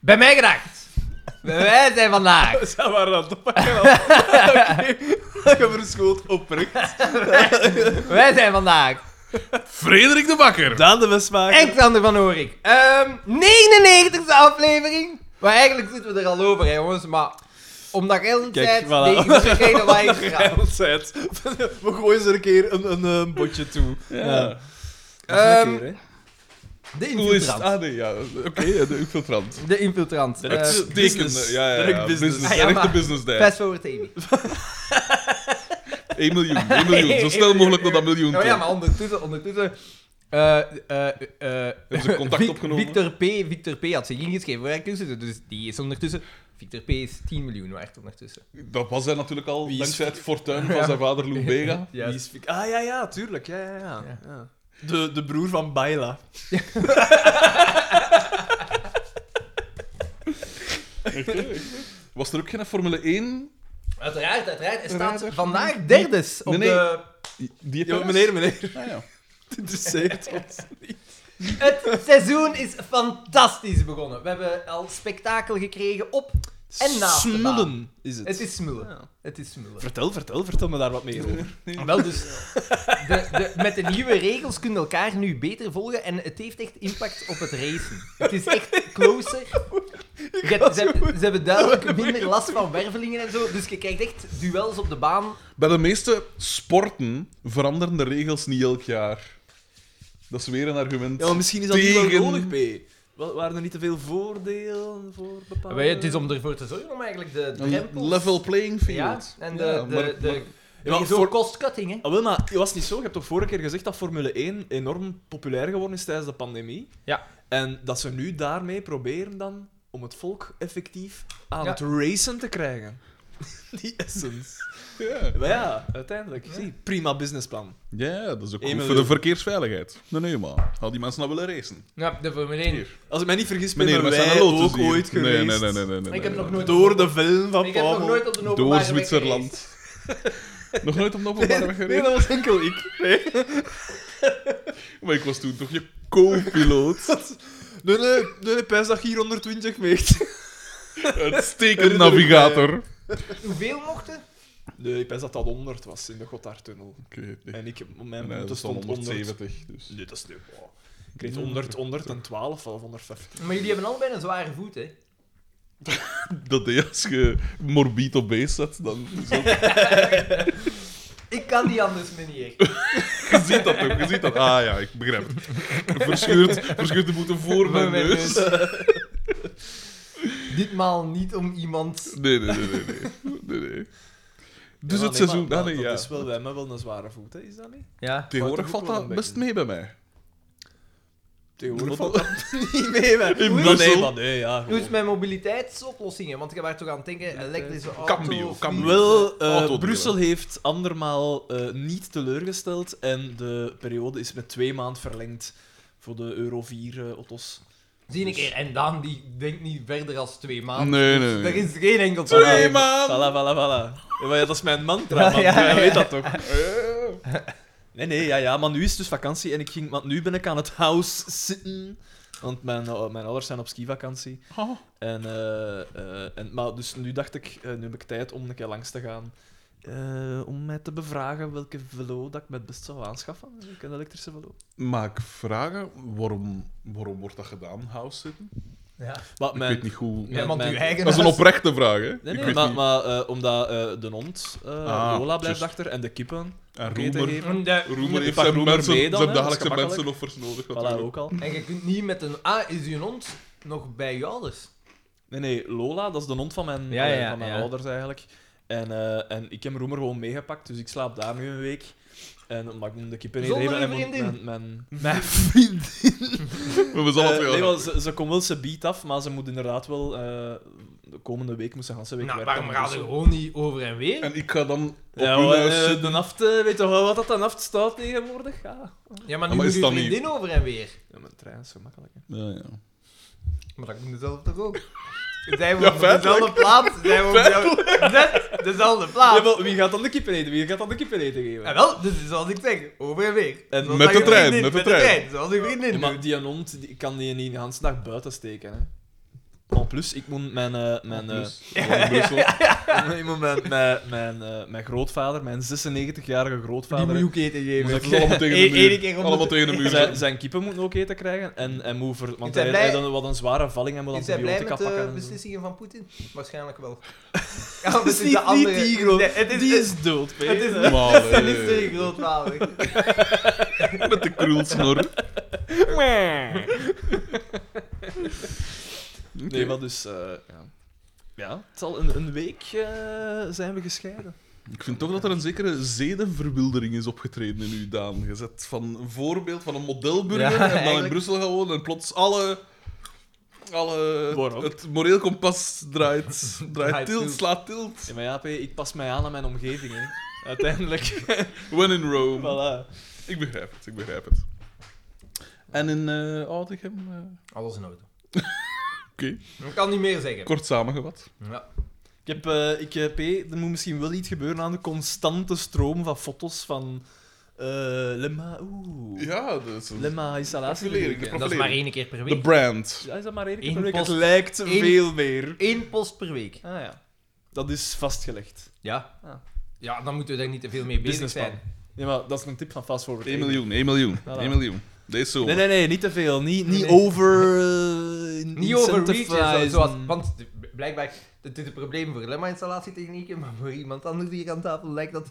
Bij mij geraakt. Wij zijn vandaag. Zij waren aan het oppakken. al. Oké. Geverschoold oprecht. Wij zijn vandaag. Frederik de Bakker. Daan de Westmaker. Alexander van Horik. Ehm 99e aflevering. Maar eigenlijk zitten we er al over, hè, jongens. Maar omdat ik heel de Kijk, tijd voilà. tegen de reden waar je Jij gaat. ontzettend. We gooien ze er een keer een, een, eh, botje toe. Ja. Ehm, Lekker, hè? de Cool is het. infiltrant. Ah, nee, ja. Oké, ja, de infiltrant. De infiltrant. De Eh, ex- Het teken, business. ja, ja, ja. Direct business. Business. Ah, ja, Een echte maar- business day. Fast forward TV. 1 miljoen, 1 miljoen. Zo snel mogelijk naar dat miljoen toe. Oh ja, maar ondertussen... ondertussen eh eh eh Hebben ze contact Vic- opgenomen? Victor P, Victor P had zich ingeschreven voor acquisitie, dus die is ondertussen... Victor P is 10 miljoen waard ondertussen. Dat was hij natuurlijk al, Wie is- dankzij het fortuin van zijn vader Lou Bega. Wie is Vic- Ah, ja, ja, tuurlijk. Ja, ja, ja. Ja. ja. De, de broer van Baila. Oké. Was er ook geen Formule 1? Uiteraard, uiteraard. Hij Uiteraard, staat uiteraard. vandaag derdes op Nee, nee. de... Die Ja, meneer, meneer. Ah, ja. Het interesseert ons. Het seizoen is fantastisch begonnen. We hebben al spektakel gekregen op... En naast de baan. Smullen is het. Het is smullen. Ja. Het is smullen. Vertel, vertel, vertel me daar wat meer over. Wel, dus de, de, met de nieuwe regels kunnen elkaar nu beter volgen en het heeft echt impact op het racen. Het is echt closer. Je hebt- ze, ze hebben duidelijk minder last van wervelingen en zo, dus je krijgt echt duels op de baan. Bij de meeste sporten veranderen de regels niet elk jaar. Dat is weer een argument. Ja, maar misschien is dat niet Tegen- wel nodig, P. Wel, Waren er niet te veel voordelen voor bepaalde... Het is om ervoor te zorgen om eigenlijk de een drempels... level playing field. Ja, en de... Ja, de, maar- de, maar- de- Ja, zo voor- cost-cutting, hè. Ah, wel, maar het was niet zo. Je hebt toch vorige keer gezegd dat Formule 1 enorm populair geworden is tijdens de pandemie. Ja. En dat ze nu daarmee proberen dan om het volk effectief aan Ja. het racen te krijgen. Die essence. Ja. Maar ja, uiteindelijk. Zie, prima businessplan. Ja, dat is ook Eén goed voor miljoen. de verkeersveiligheid. Nee, nee, maar. Al die mensen nou willen racen. Ja, de Formule 1. Als ik mij niet vergis, ben Meneer, we zijn wij een lotus ook hier. ooit nee, geweest. Nee, nee, nee. nee, nee Ik heb nee, nog nee. nooit... Door de film van Ik heb nog Pamel. nooit op de openbare Door weg Zwitserland. nog nooit op een openbare weg Nee, gereden. dat was enkel ik. Nee. Maar ik was toen toch je co-piloot. Nee, nee, nee, nee, pijs dat je hier 120 meet. Uitstekend navigator. Oké, gereden. Hoeveel mochten? Nee, ik pijs dat dat 100 was in de Gotthardtunnel. nee. En ik, op mijn Nee, route dat stond stond 100. 170. Dus. Nee, dat is leuk. Wow. Ik kreeg 100, 112 of 150. Maar jullie hebben allebei een zware voet, hè. Dat deed als je morbid op base zat, dan is dat- Ik kan niet anders, meneer. Je ziet dat ook, je ziet dat. Ah ja, ik begrijp het. Verscheurd, verscheurd de boete voor mijn mijn neus. Ditmaal niet om iemand. Nee, nee, nee, nee. nee. nee, nee. Ja, nee, Dus het maar seizoen... Dat, Ah, nee, dat ja. is wel bij mij wel een zware voet, hè, is dat niet? Ja. Tegenwoordig Wordt valt er ook wel dat een best mee bij mij. Tegenwoordig Moet valt dat- dat niet mee. Bij. In Maar Brussel. Nee, maar nee, ja. Hoe is het gewoon. met mobiliteitsoplossingen? Want je was toch aan het denken, eh, elektrische auto... Cambio, of cambio. niet? Wel, eh, Autodelen. Brussel heeft andermaal eh, niet teleurgesteld en de periode is met twee maanden verlengd voor de Euro eh, 4-auto's. Zie een keer. En Daan, die denkt niet verder als twee maanden. Ah, Nee, nee, Er nee. is geen enkel Twee probleem. man! Voilà, voilà, voilà. Ja, maar ja, dat is mijn mantra, man. Ja, ja, Jij ja. weet dat toch? Nee, nee, ja, ja, maar nu is het dus vakantie en ik ging, want nu ben ik aan het house zitten. Want mijn, eh, mijn ouders zijn op skivakantie. Ah. Oh. En, eh, eh, en, maar dus nu dacht ik, eh, nu heb ik tijd om een keer langs te gaan. eh, om mij te bevragen welke velo dat ik me het best zou aanschaffen. Ik Een elektrische velo. Maar ik vragen, waarom, waarom wordt dat gedaan, house zitten? Ja. Maar Ik mijn, weet niet hoe... Ja, Ja, want mijn- uw eigen Dat is een huis- oprechte vraag, hè? Nee, ik nee, weet maar, niet. maar eh, omdat eh, de hond, eh, Ah, Lola, blijft juist. achter en de kippen. en vergeten Roemer, geven. En de- Roemer heeft pak zijn, Roemer mensen, mee dan, zijn hè, dat is dagelijkse gemakkelijk. mensenoffers nodig, Voilà, natuurlijk. ook al. En je kunt niet met een... Ah, is je hond nog bij je ouders? Nee, nee, Lola, dat is de hond van mijn, Ja, eh, ja, van mijn ja. ouders eigenlijk. En, eh, en ik heb Roemer gewoon meegepakt, dus ik slaap daar nu een week. En omdat ik moet de kippen Zonder eten en uw moet vriendin? mijn, mijn, mijn vriend. Maar we zullen Eh, het wel nee, doen. want ze, ze komt wel ze beat af, maar ze moet inderdaad wel eh, de komende week moet ze gaan ze week Nou, werken. waarom gaat Dus- er gewoon niet over en weer? En ik ga dan op Ja, hun maar, huis eh, zitten. de naft, eh, weet je wel wat dat de naft staat tegenwoordig? Ja, Ja, maar nu Maar moet is je dat niet- vriendin over en weer. ja mijn trein is zo makkelijk. hè. Ja, ja. Maar dat moet zelf toch ook? Zijn we Ja, op dezelfde feitelijk. plaats? Zijn we op jou- Net dezelfde plaats? Ja, maar wie gaat dan de kippen eten? Wie gaat dan de kippen eten geven? Ja, wel, dus zoals ik zeg, over en weer. En Zoals met dat de je trein, vriendin- met de trein. Zoals je vriendin Ja, maar doet. die hond, die ik kan die niet de hele dag buiten steken. Hè. En plus, ik moet mijn, eh, mijn, eh, Dus, van Brussel. ik moet mijn, mijn, mijn, eh, mijn grootvader, mijn 96-jarige Die grootvader, moet je ook eten Moest geven. ik allemaal tegen de Eén- één muur. keer om Allemaal de- tegen de muur. Zijn, zijn kippen moeten ook eten krijgen. En, en moet ver- want zijn hij, hij blij- had een- wat een zware valling en moet Is hij blij antibiotica met pakken. de en zo. beslissingen van Poetin? Waarschijnlijk wel. Ja, want Het is niet, niet die groot. Nee, het is, die het- is dood. het is Peter. niet Maar, het nee. is niet zijn grootvader. Met eh, de krulsnor. Nee, maar dus... eh, ja. ja, het zal een, een week eh, zijn we gescheiden. Ik vind toch dat er een zekere zedenverwildering is opgetreden in u, Daan. Je zet van een voorbeeld van een modelburger Ja, en dan in eigenlijk. Brussel gaan wonen en plots alle... alle Waarom? het moreel kompas draait, draait Draait tilt, tilt. slaat tilt. Ja, maar ja, P, ik pas mij aan aan mijn omgeving. Hè. Uiteindelijk. When in Rome. voilà. Ik begrijp het, ik begrijp het. En in eh Oudegem, eh, Alles in orde. Oké. Ik kan niet meer zeggen. kort samengevat. Ja. Ik heb, eh, ik, eh, P, er moet misschien wel iets gebeuren aan de constante stroom van foto's van... eh Lema, oeh. Ja, dat is een- Lema installatie. Profilering, Ja, En dat is maar één keer per de week. brand. Ja, is dat maar één keer Eén per week? post- Het lijkt één- veel meer. Eén post per week. Ah ja. Dat is vastgelegd. Ja. Ah. Ja, dan moeten we daar niet te veel mee bezig Businessplan. zijn. Ja, maar dat is een tip van Fast Forward. 1 miljoen, 1 miljoen, Voilà. 1 miljoen. Deze zomer. Nee, nee, nee, niet te veel. Niet, Nee, niet nee. over. eh, Niet over reaches, zoals, want de- blijkbaar, dit is een probleem voor lemma-installatietechnieken, maar voor iemand anders hier aan tafel lijkt dat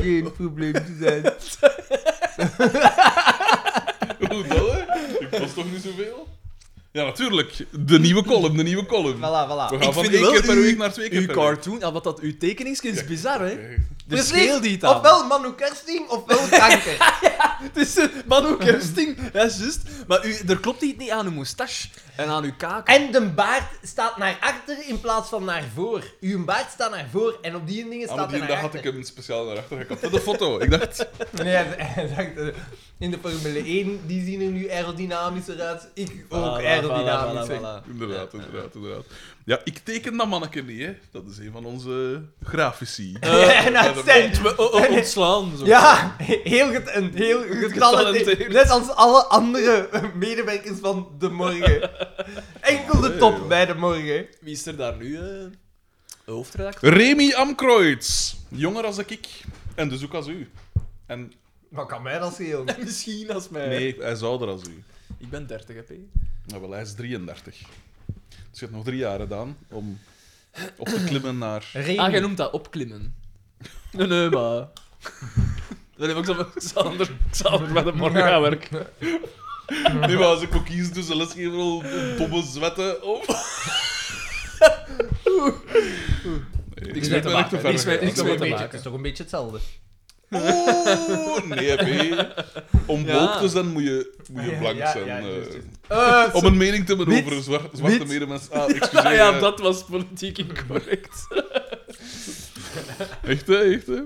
geen probleem te zijn. Hoe dat, hè? Ik was toch niet zoveel? Ja, natuurlijk. De nieuwe column, de nieuwe column. voilà, voilà. We gaan Ik van vind één keer wel per uw- week naar twee keer Uw per cartoon, ah, wat dat, uw tekeningsje is bizar, hè? week. Dus Precies. scheel die taal. Ofwel Manu Kersting, ofwel kanker. Het is eh, Manu Kersting, ja, juist. Maar u, er klopt iets niet aan uw moustache en aan uw kaken. en de baard staat naar achter in plaats van naar voor. Uw baard staat naar voor en op die dingen Aan staat Ah, hij die naar dag had achter. ik hem speciaal naar achter gekapt. Voor de foto. Ik dacht, Nee, hij- hij zegt, eh, in de Formule 1, die zien er nu aerodynamischer uit. Ik ook Ah, Voilà, voilà, aerodynamischer. voilà, voilà. inderdaad, inderdaad, inderdaad. Ja, ik teken dat manneke niet, hè. Dat is een van onze grafici. Eh, Ja, en dat dat zijn- Ont- o- o- Ontslaan, zo. Ja, heel, get, een heel getalenteerd. Getalenteerd. Net als alle andere medewerkers van De Morgen. Enkel de top Nee, joh. bij De Morgen. Wie is er daar nu eh hoofdredacteur? Remy Amkreutz. Jonger als ik. En dus ook als u. En Wat kan mij dat schelen? Misschien als mij. nee, hij is ouder als u. Ik ben 30, hè, P. Nou, wel, hij is 33. Dus je hebt nog drie jaar gedaan om op te klimmen naar... Ah, jij Remy. noemt dat opklimmen. Nee, nee, maar... Dan heb ik zo van Xander, Xander met een morgen gaan werken. Nee, maar als ik ook kies tussen lesgeven al bommen zwetten of... Nee, Niks ik mee ben te echt maken, ver niks mee- gegaan. Het is, niks toch mee een te beetje, maken. het is toch een beetje hetzelfde. Oeh, nee, hè. Om Ja. woke te zijn moet je, moet je Ah, Ja, blank ja, zijn. ja, eh. juist, juist. om een mening te hebben Wit, over zwar- zwarte wit. medemens. Ah, excuseer. Ah ja, eh, dat was politiek incorrect. Echt, hè, echt, hè.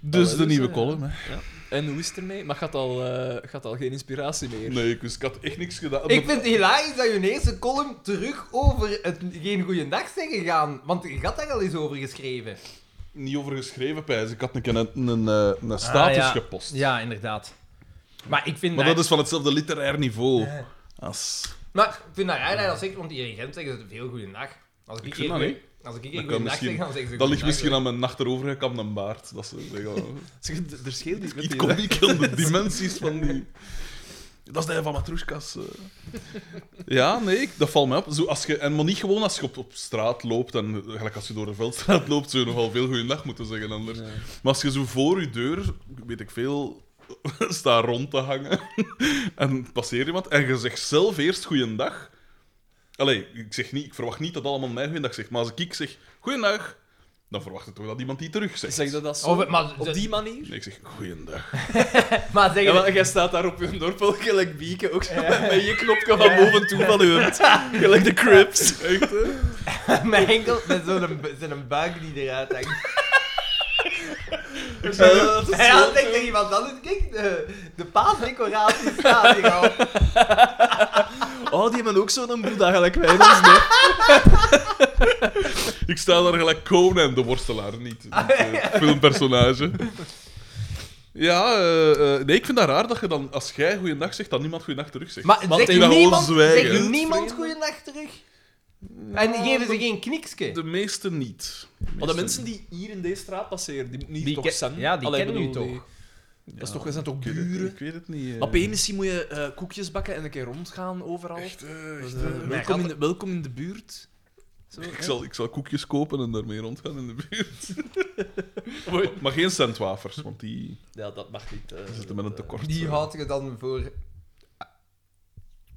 Dus Ah, de wel, nieuwe eh, column, hè. ja. En hoe is het ermee? Maar gaat al, eh, gaat al geen inspiratie meer. Nee, ik, wist- ik had echt niks gedaan. Ik vind het hilarisch dat je eerste column terug over het geen goeiedag zeggen gaan. Want je had daar al eens over geschreven. Niet over geschreven, pijs. Ik had een keer een, een, eh, een status Ah, ja. gepost. Ja, inderdaad. Maar ik vind Maar dat is van hetzelfde literair niveau als... Maar ik vind dat raar dat je dat zegt, want hier in Gent zeggen ze veel goeiedag. Als ik, Ik ik vind dat niet. Als ik Dat een kan goeiedag misschien- zeg, dan zeggen ze Dat ligt misschien goeiedag, aan mijn achterovergekamde baard. Dat ze zeggen, Zeg, d- er scheelt iets met ik die- kom niet aan de dimensies van die... Dat is de van Matroeskas. eh. Ja, nee, ik- dat valt mij op. Zo, als je, en maar niet gewoon als je op, op straat loopt. En eh, gelijk als je door de veldstraat loopt, zou je nogal veel goeiedag moeten zeggen anders. Nee. Maar als je zo voor je deur, weet ik veel, staat rond te hangen en passeert iemand en je zegt zelf eerst goeiedag. Allee, ik, zeg niet, ik verwacht niet dat allemaal mij goeiedag zegt, maar als ik zeg goeiedag, dan verwacht ik toch dat iemand die terug zegt. Zeg dat dat zo? Of- maar- op die manier? Nee, ik zeg goeiedag. hè. Maar Ja, zeggen maar jij staat daar op je dorpel, gelijk bieken, ook zo met je knopje van boven toe van je hand. Gelijk de Crips. Echt, hè? mijn enkel met zo'n bu- zo'n buik die eruit hangt. dat is Hij zo had denkt tegen iemand anders, kijk, de, de paasdecoratie staat hier al. Oh, die hebben ook zo'n boeddha gelijk wij in ons dorp. Ik Ah, sta daar gelijk Conan, de worstelaar, niet. Het eh, filmpersonage. Ja, eh, eh, nee, ik vind dat raar dat je dan, als jij goeiedag zegt, dat niemand goeiedag terug zegt. Maar Want zegt die gaan gewoon niemand, zwijgen. zegt niemand goeiedag terug? En geven ze geen knikske? De meeste niet. Maar de mensen die hier in deze straat passeren, die moeten hier Die toch ken- zijn? ja, die Allee, kennen bedoel, u die- toch? Dat is toch, dat zijn toch Ik weet het- buren? Ik weet het niet. eh. Maar P, misschien moet je eh, koekjes bakken en een keer rondgaan overal. Echt, eh, Dus, echt, eh, eh. Wij welkom, gaan- in de, welkom in de buurt. Zo, Ik hè? zal, ik zal koekjes kopen en daarmee rondgaan in de buurt. Maar- maar geen centwafers, want die Ja, dat mag niet. eh, zitten met een dat, eh, tekort. Die eh. houdt je dan voor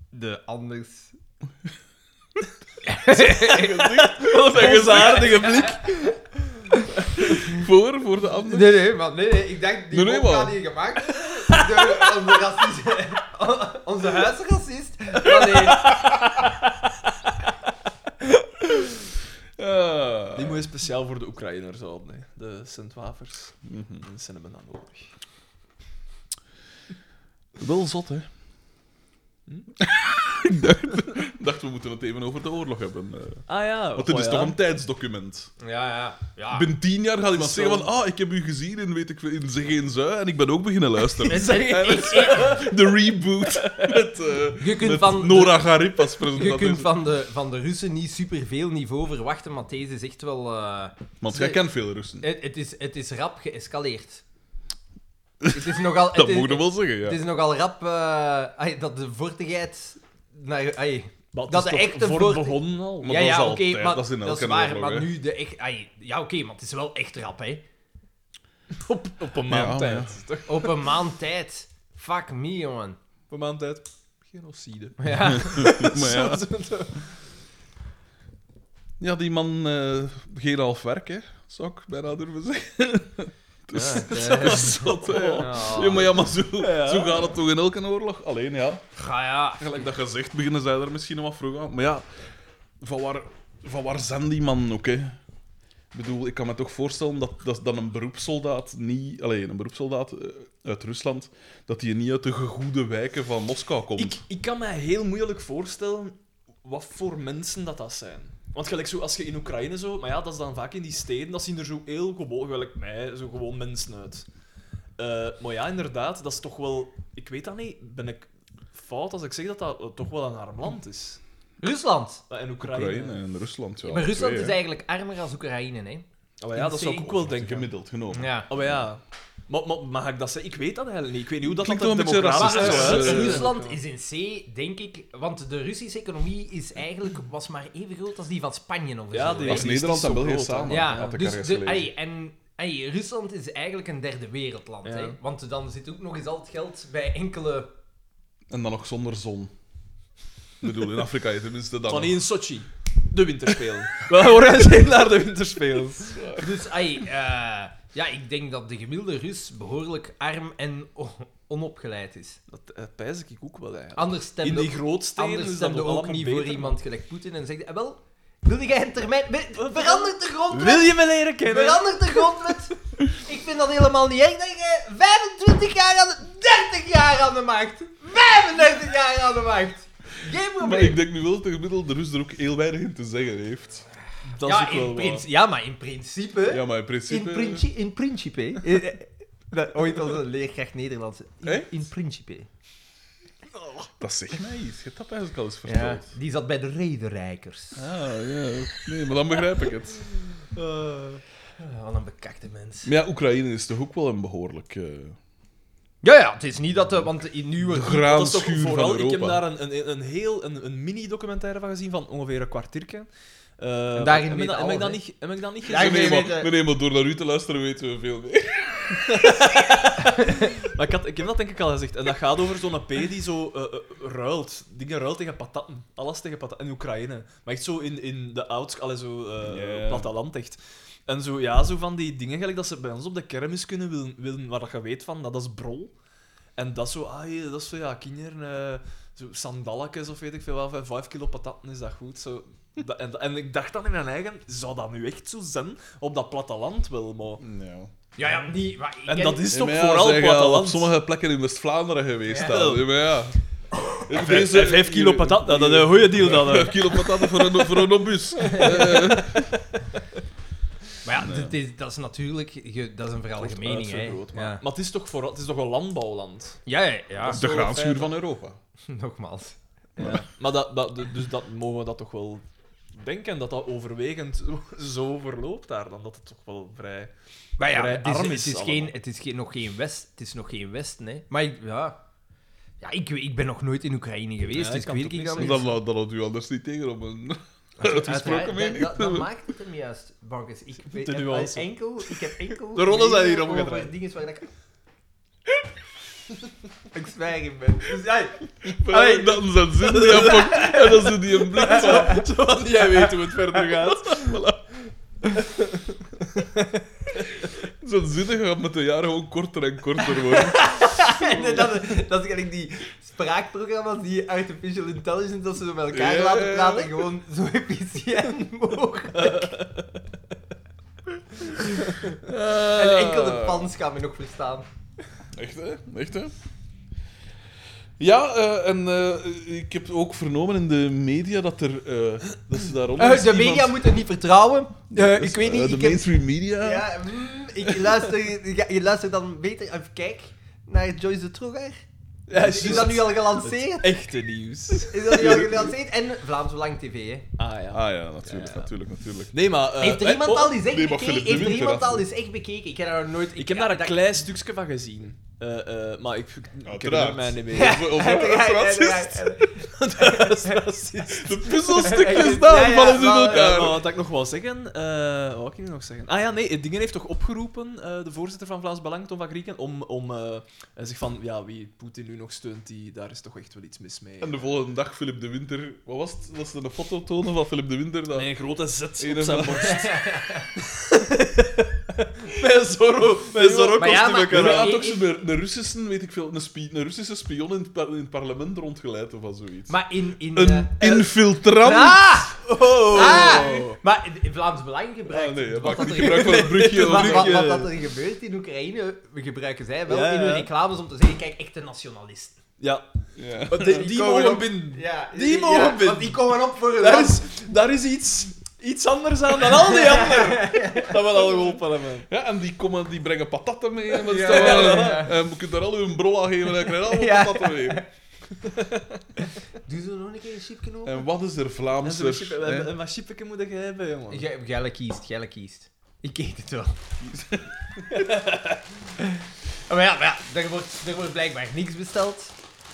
de anders. Wat een gezaardige blik. Voor, voor de anderen. Nee, nee, maar nee, nee, ik dacht, die Nee, nee, mop maar- gaat hier gemaakt worden door onze racist, onze huisracist. Maar nee, Ah. Die moet je speciaal voor de Oekraïners houden, hè. de Sint-Wafers. Mhm. En de cinnamon dan nodig. Wel zot, hè? Hm? ik dacht, ik dacht, we moeten het even over de oorlog hebben. eh. Ah ja, Want dit oh is ja. toch een tijdsdocument. ja, ja, ja. Binnen tien jaar gaat iemand Zo. zeggen van ah, ik heb u gezien in, weet ik, veel, in Zeg Geen Zui en ik ben ook beginnen luisteren. Mensen, ik- de reboot met, eh, Je kunt met van de- Nora Garip als Je presentatrice. kunt van de, van de Russen niet superveel niveau verwachten, maar deze is echt wel... eh, Want jij kent veel Russen. het, het, is, het is rap geëscaleerd. Het is nogal... Dat het is, mogen we wel zeggen, ja. Het is nogal rap eh, ai, dat de vortigheid... Naar, ai, Maar het dat is de toch echte voor voort- begonnen al. Maar ja, dat ja, is oké, altijd, maar dat is in elke waar, oorlog, maar hè. nu de echt... ai, ja, oké, maar het is wel echt rap, hè. Op, op een Ja, maand ja. tijd. Toch? Op een maand tijd. Fuck me, jongen. Op een maand tijd. Genocide. Ja. Maar Zo, ja, zo, zo. ja, die man eh geen half werk, hè, zou ik bijna durven zeggen. Dus, Ja, dat eh. is zot, hè, ja. Ja. Ja, maar, ja, maar zo, Ja. zo gaat het toch in elke oorlog? Alleen, ja, Ga ja. gelijk dat gezegd, beginnen zij er misschien nog wat vroeg aan. Maar ja, van waar, van waar zijn die mannen ook, hè? Ik bedoel, ik kan me toch voorstellen dat, dat dan een beroepssoldaat niet... Alleen, een beroepssoldaat eh, uit Rusland, dat die niet uit de gegoede wijken van Moskou komt. Ik, ik kan mij heel moeilijk voorstellen wat voor mensen dat, dat zijn. Want gelijk zo, als je in Oekraïne zo... Maar ja, dat is dan vaak in die steden, dat zien er zo heel gewoon, gelijk mij, zo gewoon mensen uit. Eh, maar ja, inderdaad, dat is toch wel... Ik weet dat niet, ben ik fout als ik zeg dat dat eh, toch wel een arm land is. Rusland. Dat in Oekraïne... Oekraïne en Rusland, ja. maar Rusland twee, is hè. eigenlijk armer als Oekraïne, hè. Oh, maar ja, dat zou ik ook wel denken. Gemiddeld genomen. Ja. Oh maar ja. Maar, maar mag ik dat zeggen? Ik weet dat eigenlijk niet. Ik weet niet hoe dat, Klinkt dat wel een beetje democratisch racistisch, zou hè? Maar eh, uitzien. Rusland is in C, denk ik, want de Russische economie is eigenlijk, was maar even groot als die van Spanje of Ja, zo. die hè. Als Nederland en België samen, ja, had ik dus ergens de, gelezen. ai, en ai, Rusland is eigenlijk een derde wereldland. Ja. Hè? Want dan zit ook nog eens al het geld bij enkele. En dan nog zonder zon. Ik bedoel, in Afrika je tenminste dan Van nog. in Sochi. De winterspelen. We horen zijn naar de winterspelen. Dus ai, eh, ja, ik denk dat de gemiddelde Rus behoorlijk arm en o- onopgeleid is. Dat eh, pijs ik ook wel eigenlijk. Anders in stemde, die grootsteden anders is dat stemde nog ook allemaal niet beter, voor maar- iemand gelijk Poetin en zegt: eh, wel, wil jij een termijn. Verandert de grondwet! Wil je me leren kennen? Verandert de grondwet. Ik vind dat helemaal niet erg dat jij 25 jaar aan de... 30 jaar aan de macht. 35 jaar aan de macht. Geen Maar probleem. ik denk nu wel dat de gemiddelde Rus er ook heel weinig in te zeggen heeft. Dat is ja, ook wel in waar. prins- ja, maar in principe... Ja, maar in in, principe... principe in principe... eh, eh, dat- Ooit als een leerkracht Nederlands. In, Echt? in principe. Dat zegt mij iets. Je hebt dat eigenlijk al eens Ja, verteld. die zat bij de rederijkers. Ah, ja. Nee, maar dan begrijp ik het. Ah, Wat een bekakte mens. Maar ja, Oekraïne is toch ook wel een behoorlijk... eh, Ja, ja, het is niet dat... eh, want in de nieuwe... Dat is toch graanschuur van vooral, Europa. ik heb daar een, een, een heel een, een mini-documentaire van gezien van ongeveer een kwartiertje. Eh, En daarin heb weet ik dat- heb alles, ik dat hè? niet- Heb ik dat niet Ja, gezien? ik weet Nee, maar, het, eh. nee, maar door naar u te luisteren weten we veel meer. Maar ik, had, ik heb dat denk ik al gezegd. En dat gaat over zo'n P die zo eh, eh, ruilt. Dingen ruilt tegen patatten. Alles tegen patatten. In Oekraïne. Maar echt zo in, in de ouds... Allee, zo eh, Ja. platteland echt. En zo, ja, zo van die dingen gelijk dat ze bij ons op de kermis kunnen willen, willen waar dat je weet van, dat is brol. En dat zo, ah, je- dat is zo, ja, kinderen, eh, zo sandalletjes of weet ik veel wat, van vijf kilo patatten, is dat goed? Zo, Dat- en, en ik dacht dan in mijn eigen, zou dat nu echt zo zijn? Op dat platteland wel, maar... Ja. Ja, ja, die... maar ik En ken- dat is Ja, toch maar ja, vooral zij gaan platteland. op sommige plekken in West-Vlaanderen geweest. Ja. daar. Ja. maar ja. Vijf, vijf- vijf kilo patat, dat is een goede deal dan. hè. Eh, Vijf kilo patat voor een, voor een obus. Maar ja, dat, is, dat is natuurlijk... je- dat is een veralgemening, hè. uitvergroot, maar- Ja. Maar het is toch vooral, het is toch een landbouwland? Ja, ja, ja. Dat De zo graanschuur feit, van Europa. Nogmaals. Ja. Maar dat, dat, dus dat mogen we dat toch wel denken, dat dat overwegend zo verloopt daar dan, dat het toch wel vrij... Maar ja, Vrij het is, arm het is is allemaal. geen, het is geen, nog geen West. Het is nog geen West, nee. Maar ik, ja... Ja, ik, weet- ik ben nog nooit in Oekraïne geweest, dus Ja, ik ik kan weet het ik ook dat niet niet. Dat laat- dat houdt u anders niet tegen op een uitgesproken Uiteraard, mening. dat, dat, dat maakt het hem juist, Marcus. Ik weet, De heb nuance. enkel, ik heb enkel... De rollen zijn hier gelezen over omgedraaid. dingen waar ik... ik zwijgen ben. Dus ja, Allee, Dat is een zin die hij pakt en dan doet die een blik zo. Zodat jij weet hoe het verder gaat. Zo'n zinnen gaat met de jaren gewoon korter en korter worden. En dat, dat is eigenlijk die spraakprogramma's die artificial intelligence dat ze zo met elkaar Ja, ja, laten ja. praten. Gewoon zo efficiënt mogelijk. Eh, Eh. En enkel de fans gaan me nog verstaan. Echt hè? Echt hè? Ja, eh, en eh, ik heb ook vernomen in de media dat er. eh, dat ze daarom. Eh, de media moeten niet vertrouwen. Eh, ik weet niet. dus, de ik heb- mainstream media. ja, mm, ik luister, ja, je luistert dan beter even kijk naar Joyce de Troeger. Ja, Is dat nu al gelanceerd? Echte nieuws. Is dat nu al gelanceerd? En Vlaams Belang TV. Hè. Ah ja. Ah ja, natuurlijk, Ja, ja. natuurlijk, natuurlijk. Nee, maar... eh, Heeft er eh, iemand oh, al eens echt nee, maar bekeken? Philip de Heeft er Winter iemand had- al eens echt bekeken? Ik heb daar nog nooit... Ik heb daar een dat- klein stukje van gezien. Eh, eh, maar ik, ik herinner Uiteraard. mij niet meer. Of, of, of- racist. Dat is racist. De puzzelstukjes Ja, daar ja, vallen ze in maar- Eh, maar elkaar. wat ik nog wou zeggen, eh, wat wou ik nu nog zeggen? Ah ja, nee, Dingen heeft toch opgeroepen, eh, de voorzitter van Vlaams Belang, Tom van Grieken, om, om eh, eh, zich van, ja, wie Poetin nu nog steunt, die, daar is toch echt wel iets mis mee. En de volgende dag Philip de Winter. Wat was het? Was er een foto tonen van Philip de Winter? Dat... Met een grote zet op Ene zijn van- borst. Met Zorro, met Zorro Maar ja, kostuum. maar- Ja, maar hij had ik- ook zo'n een, Russische, weet ik veel, een, spie- een Russische spion in het, par- in het parlement rondgeleid of van zoiets. Maar in... in een eh, infiltrant? ah! Oh. Ah! Maar in Vlaams Belang gebruikt... Ah, nee, hij wat maakt dat niet er- gebruik van het brugje. eh, Wat, brugje. wat, wat dat er gebeurt in Oekraïne, we gebruiken zij wel Ja, in ja. hun reclames om te zeggen, kijk, echte nationalisten. Ja, Ja. maar die, die komen mogen op. binnen. Ja, Die mogen binnen. Want die komen op voor hun Daar land. is, daar is iets, iets anders aan dan al die anderen. Dat wil al geholpen hebben. Ja, en die, komen, die brengen patatten mee. En dat is Ja, dan wel- ja. eh, je kunt daar al hun brol aan geven en je krijgt allemaal Ja. patatten mee. Doe ze nog een keer een chipje open? En wat is er En Vlaams? zo, chip- hè? en- en wat chipje moet je hebben, jongen? Jij- Jelle kiest, Jelle kiest. Ik eet het wel. maar ja, maar ja er, wordt, er wordt blijkbaar niks besteld.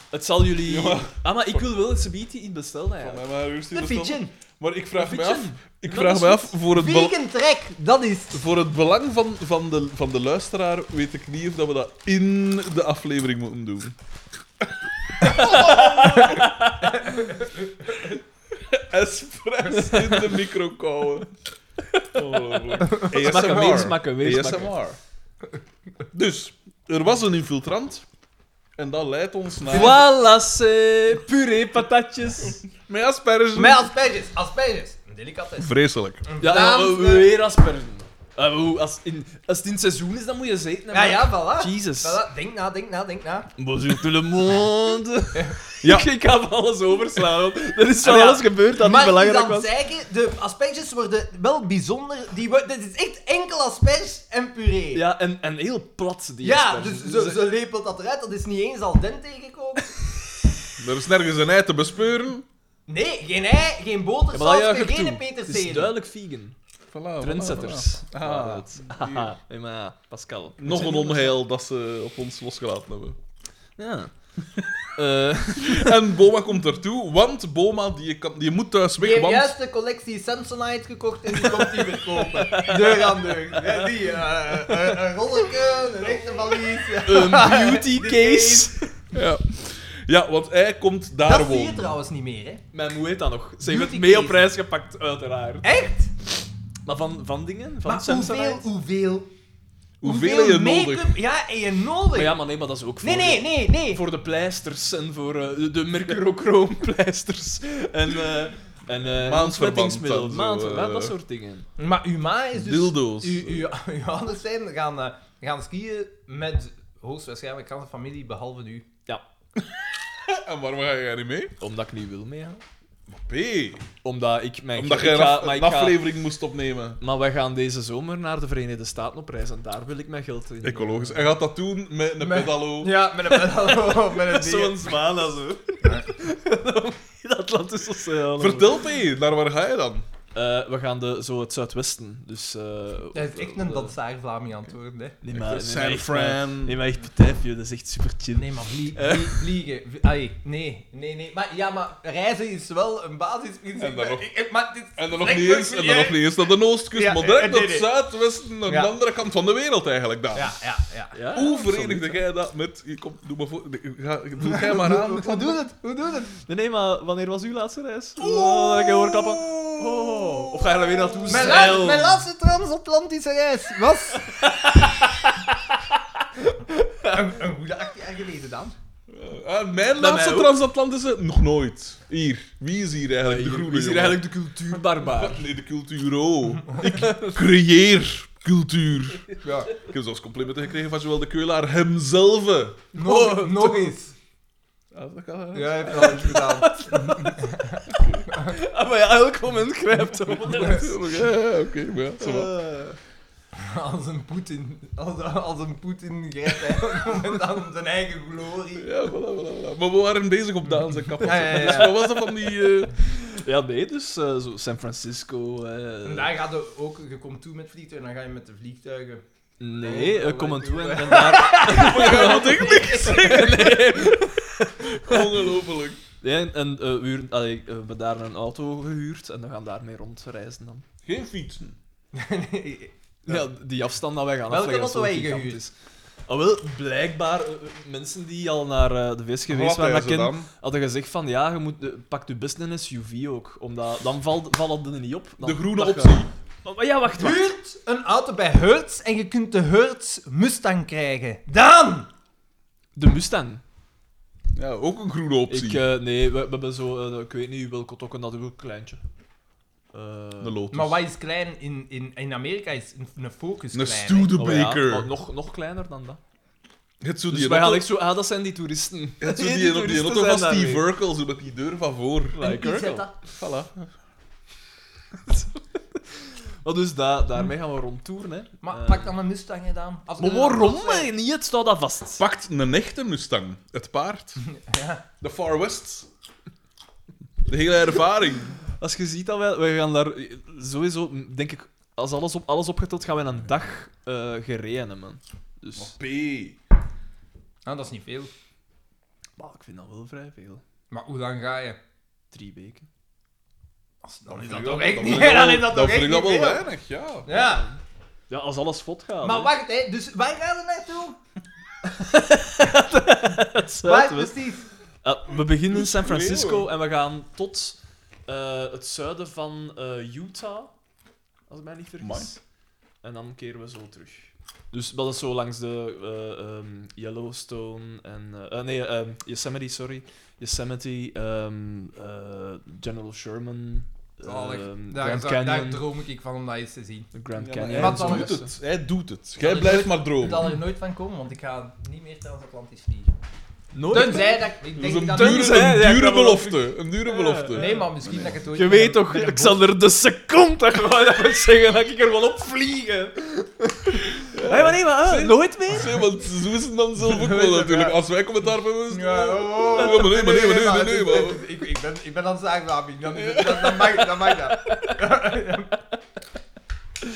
Het zal jullie... Jongen. Ah, maar ik wil wel een subietje in bestellen, Van eigenlijk. mij maar rustig De bestellen. fietsen. Maar ik vraag Een me fietsen. af, ik Dat vraag is me goed. af voor, het bel- Vegan trek, dat is het. voor het belang van, van, de, van de luisteraar weet ik niet of dat we dat in de aflevering moeten doen. Espresso in de micro kouwen. Oh. Smakken weer, ASMR. smakken weer, smakken. ASMR. Dus, er was een infiltrant. En dat leidt ons naar... Voilà, c'est puree patatjes. Met asperges. Met asperges, asperges. Een delicatesse. Vreselijk. Ja, Vlaamse- eh, weer aspergen. Eh, hoe- als, in, als het in het seizoen is, dan moet je ze eten. hè, Ja, maar- ja, voilà. Jesus. Voilà, Denk na, denk na, denk na. Bonjour tout le monde. Ja. ik, ik ga van alles overslaan. want Er is van Ah, ja. alles gebeurd dat niet maar ik belangrijk dan was. zeggen, de asperges worden wel bijzonder. Die wo- dit is echt enkel asperges en puree. Ja, en, en heel plat die Ja, asperges. dus ze, ze lepelt dat eruit. Dat is niet eens al dente gekomen. Er is nergens een ei te bespeuren. Nee, geen ei, geen Ja, maar dat botersaus, juich ik toe. geen Het is peterselie. duidelijk vegan. Voilà, Trendsetters. voilà, Ja, voilà. Ah, dat- Haha. Nee, maar ja, Pascal. Nog een onheil dat ze op ons losgelaten hebben. Ja. Eh, En Boma komt ertoe, want Boma die kan, die moet thuis Die weg, heeft want... juist de collectie Samsonite gekocht en die komt die verkopen. Deur aan deur. Ja, Die, eh, een- een rolletje, een echte valies. een beauty De case. Ja. ja, want hij komt daar Dat zie je wonen. trouwens niet meer, hè? Mijn moe heet dat nog. Ze heeft het Beauty mee op case. reis gepakt, uiteraard. Echt? Maar van, van dingen? Van Maar Samsonite? hoeveel, hoeveel, Hoeveel je make-up- nodig? Ja, en je nodig. Maar ja, maar nee, maar dat is ook voor, nee, nee, nee, nee. voor de pleisters en voor eh, de- de mercurochroompleisters. en, eh en eh Maandverband ontsmettingsmiddel. en zo, Maandverband, eh. dat soort dingen. Maar Uma is dus... Dildo's. U, u, uw ouders zijn gaan, eh, gaan skiën met hoogstwaarschijnlijk hele familie, behalve nu. Ja, En waarom ga jij niet mee? omdat ik niet wil meegaan. P. Omdat ik mijn... Omdat ik jij een, ga- af- maar een ik ga- aflevering moest opnemen. Maar wij gaan deze zomer naar de Verenigde Staten op reis en daar wil ik mijn geld in. Ecologisch. En gaat dat doen met een Met- pedalo. Ja, met een pedalo, met een ding. Zo'n zwaan en zo. In de Atlantische Oceaan. Vertel P, naar waar ga je dan? Eh, we gaan de, zo het zuidwesten. Dus, eh, Dat is echt een dansaar Vlaming aan het worden, hè. Nee, maar, nee, maar San echt, Fran. Nee, maar echt partijpje, dat is echt super chill. Nee, maar vlie- Eh? vlie- vliegen. v- ai, nee, nee, nee. Maar, ja, maar reizen is wel een basisprincipe. En dan nog- Ik- ik- maar dit is En dan nog slecht niet eens, en dan materiaal. nog niet eens naar de Oostkust, Ja, maar direct eh, nee, naar het nee. zuidwesten, naar Ja. de andere kant van de wereld eigenlijk. Dan. Ja, ja, ja. Ja, Hoe absoluut. verenigde jij dat met... hier, Kom, doe maar voor... nee, Ga, doe jij maar aan. Hoe doet het? Hoe doet het? Nee, nee, maar wanneer was uw laatste reis? Oh, ik hoor klappen. Oh. Of ga je er weer naartoe? Mijn, Zeil. laat- mijn laatste transatlantische reis was... een, een goede acht jaar geleden dan. Ah, mijn mij laatste ook. transatlantische... Nog nooit. Hier. Wie is hier eigenlijk de Hier groene is hier jongen? eigenlijk de cultuurbarbaar. Nee, de cultuur, oh. Ik creëer cultuur. Ja. Ik heb zelfs complimenten gekregen van zowel de Keulaar hemzelf. Nog, nog eens. Ah, dat kan, hè. Ja, hij heeft wel iets gedaan. Ah, maar ja, elk moment grijpt hem. Ja, oké, maar ja, zo wat. Eh, Als een Poetin. Als, als een Poetin grijpt hij op het moment aan zijn eigen glorie. Ja, voilà, voilà, voilà. Maar we waren bezig op Daan zijn kapot. Ja, ja, ja. Dus wat was dat van die... eh, Ja, nee, dus eh, zo San Francisco. eh, En daar gaat er ook, je komt toe met vliegtuigen, dan ga je met de vliegtuigen. Nee, Oh, eh, kom oh, aan toe en, oh. en daar. Ja, dat ik niks zeggen. Ongelooflijk. Nee, en en, eh, we huren- allee, eh, we hebben daar een auto gehuurd en we gaan daarmee rondreizen dan. Geen fietsen. Nee. Ja, die afstand dat wij gaan Welke afleggen, dat is auto wel heb je gigantisch. Ah, wel, blijkbaar, eh, eh, mensen die al naar eh, de VS geweest Ah, Wat waren, hij dat ze ken- dan? hadden gezegd van ja, je moet, eh, pak je best een SUV ook. Omdat, dan valt, vallen die er niet op. Dan- De groene dat je- optie. Oh, maar ja, wacht, wacht. Huurt een auto bij Hertz en je kunt de Hertz Mustang krijgen. Dan! De Mustang. Ja, ook een groene optie. Ik, eh, nee, we, we hebben zo, eh, ik weet niet, welke tokken, dat is ook een kleintje. Eh, de Lotus. Maar wat is klein in, in, in Amerika is een- een Focus Een klein. hè. oh ja, Studebaker. maar nog, nog kleiner dan dat. Het zo Dus die wij gaan auto- echt zo, ah, dat zijn die toeristen. het zo Nee, die op die toeristen auto van zijn Steve daarmee. Urkel, zo met die deur van voor. Een Like Urkel. Isetta. Voilà. Maar dus da- daarmee gaan we rondtoeren, hè. Maar Eh, pak dan een Mustang hè, dan. Als Maar je- waarom? als je- hè? Niet, het staat dat vast. Pakt een echte Mustang. Het paard. Ja. De Far West. De hele ervaring. Als je ziet dat wij, wij gaan daar sowieso, denk ik, als alles, op, alles opgeteld, gaan wij een dag eh gereden, hè, man. Oh. Maar Dus, P. Nou, dat is niet veel. maar ik vind dat wel vrij veel. Maar hoe lang ga je? Drie weken. Als- Dan Dan is vind dat ik toch wel- echt niet vind ik Dan wel- is dat toch vind echt ik niet dat wel veel. weinig, ja. Ja. Ja, als alles vlot gaat. Maar hè. wacht, hè. dus wij gaan er naartoe. Het Waar, Zuidwest. precies. Ja, Eh, we beginnen in San Leeuwen. Francisco en we gaan tot eh, het zuiden van eh, Utah, als ik mij niet vergis. Amai. En dan keren we zo terug. Dus dat is zo langs de eh, ehm, Yellowstone en... eh, eh, nee, ehm, Yosemite, sorry. Yosemite, ehm, eh, General Sherman, Zalig. ehm, Daar, Grand daar, daar Canyon. droom ik van om dat eens te zien. de Grand Ja, maar Canyon. hij Wat dan? doet het. Hij doet het. Dat Jij is blijft nooit- maar Ik dromen. zal er nooit van komen, want ik ga niet meer transatlantisch vliegen. Nooit. Tenzij dat ik- ik Dat is denk een dat... dure, Tenzij, ja, een ik dure kan wel- belofte. Een dure Ja, belofte. Nee, maar misschien dat ik het ooit... Je met een- weet toch, met een ik zal er de seconde gewoon even zeggen dat ik er gewoon op vliegen. Hé, maar nee, maar eh, nooit meer? Nee, want zo is het dan zelf ook wel natuurlijk. Als wij commentaar hebben, is het... Ja, oh, oh, Ja, maar nee, maar nee, maar nee, maar het nee, is- maar- het is- Ik, ik ben, ik ben aan het zagen, Rami. Dan, is het- dan, dan mag dan mag dat. Eh.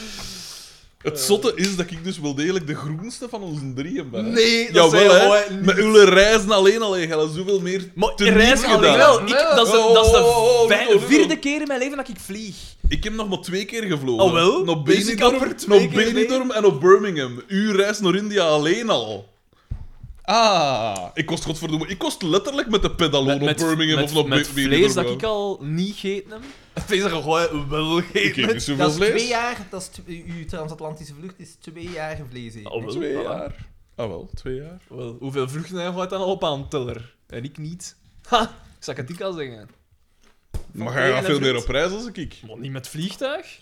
Het zotte is dat ik dus wel degelijk de groenste van onze drieën ben. hè. Nee, dat Jawel, zijn hè. gewoon- Met uw reizen alleen al, hè. je hebt zoveel meer Maar teniet reis gedaan. alleen wel. Ik, dat is, de- dat is de Oh, oh, oh, oh, vij- Ludo, Ludo. vierde keer in mijn leven dat ik vlieg. Ik heb nog maar twee keer gevlogen. Oh, wel? Naar Dus ik Benidorm, had er twee naar keer mee. Benidorm en op Birmingham. Uw reis naar India alleen al. Ah, ik kost godverdomme... Ik kost letterlijk met de pedaloon op Birmingham met, of naar met Be- Benidorm. vlees dat ik al niet gegeten heb. Vlees dat ik gewoon wel Ik gegeten eet niet heb. zoveel Dat is vlees. twee jaar... Dat is tw- uw transatlantische vlucht is twee jaar vlees eten. Oh, wel, Twee voilà. jaar. Ah wel, twee jaar. Wel, hoeveel vluchten heb je dan al op aan teller? En ik niet. Ha, ik zou het niet al zeggen. Maar twee jij gaat en veel een meer vlucht. op reis als ik. Maar niet met vliegtuig.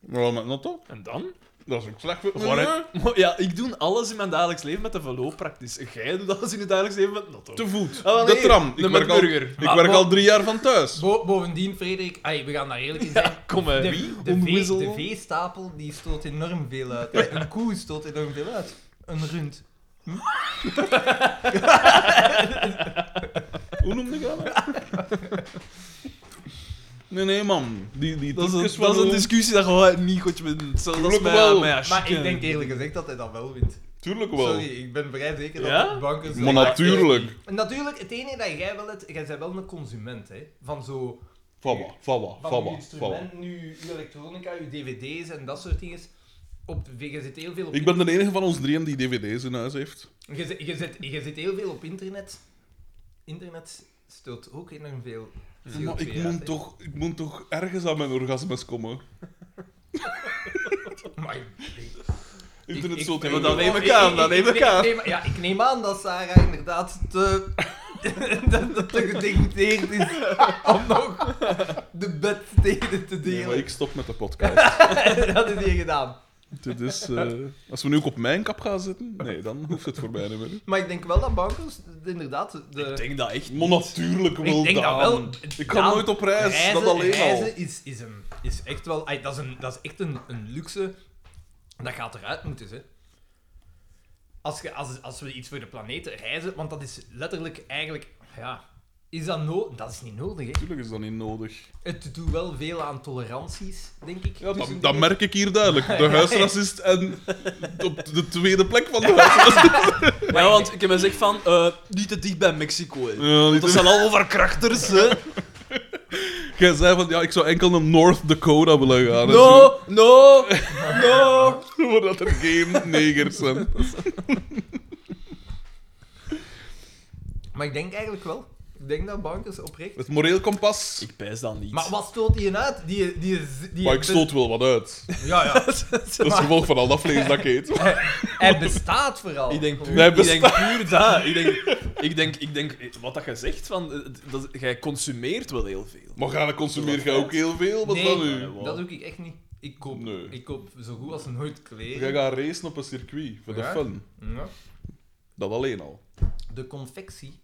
Maar wel met Notto. En dan? Dat is ook slecht. voor- Nee, Gewoon, hè, maar ja, ik doe alles in mijn dagelijks leven met de velo praktisch. Jij doet alles in je dagelijks leven met de auto. te voet. Ah, wel, de nee, tram. Ik de werk, al, Macburger. ik Ah, werk maar- al drie jaar van thuis. Bo- bovendien, Frederik, ai, we gaan daar eerlijk in zijn. Ja, kom Eh, hè. De, de, vee, Onwissel. de veestapel die stoot enorm veel uit. hè. Een koe stoot enorm veel uit. Een rund. Hoe noemde je dat? nou? nee, nee, man. Die, die Dat is, trucjes een, van dat is een hoe- discussie dat gewoon niet goed bent. Zo, dat is Gelukkig mij, wel. mij als Maar ik chicken. denk eerlijk gezegd dat hij dat wel wint. Tuurlijk wel. Sorry, ik ben vrij zeker dat Ja? de bankers... Maar natuurlijk. En natuurlijk, het enige dat jij wel hebt, jij bent wel een consument, hè. Van zo... Fawa, fawa, Van uw fawa, fawa. instrument, nu uw elektronica, uw dvd's en dat soort dingen. Op, de- je zit heel veel op Ik ben de enige van ons drieën die dvd's in huis heeft. Je zit, je, zit, je zit heel veel op internet. Internet stoot ook enorm veel CO2 Maar ik uit, hè. moet, toch, ik moet toch ergens aan mijn orgasmes komen. Maar ik- Internet ik- stoot ik- Ja, maar heel dan ik- neem ik- ik aan, ik- dan ik- neem ik ik aan. neem- Ja, ik neem aan dat Sarah inderdaad te... dat dat te gedegradeerd is om nog de bedsteden te Nee, delen. maar ik stop met de podcast. dat is hier gedaan. Dit is, eh, als we nu ook op mijn kap gaan zitten, nee, dan hoeft het voor mij niet meer. Maar ik denk wel dat bankers inderdaad... De... Ik denk dat echt. Maar natuurlijk wel, Ik denk dat Daan. wel. Ik ga Daan, nooit op reis, Reizen, dat alleen reizen al. Is, is, een, is echt wel... ai, dat, is een, dat is echt een, een luxe. Dat gaat eruit moeten, hè. Als, je, als, als we iets voor de planeet reizen, want dat is letterlijk eigenlijk... Ja, is dat nodig? Dat is niet nodig, hè. Natuurlijk is dat niet nodig. Het doet wel veel aan toleranties, denk ik. Dus, Ja, dat, tussen dat de- merk ik hier duidelijk. De huisracist en op de tweede plek van de huisracist. Ja, want ik heb me gezegd van. eh, niet te dicht bij Mexico. Hè. Ja, Want niet dat te- zijn allemaal verkrachters. Hè. Jij zei van, ja, ik zou enkel naar North Dakota willen gaan. en zo. No, no, no. Voordat er geen negers zijn. Maar ik denk eigenlijk wel. Ik denk dat bankers oprecht... Het moreel kompas. Ik pijs dat niet. Maar wat stoot die uit? Die, die, die, die Maar ik stoot wel wat uit. Ja, ja. Dat is het gevolg van al dat vlees dat ik eet. Hij bestaat vooral. Ik denk puur, Wij ik denk puur dat. Ik denk, ik denk, ik denk eh, wat dat je zegt, van, eh, dat, jij consumeert wel heel veel. Maar gaan consumeer jij ook heel veel? Wat nee, dan nu? dat doe ik echt niet. Ik koop, Nee. ik koop zo goed als nooit Jij kleren. gaat racen op een circuit, voor de Ja. fun. Ja. Dat alleen al. De confectie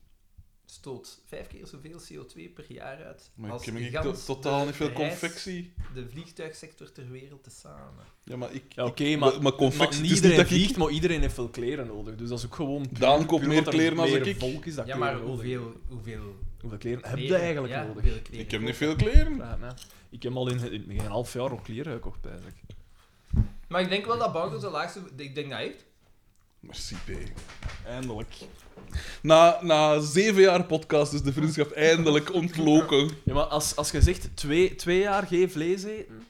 stoot vijf keer zoveel CO2 per jaar uit Maar als ik heb ik gans to- totaal de eh, niet veel reis- confectie. de vliegtuigsector ter wereld tezamen. Ja, maar ik... Ja, oké, maar, maar confectie, maar niet het is niet iedereen dat ik- vliegt, maar iedereen heeft veel kleren nodig. Dus dat is ook gewoon... puur- Daan koopt puur meer omdat er dus kleren als meer ik. volk is dat Ja, maar kleren nodig heeft. hoeveel, hoeveel Hoeveel kleren heb je kleren- eigenlijk ja, nodig? hoeveel kleren Ik heb koop niet veel kleren. Vraag het mij. Ik heb al in, in een half jaar al kleren gekocht, eigenlijk. Maar ik denk wel dat Bauer de laagste... Ik denk dat hij heeft. Merci, P. Eindelijk. Na, na zeven jaar podcast is de vriendschap eindelijk ontloken. Ja, maar als, als je zegt twee, twee jaar geen vlees eten,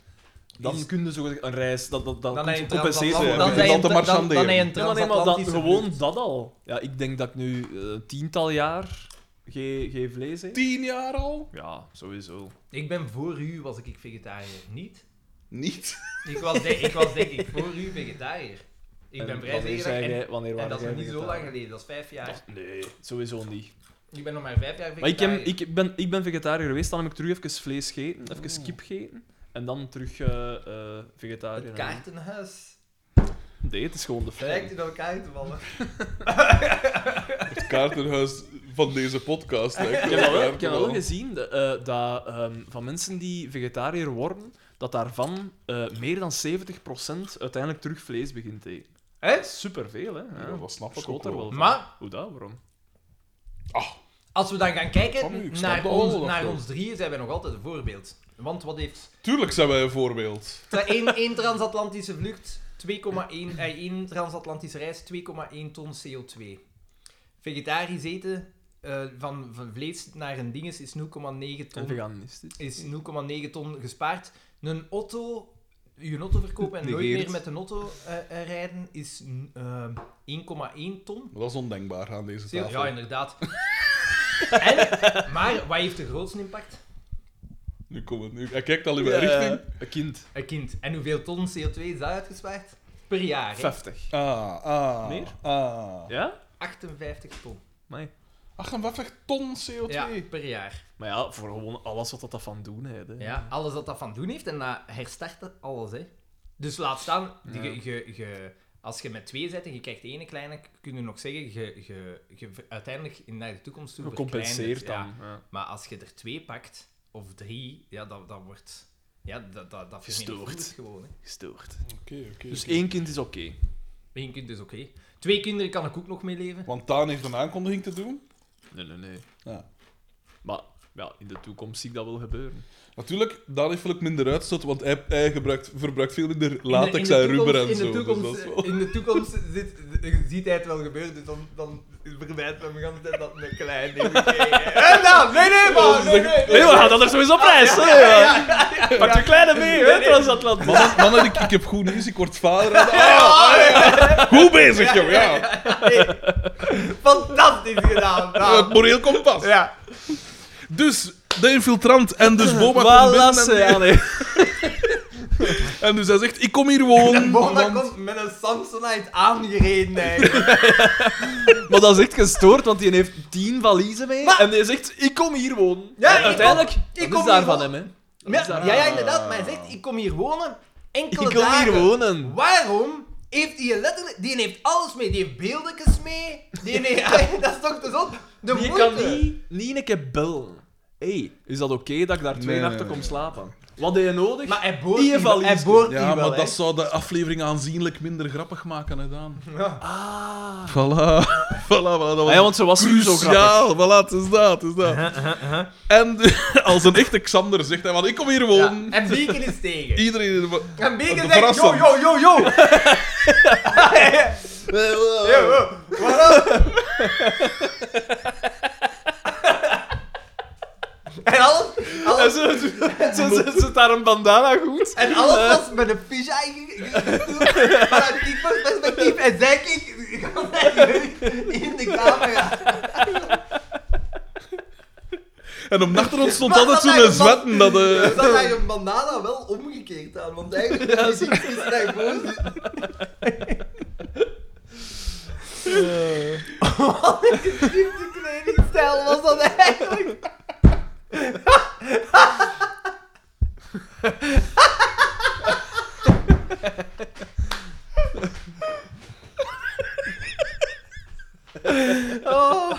dan Hm. Is- kun je zo een reis... Dat, dat, dat Dan hij een compenseert transatlant- Ja, dan je hij kunt een- dat te dan- Dan hij een Ja, maar nee, maar dat, transatlantische gewoon route. dat al. Ja, ik denk dat ik nu eh, tiental jaar geen geen vlees eet. Tien jaar al? Ja, sowieso. Ik ben voor u, was ik vegetariër. Niet? Niet. Ik was, de- ik was denk ik voor u vegetariër. Ik ben En vrij wanneer zeker dat- zei en- jij- wanneer En waren dat is jij nog niet zo lang vegetariër? geleden, dat is vijf jaar. Dat- Nee, sowieso niet. Ik ben nog maar vijf jaar Maar ik, heb, vegetariër. ik, ben, ik ben vegetariër geweest, dan heb ik terug even vlees gegeten, even kip gegeten. En dan terug eh, eh, vegetariër. Het kaartenhuis. Nee, het is gewoon de Lijkt feit. in elkaar te vallen. Het kaartenhuis van deze podcast. Ik heb dat wel, ik heb wel gezien de- eh, dat ehm, van mensen die vegetariër worden, dat daarvan eh, meer dan 70% uiteindelijk terug vlees begint te eten. Hè? Superveel, hè? Ja, dat snap ik ook Schoot er wel. wel van. Maar- Hoe dat, waarom? Als we dan gaan kijken Van u, ik snap naar, dat ons, wel, dat naar wel. ons drieën, zijn wij nog altijd een voorbeeld. Want wat heeft Tuurlijk zijn wij een voorbeeld. tra- één één transatlantische vlucht, 2,1, eh, één transatlantische reis, 2,1 ton CO2. Vegetarisch eten eh, van, van vlees naar een dinges is 0,9 En ton, veganistisch. is 0,9 ton gespaard. Een auto, je auto verkopen en nooit Negeert. meer met een auto eh, eh, rijden is mm, eh, 1,1 ton. Maar dat is ondenkbaar aan deze Zeer- tafel. Ja, inderdaad. en, maar wat heeft de grootste impact? Nu komt het. Nu, hij kijkt al in mijn richting. Een kind. Een kind. En hoeveel ton CO2 is dat uitgespaard? Per jaar, hè? 50. Ah, ah, Meer? ah. Ja? 58 ton. Nee. 58 ton CO2. Ja, per jaar. Maar ja, voor gewoon alles wat dat van doen heeft. Hè. Ja, alles wat dat van doen heeft en dat herstart dat alles, hè. Dus laat staan, Ja. je, je, je- als je met twee zet en je krijgt één kleine, kun je nog zeggen, je, je, je ver- uiteindelijk in naar de toekomst toe verkleint het, Gecompenseerd ja. dan. Ja. Maar als je er twee pakt, of drie, ja, dat, dat wordt... Ja, dat, dat, dat Gestoord. vermenigvuldigt gewoon. Hè. Gestoord. Oké, oké. Dus oké. één kind is oké. Eén kind is dus oké. Twee kinderen kan ik ook nog mee leven. Want Daan heeft een aankondiging te doen. Nee, nee, nee. Ja. Maar ja, in de toekomst zie ik dat wel gebeuren. Natuurlijk, Daan heeft veel minder uitstoot, want hij, hij gebruikt, verbruikt veel minder In de- latex in de en rubber en toekomst- zo. In de toekomst, eh, dus dat is wel- in de toekomst zit, ziet hij het wel gebeuren, dus dan, dan verwijt hem de hele tijd dat een klein ding. En nou, dan, nee, nee, man, nee, nee. Nee, we gaan dat er sowieso op reis. hè? Ja. Pak je kleine mee, hè, transatlant. Mannen, mannen, ik, ik heb goed nieuws, ik word vader. Ah, Oh, Goed bezig, joh, ja. Fantastisch gedaan, Het Daan. moreel kompas. Ja. Dus de infiltrant en dus Boma Wel komt binnen lassen, ja, nee. en, en dus hij zegt, ik kom hier wonen. Bona want- komt met een Samsonite aangereden eigenlijk. Maar dat is echt gestoord, want die heeft tien valiezen mee. Maar- En die zegt, ik kom hier wonen. Ja, En ik uiteindelijk, kom- dat ik is kom daar hier van hem, wonen. hè. Dat Ja, is daar- ja, ja, inderdaad, maar hij zegt, ik kom hier wonen, enkele Ik kom dagen. hier wonen. Waarom heeft die letterlijk... Die heeft alles mee. Die heeft beeldjes mee. Die heeft... dat is toch te zot? De Je moeite. kan niet, niet een keer bellen. hey, is dat oké dat ik daar twee Nee, nachten nee, kom nee. slapen? Wat heb je nodig? Maar hij boort Die die wel. valies. Hij boort die Ja, wel, maar hè. dat zou de aflevering aanzienlijk minder grappig maken, hè, Daan. Ja. Ah. Voilà. Voilà, voilà, dat was Ah ja, want ze was nu zo grappig. cruciaal. Voilà, het is dat, het is dat. En de- als een echte Xander zegt hij van, ik kom hier wonen. En Beken is tegen. Iedereen... in de- En Beken zegt, yo, Verrassend. yo, yo, yo. Yo, yo. Wat dan? En alles, En alles, ze, ze, ze- ze- daar een bandana goed. en alles was met een fisheye ge- ge- vanuit Kikbox perspectief. En zij keek in de camera. En om achter ons stond Maar altijd dat hij zo'n zwetten dat... eh, Dus dat hij een bandana wel omgekeerd aan, want eigenlijk is hij is hij boos. Wat een geschifte kledingstijl was dat eigenlijk? Oh.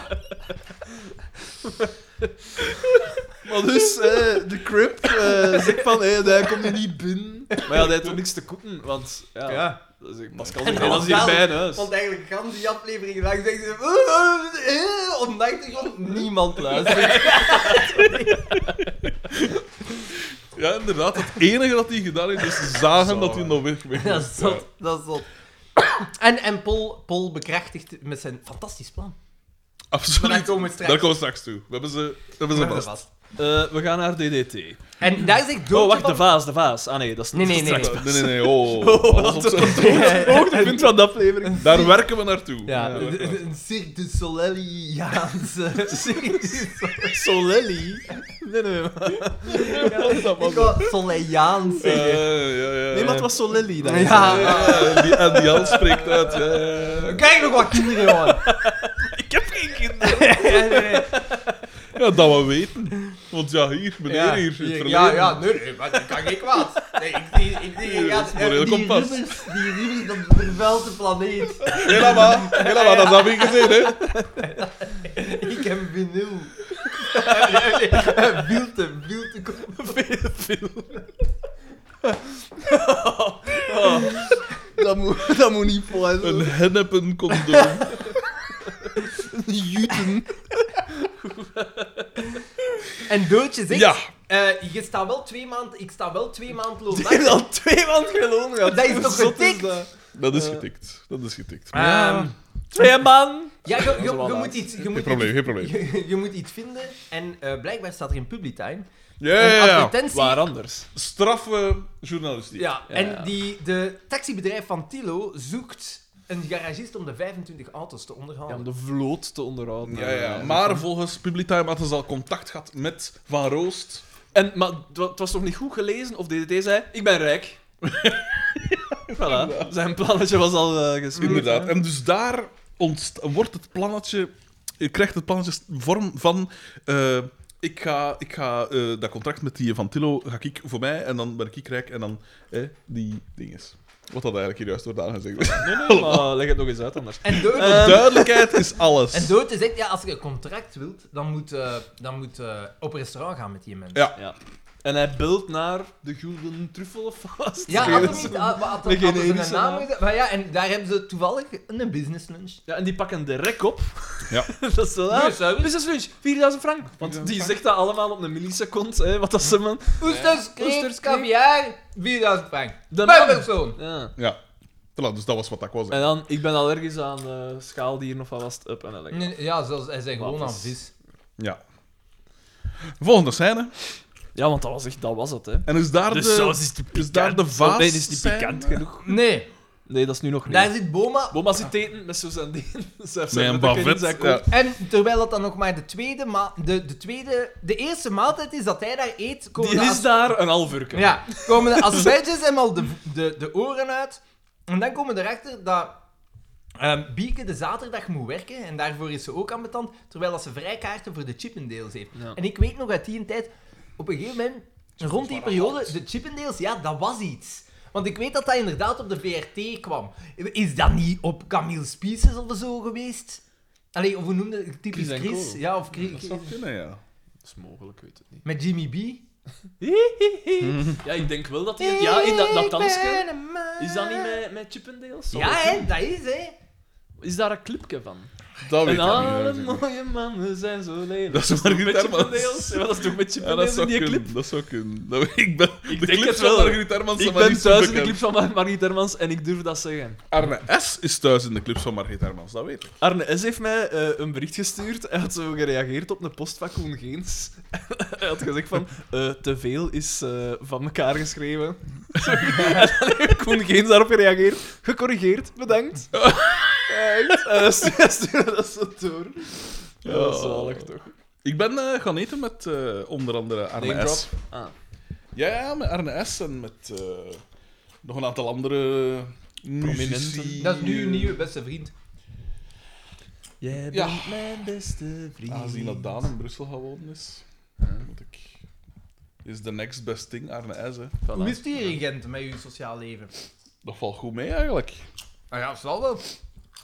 Maar dus, eh, de crimp eh, zegt van, hé, hij komt nu niet binnen. Maar ja, hij heeft ook niks te koeten, want ja, dat is, Pascal zegt, En "Hey, dat is hier bij Pascal- huis. Want eigenlijk, gans die aflevering lang zeggen ze... "Eh, eh, eh," Op de achtergrond, niemand luistert. Ja, inderdaad. Het enige dat hij gedaan heeft, is zagen dat hij nog weg weg Dat is was. zot, dat is zot. En, en Paul, Paul bekrachtigt met zijn fantastisch plan. Ja, Maar daar Absoluut. komen we straks. Daar komen we straks toe. We hebben ze, we hebben ze vast. Eh, we gaan naar DDT. En daar zegt Doortje Oh, wacht, de van... vaas, de vaas. Ah nee, dat is Nee, niet nee, nee. straks. Nee, nee, nee. Oh, alles op zijn- Hoogtepunt van de aflevering. Daar werken we naartoe. Ja, Daar werken we een een Cirque du Soleil-jaanse... Cirque du Soleil- Solelli. Nee, nee, maar- Ik wou Soleil-jaans naartoe. zeggen. Eh, ja, ja, ja. nee, maar het was Solelli dan. Ja. Ja, die, en die hand spreekt uit. Ja, ja, ja. Kijk nog wat kinderen, jongen. Ik heb geen kinderen. Nee, nee, nee. Ja, dat we weten. Want ja, hier, meneer, Ja, hier, in het hier, verleden. ja, ja, nee, nee, maar dat kan geen kwaad. Nee, ik zie, ik zie, Hier, ja, dat is moreel die kompas. rubbers, die rubbers, dat vervuilt de planeet. Helemaal, helemaal, dat heb ik gezien, hè. Ik heb vinyl. Nee, nee, Wilte, wilte kom- Dat moet, dat moet niet voor. Een hennepencondoom. Juten. En Doodje zegt, Ja. eh, je staat wel twee maanden, ik sta wel twee maanden Die loonachtig. heeft al twee maand geloon gehad. Dat is toch Zot getikt? dat. Dat is getikt. Dat is getikt. Ehm, Twee man. ja, je, je, is wel je laat. moet iets, je Geen moet probleem, iets, geen probleem. je, je moet iets vinden. En eh, blijkbaar staat er in Publitime Ja, een ja, ja. advertentie. Waar anders? Straffe journalistiek. Ja, Ja, ja. en die, de taxibedrijf van Tilo zoekt een garagist om de 25 auto's te Ja, om onderhouden. de vloot te onderhouden. Eh, Ja, ja. Maar volgens Publitime hadden ze al contact gehad met Van Roost. En, maar het wa- het was toch niet goed gelezen? Of DDT zei, ik ben rijk. voilà. Zijn plannetje was al eh, gesmeed. Inderdaad. En dus daar ontst- wordt het plannetje... Je krijgt het plannetje vorm van eh, ik ga, ik ga eh, dat contract met die van Tillo ga ik voor mij en dan ben ik rijk en dan eh, die dinges. Wat dat eigenlijk hier juist door Daan gezegd is. Maar leg het nog eens uit anders. Ehm, En dood, Eh. Duidelijkheid is alles. en dood is echt, ja, als je een contract wilt, dan moet eh dan moet, eh, op restaurant gaan met die mensen. Ja. Ja. En hij bult naar de Gulden Truffel of wat? Ja, Oké, had dat hem is niet, had, had, had, een hadden ze een generische naam. naam gezet. Maar ja, en daar hebben ze toevallig een business lunch. Ja, en die pakken de rek op. Ja. dat is wel Goeie aan. service. Business lunch, 4000 frank. Want 4000 die frank. zegt dat allemaal op een milliseconde, hè, wat dat ze man. Oesters, kreeft, Oesters, kreeft. caviar, 4000 frank. Per De man. persoon. Ja. Ja. Voilà, dus dat was wat ik was. En dan, ik ben allergisch aan eh schaaldieren of wat was het, up en elk. Nee, Ja, zelfs, hij zijn gewoon aan Wafels. vis. Ja. Volgende scène. Ja, want dat was echt, dat was het, hè. En is daar de, De saus Dus is te is daar de pikant. vaas? Nee, die is niet scène? pikant genoeg. Nee, Nee, dat is nu nog niet. daar zit Boma. Boma zit eten met zo zijn dingen. Zijn Met een servetteken in bavet. zijn kop. Ja. En terwijl dat dan nog maar de tweede, ma de, de tweede, de eerste maaltijd is dat hij daar eet, komen Die de is daar een half uur. Ja, komen de asperges hem al de, de, de oren uit. En dan komen we erachter dat ehm, Bieke de zaterdag moet werken. En daarvoor is ze ook ambetant. Terwijl dat ze vrijkaarten voor de Chippendales heeft. Ja. En ik weet nog uit die tijd... Op een gegeven moment, rond die periode, de Chippendales, ja, dat was iets. Want ik weet dat dat inderdaad op de VRT kwam. Is dat niet op Camille Spices of zo geweest? Allee, of hoe noemde het? Typisch Chris en Chris. Co. Ja, of Chris- Dat zou kunnen, ja. Dat is mogelijk, ik weet het niet. Met Jimmy B. ja, ik denk wel dat hij... Ja, in dat, dat Ik dansje... ben een man. Is dat niet met, met Chippendales? Ja, hè, dat is, hè. Is daar een clipje van? Dat weet En Oh, ik niet. alle Dat, weet ik mooie mannen zijn zo lelijk. Dat is toch Margriet met Hermans. Chippendales? Ja, maar dat is toch met niet. Ja, dat Chippendales zou in die clip? kunnen. Dat zou kunnen. Dat, ik ben, de denk clips het van wel. Margriet Hermans Ik zijn maar ben niet zo thuis in de bekend. clip van Mar- Margriet Hermans en ik durf dat zeggen. Arne S. is thuis in de clips van Margriet Hermans, dat weet ik. Arne S. heeft mij eh, een bericht gestuurd. Hij had zo gereageerd op een post van Koen Geens. Hij had gezegd van, eh, te veel is eh, van elkaar geschreven. en dan heeft Koen Geens daarop gereageerd. Gecorrigeerd, bedankt. Echt. En hij stu- hij stuurde dat zo door. Ja, dat is Oh. zalig, toch? Ik ben eh, gaan eten met eh, onder andere Arne Name S. drop. Ah. Ja, ja, met Arne S. en met eh, nog een aantal andere muzici. Dat is nu uw nieuwe beste vriend. Jij bent Ja. mijn beste vriend. Aangezien dat Daan in Brussel gewoond is, moet ik... Is the next best thing, Arne S. Hè. Voilà. Hoe is het hier in Gent met uw sociaal leven? Dat valt goed mee, eigenlijk. Nou ja, zal wel.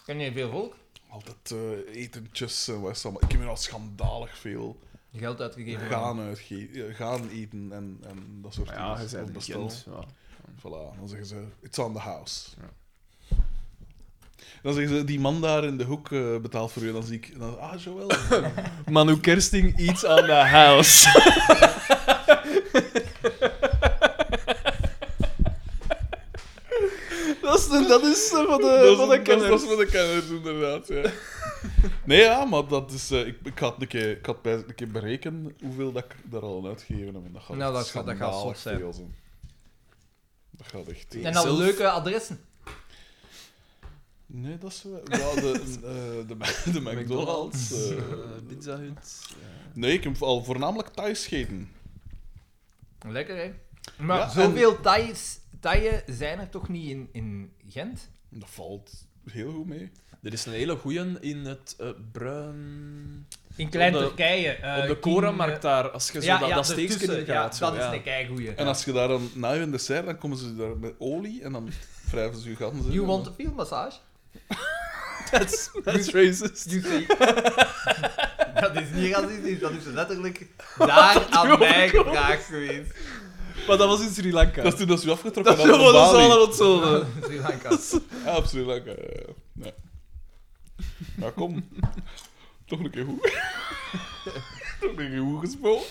Ken je veel volk? Altijd eh, etentjes en wat is dat allemaal. Ik heb hier al schandalig veel Geld uitgegeven. gaan, uitge- eh, gaan eten en, en dat soort Maar Ja, hij dingen. zei Dat het bestel. bekend. Ja. Voilà, dan zeggen ze, it's on the house. Ja. Dan zeggen ze, die man daar in de hoek eh, betaalt voor u. En dan zie ik, en dan, ah, Joël. Manu Kersting iets aan de house. dat is de, dat is de van de, van dat, de is, dat, is- kenners. dat is met de kenners, inderdaad. Ja. Nee, ja, maar dat is... eh, ik, ik had een keer, ik had bij, een keer berekenen hoeveel dat ik daar al aan uitgegeven heb. En dat gaat Nou, dat gaat- dat gaat schandalig zot zijn. veel zijn. Dat gaat echt... En al Zelf- leuke adressen. Nee, dat is wel... Ja, de, eh, de, Mac- de McDonald's. eh. eh, Pizza Hut. nee, ik heb al voornamelijk thuis gegeten. Lekker, hè? Maar Ja, en- zoveel Thais, Thaien zijn er toch niet in, in Gent? Dat valt heel goed mee. Er is een hele goeie in het eh, bruin... In Klein-Turkije, Turkije. eh, op de Korenmarkt daar, als je zo dat, dat steekje in gaat. zo, dat ja. is een keigoeie. En als je daar dan na je dessert, dan komen ze daar met olie en dan wrijven ze je ganzen. You want a field massage? That's, that's racist. You say- dat is niet racistisch, dat is letterlijk daar aan mij gevraagd geweest. Maar dat was in Sri Lanka. Dat is toen dat ze je afgetrokken Dat hadden was op Bali. allemaal hetzelfde. Sri Lanka. Ja, absoluut. Lekker. ja, ja. Ja. Nou, kom. Toch een keer goed. Toch een keer goed gesproken.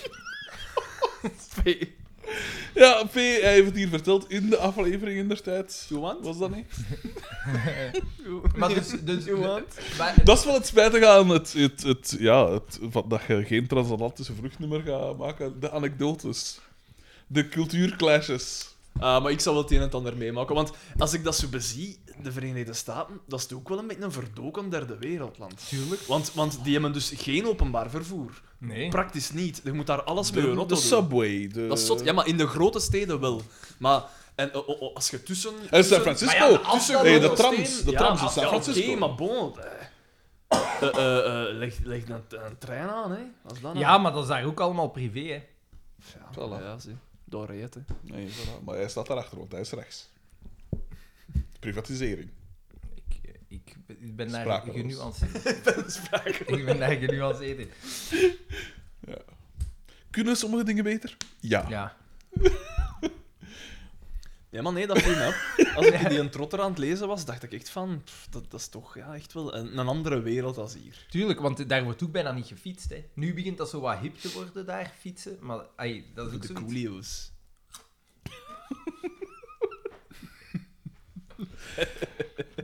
Ja, P, hij heeft het hier verteld in de aflevering in der tijd. Johan? Was dat niet? Maar dus, dus, Johan? maar- Dat is wel het spijtige aan het, het, het, ja, het, van- dat je geen transatlantische vruchtnummer gaat maken. De anekdotes. De cultuurclashes. Ah, maar ik zal wel het een en het ander meemaken. Want als ik dat zo bezie, de Verenigde Staten, dat is toch ook wel een beetje een verdoken derde wereldland. Tuurlijk. Want, want die hebben dus geen openbaar vervoer. Nee. Praktisch niet. Je moet daar alles met je De, auto de doen. subway. De... Dat is zot. Ja, maar in de grote steden wel. Maar en, oh, oh, oh, als je tussen... En tussen- San Francisco. Maar ja, de afstand nee, de wordt trams. De Ja, trams maar- in San ja, Francisco. Oké, maar bon... eh. Eh, eh, eh, leg, leg een, een trein aan, hè. Als dat nou- Ja, maar dat is daar ook allemaal privé, hè. Ja, Voilà. ja, zie. Door reet, hè. Nee, voilà. maar hij staat daarachter, want hij is rechts. Privatisering. Ik, ik, ik ben daar Sprakeloos. genuanceerd. ik ben daar genuanceerd in. Kunnen sommige dingen beter? Ja. Ja. Ja, maar nee, dat viel me op. Als ik die een trotter aan het lezen was, dacht ik echt van... pff, dat, dat is toch ja, echt wel een, een andere wereld als hier. Tuurlijk, want daar wordt ook bijna niet gefietst, hè. Nu begint dat zo wat hip te worden, daar, fietsen. Maar ai, dat is ook De zoiets. coolio's.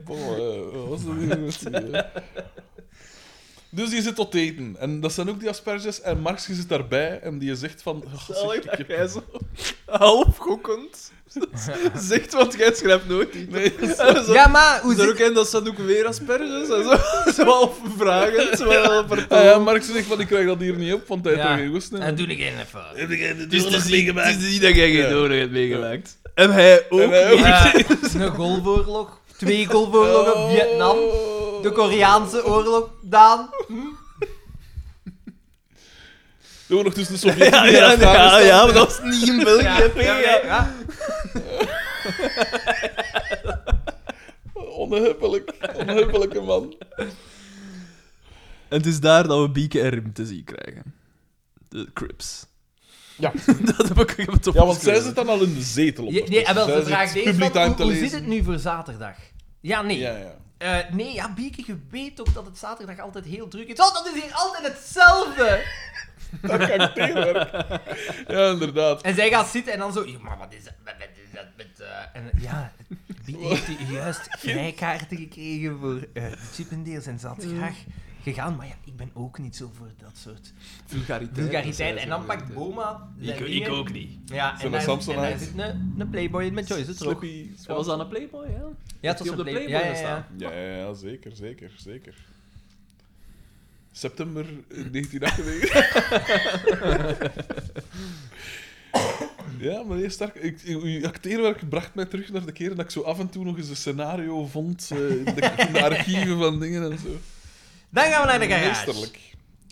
Oh, eh, wat was dat nu? Wat zie je? Dus je zit tot eten. En dat zijn ook die asperges. En Marx die zit daarbij en die zegt van... Oh, zeg, Zalig ik dat heb- jij zo half gokkend zegt, want jij schrijft nooit iets. Nee. Zo, Ja, maar hoe Is er zit... ook in dat zijn ook weer asperges en zo. Zo half vragen, zo half Ah ja, Marx zegt van, ik krijg dat hier niet op, want hij heeft Ja. er geen goest in. En doe ik geen fout. Dus het is niet- het is niet dat jij Ja. geen doorn hebt meegemaakt. En hij ook. En hij ook. Ja, een golfoorlog, twee golfoorlogen, Vietnam, Oh. de Koreaanse oorlog, Daan. De oorlog tussen de Sovjet-Unie Ja, ja, en Afghanistan. ja, ja, maar dat is niet in België. Ja, hè, ja, ja. ja. Onhebbelijk. Onhebbelijke man. En het is daar dat we Bieke en Rim te zien krijgen. De Crips. Ja. dat heb ik ik heb het op Ja, want zij geschreven. zit dan al in de zetel op. Ja, nee, en wel, Zij de zit vraag deze publiek van, aan hoe, te hoe lezen. zit het nu voor zaterdag? Ja, nee. Ja, ja. Eh, nee, ja, Bieke, je weet ook dat het zaterdag altijd heel druk is. Oh, dat is hier altijd hetzelfde! Dat kan ik tegenwerken. Ja, inderdaad. En zij gaat zitten en dan zo... "Ja, Maar wat is dat met... met- is dat met eh?" En ja, Bieke heeft hier juist vrijkaarten gekregen voor eh Chippendales en zat graag gegaan. Maar ja, ik ben ook niet zo voor dat soort vulgariteit. vulgariteit. En dan pakt Boma zijn dingen. niet. Ja, en Zo'n daar, en Samsonite. daar zit een, een Playboy in met Joyce terug. Slippy. Dat was aan een Playboy, ja? Ja, het was Die op een de Playboy. Playboy ja, ja, ja. staan. Ja, ja, ja, zeker, zeker, zeker. September eh, 1998. ja, meneer Stark, ik, uw uw acteerwerk bracht mij terug naar de keren dat ik zo af en toe nog eens een scenario vond eh, in, de, in de archieven van dingen en zo. Dan gaan we naar de garage. Meesterlijk.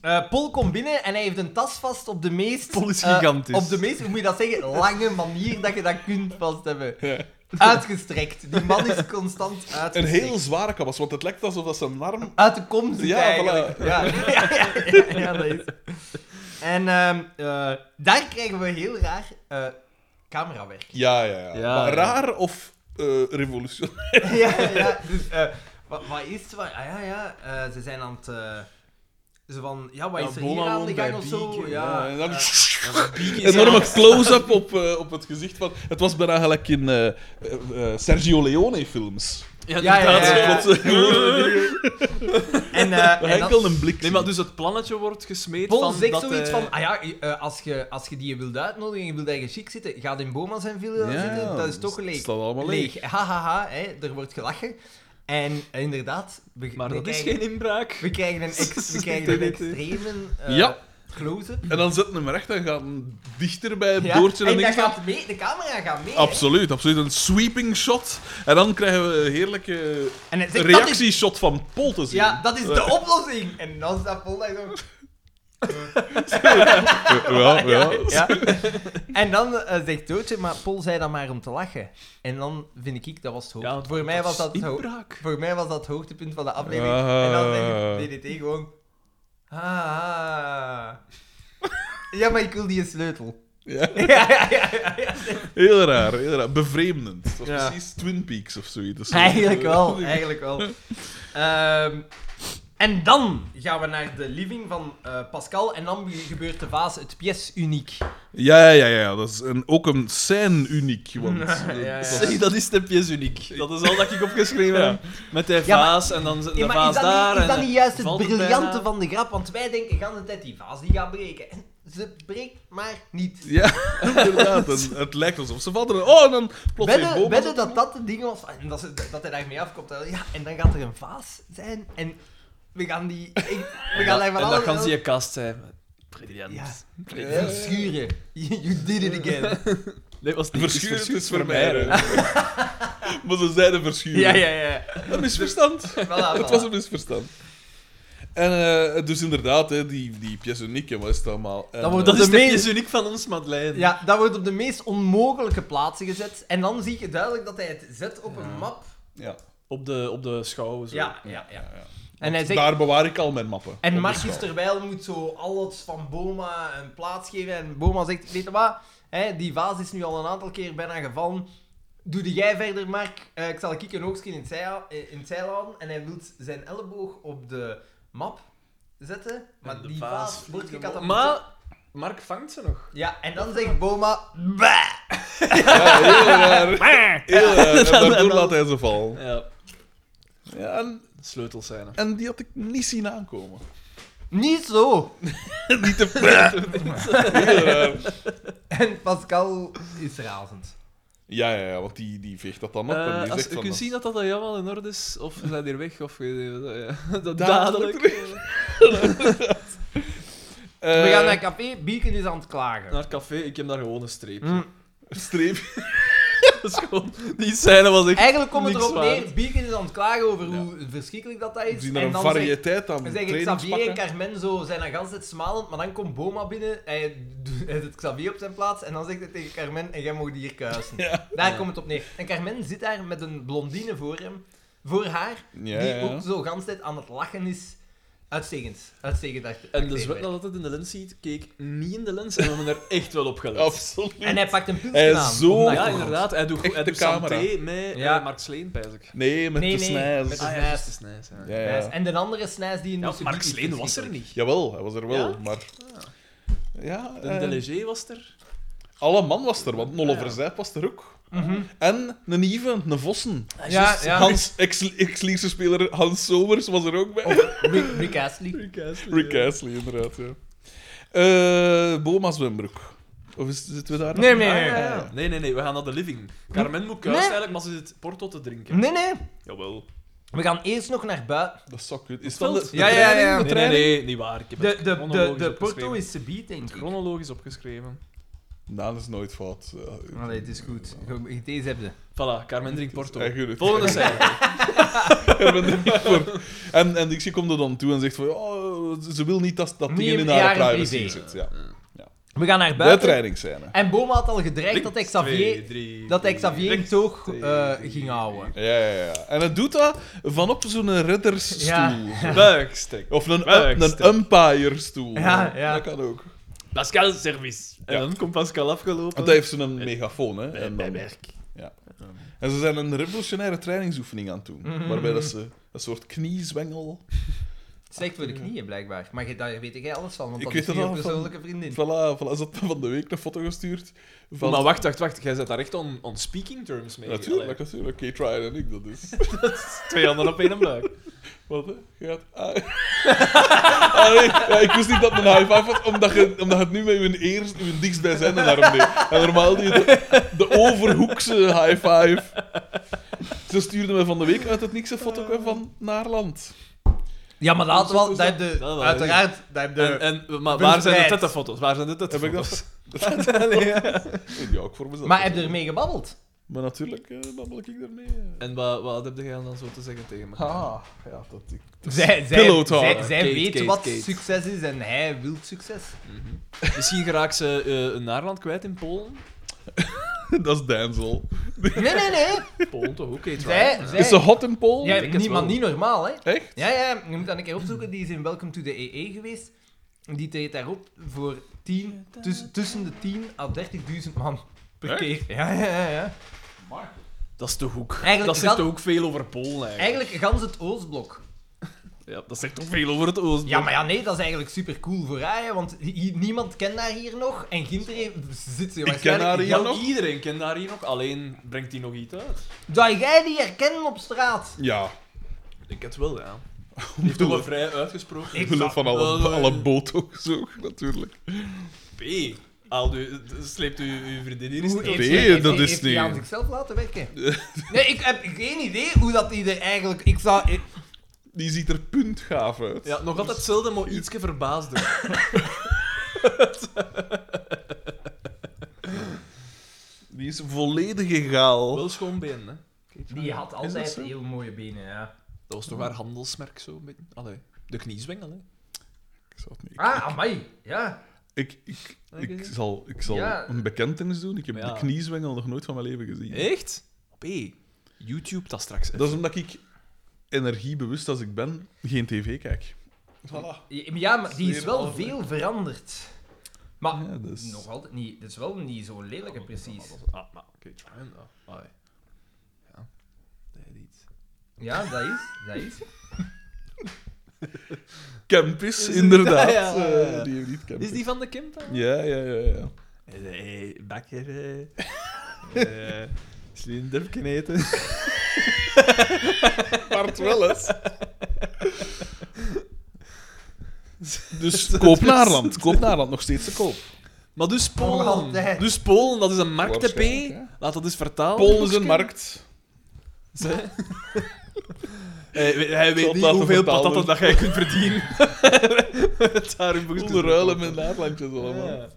Eh Paul komt binnen en hij heeft een tas vast op de meest... Paul is eh, gigantisch. op de meest, hoe moet je dat zeggen, lange manier dat je dat kunt vast hebben. Ja. Uitgestrekt. Die man is constant uitgestrekt. Een heel zware kabas, want het lijkt alsof dat zijn arm... Uit de kom zit Ja, eigenlijk. voilà. Ja, ja, ja, ja, ja, dat is. En ehm, eh, daar krijgen we heel raar eh, camerawerk. Ja, ja, ja. Ja, Maar ja. raar of eh revolutionair? ja, ja, dus eh, wa- wat, is het? Wat, ah ja, ja, eh, ze zijn aan het... eh, ze van, ja, wat Ja, is er Boma hier aan woont de bij gang of zo? Bieke, Ja, en dan... eh, enorme close-up op, eh, op het gezicht van. Het was bijna gelijk in eh, eh, eh, Sergio Leone-films. Ja, Ja, ja, inderdaad, ja, ja. zo plots. en, eh, en dan- Enkel een blik. Nee, maar dus het plannetje wordt gesmeed Paul van zegt dat zoiets hij- van, ah ja, eh, als je als je die wilt uitnodigen en je wilt eigenlijk chic zitten, ga in Boma zijn villa zitten, dat is toch Het leeg. staat allemaal leeg. Leeg, hahaha, hè, er wordt gelachen. En eh, inderdaad, we, Maar we dat is krijgen, geen inbraak. We krijgen een, ex, we krijgen een TDT. extreme eh, Ja. close-up. En dan zetten we hem recht en gaan dichter bij het Ja, boordje. en En dat niks gaat mee, de camera gaat mee. hè. Absoluut, absoluut. Een sweeping shot. En dan krijgen we een heerlijke En het zegt, dat is, reactieshot van Pol te zien. ja, dat is de oplossing. En dan staat Paul daar zo... Eh, ja, ja. Ja. En dan eh, zegt Doodje, maar Paul zei dat maar om te lachen. En dan vind ik, dat was het hoogte. Ja, want voor, mij was dat het ho- Inbraak. voor mij was dat het hoogtepunt van de aflevering. Ah. En dan zegt DDT gewoon... Ah, ah. Ja, maar ik wil die sleutel. Ja. Ja, ja, ja, ja, ja. Heel raar, heel raar. Bevreemdend. Het was Ja. precies Twin Peaks of zoiets. Dus- Eigenlijk wel, eigenlijk wel. Ehm, en dan gaan we naar de living van eh, Pascal. En dan gebeurt de vaas, het pièce uniek. Ja, ja, ja, ja. Dat is een, ook een scène uniek. Want, Ja, eh, ja, dat ja. was- Zeg, dat is de pièce uniek. Dat is al dat ik opgeschreven Ja. heb. Met die Ja, maar- vaas en dan zit Ja, de maar vaas is dat, daar. niet, is en dat niet juist het valt er briljante bijna. van de grap? Want wij denken, gaan de tijd die vaas die gaat breken. En ze breekt maar niet. Ja, inderdaad. En het lijkt alsof ze vallen. Oh, en dan plots heeft Wedden Boba... wedden dat dat de ding was, ah, en dat, ze, dat hij daarmee afkomt. En, ja, en dan gaat er een vaas zijn en we gaan die... ik- we gaan daar En van dan alles- kan ze je kast zijn. Briljant. Ja. Ja. Verschuren. You, you did it again. Nee, was niet. Verschuren Het is voor mij. maar ze zeiden verschuren. ja, ja, ja. Een misverstand. Voilà, Het voilà. was een misverstand. En eh, dus inderdaad, hè, die, die pièce unique en wat is het allemaal. En, Dat wordt eh, Dat is de de meest- meest uniek van ons, Madeleine. Ja, dat wordt op de meest onmogelijke plaatsen gezet. En dan zie je duidelijk dat hij het zet op een map. ja, Op, de, op de schouw. Zo. Ja, ja, ja. ja. En hij zegt... Daar bewaar ik al mijn mappen. En Op Marcus de schouw. terwijl moet zo alles van Boma een plaats geven. En Boma zegt, weet je wat? Hè, die vaas is nu al een aantal keer bijna gevallen. Doe die jij verder, Mark. Eh, ik zal ik een oogstje in het zij hou- eh, in het zij houden. En hij wil zijn elleboog op de map zetten. Maar En de die vaas vaas vliegt wordt hem gekatapult. op. Maar Mark vangt ze nog. Ja, en dan zegt Boma... "Bah." Ja, heel raar. Heel raar. En daardoor dan- laat hij ze vallen. Ja, Ja, en, sleutelscène. en die had ik niet zien aankomen. Niet zo. niet te Heel raar. En Pascal is razend. Ja, ja, ja, want die, die veegt dat dan op. en Eh, die als zegt je van, kunt zien dat dat helemaal in orde is, of ze zijn hier weg, of je- ja, dat Dadelijk dadelijk. eh, We gaan naar café. Bieken is aan het klagen. Naar het café, ik heb daar gewoon een streep. Mm. Streep. Dat is gewoon, die scène was echt... Eigenlijk komt het Niks erop waard. neer. Bieken is aan het klagen over hoe verschrikkelijk dat, dat We is. zien daar en een dan variëteit aan zegt- dan zeggen Xavier en trainingspakken. Carmen zo zijn dan gans het smalend, maar dan komt Boma binnen, hij, doet- hij zet Xavier op zijn plaats en dan zegt hij tegen Carmen, en jij mag die hier kuisen. Daar Ja. komt het op neer. En Carmen zit daar met een blondine voor hem, voor haar, Ja, die ja, ja. ook zo gans tijd aan het lachen is. Uitstekend. Uitstekend. act- En de acteerwerk. zwet dat altijd in de lens ziet, keek niet in de lens en we hebben er echt wel op gelet. Absoluut. En hij pakt een Hij pilsje is aan. zo- om dat te ja, doen. inderdaad. Hij doet, Echt hij de doet camera. camera. met Ja. ja. Mark Sleen, pijs ik. Nee, met Nee, de nee, met snijs. de- Ah ja, Snijs. juist, dat is nice, ja. Ja, ja. Juist. En de andere snijs die in Ja, Lucy Mark Dick is Sleen was er verschrikkelijk. niet. Jawel, hij was er wel, Ja? maar... Ja, De eh, Delegé was er. alle man was er, want Nolle Ah, ja. Verzijp was er ook. Mhm. En een Ieve, een Vossen. Ja, ja. Hans, ex- ex-Lierse speler Hans Somers was er ook bij. Rick, Rick Astley. Rick Astley. Rick Astley, inderdaad, ja. Eh Boma Zwembroek. Of is, zitten we daar nog? Nee, nee, Ah, nee. ja, ja. Nee, nee, nee, we gaan naar de living. Carmen moet kuis Nee. eigenlijk, maar ze zit porto te drinken. Nee, nee. Jawel, We gaan eerst nog naar buiten. dat zou kunnen. Is Veld? dat de, de Ja, ja, ja. training? De Nee, nee, training? nee, niet waar. Ik heb De, het de, de, chronologisch de Porto opgeschreven. is te beat, denk ik. Chronologisch opgeschreven. Nou, dat is nooit fout. Ja. Allee, het is goed. Ge- Deze hebben ze. Voilà, Carmen drinkt porto. Hij guurt het. Volgende scène. Ik ben er niet voor. En, en Dixie komt er dan toe en zegt van... Oh, ze wil niet dat dat Niet dingen in in haar haar privacy privé. zit. Ja. We gaan naar De buiten. trainingsscène. En Boma had al gedreigd Drie, dat hij Xavier, twee, drie, dat hij drie. Xavier in Drie. toog twee, eh, drie, ging houden. Ja, ja, ja. En het doet dat vanop zo'n reddersstoel. Ja. Buikstek. Of een, Buikstek. een umpire-stoel. Ja, ja. Dat kan ook. Pascal service. En Ja. dan komt Pascal afgelopen. Want hij heeft zo'n megafoon, hè. En bij dan... werk. En ze zijn een revolutionaire trainingsoefening aan het doen. Mhm. Waarbij dat ze een soort kniezwengel. Slecht voor de knieën, blijkbaar. Maar je- daar weet jij alles van, want Ik dat weet is dat niet je al van- persoonlijke vriendin. Voilà, voilà, ze had me van de week een foto gestuurd. Van... Maar wacht, wacht, wacht. Jij zit daar echt on, on speaking terms mee. Natuurlijk, natuurlijk. Kate Ryan en ik, dat is. Allee, Twee handen op één buik. Wat, hè? Je gaat... Ah, Ah, nee. ja, ik wist niet dat het een high five was, omdat je, omdat je het nu met je eerst, je dichtstbijzijnde arm deed. En normaal die de, de overhoekse high five. Ze stuurde me van de week uit het niks een Eh. foto van naar land. Ja, maar dat had wel... Hoezo- Dat heb de, Dat wel, uiteraard, dat heb de... En, en, maar waar Bevrijd. zijn de tettenfoto's? Waar zijn de tettenfoto's? Dat Allee, ja. ja, ook voor mezelf. Maar heb je ermee gebabbeld? Maar natuurlijk eh, babbel ik ermee. eh. En wat, wat heb jij dan zo te zeggen tegen me? Ah, ja, dat ik. Zij, pillow zij, talk. zij, zij Kate, weet Kate, wat Kate. succes is en hij wil succes. Misschien geraakt ze eh, een naarland kwijt in Polen. dat is Denzel. Nee, nee, nee. Polen toch ook, Kate Ryan? Zij, Ja. zij... Is ze hot in Polen? Ja, Ik denk het niet, maar wel. niet normaal, hè. Echt? Ja, ja, je moet dat een keer opzoeken. Die is in Welcome to the EE geweest. Die treedt daarop voor 10, tuss- tussen de 10 à 30.000 man per Echt? keer. Ja, ja, ja, ja. Dat is toch ook... Eigenlijk dat gaan- zegt toch ook veel over Polen, eigenlijk. Eigenlijk gans het Oostblok. Ja, dat zegt toch veel over het Oostblok. Ja, maar ja, nee, dat is eigenlijk super cool voor haar, hè, want hi- hi- niemand kent haar hier nog. En Ginter heeft- zit ze waarschijnlijk... haar hier Ja, Want nog. iedereen kent daar hier nog, alleen brengt die nog iets uit. Dat jij die herkennen op straat. Ja. Ik denk het wel, ja. Die heeft toch wel vrij uitgesproken. Ik Omwille zag... van alle, eh. alle botox ook, natuurlijk. P. Haal u, sleept u uw vriendin hier eens Hoe terug. heeft Nee, zij- heeft- dat heeft is die niet. aan zichzelf laten werken? Nee, ik heb geen idee hoe dat die er eigenlijk... Ik zou... ik- Die ziet er puntgaaf uit. Ja, nog altijd hetzelfde, maar ietsje verbaasder. Die is volledig egaal. Wel schoon been, hè. Die had Is dat altijd zo? heel mooie benen, ja. Dat was toch haar handelsmerk, zo een beetje? Allee. De kniezwengel, hè. Ik zou het niet. Ah, amai. Ja. Ik, ik, ik, Oké. zal, ik zal Ja. een bekentenis doen. Ik heb Ja. de kniezwengel nog nooit van mijn leven gezien. Echt? P. YouTube dat straks. Dat is omdat ik, energiebewust als ik ben, geen tv kijk. Voilà. Ja, maar die is wel Sfeer veel veranderd. Maar Ja, dus- nog altijd niet. Dat is wel niet zo lelijke, precies. Ah, maar oké, Tryon. Ah, ah, ja. Nee, niet. Ja, dat is. Dat is. Campus, inderdaad. Ja, ja, ja, ja. Eh, die heeft niet Campus. Is die van de Kimpa? Ja, ja, ja, ja. Nee, bakker. Eh, Is die een durfje eten? Part wel eens. Dus koop Naarland. Koop Naarland, nog steeds te koop. Maar dus Nog Polen. altijd. Dus Polen, dat is een markt, hè, Waarschijnlijk, P. hè. Laat dat eens vertalen. Polen is een Boekske. markt. Ze- Eh, Hij, weet- hij zal weet het niet laten hoeveel vertalen patatten worden. dat jij kunt verdienen. Met daar een boekje Coole ruilen met Naarlandjes allemaal. Ja.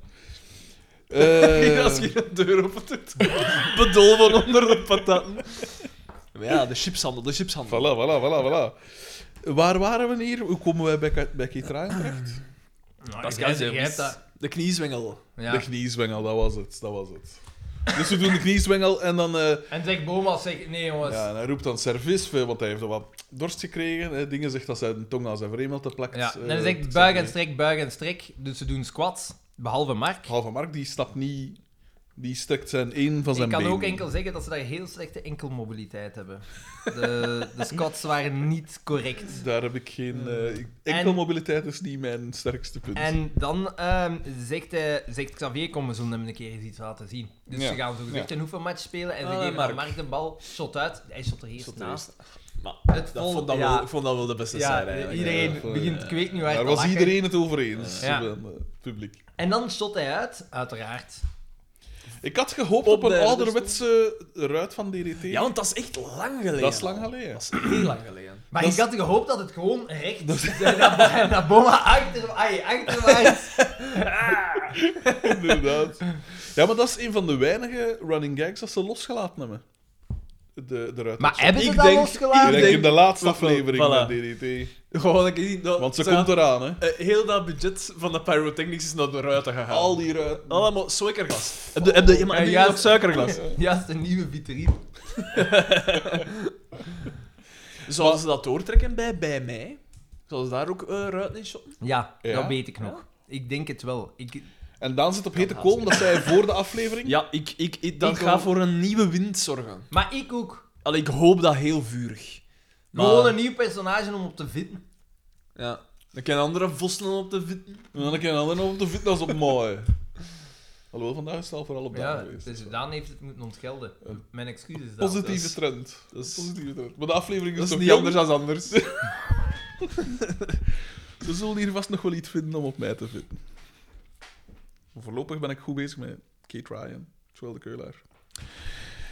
Eh, Als je een deur opent, bedolven onder de patatten. Maar ja, de chipshandel, de chipshandel. Voilà, voilà, voilà, voilà. Waar waren we hier? Hoe komen wij bij, Ka- bij Ketraan terecht? Dat jij- jij hebt dat. De kniezwengel. De kniezwengel, dat was het, dat was het. Dus we doen de kniezwengel en dan, eh, En zeg Boma zegt nee, jongens. ja, en hij roept dan service, eh, want hij heeft wat dorst gekregen. Hè. Dingen zegt dat zijn tong aan zijn vremel te plakt. Ja, en eh, dan zeg ik het- buig en strek, buig en strek. Dus ze doen squats, behalve Mark. Halve Mark, die stapt niet... Die strekt zijn één van Ik zijn kan been. ook enkel zeggen dat ze daar heel slechte enkelmobiliteit hebben. De, de squats waren niet correct. Daar heb ik geen... eh, ik- Hmm. En- enkelmobiliteit is niet mijn sterkste punt. En dan ehm, zegt, hij, zegt Xavier, kom, we zullen hem een keer eens iets laten zien. Dus Ja. ze gaan zo gezegd Ja. een oefenmatch spelen en ze Ah, geven Mark. aan Mark de bal, shot uit. Hij shot er eerst Tot de naast. eerste. Maar Het dat vol- vond dat ja. wel, ik vond dat wel de beste Ja, scène eigenlijk. iedereen Ja, voor- begint, ik weet niet waar Daar te was lachen. iedereen het over eens, Ja. eh, het publiek. En dan shot hij uit, uiteraard. Ik had gehoopt Op op een derde ouderwetse ruit van DDT. Ja, want dat is echt lang geleden. dat is lang al. geleden. Dat is heel lang geleden. Maar Dat ik had gehoopt dat het gewoon recht dat, dat, dat Boma achter, ai, achterwaarts. Inderdaad. Ja, maar dat is een van de weinige running gags dat ze losgelaten hebben. De, de ruit. Maar hebben ze Ik dat denk- Ik losgelaten? denk in de laatste Voilà. aflevering van DDT. Gewoon, dat ik niet... Dat, Want ze zou- komt eraan, hè. eh, heel dat budget van de pyrotechnics is naar de ruiten gegaan. Al die ruit. Allemaal suikerglas. Heb je, heb je, maar heb je Ja, ja. nog suikerglas? Juist een nieuwe vitrine. Zouden ze dat doortrekken bij, bij mij? Zouden ze daar ook eh ruiten in shotten? Ja, Ja? dat weet ik nog. Ik denk het wel. Ik, En Daan zit op hete kool, omdat zij voor de aflevering... Ja, ik, ik, ik, dat Ik gaat ook. voor een nieuwe wind zorgen. maar ik ook. Al ik hoop dat heel vurig. Maar, Gewoon een nieuw personage om op te vinden. Ja. Dan kan andere vossen op de vitten. En dan kan je dan nog op de fitness op mooi. Alhoewel, vandaag is het al vooral op Daan Ja, geweest. dus Daan heeft het moeten ontgelden. Mijn excuus is dat. Positieve dat is- trend. Dat is positieve trend. Maar de aflevering Dat is is, toch niet jong? anders dan anders. We zullen hier vast nog wel iets vinden om op mij te vinden. Maar voorlopig ben ik goed bezig met Kate Ryan, Joel de Keulaar.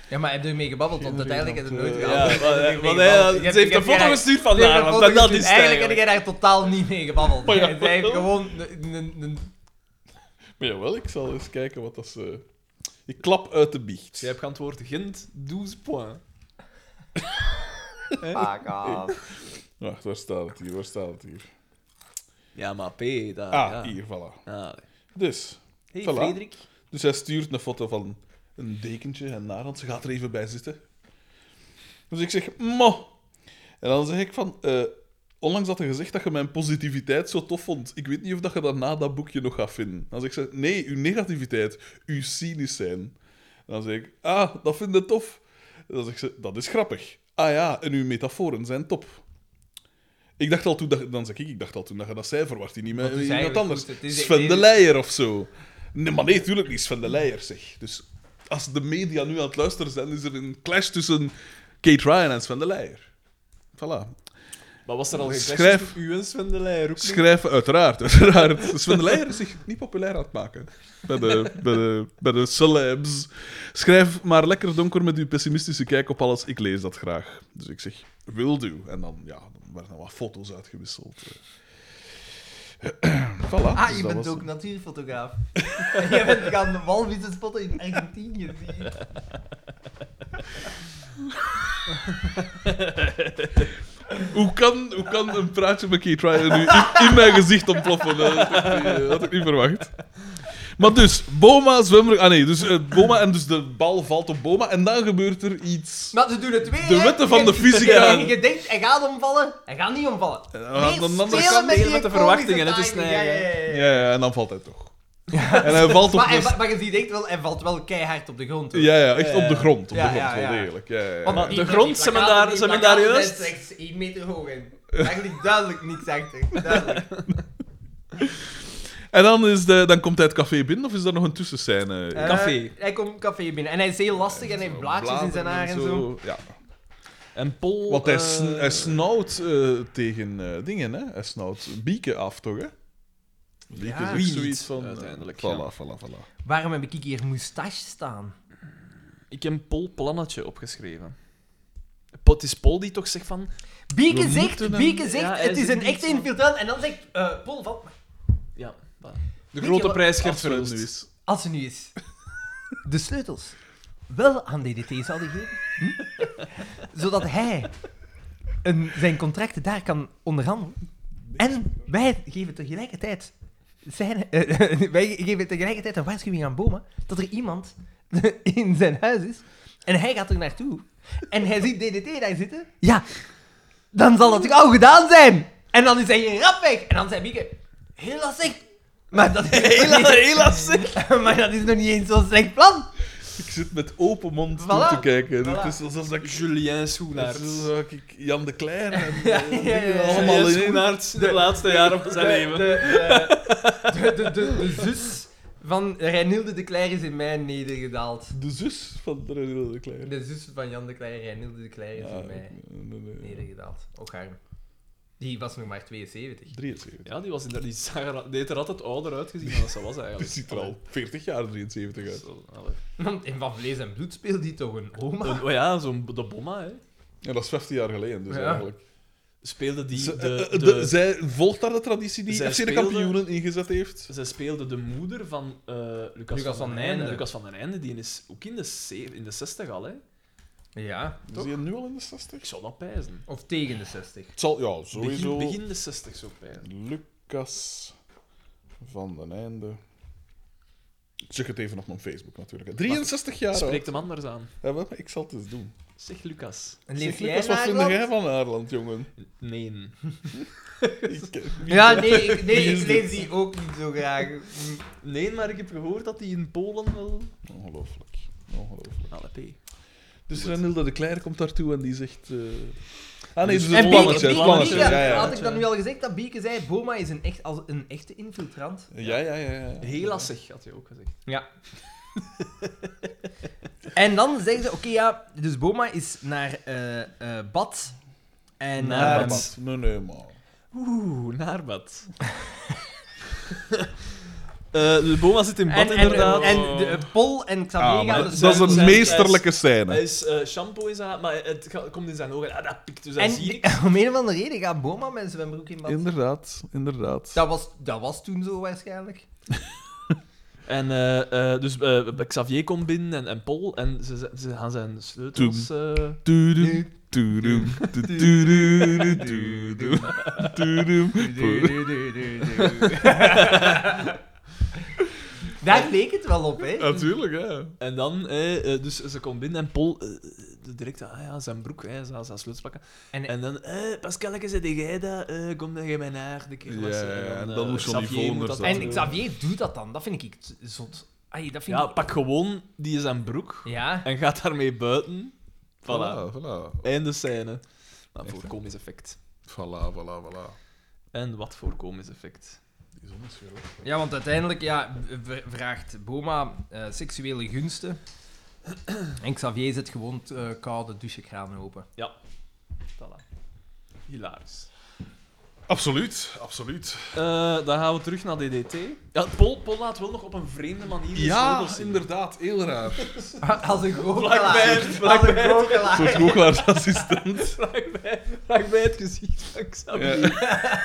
Ja, maar heb je ermee gebabbeld? Want Geen uiteindelijk heb je het nooit eh, gehad. Ja, Je want, hebt er mee eh, want gebabbeld. hij- Je ze hebt- heeft je een hebt foto daar- gestuurd je van hebt daar, een want foto dat dat gestuurd. is Oh, het Eigenlijk heb eigenlijk. je daar totaal niet mee gebabbeld. Maar ja, Zij heeft wel. gewoon... een- een- een- Maar jawel, ik zal eens kijken wat dat ze... Ik klap uit de biecht. Jij hebt geantwoord, Gent, 12 point. Fuck off. Wacht, waar staat het hier? Waar staat het hier? Ja, maar P, dat... Ah, ja. hier, voilà. Ah. Dus, Hey, Voilà. Frederik. dus hij stuurt een foto van een dekentje en Narend. Ze gaat er even bij zitten. Dus ik zeg, mo. En dan zeg ik van... eh, Onlangs had je gezegd dat je mijn positiviteit zo tof vond. Ik weet niet of dat je dat na dat boekje nog gaat vinden. Dan zegt ze, nee, uw negativiteit, uw cynisch zijn. En dan zeg ik, ah, dat vind ik tof. En dan zegt ze, dat is grappig. Ah ja, en uw metaforen zijn top. Ik dacht al toen dat, dan zeg ik, ik dacht al toen dat je dat zei, verwacht je niet met het is iemand eigenlijk anders. goed, het is- Sven nee, de nee. Leijer of zo. Nee, maar nee, tuurlijk niet Sven de Leijer, zeg. Dus als de media nu aan het luisteren zijn, is er een clash tussen Kate Ryan en Sven de Leijer. Voilà, Maar was er al geen Schrijf. Schrijf. U en Sven de Leijer ook niet? Schrijven, uiteraard. uiteraard. Sven de Leijer is zich niet populair aan het maken. Bij de, bij, de, bij de celebs. Schrijf maar lekker donker met uw pessimistische kijk op alles. Ik lees dat graag. Dus ik zeg, will do. En dan, ja, dan werden er wat foto's uitgewisseld. voilà. Ah, dus je dat bent was- ook natuurfotograaf. En jij bent gaan walvissen spotten in Argentinië. zie je. Hoe kan, hoe kan een praatje met Key Trial nu in, in mijn gezicht ontploffen? hè? Dat had ik niet- eh, had ik niet verwacht. Maar dus, Boma, zwemmer... Ah nee, dus eh, Boma en dus de bal valt op Boma en dan gebeurt er iets... Maar ze doen het weer. De hè. wetten van Je- de fysica. Je, je denkt, hij gaat omvallen. Hij gaat niet omvallen. aan de andere spelen kant die deel met de komische verwachtingen, het is timing. nee, Ja, ja, ja, ja. Ja, ja, en dan valt hij toch. En hij valt op... Maar, hij, de- va- maar je ziet echt wel, hij valt wel keihard op de grond. hoor. Ja, ja, echt op de grond. Op Ja, de grond, ja, ja. wel degelijk. Ja, ja, ja. Want Maar die- Ah, de die grond, zijn we plakaten- daar- die zijn we daar plakaten juist? zijn slechts 1 meter hoog in. Eigenlijk duidelijk niks achter. Duidelijk. En dan, is de, dan komt hij het café binnen, of is daar nog een tussenscène? Eh, Café. hij komt café binnen. En hij is heel lastig en hij heeft blaadjes in zijn haar en zo. Oh, Ja. En Paul... Want hij, eh, sn hij snauwt eh, tegen eh, dingen, hè? Hij snauwt bieken af, toch? Hè? Bieken Ja, is ook wie zoiets niet, van. eh, uiteindelijk, Voilà, ja. voilà, voilà. Waarom heb ik hier moustache staan? Ik heb Paul Plannetje opgeschreven. Po- Het is Paul die toch zegt van... Bieke We zegt, moeten hem- Bieke Ja, zegt, hij het is zit een niet echte zo. infiltrant. En dan zegt eh Paul van, Ja, voilà. Weet De je grote wat- prijs Gert Als er nu Verhulst. is. als ze nu is de sleutels wel aan DDT zouden geven, hm? zodat hij een, zijn contracten daar kan onderhandelen. En wij geven tegelijkertijd, zijn, eh, wij geven tegelijkertijd een waarschuwing aan Boma dat er iemand in zijn huis is en hij gaat er naartoe en hij ziet DDT daar zitten. Ja, dan zal het gauw gedaan zijn. En dan is hij hier rap weg. En dan zei Bieke, heel lastig. Maar dat is Heel lastig. maar dat is nog niet eens zo'n slecht plan. Ik zit met open mond toe Voilà. te kijken. Voilà. Het is alsof dat ik. Julien Dat Schoenaerts. is alsof ik Jan de Klein en Ja, eh, ja, ja, ja. dingen allemaal Julien in. één- Schoenaerts, de laatste jaren van zijn De, leven. de, de, de, de zus van Reinilde de Kleijer is in mij nedergedaald. De zus van René de Klein. De zus van Jan de Kleijer, Reinilde de Kleijer, is Ja, in mij nee, nee, nee. nedergedaald. Ook arm. Die was nog maar 72. 73. Ja, die, was inderdaad, die zag er, deed er altijd ouder uitgezien dan dat ze was eigenlijk. Die ziet er al 40 jaar 73 uit. Zo, allee. Want in Van Vlees en Bloed speelt die toch een oma? Een- oh ja, zo'n de bomma, hè. Ja, dat is 15 jaar geleden, dus Ja. eigenlijk. Speelde die Ze- de... eh, de- de- zij volgt daar de traditie die Zij FC de speelde- kampioenen ingezet heeft. Zij speelde de moeder van eh, Lucas, van, den Einde. Lucas van den Einde, die is ook in de, ze- in de 60 al, hè. Ja, Is hij nu al in de 60? Ik zou dat pijzen. of tegen de 60. Het zal, ja, Begin, sowieso. begin de 60 zou ik pijzen. Lucas van den Einde. Ik zeg het even op mijn Facebook natuurlijk. hè. 63 jaar Spreek oud. hem anders aan. Ja, wel, maar ik zal het eens doen. Zeg Lucas. Leef Zeg, jij Lucas, wat naar vind Nederland? jij van Aarland, jongen? Nee. Ik, eh, wie- Ja, nee, ik, nee, Wie is ik lees die ook niet zo graag. Mm. Nee, maar ik heb gehoord dat hij in Polen wel... Ongelooflijk. Ongelooflijk. Allee, P. Dus Renilde de Kleijer komt daartoe en die zegt... eh, Ah nee, Dus een dus En het Bieke, plannetje. Bieke, Het plannetje. Bieke, Ja, ja, had ik dat nu al gezegd, dat Bieke zei, Boma is een, echt, als een echte infiltrant. ja. ja, ja, ja, ja. Heel lastig, had hij ook gezegd. Ja. en dan zeggen ze, oké ja, dus Boma is naar eh, eh, Bad. En, Naar ehm, Bad. Naarbad. Nee, nee, maar... Oeh, naarbad. Eh de Boma zit in bad, en, en, inderdaad. en, de, eh, Pol en Xavier Ah, maar gaan dat- dus dat is naar- een zijn- meesterlijke scène. Hij is eh, shampoo in zijn haar, maar het ga- komt in zijn ogen. Ah, dat pikt, dus dat zie En ik. om een of andere reden gaat Boma met zijn broek in Bad. Inderdaad, inderdaad. Dat was, dat was toen zo waarschijnlijk. En eh, eh, dus eh, Xavier komt binnen en, en Paul en ze, ze- ze gaan zijn sleutels... eh, Tudum, tudum, tudum, tudum, tudum. Daar leek het wel op, Eh, hè? Natuurlijk, ja. en dan, eh, eh, dus ze komt binnen en Paul eh, eh, direct, ah ja, zijn broek, hè, zijn, zijn sleutels pakken. En- En, dan, eh, Pascalke, zei jij dat? Eh, kom dan jij mijn haar de keer Ja, wassen. ja, en eh, dan moest Johnny Xavier Voners moet dat dat dan En doen. Xavier doet dat dan. Dat vind ik t- zot. Ai, dat vind Ja, ik... pak gewoon die zijn broek Ja. en gaat daarmee buiten. Voilà. Voilà, voilà. Einde scène. Maar Oh. Echt, voor hè? komisch effect. Voilà, voilà, voilà. En wat voor komisch effect. Die zon is weer op. Ja, want uiteindelijk ja, v- vraagt Boma eh, seksuele gunsten. En Xavier zet gewoon t- eh, koude douchekranen open. Voilà. Hilarisch. Absoluut, absoluut. Eh, dan gaan we terug naar DDT. Ja, Paul, Paul laat wel nog op een vreemde manier de Ja, sleutels zien. inderdaad, heel raar. Als een Vlakbij goochelaar. het- Als een vlakbij het- Een soort goochelaar. goochelaarsassistent. Vlakbij, vlakbij het gezicht van Xavier. Ja.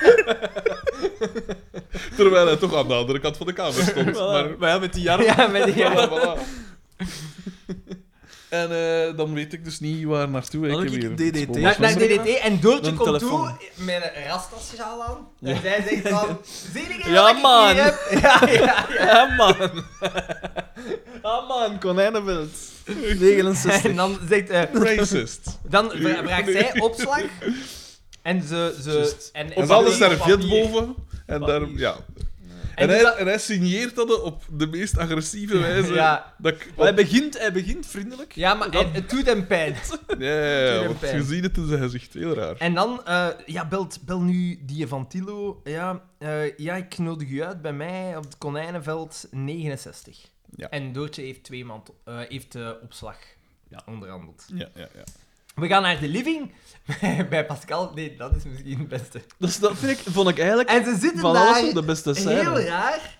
Terwijl hij toch aan de andere kant van de kamer stond. Voilà. Maar eh, Maar ja, met die jarm. Ja, met die... voilà, voilà. En eh, dan weet ik dus niet waar naartoe. Dan ik heb heb ik hier DDT. sporen. Naar, naar DDT en Doortje Een komt telefoon. toe met een rastasjaal aan. En zij zegt van, zie je Ja, wat ik man. hier heb? Ja, ja, ja. Ah, man. Ah, man, konijnenbeeld. 69. En dan zegt, eh, Racist. dan vra- vraagt zij opslag. En ze... ze Juist. en, En en dan papier- is daar vet papier. boven. En, daar, Papier. ja. En en, die hij, dat- en hij signeert dat op de meest agressieve wijze. Ja. Dat ik, Maar Hij begint, hij begint vriendelijk. Ja, maar het, het doet hem pijn. Ja, ja, Doet ja, hem want pijn. je ziet het in zijn gezicht. Heel raar. En dan, eh, ja, belt, bel nu die van Tilo. Ja, eh, ja, ik nodig u uit bij mij op het Konijnenveld 69. Ja. En Doortje heeft twee man eh, heeft eh, opslag Ja. onderhandeld. Ja, ja, ja. We gaan naar de living bij Pascal. Nee, dat is misschien het beste. Dus dat vind ik, vond ik eigenlijk En ze zitten van daar alles op de beste heel scène. raar.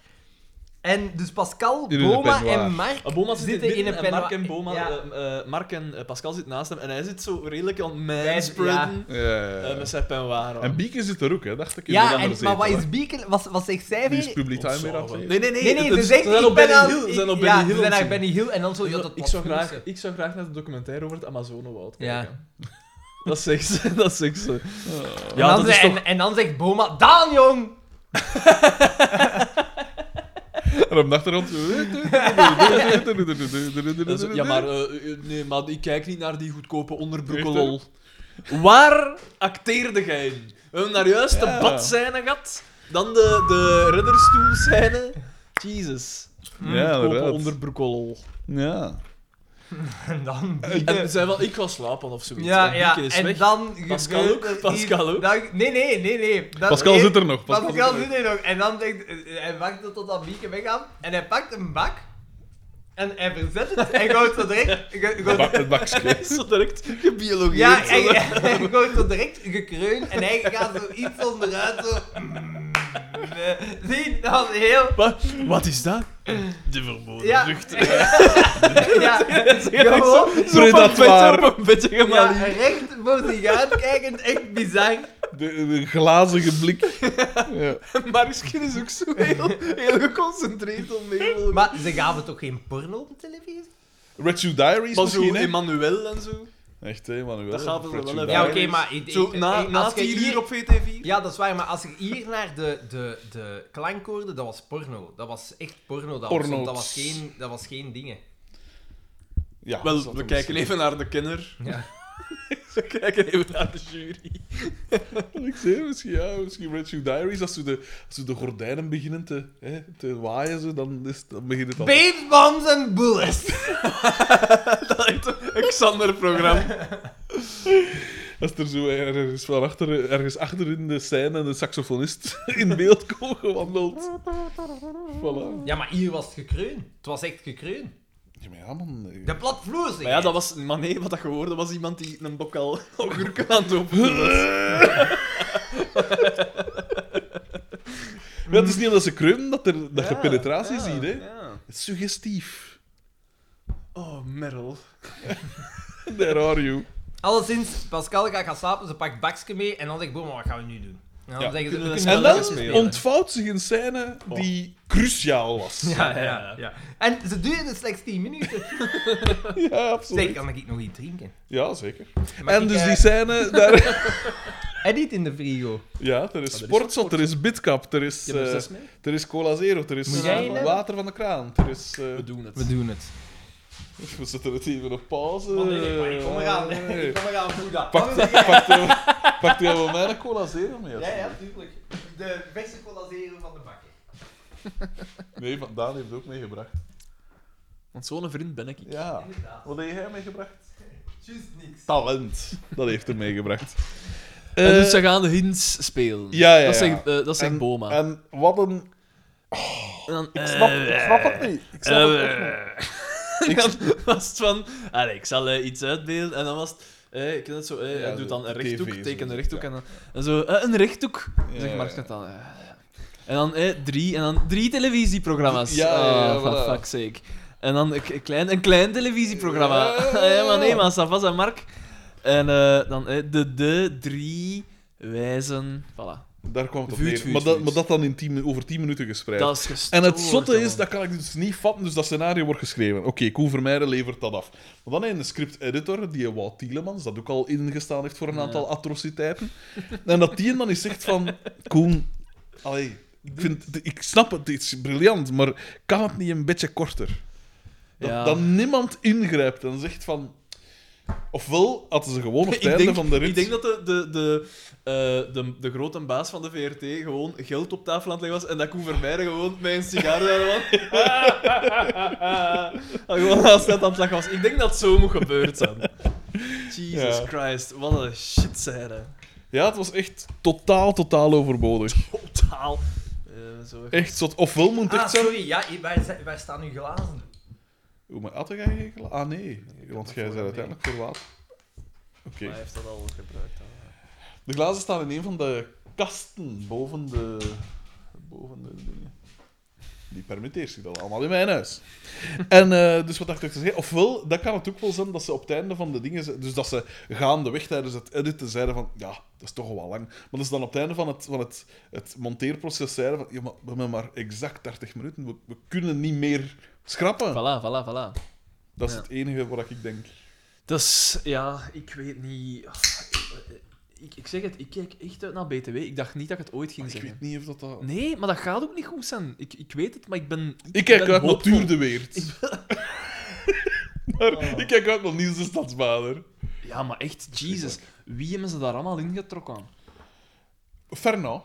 En dus Pascal, In een Boma peignoir. en Mark Ah, Boma zit zitten in een en Mark en peignoir. Boma, Ja. eh, eh, Mark en eh, Pascal zitten naast hem en hij zit zo redelijk aan Ja. manspreaden Ja, ja, ja. eh, met zijn penwaar. En Bieke zit er ook, hè? dacht ik. in de ja, andere en, maar wat zetel, is Beacon? Wat, wat zegt zij hè. Die is weer? publiek Ontzalig. meer aflevering. Nee, nee, nee. Nee, nee, het ze is- zegt... zijn ik op ben Benny aan- Hill. ze zijn op ja, Benny ze Hill. zijn naar aan het Benny Hill en dan zo... Ja, dat ik, was zou goed, graag, hè. ik zou graag naar de documentaire over het Amazonewoud kijken. Dat zegt ze, dat zegt ze. en, Ja, dan dat is zei- toch... en, en dan zegt Boma, Daan, jong! En op de achtergrond. dat is- Ja, maar, eh, eh, nee, maar ik kijk niet naar die goedkope onderbroeken, Echt, hè? lol. Waar acteerde jij in? We hebben daar juist Ja. de badscène gehad, dan de, de redderstoelscène. Jezus. Ja, goedkope inderdaad. onderbroeken, lol. Ja. En dan... En ze zei wel, ik ga slapen of zoiets. Ja, en ja, Bieke is en weg. dan... Pascal gebeurt ook, er Pascal iets- ook. dan- nee, nee, nee, nee. Dat- Pascal nee, zit er nog. Pascal, er zit er nog. En dan denkt... Hij wacht tot dat Mieke weggaat. En hij pakt een bak. En hij verzet het. En gooit zo direct... go- nog. gooit- Bak- Het bakje. Hij is zo direct gebiologeerd. ja, zo. en hij gooit zo direct gekreun. En hij gaat zo iets onderuit. Zo... Mm, eh, Zie, dat was heel... Wa- Wat is dat? De verboden Ja. vrucht. Ja, Zo, gewoon... zo op een Predatoire. beetje, op een beetje Ja, gemalierd. recht voor zich uitkijkend. Echt bizar. De, de glazige blik. Ja. Marisken is ook zo heel, heel geconcentreerd om mee te volgen. Maar ze gaven toch geen porno op de televisie? Red Shoe Diaries Maar zo misschien, hè? Emmanuel en zo. Echt, hè, Manuel. Dat gaven ze Red wel Shoe even. Ja, oké, Diaries. maar ik- ik- Zo na, ik- na als je vier hier- uur op VTV. Ja, dat is waar, maar als je hier naar de, de, de klank hoorde, dat was porno. Dat was echt porno. Dat, Porno's. opstond. dat, was, geen, dat was geen dingen. Ja, dat Wel, zat we er kijken misschien. even naar de kenner. Ja. We kijken even naar de jury. Ik zeg, misschien, ja, misschien Red Shoe Diaries. Als we de, als we de gordijnen beginnen te, hè, te waaien, zo, dan, is, het- dan begint het al. Babes, bombs en bullets. Dat is een Xander-programma. Als er zo ergens, van achter, ergens achter in de scène een saxofonist in beeld komt gewandeld. Voilà. Ja, maar hier was het gekreun. Het was echt gekreun. Ja, maar ja, man. eh. De platvloerzigheid. Maar ja, dat was... Maar nee, wat dat geworden was iemand die een bokaal augurken aan het openen was. Ja, het is niet omdat ze krummen dat, er, dat je Ja, penetratie ja, ziet, hè. ja. Het is Suggestief. Oh, Meryl. There are you. Alleszins, Pascal gaat gaan slapen, ze pakt bakje mee en dan zegt Boma, wat gaan we nu doen? En dan Ja. zeggen ze, Kunnen we we kunnen En wel lekker dan lekker spelen. ontvouwt zich een scène die cruciaal was. Ja, Ja, ja, ja. En ze duurde slechts 10 minuten. Zeg, absoluut. kan ik nog iets drinken? Ja, zeker. Mag En ik, dus eh, die scène daar... Edit in de frigo. Ja, er is sportzat, er is bitcap, er is, Je hebt er eh, zes mee? er is cola zero, er is Moet jij eh, een water van de kraan, er is... eh, We doen het. We doen het. We zetten het even op pauze. Oh, nee, nee, maar ik kom eraan. Eh, hè. Ik kom eraan, doe dat. Pak, pak, pak, pak die wel mijn cola zero mee? Ja, ja, tuurlijk. De beste colaseren van de bakker. Nee, maar Daan heeft ook meegebracht. Want zo'n vriend ben ik. Ja. Inderdaad. Wat heb jij meegebracht? Juist niks. Talent. Dat heeft hij meegebracht. En Eh, dus ze gaan de hints spelen. Ja, ja, Dat ja. zegt, eh, dat zegt en- Boma. En wat een... En dan, Ik snap, eh, ik snap het niet. Ik snap het Eh. echt niet. Eh, En dan was het van, allee, ik zal eh, iets uitbeelden. En dan was het, eh, ik ken het zo, eh, Ja, hij doet dan een de rechthoek, TV is teken het, een rechthoek. ja. En, dan, en zo, eh, een rechthoek, Ja, zegt Mark ja. net dan. eh. En dan eh, drie, en dan drie televisieprogramma's. Ja, ja, ja, Ah, for voilà. fuck's sake. En dan een, een klein, een klein televisieprogramma. Ja, ja, Eh, ja. maar nee, maar Savas en Mark. En eh, dan eh, de, de drie wijzen, voilà. Daar kwam het op Vuut, neer. vuut, maar, dat, vuut. maar dat dan in tien, min- over tien minuten gespreid. Dat is gestoord, En het zotte jongen. is, dat kan ik dus niet vatten, dus dat scenario wordt geschreven. Oké, Koen Vermeijden levert dat af. Maar dan heb je een script-editor, die Wout Tielemans, dat ook al ingestaan heeft voor een aantal atrociteiten. En dat die dan eens zegt van... Koen, allee, ik, vind, ik snap het, dit is briljant, maar kan het niet een beetje korter? Dat, Ja. dat niemand ingrijpt en zegt van... Ofwel hadden ze gewoon op het Ik einde denk, van de rit... ik denk dat de, de, de, eh, de, de grote baas van de VRT gewoon geld op tafel aan het leggen was en dat Koen Vermeijden gewoon met een sigaar daar was. Dat gewoon naast dat aan het lachen was. Ik denk dat het zo moet gebeurd zijn. Jesus Ja. Christ, wat een shit zijn. Ja, het was echt totaal, totaal overbodig. Totaal. Eh, zo even- Echt zot. Ofwel moet het Ah, echt zijn... sorry, ja, waar, zi- waar staan uw glazen? Hoe maar had jij geen gla- Ah, nee. Want had jij dat bent voor uiteindelijk te laat. Oké. Maar hij heeft dat al gebruikt. al. De glazen staan in een van de kasten boven de... Boven de dingen. Die permitteert zich dat allemaal in mijn huis. En eh, dus wat dacht ik te zeggen? Ofwel, dat kan het ook wel zijn dat ze op het einde van de dingen... ze- Dus dat ze gaandeweg tijdens het editen zeiden van... Ja, dat is toch wel lang. Maar dat ze dan op het einde van het, van het, het monteerproces zeiden van... Ja, maar we hebben maar exact 30 minuten. We, we kunnen niet meer schrappen. Voilà, voilà, voilà. Dat is Ja. het enige wat ik denk. Dus ja, ik weet niet. Ah, Ik, ik zeg het, ik kijk echt uit naar BTW. Ik dacht niet dat ik het ooit ging Maar ik zeggen. weet niet of dat... dat... Nee, maar dat gaat ook niet goed zijn. Ik, ik weet het, maar ik ben. Ik ben kijk uit naar hoopvol. Tuur de Weert. maar ik kijk uit naar Niels de Stadsbader. Ja, maar echt, Jesus. Wie hebben ze daar allemaal ingetrokken? Fernand.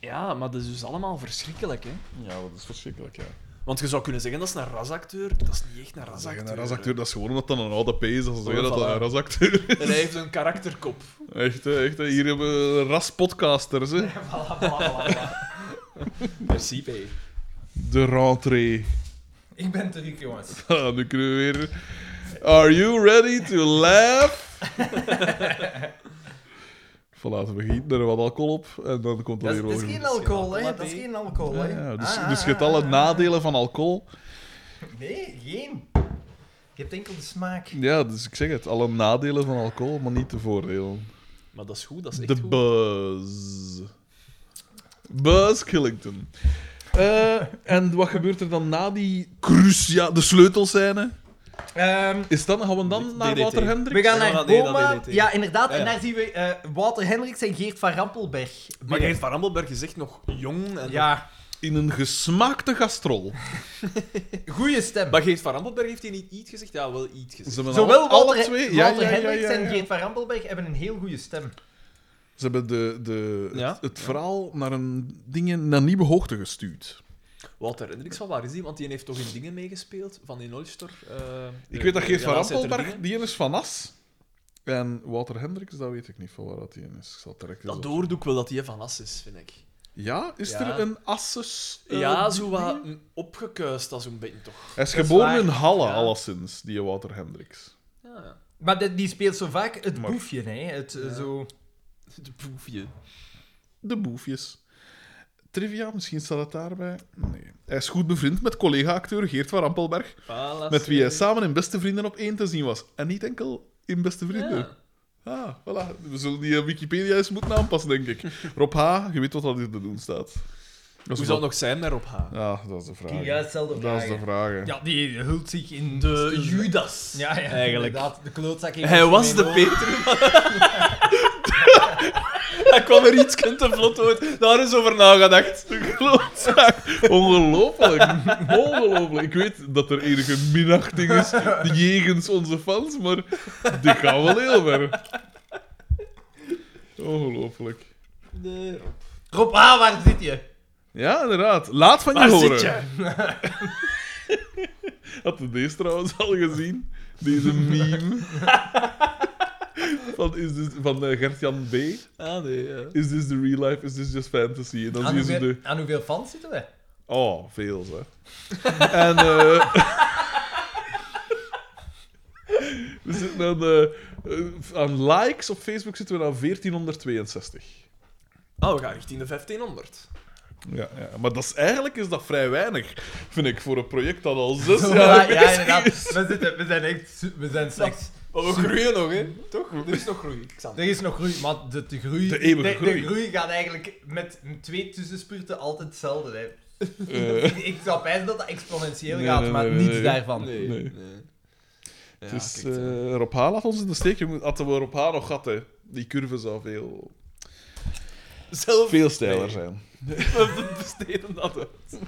Ja, maar dat is dus allemaal verschrikkelijk, hè? Ja, dat is verschrikkelijk, ja. Want je zou kunnen zeggen dat is een rasacteur. Dat is niet echt een rasacteur. Een rasacteur, dat is gewoon omdat dat een oude P is. Dat ze zeggen Oh, dat dat voilà. een rasacteur is. En hij heeft een karakterkop. Echt, hè, echt. hè. Hier hebben we raspodcasters, hè. Voilà, voilà, voilà, voilà. Merci, P. De rentree. Ik ben terug, jongens. Ah, nu kunnen we weer... Are you ready to laugh? Voilà, we gieten er wat alcohol op en dan komt dat Dat is, dat weer is over. geen alcohol, hè? Latte. Dat is geen alcohol, Ja, hè? ja, dus, Ah, dus je ah, hebt alle ah, nadelen van alcohol. Nee, geen. Je hebt enkel de smaak. Ja, dus ik zeg het. Alle nadelen van alcohol, maar niet de voordelen. Maar dat is goed, dat is echt De goed. buzz. Buzz Killington. Eh, en wat gebeurt er dan na die crucia, de sleutelscène? Ehm, Is dat, gaan we dan naar DDT. Wouter Hendricks? we gaan Ja, naar nee, dat Boma. deed hij. Ja, inderdaad. Ja, ja. En daar zien we eh, Wouter Hendricks en Geert van Rampelberg. Maar Geert van Rammelberg is echt nog jong. En Ja, In een gesmaakte gastrol. goede stem. Maar Geert van Rammelberg heeft hij niet iets gezegd? Ja, wel iets gezegd. hebben Zowel alle- alle Walter, twee- ja, Walter ja, ja, ja, Hendricks ja. en Geert van Rampelberg hebben een heel goede stem. Ze hebben de, de, het, Ja. het verhaal naar een, dingen, naar nieuwe hoogte gestuurd. Walter Hendricks, van waar is die? Want die heeft toch in dingen meegespeeld van in Ulster. eh, Ik de- weet dat de Geert van relatie uit Rampelberg, Erdingen. die is van As. En Wouter Hendricks, dat weet ik niet van waar dat die is. Ik zal het direct eens Dat doordoek wel dat hij van As is, vind ik. Ja, is Ja. er een Asses? eh, ja, ding? zo wat mm, opgekuist als een beetje toch. Hij is Dat is geboren waar. in Halle, Ja. alleszins, die Wouter Hendricks. Ja, ja. Maar de- die speelt zo vaak het Maar- boefje, hè? Het, eh, Ja. zo... De proefje. De boefjes. Trivia, misschien staat het daarbij. Nee. Hij is goed bevriend met collega-acteur Geert van Rampelberg, met wie hij eh, samen in Beste Vrienden op één te zien was. En niet enkel in Beste Vrienden. Ah, voilà. We zullen die eh, Wikipedia eens moeten aanpassen, denk ik. Rob H., je weet wat dat hier te doen staat. Hoe Dat zou is het wat- nog zijn met Rob H? Ja, dat is de vraag. Ging juist hetzelfde dat is de vragen. vraag. hè. Ja, die hult zich in De Judas. Ja, ja, eigenlijk. inderdaad. De klootzak in Hij was de Peter. Peter. Hij kwam er iets te vlot uit. Daar is over nagedacht. Ongelooflijk. Ongelooflijk. Ik weet dat er enige minachting is jegens onze fans, maar dit gaat wel heel ver. Ongelooflijk. Nee, Rob. Rob, ah, waar zit je? Ja, inderdaad. Laat van je Waar horen. zit je? Had je deze trouwens al gezien? Deze meme. Van, is dit, van eh, Gert-Jan B. Ah, nee. Ja. Is this the real life? Is this just fantasy? En dan Aan zien ze hoeveel, Ah, de... aan hoeveel fans zitten we? Oh, veel, hè. en... eh we zitten aan, eh, eh, aan likes op Facebook zitten we aan 1462. Ah, we gaan richting de 1500. Ja, ja, maar dat is, eigenlijk is dat vrij weinig, vind ik, voor een project dat al zes Zo, jaar ja, bezig inderdaad. is. We, zitten, we zijn echt... su- We zijn slechts Maar Oh, we groeien nog, hè? Toch? Er is nog groei, Xander. Er is nog groei, maar de, de groei... De eeuwige de, groei. De groei gaat eigenlijk met twee tussenspurten altijd hetzelfde. Hè. Eh, Ik, ik zou bijna dat dat exponentieel Nee, gaat, nee, maar nee, niets nee. daarvan. Nee, Nee. nee. Ja, het is, kijk, eh, eh, Rob Haan laat ons in de steek. jongen. Hadden we Rob Haan nog gehad, hè. Die curve zou veel, zelf veel steiler Nee. zijn. eh, We besteden dat uit.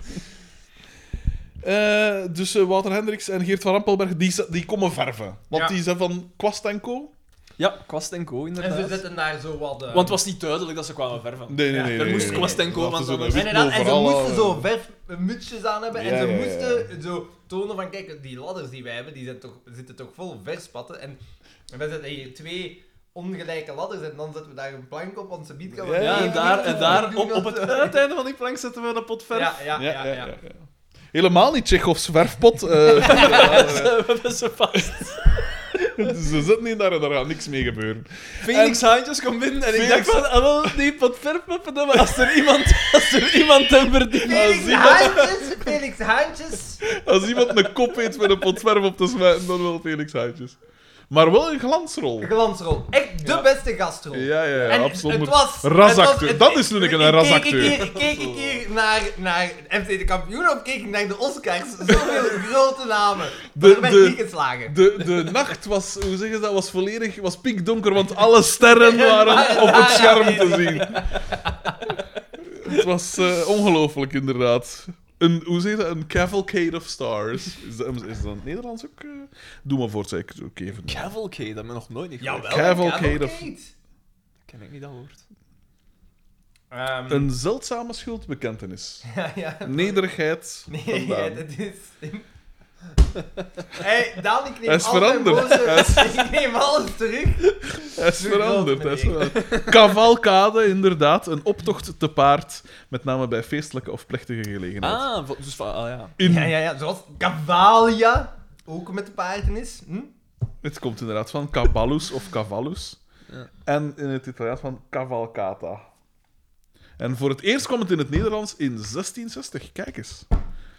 Eh, dus eh, Wouter Hendricks en Geert van Rampelberg, die, z- die komen verven. Want Ja. die zijn van Kwast en Co. Ja, Kwast en Co, En inderdaad. ze zetten daar zo wat... eh, Want het was niet duidelijk dat ze kwamen verven. Nee, nee, nee. er moest Kwast en Co, Laten want ze anders- de En, inderdaad, en ze overal, moesten eh, zo verfmutsjes aan hebben Ja, en ze ja, ja. moesten zo tonen van, kijk, die ladders die wij hebben, die zijn toch, zitten toch vol verspatten. En, en wij zetten hier twee ongelijke ladders en dan zetten we daar een plank op, want ze biedt gaan we Ja, Ja, en even- daar, en daar doen op, op het dat- uiteinde van die plank zetten we een pot verf. Ja, ja, Ja, ja, ja. ja, ja. Helemaal niet Tsjechofs verfpot. eh. we hebben ze vast. ze zitten niet daar en daar gaat niks mee gebeuren. Phoenix Haantjes komt binnen en ik dacht Phoenix- van, ah, wel, die pot verf, maar als er iemand, als er iemand hem verdient. Felix Haantjes, Felix Haantjes. Als iemand een kop eet met een pot verf op te smijten, dan wel Felix Huitjes. Maar wel een glansrol. Glansrol. Echt de Ja. beste gastrol. Ja, ja, ja, En absoluut. het was... Rasacteur. het was- het- dat is nu een keer een rasacteur. Keek ik, hier, keek ik hier naar, naar FC de Kampioen of keek ik naar de Oscars? Zoveel grote namen. De- er werd de- niet geslagen. De, de nacht was, hoe zeggen ze dat, was volledig was pikdonker, want alle sterren waren op het scherm te zien. Het was eh, ongelooflijk, inderdaad. Een, hoe zeg je dat? Een cavalcade of stars. Is dat, is dat in het Nederlands ook? eh? Doe maar voort, zei ik ook even. Cavalcade, dat hebben we nog nooit niet gehoord. Jawel. Cavalcade of- Ik ken ik niet dat woord. Ehm, Een zeldzame schuldbekentenis. ja, ja. Nederigheid. Nee, vandaan. het is... hey, Daan, ik neem Hij is al mijn veranderd. boze- Hij is- Ik neem alles terug. Hij is Zo veranderd. Hij groot, is veranderd. Cavalcade, inderdaad. Een optocht te paard. Met name bij feestelijke of plechtige gelegenheden. Ah, vo- dus van, ah ja. In Ja, ja, ja. Zoals Cavalia ook met de paarden is. Hm? Het komt inderdaad van Cavallus of Cavallus. Ja. En in het Italiaans van Cavalcata. En voor het eerst kwam het in het Nederlands in 1660. Kijk eens. Ah,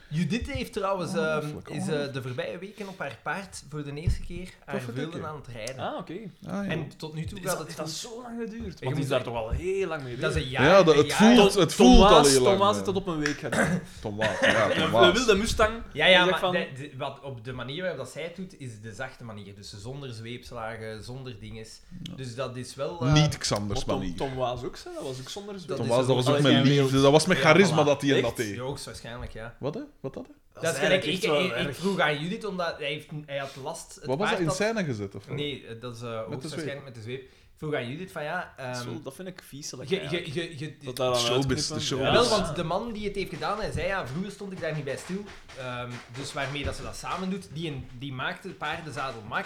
Judith heeft trouwens ehm, Ongelooflijk, is, eh, ongelooflijk. de voorbije weken op haar paard voor de eerste keer haar Perfect, dank veulen je. aan het rijden. Ah, oké. Ah, ja. En tot nu toe Is gaat het dat, heeft dat goed. zo lang geduurd? moet Want die is daar zeggen- toch al heel lang mee Dat is bezig. een jaar. Ja, dat- een het jaar. voelt- Tom- het voelt Thomas- al heel lang, Thomas ja. heeft dat op een week gedaan. Thomas. Ja, En Thomas. we wilden Mustang. Ja, ja, Ik zeg maar van- de- de- wat op de manier waarop dat zij het doet, is de zachte manier. Dus zonder zweepslagen, zonder dinges. Dus dat is wel... eh, Niet Xanders Want Tom, manier. Tom was ook zo, dat was ook zonder Tom zweep. Tom is Waas, dat ook- was ook Allee, met jij liefde. wilt- Dat was met Ja, charisma voilà. dat hij en dat Echt? deed. Joogs waarschijnlijk, ja. Wat, hè? Wat dat? hè? Dat is gelijk, eigenlijk ik, echt wel ik, ik erg. vroeg aan Judith, omdat hij, heeft, hij had last... het Wat was dat? paard In had- scène gezet? Of wat? Nee, eh, dat is eh ook de zweep. waarschijnlijk met de zweep. Ik vroeg aan Judith van ja... Dat is ehm, wel- Dat vind ik vieselijk. je- eigenlijk. je- je- je- Dat daar aan Showbiz, uitknippen. de showbiz. Ja, Wel, dat is- want de man die het heeft gedaan, hij zei ja, vroeger stond ik daar niet bij stil. Ehm, dus waarmee dat ze dat samen doet, die, een- die maakte paardenzadel mak.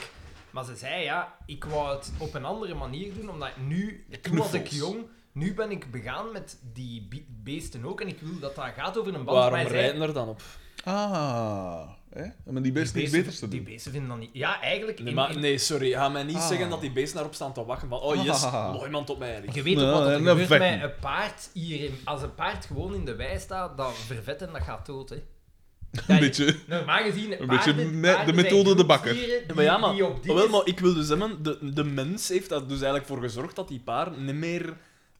Maar ze zei ja, ik wou het op een andere manier doen, omdat nu, toen was ik knuffels. jong, nu ben ik begaan met die bi- beesten ook en ik wil dat dat gaat over een band. Waarom Maar hij zei, rijden er dan op? Ah. Hè? Maar die best die beesten- niet beter te Die doen. beesten vinden dat niet... Ja, eigenlijk... Nee, in- maar, in- nee, sorry. Ga mij niet Ah. zeggen dat die beesten daarop staan te wachten. Van, oh yes, Ah. nog iemand op mij. Je weet Nee, ook wat er nee, gebeurt nee, met vechten. een paard hier. in- Als een paard gewoon in de wei staat, dat vervet en dat gaat dood, hè. Ja, Een je- beetje. Normaal gezien, Een paarden, beetje me- de paarden methode zijn de bakker. groepsdieren Ja, maar ja, die- maar, die op die wel, maar is- ik wil dus zeggen, de, de mens heeft daar dus eigenlijk voor gezorgd dat die paar niet meer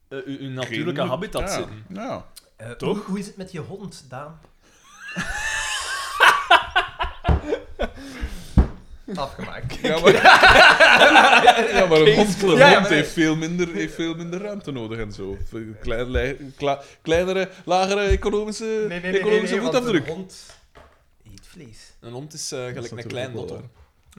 eh, hun- hun natuurlijke habitat ja. zitten. Ja. Eh, toch? Hoe, hoe is het met je hond, Daan? Afgemaakt. Ja, maar, ja, maar een hond, een Ja, ja, hond maar- heeft, veel minder, heeft veel minder ruimte nodig en zo. Klein, lei- kla- kleinere, lagere economische, economische want voetafdruk. Een hond eet vlees. Een hond is eh, Dat is gelijk een natuurlijk klein ook wel dotter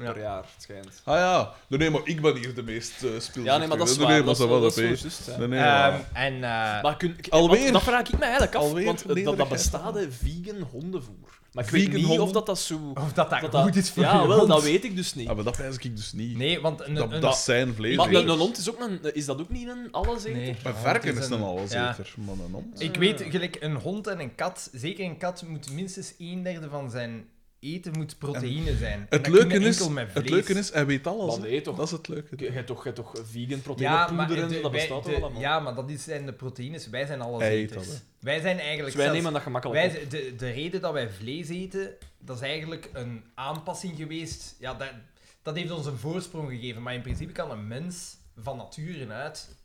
Ja. per jaar, het schijnt. Ah ja, nee, nee, maar ik ben hier de meest uh, speelzuchtige. Ja, nee, maar dat is Nee, waar. nee, dat, is maar wel- dat dat is is wel wel juist, hè. Nee, nee, Ehm, ja. en... eh, Maar kun, ik- Alweer. want Dat vraag ik me eigenlijk af, Alweer want eh, dat, dat nederigheid. bestaat, hè, vegan hondenvoer. Maar ik Vegan weet niet of honden? Oh, dat dat zo... of dat dat, dat dat- goed is voor Ja, je wel, hond. dat weet ik dus niet. Ah, maar dat wijs ik dus niet. Nee, want een, dat, een, dat zijn vlees. Maar eten. een, een hond is ook een... Is dat ook niet een alleseter? nee, Oh, Een een varken hond is dan al ja. zeker, maar een hond. Ik weet, gelijk een hond en een kat, zeker een kat moet minstens een derde van zijn eten moet proteïne zijn. En Het dat leuke, kunnen is, enkel met het vlees. leuke is, hij weet alles. Maar hè. nee, toch. Dat is het leuke. Je je hebt toch, je hebt toch vegan ja, proteïnepoeder maar en de- zo, dat wij- bestaat de- toch allemaal? Ja, maar dat is- zijn de proteïnes. Wij zijn alles Hij eet eters. dat, hè. wij zijn eigenlijk Dus wij zelfs- nemen dat gemakkelijk wij, op. zijn- de, de reden dat wij vlees eten, dat is eigenlijk een aanpassing geweest. Ja, daar, dat heeft ons een voorsprong gegeven. Maar in principe kan een mens van nature uit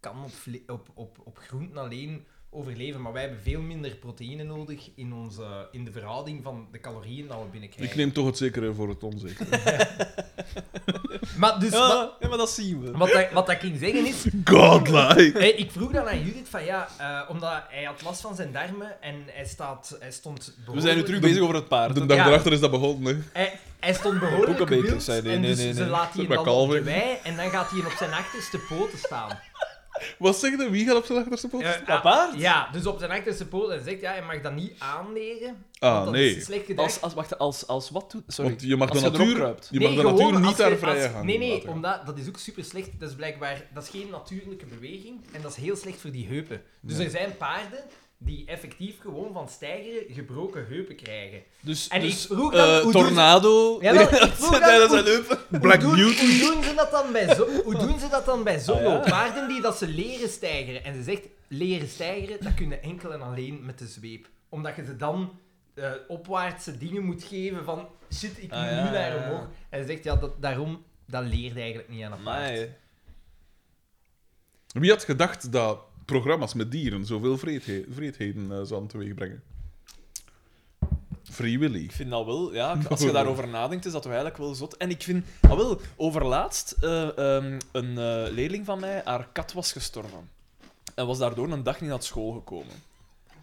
kan op, vle- op, op, op groenten alleen overleven. Maar wij hebben veel minder proteïne nodig in, onze, in de verhouding van de calorieën dat we binnenkrijgen. Ik neem toch het zekere voor het onzekere. Maar dus, Ja, wat, ja, maar dat zien we. wat, dat- wat dat ik ging zeggen is, Godlike! Hey, ik vroeg dan aan Judith van ja, eh, omdat hij had last van zijn darmen en hij, staat, hij stond We zijn nu terug bezig over het paard. De hè. dag Ja. daarachter is dat begonnen. hè. Hij, hij stond behoorlijk Boekenbeker, wild zei hij. en Nee, dus nee, ze nee. laat hij Bij hem dan op de Calvin. wei en dan gaat hij op zijn achterste poten staan. Wat zeg je? Wie gaat op zijn achterste poot? Eh, Dat ah, paard? Ja, dus op zijn achterste poten en zegt ja, hij mag dat niet aanleren. want ah, dat nee. is slecht Als, gedrag. als, wacht, als, als wat doet... Sorry. Want je mag als de erop natuur, kruipt. je mag Nee, de gewoon natuur als niet je- daar als- vrij gaan. Nee, nee, laten. omdat dat is ook super slecht. Dat is blijkbaar dat is geen natuurlijke beweging en dat is heel slecht voor die heupen. Dus Nee. er zijn paarden die effectief gewoon van stijgeren gebroken heupen krijgen. Dus, En dus ik vroeg dan, eh, hoe doen tornado... Ja, wel, ik dat vroeg zijn dan, tijdens hoe- zijn heupen. Black hoe, doen, Beauty. hoe doen ze dat dan bij zo, hoe doen ze dat dan bij zo'n Ah, ja. loop? Paarden die dat ze leren stijgeren. En ze zegt, leren stijgeren, dat kunnen enkel en alleen met de zweep. Omdat je ze dan eh, opwaartse dingen moet geven van, shit, ik moet Ah, ja, nu naar ja, ja. omhoog. En ze zegt, ja, dat, daarom, dat leert eigenlijk niet aan een paard. Amai. Wie had gedacht dat programma's met dieren zoveel vreedhe- vreedheden eh, zouden teweegbrengen? Free Willy. Ik vind dat wel, ja, als je daarover nadenkt, is dat wel eigenlijk wel zot. En ik vind, ah wel, overlaatst, eh, ehm, een eh, leerling van mij, haar kat was gestorven. En was daardoor een dag niet naar school gekomen.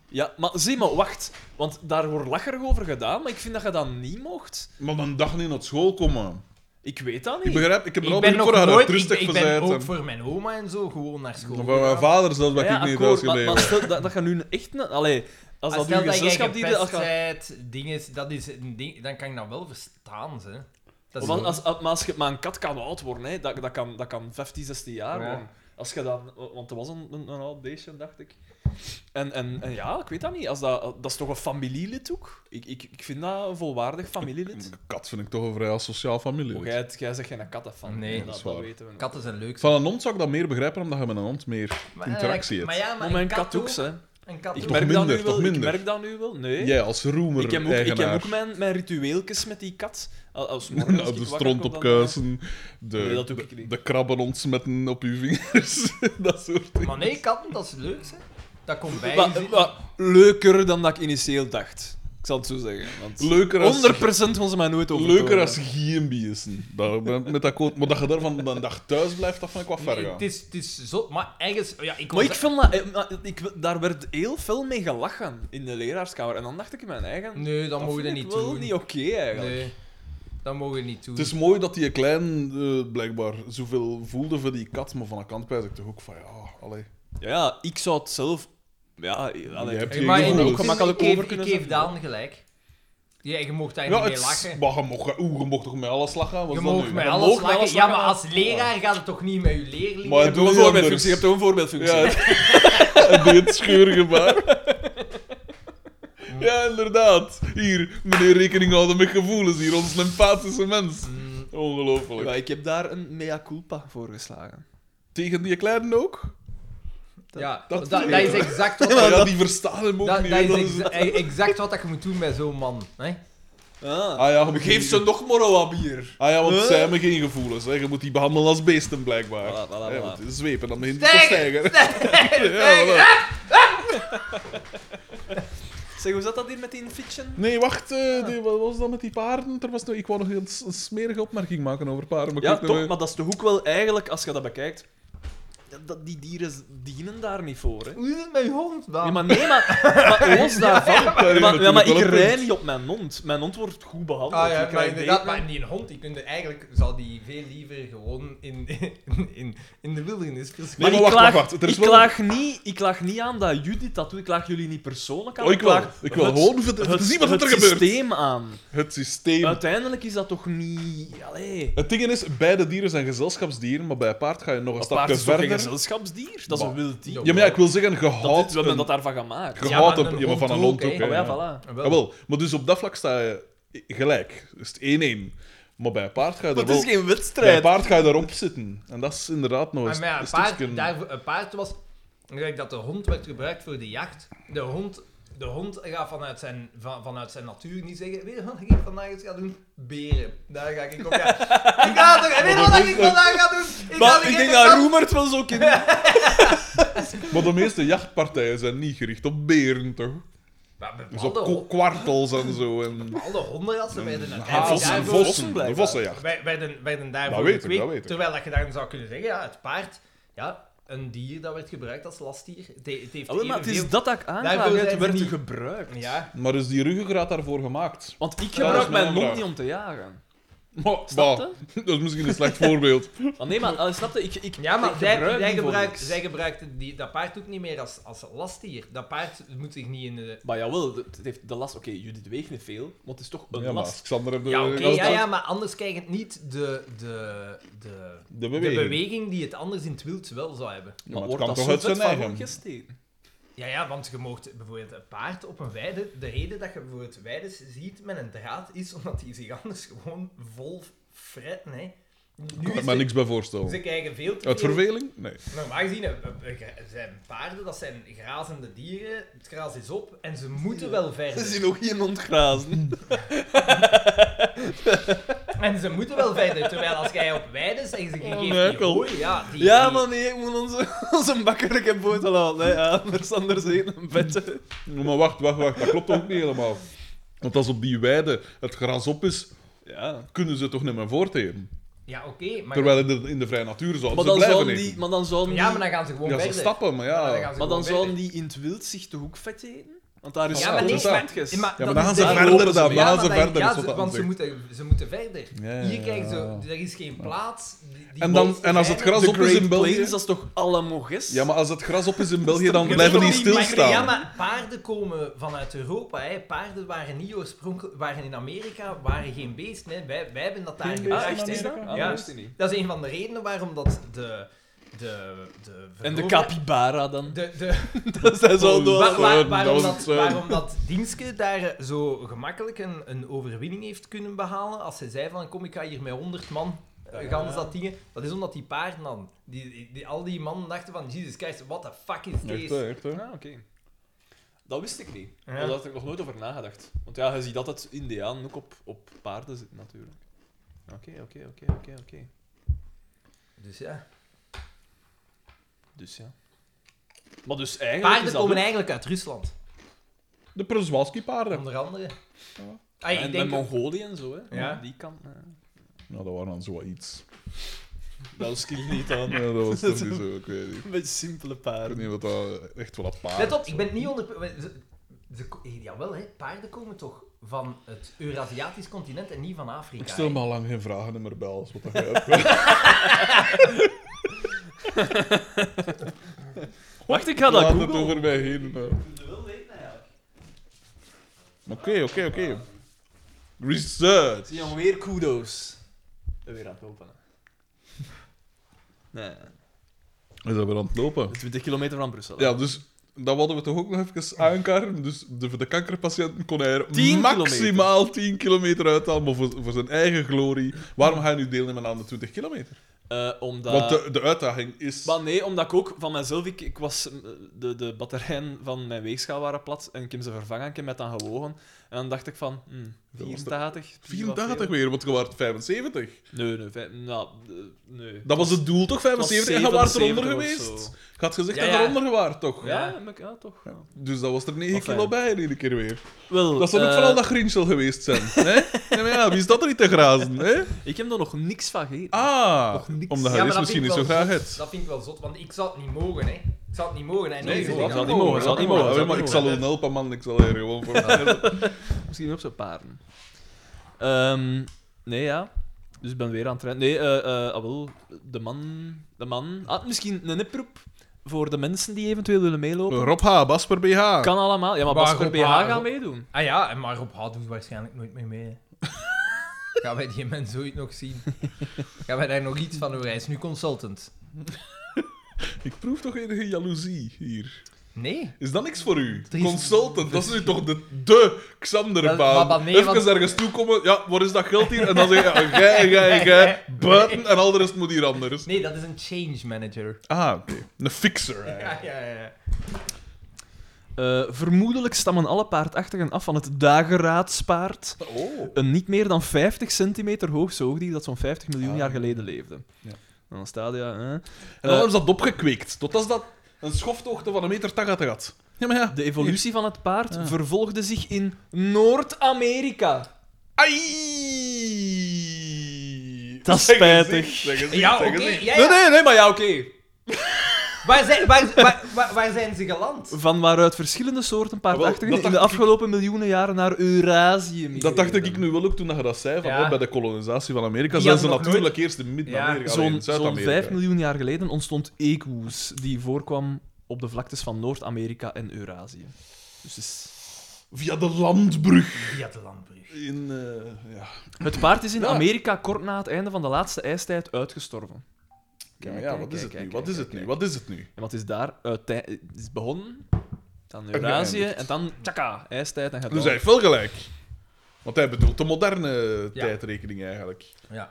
Ja, maar zie maar, wacht. Want daar wordt lacherig over gedaan, maar ik vind dat je dat niet mocht. Maar een dag niet naar school komen. Ik weet dat Ik niet. begrijp, ik heb er Ik al ben drie nog voor haar nooit, ik, rustig ik ben verzeild. ook en- voor mijn oma en zo gewoon naar school Van mijn gegaan. vader zelfs, dat Ja, ik niet akkoord, thuis maar, maar gebleven. stel dat, dat je nu echt... een- Allee, als Als dat Ah, stel uw dat jij gezelschap die... gepest Als, je- bent, ding is, dat is een ding, dan kan ik dat wel verstaan, ze. Dat is want als, als, maar, als je, maar een kat kan oud worden, hè. Dat, dat, kan, dat kan 15, 16 jaar Ja. worden. Als je dan, want er was een, een, een oud beestje, dacht ik. En, en, en ja, ik weet dat niet. Als dat, dat is toch een familielid ook? Ik, ik, ik vind dat een volwaardig familielid. Een Kat vind ik toch een vrij asociaal familie. Oh, jij, jij zegt geen kattenfan. Nee, dat, dat is dat waar. weten we. Katten zijn leuk. Van een hond zou ik dat meer begrijpen, omdat je met een hond meer Maar, eh, interactie hebt. Maar ja, maar Maar mijn een kat ook, hè. Een kat Ik ook. Toch merk, dat minder, nu wel, toch ik minder. merk dat nu wel. Nee. Jij als roemer ik heb ook, ik heb eigenaar. ook mijn, mijn ritueeltjes met die kat. Al- Als morgen, als ik de wakker stront kom, op dan- eh, kuisen, de, Nee, dat doe ik de, niet. de krabben ontsmetten op je vingers, dat soort dingen. Maar nee, katten, dat is leuk, hè. Dat komt bij. Wa- je zitten. wa- leuker dan dat ik initieel dacht. Ik zal het zo zeggen. Want Leuker als- 100% gaan ze mij nooit over. Leuker als GMB'sen. Daar ben ik met dat koot. Maar dat je daarvan een dag thuis blijft, dat vind ik wat ver Nee, gaan. het, is, het is zot, maar ergens... Ja, ik Maar was- ik vind dat, eh, maar ik, daar werd heel veel mee gelachen in de leraarskamer. En dan dacht ik in mijn eigen. Nee, dat, mogen we vind niet ik wel doen. niet oké eigenlijk. nee, dat mogen we niet doen. Eh, Het is mooi dat die klein eh, blijkbaar zoveel voelde voor die kat, maar van de kant pijs ik toch ook van ja, allee. Ja, ik zou het zelf. Ja, allee, Jij hebt Hey, geen maar gevoel. in ook die zin, gemakkelijk ik geef- over kunnen Ik geef zetten. Daan gelijk. Ja, je mocht daar Ja, niet het mee lachen. Maar je mocht, oeh, je mocht toch met alles lachen? Wat is Je dat mocht nu? met Je alles mocht met lachen. alles Ja, lachen, maar maar- als leraar gaat het toch niet met je leerlingen? Maar Je hebt ook een Doe je voorbeeldfunctie. Je anders. hebt ook een voorbeeldfunctie. Ja, en deed het scheurgebaar. Mm. Ja, inderdaad. Hier, meneer rekening houden met gevoelens. Hier, ons empathische mens. Mm, Ongelooflijk. Ja, ik heb daar een mea culpa voor geslagen. Tegen die kleinen ook? ja, dat, dat dat vind ik is wel. exact wat, Ja, dat, die verstaan hem ook dat niet. is hè. exa- e- exact wat je moet doen bij zo'n man. Hè? Ah. Ah ja, Geef ze nog maar wat bier. Ah ja, want Huh? zij hebben geen gevoelens. Hè. Je moet die behandelen als beesten, blijkbaar. Voilà, voilà, Ja, voilà. want die zwepen, dan begint die te Stijgen! stijgen. Ja, voilà. Zeg, hoe zat dat hier met die fiction? Nee, wacht. eh, die- wat was dat met die paarden? Er was nog, ik wou nog een, s- een smerige opmerking maken over paarden. Maar ik Ja, weet nog toch, wel- maar dat is toch ook wel eigenlijk, als je dat bekijkt, dat- dat, die dieren z- dienen daar niet voor. Hè? Hoe is het met je hond, Daan? Ja, maar nee, maar, maar los daarvan. Ja, maar, Daar heb je ja, maar natuurlijk ik wel een rij punt. niet op mijn hond. Mijn hond wordt goed behandeld. Ah ja, Oh, Ik maar krijg inderdaad, eten. maar die hond, die kunde eigenlijk, zou die veel liever gewoon in, in, in, in de wildernis Nee, verschijnen. Maar maar ik wacht, klaag- wacht, wacht. Er is ik, wel klaag niet, ik klaag niet aan dat Judith dat doet. Ik klaag jullie niet persoonlijk aan. Oh, ik wil, klaag ik wil het- gewoon ver- te zien wat het er gebeurt. systeem aan. Het systeem. Uiteindelijk is dat toch niet... Allee. Het ding is, beide dieren zijn gezelschapsdieren, maar bij een paard ga je nog een Dat paard stapje is toch verder. een gezelschapsdier? Dat is een Maar- wild dier. Ja, Ja, maar ja, ik wil zeggen, Dat gehouden. is, we hebben dat daarvan gemaakt. Ja, maar een van een hond hond ook, ook. hè. hè, Oh ja. ja, voilà. Ah, wel. Jawel, maar dus op dat vlak sta je gelijk. Dus het 1-1. Maar bij een paard ga je Maar er het is wel... geen Bij een wedstrijd. paard ga je erop zitten. En dat is inderdaad nog Ah, Maar eens ja, een, een stukje... paard, daarvoor- een paard was, gelijk dat de hond werd gebruikt voor de jacht, de hond de hond gaat vanuit zijn, van, vanuit zijn natuur niet zeggen, weet je wat ik vandaag eens ga doen? Beren. Daar ga ik op gaan. ik ga toch, weet je wat ik vandaag ga doen? Ik ga Maar de hele ik denk dat dag- Roemert wel zo kind. Maar de meeste jachtpartijen zijn niet gericht op beren, toch? Maar met Dus alle, op ko- ho- kwartels en zo. En, alle hondenrassen werden ja, en uiteindelijk vossen, ja, daarvoor- vossen vossen, de blijkbaar. vossenjacht. wij- werden, werden daarvoor Dat weet ik, dat gekweekt. weet ik. Terwijl dat je dan zou kunnen zeggen, ja, het paard, ja, een dier dat werd gebruikt als lastdier. Het, he- het heeft Allee, maar het evenveel- is dat dat ik Daarvoor aanklaag. Het zijn werd ze niet. gebruikt. Ja, Maar is die ruggengraat daarvoor gemaakt? Want ik Ja, dat gebruik is mijn mijn mond vraag. niet om te jagen. Maar, Snap bah, dat is misschien een slecht voorbeeld. Want nee, maar allee, snap je? Ik, ik, ja maar ik zij, gebruik zij, die voor gebruikt, niks. zij gebruikten die, dat paard ook niet meer als, als lastdier. Dat paard moet zich niet in de... Maar jawel, het het heeft de last. Oké, Judith weegt niet veel, want het is toch een Ja, maar last. Xander heeft de, Ja, oké, als ja, dat- ja, maar anders krijg je het niet de, de, de, de de beweging. beweging die het anders in het wild wel zou hebben. Ja, maar het wordt dat kan toch zo uit vet zijn van eigen. opgesteken? Ja, ja, want je moogt bijvoorbeeld een paard op een weide. De reden dat je bijvoorbeeld weides ziet met een draad is omdat die zich anders gewoon vol fretten. Hè. Ik Nu kan is me het- niks bij voorstellen. ze krijgen veel te Uit veel- verveling? Nee. Normaal gezien eh, eh, eh, zijn paarden, dat zijn grazende dieren. Het gras is op en ze moeten wel Ze verder. zien ook geen ontgrazen. En ze moeten wel verder. Terwijl als jij op weide zegt, ze Oh, geeft die Michael. hooi. Ja, die, Ja, die- maar nee, ik moet onze, onze bakker ik heb boot al aan. hè. Ja, anders anders eten een bed. Nou, Maar wacht, wacht, wacht. Dat klopt ook niet helemaal. Want als op die weide het gras op is, Ja. kunnen ze toch niet meer voorteten. ja oké. maar Terwijl in de, in de vrije natuur zouden Maar ze dan blijven zouden eten. die, maar dan zouden Ja, die, maar dan gaan ze gewoon Ja, ze verder. stappen, maar ja. Maar dan gaan ze maar gewoon dan zouden verder. die in het wild zich de hoek vet eten. Want daar is Ja, maar dat nee, is maar, vet. maar Ja, maar dat dan gaan is ze daar- verder, lopen dan, maar Ja, dan gaan ze maar dan- verder, ja, is wat ze- dat want ze zegt. moeten, ze moeten verder. Ja, Hier ja, krijgen ja. ze, er is geen plaats. die- die En dan- mensen en als het rijden- gras de op is in Great België. Plains, dat is toch allemaal gis? Ja, maar als het gras op is in België, Dat dan is toch- blijven dat die is toch niet stilstaan. Ja, maar paarden komen vanuit Europa. Hè. Paarden waren niet oorspronkelijk, waren in Amerika, waren geen beesten. Hè. Wij, wij hebben dat daar Geen Ah, beesten gebracht. echt, in hè. is dat? Amerika? Ah, dus- Ja. dat wist ik niet. Dat is een van de redenen waarom dat de... de, de En de veroveren- capybara dan. De, de, Dat zijn zo Oh, door. Wa- wa- eh, waarom, dat was dat, het, eh. waarom dat Dienske daar eh, zo gemakkelijk een, een overwinning heeft kunnen behalen, als ze zei van kom, ik ga hier met 100 man eh, Ja. gans dat dingen, dat is omdat die paarden dan, die, die, die- al die mannen dachten van, Jesus Christ, what the fuck is Echt, this? hè, echt, hè. Ah, oké. Dat wist ik niet. Ja. Daar had ik nog nooit over nagedacht. Want ja, je ziet dat het Indiaan ook op, op paarden zit, natuurlijk. Oké, oké, oké, oké, oké. Dus ja. Dus ja. Maar dus eigenlijk. Paarden is dat komen ook- eigenlijk uit Rusland, De Przewalski-paarden. onder andere. Ja. Ah, ik en denk, met Mongolië en zo, hè? Ja. Die eh. kant. nee. Nou, dat waren dan zo wat iets. Dat was ik niet aan. Ja, dat was toch niet zo, ik weet niet. Met simpele Ik weet paarden. niet wat dat... Echt wel dat paard. let op, ik ben het niet onder... Ze, ze, eh, jawel, hè, paarden komen toch van het Eurasiatisch continent en niet van Afrika. Ik stel hè? me al lang geen vragen meer bij alles wat dat jij hebt. Wacht, ik ga dat Laat het googlen. over mij heen. nou. wel weten eigenlijk. Oké, oké, oké. Research. Zie je weer kudos. Weer aan het openen. Nee, We zijn weer aan het lopen. 20 kilometer van Brussel. hè. Ja, dus dat wilden we toch ook nog even aankaarten. Dus de, voor de kankerpatiënten kon hij er 10 maximaal 10 kilometer uithalen, maar voor, voor zijn eigen glorie. Waarom ga je nu deelnemen aan de 20 kilometer? Eh, omdat... Want de, de uitdaging is... Maar nee, omdat ik ook van mezelf, ik, ik was, eh, de, de batterijen van mijn weegschaal waren plat en ik heb ze vervangen, ik heb met dan gewogen. En dan dacht ik van, hmm, Hoeveel was dat? 84. is wat 84 veel. weer, want je waart 75. Nee, nee, vijf- nou, eh, nee. Dat was het doel toch, was 75? En je waart 77 eronder of geweest. zo. Je had gezegd Ja, dat je ja. eronder waart, toch? Ja, maar ik- ja, toch. ja. Dus dat was er 9 Enfin. kilo bij in iedere keer weer. Wel, Dat zal ook eh, vooral dat Grinchel geweest zijn. hè? Nee, maar ja, wie is dat er niet te grazen? Hè? Ik heb er nog niks van gegeten. Ah, Nog niks. omdat Ja, hij maar is dat misschien vind niet ik zo wel graag zot. het. Dat vind ik wel zot, want ik zou het niet mogen, hè. Ik zou het niet mogen. En Nee, ineens ik zeg ik, zou het ah, niet mogen, ik zou het niet mogen. mogen. Ja, maar ik zal u helpen, man. Ik zal hier gewoon voor. Misschien op zo'n paarden. Ehm, nee, ja. Dus ik ben weer aan het trainen. Nee, eh eh, ah, wel, de man... De man... Ah, misschien een oproep voor de mensen die eventueel willen meelopen. Rob H, Basper BH. Kan allemaal. Ja, maar Maar Bas voor goed, BH maar- gaan meedoen. Ah ja, en maar Rob H. doet waarschijnlijk nooit meer mee. hè. Gaan wij die mens ooit nog zien? Gaan wij daar nog iets van horen? Hij is nu consultant. Ik proef toch enige jaloezie hier. Nee. Is dat niks voor u? Er is- Consultant, dat is nu toch de, de Maar- maar- maar Xanderbaan. nee, Even want- ergens toekomen, ja, waar is dat geld hier? En dan zeg je, ja, jij, jij, jij, buiten en al de rest moet hier anders. Nee, dat is een change manager. Ah, oké. Een fixer. eigenlijk. ja, ja. Eh, vermoedelijk stammen alle paardachtigen af van het dageraadpaard. Oh. Een niet meer dan 50 centimeter hoog zoogdier dat zo'n 50 miljoen Ah. jaar geleden leefde. Ja. En dan staat ja, hè. En Eh. dan hebben ze dat opgekweekt, totdat dat een schoftoogte van een meter tachtig had. Ja, maar ja. De evolutie van het paard Ah. vervolgde zich in Noord-Amerika. Ai! Dat is Zeg eens, spijtig. zeg eens, Ja, zeg oké. eens. ja, Nee, ja. nee, nee, maar ja, oké. Waar, zijn, waar, waar, waar, waar zijn ze geland? Van waaruit verschillende soorten Ah, Wel, paardachtigen dat in de dacht ik- afgelopen miljoenen jaren naar Eurasië Dat dacht ik migreren. nu wel ook toen je dat zei, van, Ja. hè, bij de kolonisatie van Amerika Die zijn ze hadden nog natuurlijk eerst in Midden-Amerika, alleen in Zo'n zo'n Zuid-Amerika. 5 miljoen jaar geleden ontstond Equus, die voorkwam op de vlaktes van Noord-Amerika en Eurasië. Dus is... Via de landbrug. Via de landbrug. In, eh, ja. Het paard is in Ja. Amerika kort na het einde van de laatste ijstijd uitgestorven. Ja, Kijk, maar ja, kijk, wat is kijk, het nu? kijk, Wat is kijk, het nu? kijk. Wat is het nu? En wat is daar? Uitei- Het is begonnen, dan Eurasië geëindigd. en dan tjaka, ijstijd en gaat Dus hij door. heeft wel gelijk. Want hij bedoelt de moderne Ja. tijdrekening eigenlijk. Ja.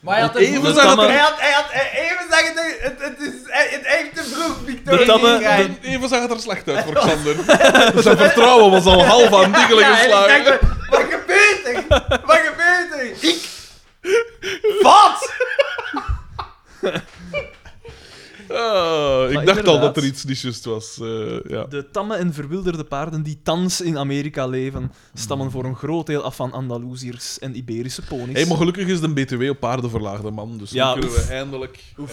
Maar hij had, Want een even vroeg- zag het er- hij had, hij had eh, even zeggen, het, het, het is eh, het heeft te vroeg, Victor. De tamme- Ingrijn. de- Even zag het er slecht uit Oh. voor Xander. Dus Zijn vertrouwen was al half aan diegelen Ja, en ik geslagen. dacht, wat gebeurt er? Wat gebeurt er? Ik... Wat? Ah, Maar ik dacht al dat inderdaad. Dus- er iets niet juist was. eh, ja. De tamme en verwilderde paarden die thans in Amerika leven, stammen voor een groot deel af van Andalusiërs en Iberische ponies. Hey, maar gelukkig is de BTW op paarden verlaagd, hè, man. Dus Ja, nu kunnen oef. we eindelijk... eh,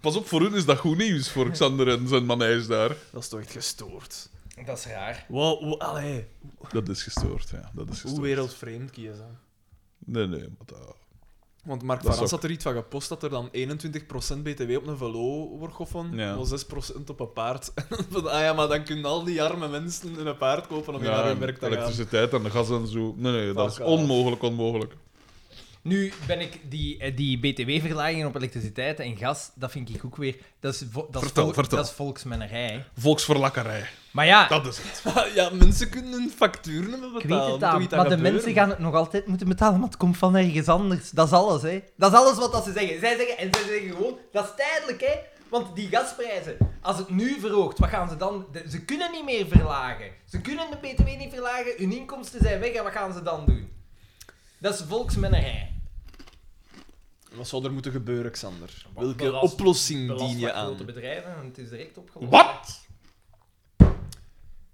pas op, voor hun is dat goed nieuws, voor Xander en zijn manijs daar. Dat is toch echt gestoord. Dat is raar. Wow, wow, allee. Dat is gestoord, ja. Dat is Hoe gestoord. wereldvreemd kiezen. Nee, nee, maar dat... Want Mark Dat is Varans ook- had er iets van gepost dat er dan 21% btw op een velo wordt geoffen, Ja. maar 6% op een paard. van, ah ja, maar dan kunnen al die arme mensen een paard kopen om naar Ja, hun werk te gaan. elektriciteit en gas en zo. Nee, nee, dat is Fuck onmogelijk, onmogelijk. Nu ben ik die, eh, die btw-verlagingen op elektriciteit en gas, dat vind ik ook weer... Dat is, vo- dat is, Vertel, vol- vertel. Dat is volksmennerij. hè. Volksverlakkerij. Maar ja, Dat is het. Ah, ja, mensen kunnen hun facturen hebben ik weet betalen. het Toch aan, iets maar de gebeuren. mensen gaan het nog altijd moeten betalen, want het komt van ergens anders. Dat is alles, hè. Dat is alles wat dat ze zeggen. Zij zeggen, en zij zeggen gewoon, dat is tijdelijk, hè. Want die gasprijzen, als het nu verhoogt, wat gaan ze dan... de- ze kunnen niet meer verlagen. Ze kunnen de btw niet verlagen, hun inkomsten zijn weg, en wat gaan ze dan doen? Dat is volksmennerij. Wat zou er moeten gebeuren, Xander? Wat Welke belast- oplossing Belast dien je wat aan? grote bedrijven en het is direct opgelost. Wat?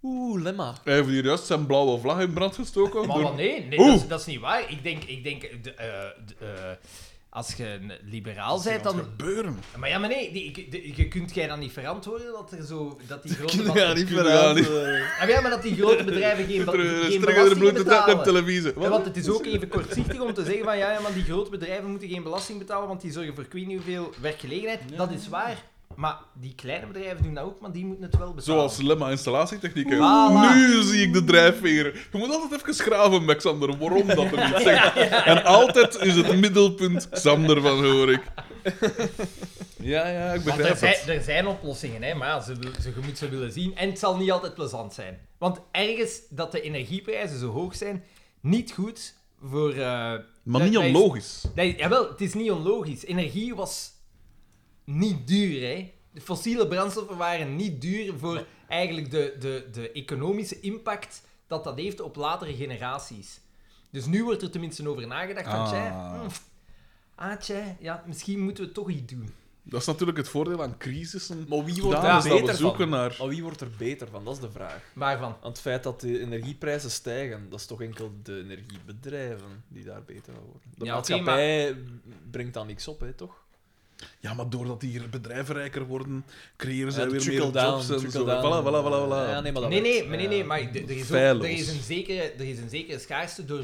Oeh, lemma. Hij heeft hier juist zijn blauwe vlag in brand gestoken. Maar door- wat, nee, nee Oeh. dat, is, dat is niet waar. Ik denk, ik denk de, eh, de, eh, als je een liberaal bent, Wat dan... gebeuren? Maar ja, maar nee, die, ik- de- je kunt jij dan niet verantwoorden dat er zo... Dat die grote, Kunnen ja, niet kunnen veranderen. Ah, ja, maar dat die grote bedrijven geen, Zit er be- een geen strikker de belasting bloed te tappen op betalen. televisie. Ja, want het is ook even kortzichtig om te zeggen van ja, ja, maar die grote bedrijven moeten geen belasting betalen, want die zorgen voor ik weet niet hoeveel werkgelegenheid. Dat is waar. Maar die kleine bedrijven doen dat ook, maar die moeten het wel betalen. Zoals Lemma installatietechnieken. Voilà. Nu zie ik de drijfveer. Je moet altijd even schraven met Xander, waarom dat er niet zegt. En altijd is het middelpunt Xander van Horik. eh, Ja, ja, ik Want er begrijp zijn, het. er zijn oplossingen, hè, maar ja, ze, wil- ze, je moet ze willen zien. En het zal niet altijd plezant zijn. Want ergens dat de energieprijzen zo hoog zijn, niet goed voor... eh, Maar dat- niet dat is- onlogisch. dat is- jawel, het is niet onlogisch. Energie was niet duur, hè. De fossiele brandstoffen waren niet duur voor eigenlijk de, de, de economische impact dat dat heeft op latere generaties. Dus nu wordt er tenminste over nagedacht van, Ah. tja, hm, ah, tja, ja, misschien moeten we toch iets doen. Dat is natuurlijk het voordeel aan crisissen. Maar wie wordt Daar er is dat we beter zoeken van? naar. Maar wie wordt er beter van? Dat is de vraag. Waarvan? Aan het feit dat de energieprijzen stijgen, dat is toch enkel de energiebedrijven die daar beter van worden. Ja, De oké, maatschappij brengt daar niks op, hè, toch? Ja, maar doordat hier bedrijven rijker worden, creëren zij Ja, Eh, de weer meer trickle-down, jobs en zo. trickle-down. Voilà, voilà, voilà, voilà. Ja, nee, maar dat Nee, nee, werkt. maar, nee, Ja. nee, maar d- er is, ook, Feilloos. er, is een zekere, er is een zekere schaarste door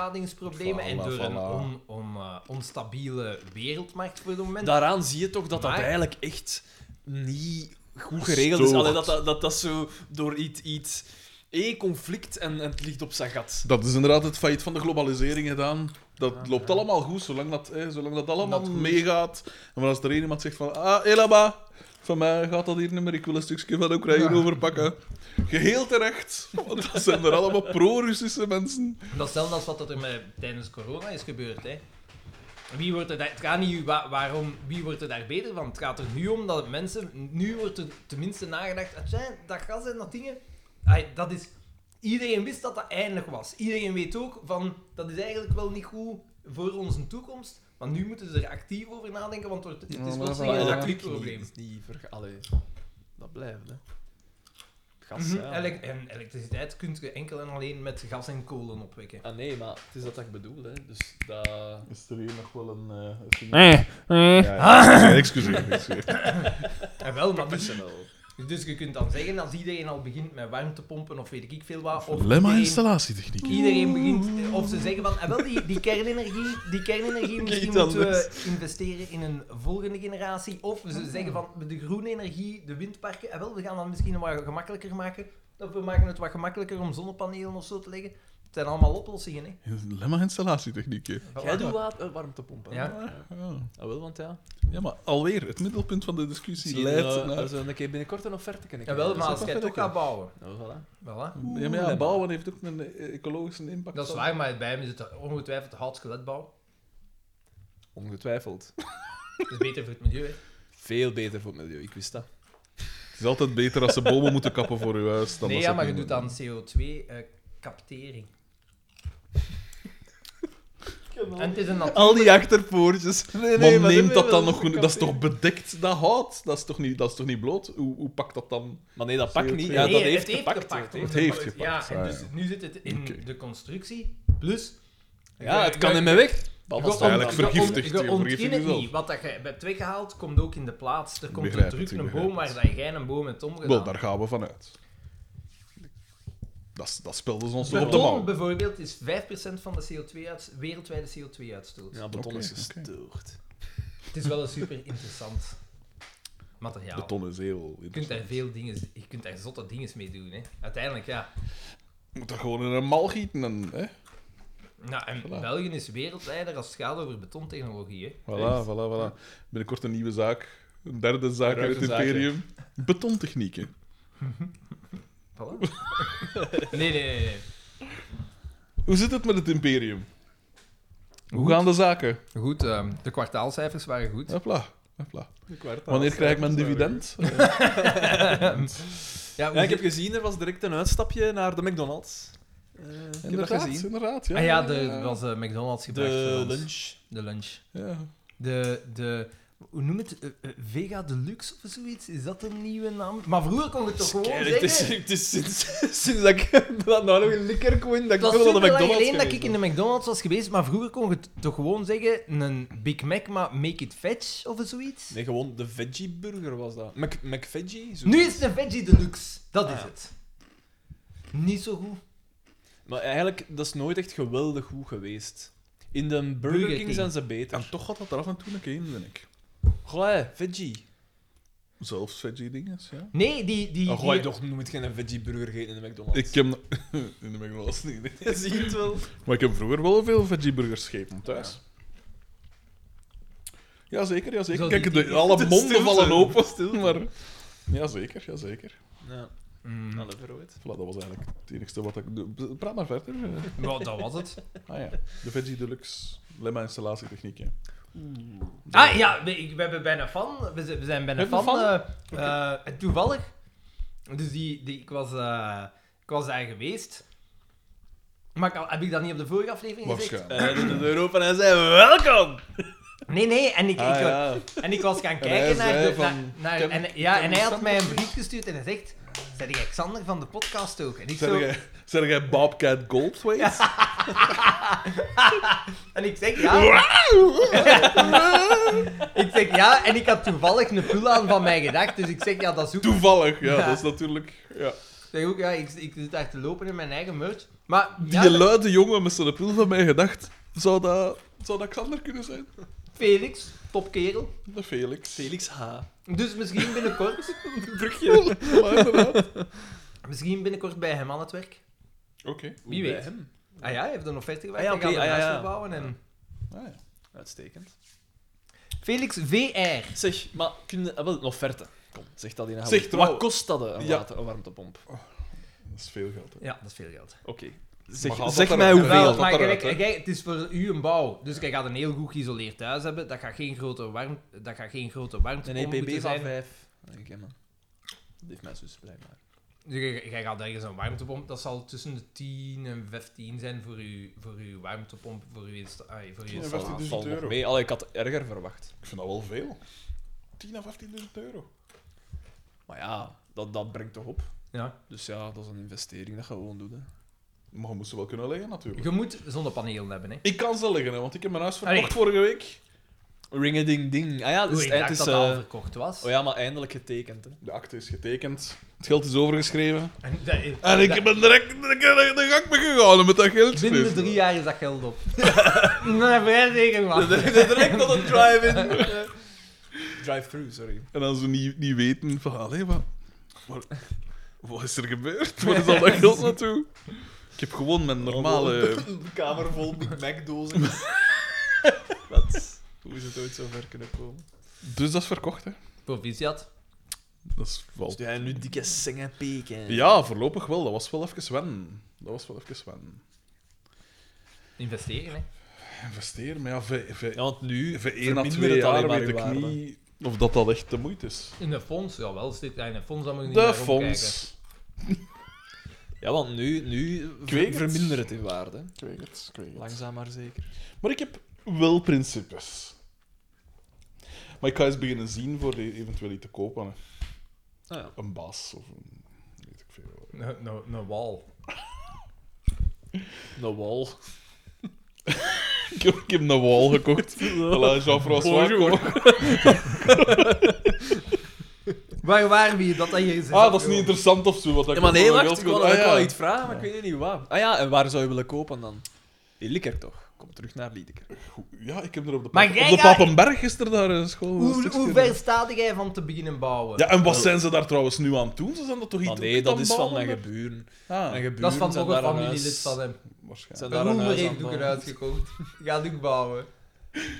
bevoorradingsproblemen en Voilà, door een voilà. on, on, eh, onstabiele wereldmarkt voor het moment. Daaraan zie je toch dat dat Maar- eigenlijk echt niet goed geregeld is. Stoort. Allee, dat, dat, dat dat zo door iets... iets één conflict en, en het ligt op zijn gat. Dat is inderdaad het feit van de globalisering gedaan. Dat loopt allemaal goed, zolang dat, eh, zolang dat allemaal Dat goed. meegaat. En als er één iemand zegt van, ah, Elaba, van mij gaat dat hier niet meer, ik wil een stukje van Oekraïne overpakken. Geheel terecht, want dat zijn er allemaal pro-Russische mensen. Dat is hetzelfde als wat er met, tijdens corona is gebeurd. Hè. Wie wordt er daar, het gaat niet wa- waarom, wie wordt er daar beter van. Het gaat er nu om dat het mensen, nu wordt er tenminste nagedacht, "Ah, tja, dat gas en dat dingen, ai, dat is, iedereen wist dat dat eindig was. Iedereen weet ook van, dat is eigenlijk wel niet goed voor onze toekomst, maar nu moeten ze er actief over nadenken, want het, wordt- het is Ja, wel maar een voilà. heel dat dat acuut klikt probleem. niet. niet verga- Allee, dat blijft, hè. Gas, Mhm, ja. elec- en elektriciteit kun je enkel en alleen met gas en kolen opwekken. Ah nee, maar het is dat dat ik bedoel, hè. Dus dat... Is er hier nog wel een... Nee, nee. Ah, excuseer, excuseer. En wel, maar dus, Professional. dus je kunt dan zeggen, als iedereen al begint met warmtepompen of weet ik veel wat, of Lemma iedereen- installatietechniek. Iedereen begint, of ze zeggen van, eh, wel, die, die kernenergie, die kernenergie misschien iets moeten we anders. Ah. investeren in een volgende generatie. Of ze zeggen van, de groene energie, de windparken, eh, wel, we gaan dat misschien wat gemakkelijker maken. Of we maken het wat gemakkelijker om zonnepanelen of zo te leggen. Het zijn allemaal oplossingen, hè. Lemma installatietechniek. hè. Jij doet wat eh, warmtepompen. hè? Ja. Ja. Ah, wel, want ja. ja, maar alweer, het middelpunt van de discussie Zie je, leidt eh, naar... als we een keer binnenkort een offerte kunnen krijgen. Jawel, maar Dus als jij het ook gaat bouwen. dat- Nou, voilà. Voilà. Ja, maar ja, Lemma. bouwen heeft ook een eh, ecologische impact. Dat is waar, maar bij hem is het ongetwijfeld houtskeletbouw. Ongetwijfeld. Dat is beter voor het milieu, hè. Veel beter voor het milieu, ik wist dat. Het is altijd beter als ze bomen moeten kappen voor uw huis. Dan Nee, dat ja, ze maar je het doet niet aan eh, CO2-captering. en het is een natuur... Al die achterpoortjes. Nee, doen. maar neemt dat dan nog... Dat is toch bedekt, dat hout? Dat is toch niet, dat is toch niet bloot? Hoe, hoe pakt dat dan? Maar nee, dat pakt CO2. niet. Ja, Nee, dat het heeft gepakt. hè. hoor. Het heeft gepakt, Ja, en ah, dus ja. nu zit het in Oké. de constructie. Plus... Ja, het kan Je- in mijn weg. Dat je- was je- eigenlijk je- je- vergiftigt, je je vergiftigt ontkent het jezelf. niet. Wat dat je hebt weggehaald, komt ook in de plaats. Er komt begrijp een het, druk, ik een begrijp boom waar het. dat jij een boom hebt omgedaan. Wel, daar gaan we vanuit. Dat, is- dat speelden ze ons toch op de Beton mouw. bijvoorbeeld is 5% van de CO2 uit, wereldwijde CO2-uitstoot. Ja, beton Oké, is oké. gestoord. Het is wel een super interessant materiaal. Beton is heel... Je kunt daar veel dingen, je kunt daar zotte dingen mee doen. Hè. Uiteindelijk, ja. Je moet dat gewoon in een mal gieten en... Hè? Nou, en Voilà. België is wereldleider als het gaat over betontechnologie. Hè. Voilà, voilà, voilà. Binnenkort een nieuwe zaak. Een derde zaak Ruikt uit het een zaakje. imperium. Betontechnieken. Voilà. nee, nee, nee, nee. Hoe zit het met het imperium? Hoe gaan de zaken? Goed, ehm, de kwartaalcijfers waren goed. Hopla, hopla. Wanneer krijg ik mijn dividend? Ja, Ja, hoe ik heb zit- gezien, er was direct een uitstapje naar de McDonald's. Eh, ik heb dat Inderdaad, gezien. inderdaad. Ja, Ah ja, er was eh, McDonald's gebracht. De voor ons. lunch. De lunch. Ja. De, de, hoe noem het? Eh, eh, Vega Deluxe of zoiets? Is dat een nieuwe naam? Maar vroeer kon je toch gewoon Kijk, zeggen... het is, het is sinds, sinds dat ik dat nou nog een likker kon, dat ik Het was toch wel super naar de lang McDonald's geleden dat geweest ik in de McDonald's was geweest, maar vroeger kon je t- toch gewoon zeggen een Big Mac, maar make it veg of zoiets? ben. Nee, gewoon de veggie burger was dat. Mc, McVeggie? zo. Nu is het een Veggie Deluxe. Dat is Ah, ja. het. Niet zo goed. Maar eigenlijk, dat is nooit echt geweldig goed geweest. In de Burger, Burger King, King. Ah, zijn ze beter. En toch gaat dat er af en toe een keer in, vind ik. Goh, veggie. Zelfs veggie dinges, ja. Nee, die... die, Dan die gooi je toch nooit geen veggie burger eten in de McDonald's. Ik heb... In de McDonald's niet. nee. Je ziet het wel. Maar ik heb vroeger wel veel veggieburgers gegeten thuis. Jazeker, jazeker. Zo Kijk, die- de, alle de monden stil vallen zijn. open, stil, maar... Jazeker, jazeker. Ja, Mm, alle verrooid. Voilà, dat was eigenlijk het enigste wat ik... doe. Praat maar verder. eh. maar dat was het. Ah ja, de Veggie Deluxe Lemma installatietechniek, hè. Ah ja, we, ik- we hebben bijna fan. We, zi- we zijn bijna Hebben fan. we eh eh, en toevallig. Dus die, die, ik, was, eh, ik was daar geweest. Maar ik al- heb ik dat niet op de vorige aflevering gezegd? Waarschijnlijk. Hij doet eh, de deur open en zei, welkom! Ah, Nee, nee. En ik, ik, Ah, ja. En ik was gaan hij kijken naar, zei de, van, naar, naar- "Ken- en, ja, ken en hij had Sander mij een precies?" brief gestuurd en hij zegt... Zijn jij Xander van de podcast ook? En ik, Zeg zo, jij, zeg jij Bobcat Goldthwait? en ik zeg ja. ik zeg ja, en ik had toevallig een pull aan van mij gedacht, dus ik zeg ja, dat is ook... Toevallig, ja, Ja. dat is natuurlijk... Ja. Ik zeg ook ja, ik, ik zit daar te lopen in mijn eigen merch. Maar Die ja, dat- luide jongen met zijn pil van mij gedacht, zou dat, zou dat Xander kunnen zijn? Felix, topkerel. De Felix. Felix H. Dus misschien binnenkort, Brugje. Ja, inderdaad. Oké. misschien binnenkort bij hem aan het werk. Wie weet. Hem. Ah ja, hij heeft een offerte gewerkt, Ah ja, hij oké, gaat een ah ja, huis ja. verbouwen en... Ah, ja. Uitstekend. Felix VR. Zeg, maar kun je, ah, wel, een offerte. Kom, zeg dat in een Zeg, half uur. Wat trouw- kost dat, eh, een, Ja. water, een warmtepomp? Oké. Dat is veel geld, hè. Ja, dat is veel geld. Zeg, Maar gaat zeg dat mij er- hoeveel. gaat Wel, dat maar eruit, kijk, hè? kijk, het is voor u een bouw. Dus je gaat een heel goed geïsoleerd thuis hebben. Dat gaat geen grote warmte, dat gaat geen grote warmte Een om moeten EPB van zijn. 5. Denk ik, hè, man. Dat heeft mijn zus Ah, blijkbaar. Dus jij- jij gaat ergens een warmtepomp, dat zal tussen de 10 en 15 zijn voor uw, voor uw warmtepomp, voor uw, insta- ai, voor uw Ja, installatie. wacht, Dat 10.000 valt nog euro. mee. Allee, ik had erger verwacht. Ik vind dat wel veel. 10 à 15.000 euro. Maar ja, dat, dat brengt toch op. Ja. Dus ja, dat is een investering dat je gewoon doet. Hè. Maar je moest ze wel kunnen leggen, natuurlijk. Je moet zonnepanelen hebben, hè. Ik kan ze leggen, hè, want ik heb mijn huis verkocht Allee. vorige week. Ring a ding ding. Ah ja, het Hoe is, ik het dacht is, dat dat al eh, verkocht was. Oh ja, maar eindelijk getekend. Hè. De akte is getekend. Het geld is overgeschreven. En dat- En dat- ik ben direct de, de gang mee gegaan met dat geld. Dus- Binnen de drie jaar is dat geld op. nee, vrij zeker, man. Direct tot een drive-in. Drive-through, sorry. En als ze niet, niet weten van, allee, wat, wat, wat is er gebeurd? Waar is al dat geld naartoe? Ik heb gewoon mijn normale... Een kamer vol Big Mac-dozen. Wat? Hoe is het ooit zo ver kunnen komen? Dus dat is verkocht, hè. Proficiat. Dat is wel... jij Dus nu dikke zingen peken? Ja, voorlopig wel. Dat was wel even wennen. Dat was wel even wennen. Investeren, hè. Investeer, maar ja, v, v, Ja, want nu, v 1 à verminderen 2 het alleen jaar maar weet uw ik waarde. niet of dat dat echt de moeite is. In de fonds, jawel. Zit in de fonds, dan moet je niet De naar omkijken. fonds. Ja, want nu, nu ver- Ik weet het. vermindert het in waarde. Ik weet het, ik weet het. Langzaam maar zeker. Maar ik heb wel principes. Maar ik ga eens beginnen zien voor e- eventueel iets te kopen. hè. Ah ja. Een baas of een... weet ik veel. Een- Een een wal. De wal. Ik heb, ik heb een wal gekocht. Voilà, Jean-François. kom. Waar waren we hier? dat dat hier is? Ah, dat is niet interessant of zo. Wat ik Ja, maar nee, voor mijn wacht. Ik geld wil kon- ah, ja. wel iets vragen, maar ik weet niet wat. Ah ja, en waar zou je willen kopen dan? In Likker toch? Kom terug naar Liedeker. Ja, ik heb er op de, Maar pap- jij op de gaat- Papenberg gisteren daar een school. een Hoe, stukje hoe gedaan. ver staat jij van te beginnen bouwen? Ja, en wat zijn ze daar trouwens nu aan het doen? Ze zijn dat toch iets Maar Ah, nee, dat is van mijn een geburen. ah, Mijn geburen dat is van zijn nog een daar familielid huis- van hem. zijn waarschijnlijk. Een daar een roemer huis aan heeft ook bouwen. eruit gekocht. Gaat ook bouwen.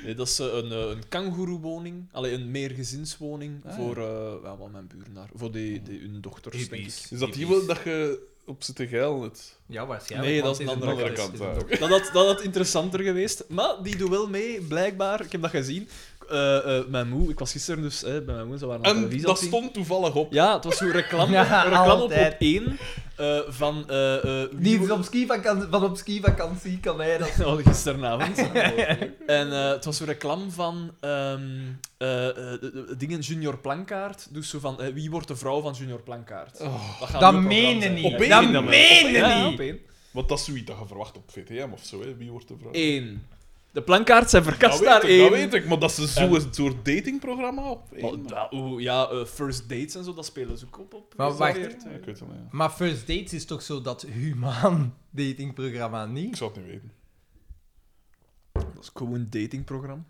Nee, dat is eh, een, eh, een kangoeroewoning. Allee, een meergezinswoning Ah, ja. voor eh, ja, wel mijn buren daar. Voor die, die, hun dochters, denk ik. Is dat die wel dat je op zit te geilen? Het... Ja, waarschijnlijk. Nee, want dat is het een andere dokter, kant, het is een ja. dokter. Dat had, dat had interessanter geweest. Maar die doet wel mee, blijkbaar. Ik heb dat gezien. Eh, eh, mijn moe, ik was gisteren dus eh, bij mijn moe, ze waren aan de En televisie dat aan het zien. stond toevallig op. Ja, het was zo'n reclame, Ja, een reclame op, altijd. op één eh, van... eh, eh, wie Die is wordt- op skivakantie, van op skivakantie kan hij dat. Oh, gisteravond. en eh, het was een reclame van ehm, eh, eh, de- de- de dingen Junior Plankaart. Dus zo van, eh, wie wordt de vrouw van Junior Plankaart? Oh, Dat, Dat meen menen je niet. Op één Dat nummer. meen je Ja, niet. op één. Want dat is zoiets dat je verwacht op VTM of zo. Hè? Wie wordt de vrouw? Eén. De plankaart zijn dat, verkast weet naar ik, één. dat weet ik, maar dat is En- zo'n soort datingprogramma op één. Maar dat- oeh, ja, eh, first dates en zo, dat spelen ze ook op. op Maar is dat wacht. weer? Ja, ik weet het wel, ja. Maar First Dates is toch zo dat humaan datingprogramma, Ik niet? zou het niet weten. Dat is gewoon een datingprogramma.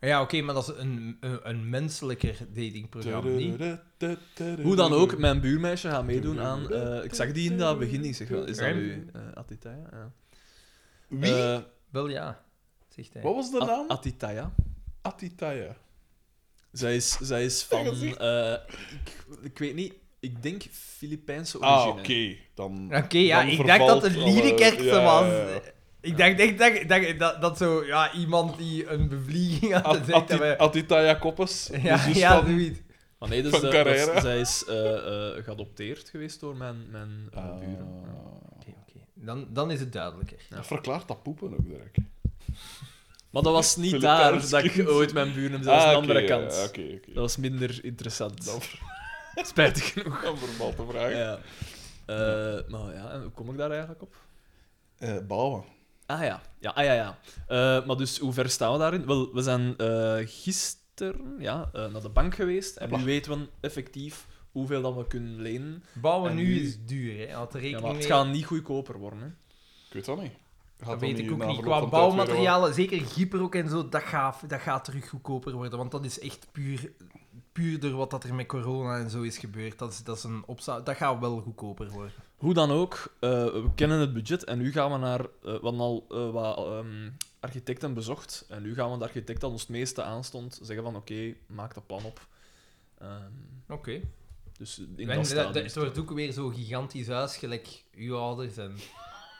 Ja, oké, maar dat is een, een, een menselijker datingprogramma, niet? Hoe dan ook, mijn buurmeisje gaat meedoen aan... eh, ik zag die in dat begin, ik zeg, wel, is dat nu eh, Atitaya? Ja. Wie? Eh, Wel ja, zegt hij. Wat was de At- naam? Atitaya. Atitaya. Zij is, zij is van... gezicht. eh, ik, ik weet niet, ik denk Filipijnse origine. Ah, oké. Dan... Oké, ja, Dan ik dacht dat het vervalt alle- Liedekerkse ja, was. ja, ja. Ik dacht echt dat, dat, dat, dat zo, ja, iemand die een bevlieging had At- gezegd Ati- hebben. Atitaya Koppes. de Ja, zus ja, dus van- zoiets. Maar nee, dus Van de- dat is- Carrera. zij is eh, eh, geadopteerd geweest door mijn, mijn eh, Ah. buren. Ja. Oké, oké. Dan, dan is het duidelijker. Dat verklaart dat poepen ook Dus direct. Maar dat was niet Filipijns daar dat ik kind. ooit mijn buren heb, dat was Ah, aan de oké, andere ja, kant. ja, Oké, oké. Dat was minder interessant. Dan Spijtig genoeg. Een verband te vragen. Ja. Eh, maar ja, en hoe kom ik daar eigenlijk op? Eh, bouwen. Ah ja, ja, ah, ja, ja. Eh, maar dus hoe ver staan we daarin? Wel, we zijn eh, gisteren ja, eh, naar de bank geweest en nu weten we effectief hoeveel dat we kunnen lenen. Bouwen En nu, nu- is duur, hè. Had er Ja, rekening maar het mee. gaat niet goedkoper worden. Hè. Ik weet dat niet. Gaat dat dat weet niet ik ook na niet. verloop Qua van tijd weer bouwmaterialen, zeker gyprook en zo, dat gaat, dat gaat terug goedkoper worden. Want dat is echt puur, puur door wat dat er met corona en zo is gebeurd. Dat, is, dat, is een opza- dat gaat wel goedkoper worden. Hoe dan ook, eh, we kennen het budget en nu gaan we naar... eh, we hadden al eh, wat ehm, architecten bezocht en nu gaan we de architect dat ons het meeste aanstond zeggen van oké, maak dat plan op. Ehm, Oké. dus in dat En dat- dat- stadium Het wordt ook weer zo'n gigantisch huis, gelijk uw ouders en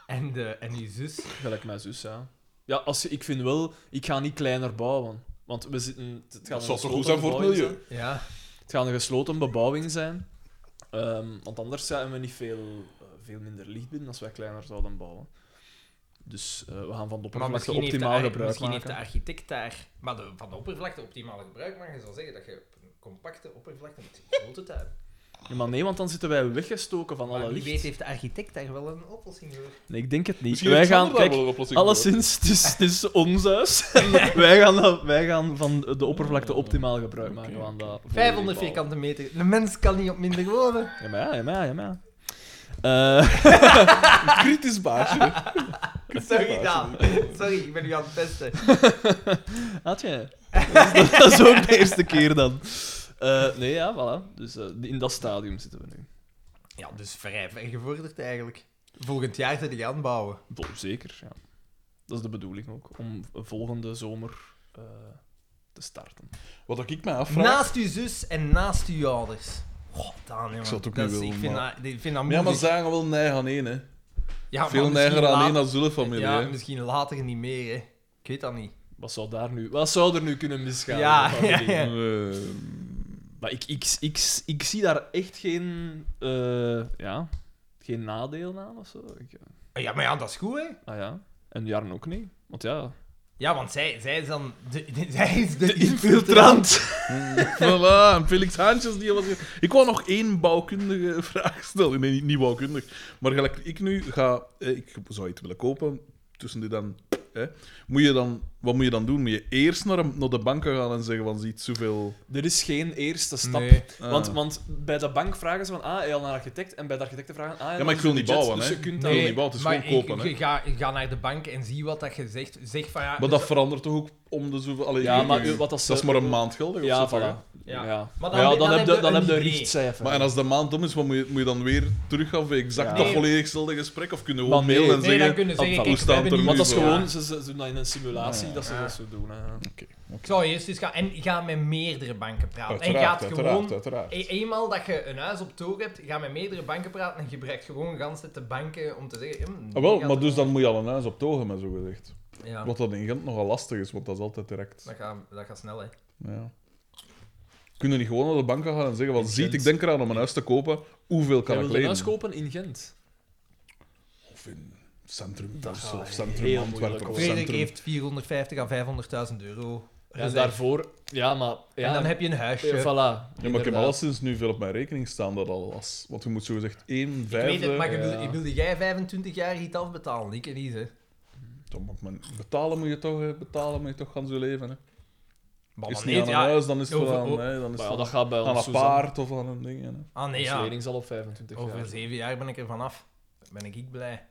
En, de, en uw zus. Gelijk mijn zus, ja. Ja, als, je- ik vind wel, ik ga niet kleiner bouwen. Want we zitten, het gaat Dat een zou toch goed gesloten zijn voor het bebouwing milieu? zijn. Ja. Het gaat een gesloten bebouwing zijn. Ehm, want anders zijn we niet veel, eh, veel minder licht binnen als wij kleiner zouden bouwen. Dus eh, we gaan van de Maar oppervlakte misschien, heeft de, optimaal ar- gebruik misschien heeft maken. de architect daar maar de, van de oppervlakte optimaal gebruik maken. zal zeggen dat je op een compacte oppervlakte met een grote tuin. Ja, maar nee, want dan zitten wij weggestoken van alle Maar wie licht. weet heeft de architect daar wel een oplossing voor. Nee, ik denk het niet. Misschien wij heeft gaan, Xander daar kijk, wel een oplossing voor. alleszins, het is, het is ons huis. En wij, gaan, dat- wij gaan van de oppervlakte optimaal gebruik maken. Oké. Van dat 500 vierkant. vierkante meter. Een mens kan niet op minder wonen. Ja, maar ja, ja, maar ja, ja, maar ja. Eh, Kritisch baasje. Sorry, Daan. Sorry, ik ben u aan het testen. had je? Dat is- dat is ook de eerste keer dan. Eh, nee, ja, voilà. Dus eh, in dat stadium zitten we nu. Ja, dus vrij ver gevorderd eigenlijk. Volgend jaar te die aanbouwen. Vol- Zeker, ja. Dat is de bedoeling ook, om volgende zomer eh, te starten. Wat ik mij afvraag... Naast uw zus en naast uw ouders. God, Daan, jongen. Ik zou het ook Dat niet is- willen, Ik vind maar- dat, ik vind dat Ja, moeilijk. maar zagen wel neig aan één, hè. Ja, maar Veel misschien neiger aan één later- als zullen familie, Ja, hè. misschien later niet meer, hè. Ik weet dat niet. Wat zou, daar nu, wat zou er nu kunnen misgaan? Ja, in de familie? ja, ja. Ehm, Maar ik, ik, ik, ik zie daar echt geen, eh, ja, geen nadeel aan of zo. Ik, eh, Oh, Ja, maar ja, dat is goed, hè. ah ja, en Jarn ook niet. Want ja, Ja, want zij, zij is dan... De, de- zij is de, Voilà, en Felix Haantjes die was hier. Ik wou nog één bouwkundige vraag stellen. Nee, niet- niet bouwkundig. Maar gelijk ik nu ga... eh, Ik zou iets willen kopen. Tussen dit dan... Hè. Moet je dan... Wat moet je dan doen? Moet je eerst naar, een- naar de bank gaan en zeggen van ziet zoveel... er is geen eerste stap. Nee. Want, Ah. want bij de bank vragen ze van, ah, hij al naar architect. En bij de architecten vragen, ah, hij Ja, al maar ik wil een niet budget. bouwen, Dus hè. je kunt Nee. dat- niet bouwen, het is maar gewoon ik- kopen, ik- hè. Ga, ga naar de bank en zie wat dat je zegt. Zeg van ja... dus- Maar dat verandert toch ook om de zoveel... Allee, Ja, ik- maar wat als ze- dat is maar een maand geldig of Ja, zo, toch, voilà. hè? Ja. Ja. Maar Maar dan- ja, dan dan, heb heb je je, dan een heb je een idee. richtcijfer. Maar en als de maand om is, wat moet, je, moet je dan weer teruggaan voor exact Ja. dat Nee. volledig hetzelfde gesprek? Of kunnen we Maar gewoon mailen en nee. nee, dan zeggen... kunnen ze zeggen, hoe kijk, we staat hebben er nu- nu Ah, Want dat is Ja. gewoon, ze, ze doen dat in een simulatie, dat ze Ja. dat zo doen. hè. Ik zou eerst eens gaan... En ga met meerdere banken praten. En Uiteraard, gaat gewoon... uiteraard, uiteraard. E- Eenmaal dat je een huis op toog hebt, ga met meerdere banken praten en gebruikt gewoon gans de banken om te zeggen... hm, Ah, wel, die gaat maar er dus wel- dan moet je al een huis op togen, maar zo gezegd. Ja, Wat dat in Gent nogal lastig is, want dat is altijd direct. dat gaat, dat gaat snel, hè. Ja. Kunnen niet gewoon naar de bank gaan en zeggen: van, In Ziet, Gent. ik denk eraan om een huis te kopen. Hoeveel kan Jij ik wilt een lenen? huis kopen in Gent. Of in centrum Dat Brussel, gaat of centrum heel Antwerpen moeilijk of worden. Frederik centrum. heeft 450 à 500.000 euro. En gezegd. Dus daarvoor, ja, maar... Ja, en dan heb je een huisje. ja, voilà. Ja, maar ik heb inderdaad. alleszins nu veel op mijn rekening staan dat al was. Want je moet zo gezegd 1, ik weet het, maar 5. je wil- ja. wilde jij 25 jaar iets afbetalen? Ik niet, hè. Betalen moet je toch, hè. betalen moet je toch gaan zo leven. Hè. Maar Is dan het niet niet, aan een ja. huis, dan is het over- wel aan, over- hè, dan is Maar het ja, dat aan- gaat bij aan ons een Suzanne. paard of aan een ding. Hè. Ah, nee, Ons ja. lering zal op 25 Over jaar. zeven jaar ben ik er vanaf. Dan Ben ik blij.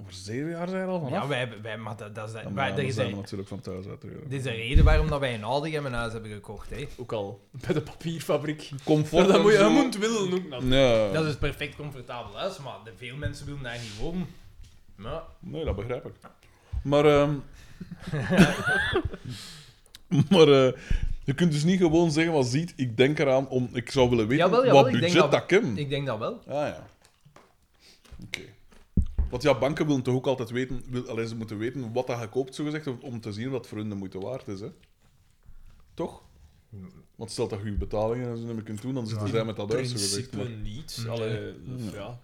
Over zeven jaar zijn we al vanaf. Ja, wij, hebben- wij, maar dat, dat is, Ja, maar wij, ja, er dan is, zijn we een, natuurlijk van thuis uit. hè. er is een reden waarom dat wij een Aldi en een huis hebben gekocht, hè. Ook al bij de papierfabriek. Comfort. Maar dan en moet je, zo. je moet willen ook nog. Ja. Dat is perfect comfortabel huis, maar de- veel mensen willen daar niet wonen. Maar, Nee, dat begrijp ik. Maar, ehm, maar eh, je kunt dus niet gewoon zeggen wat ziet. Ik denk eraan om. Ik zou willen weten Jawel, jawel, wat ik denk budget dat, dat- kan. ik denk dat wel. Ah ja. Oké. Want ja, banken willen toch ook altijd weten. Wil, allee, ze moeten weten wat dat je koopt, zogezegd, om- om te zien wat voor hun de moeite waard is. Hè? Toch? Want stel dat je je betalingen en zo niet meer kunt doen, dan zitten zij met dat uit, zogezegd. principe Maar- niet. Allee, Mm. dus ja.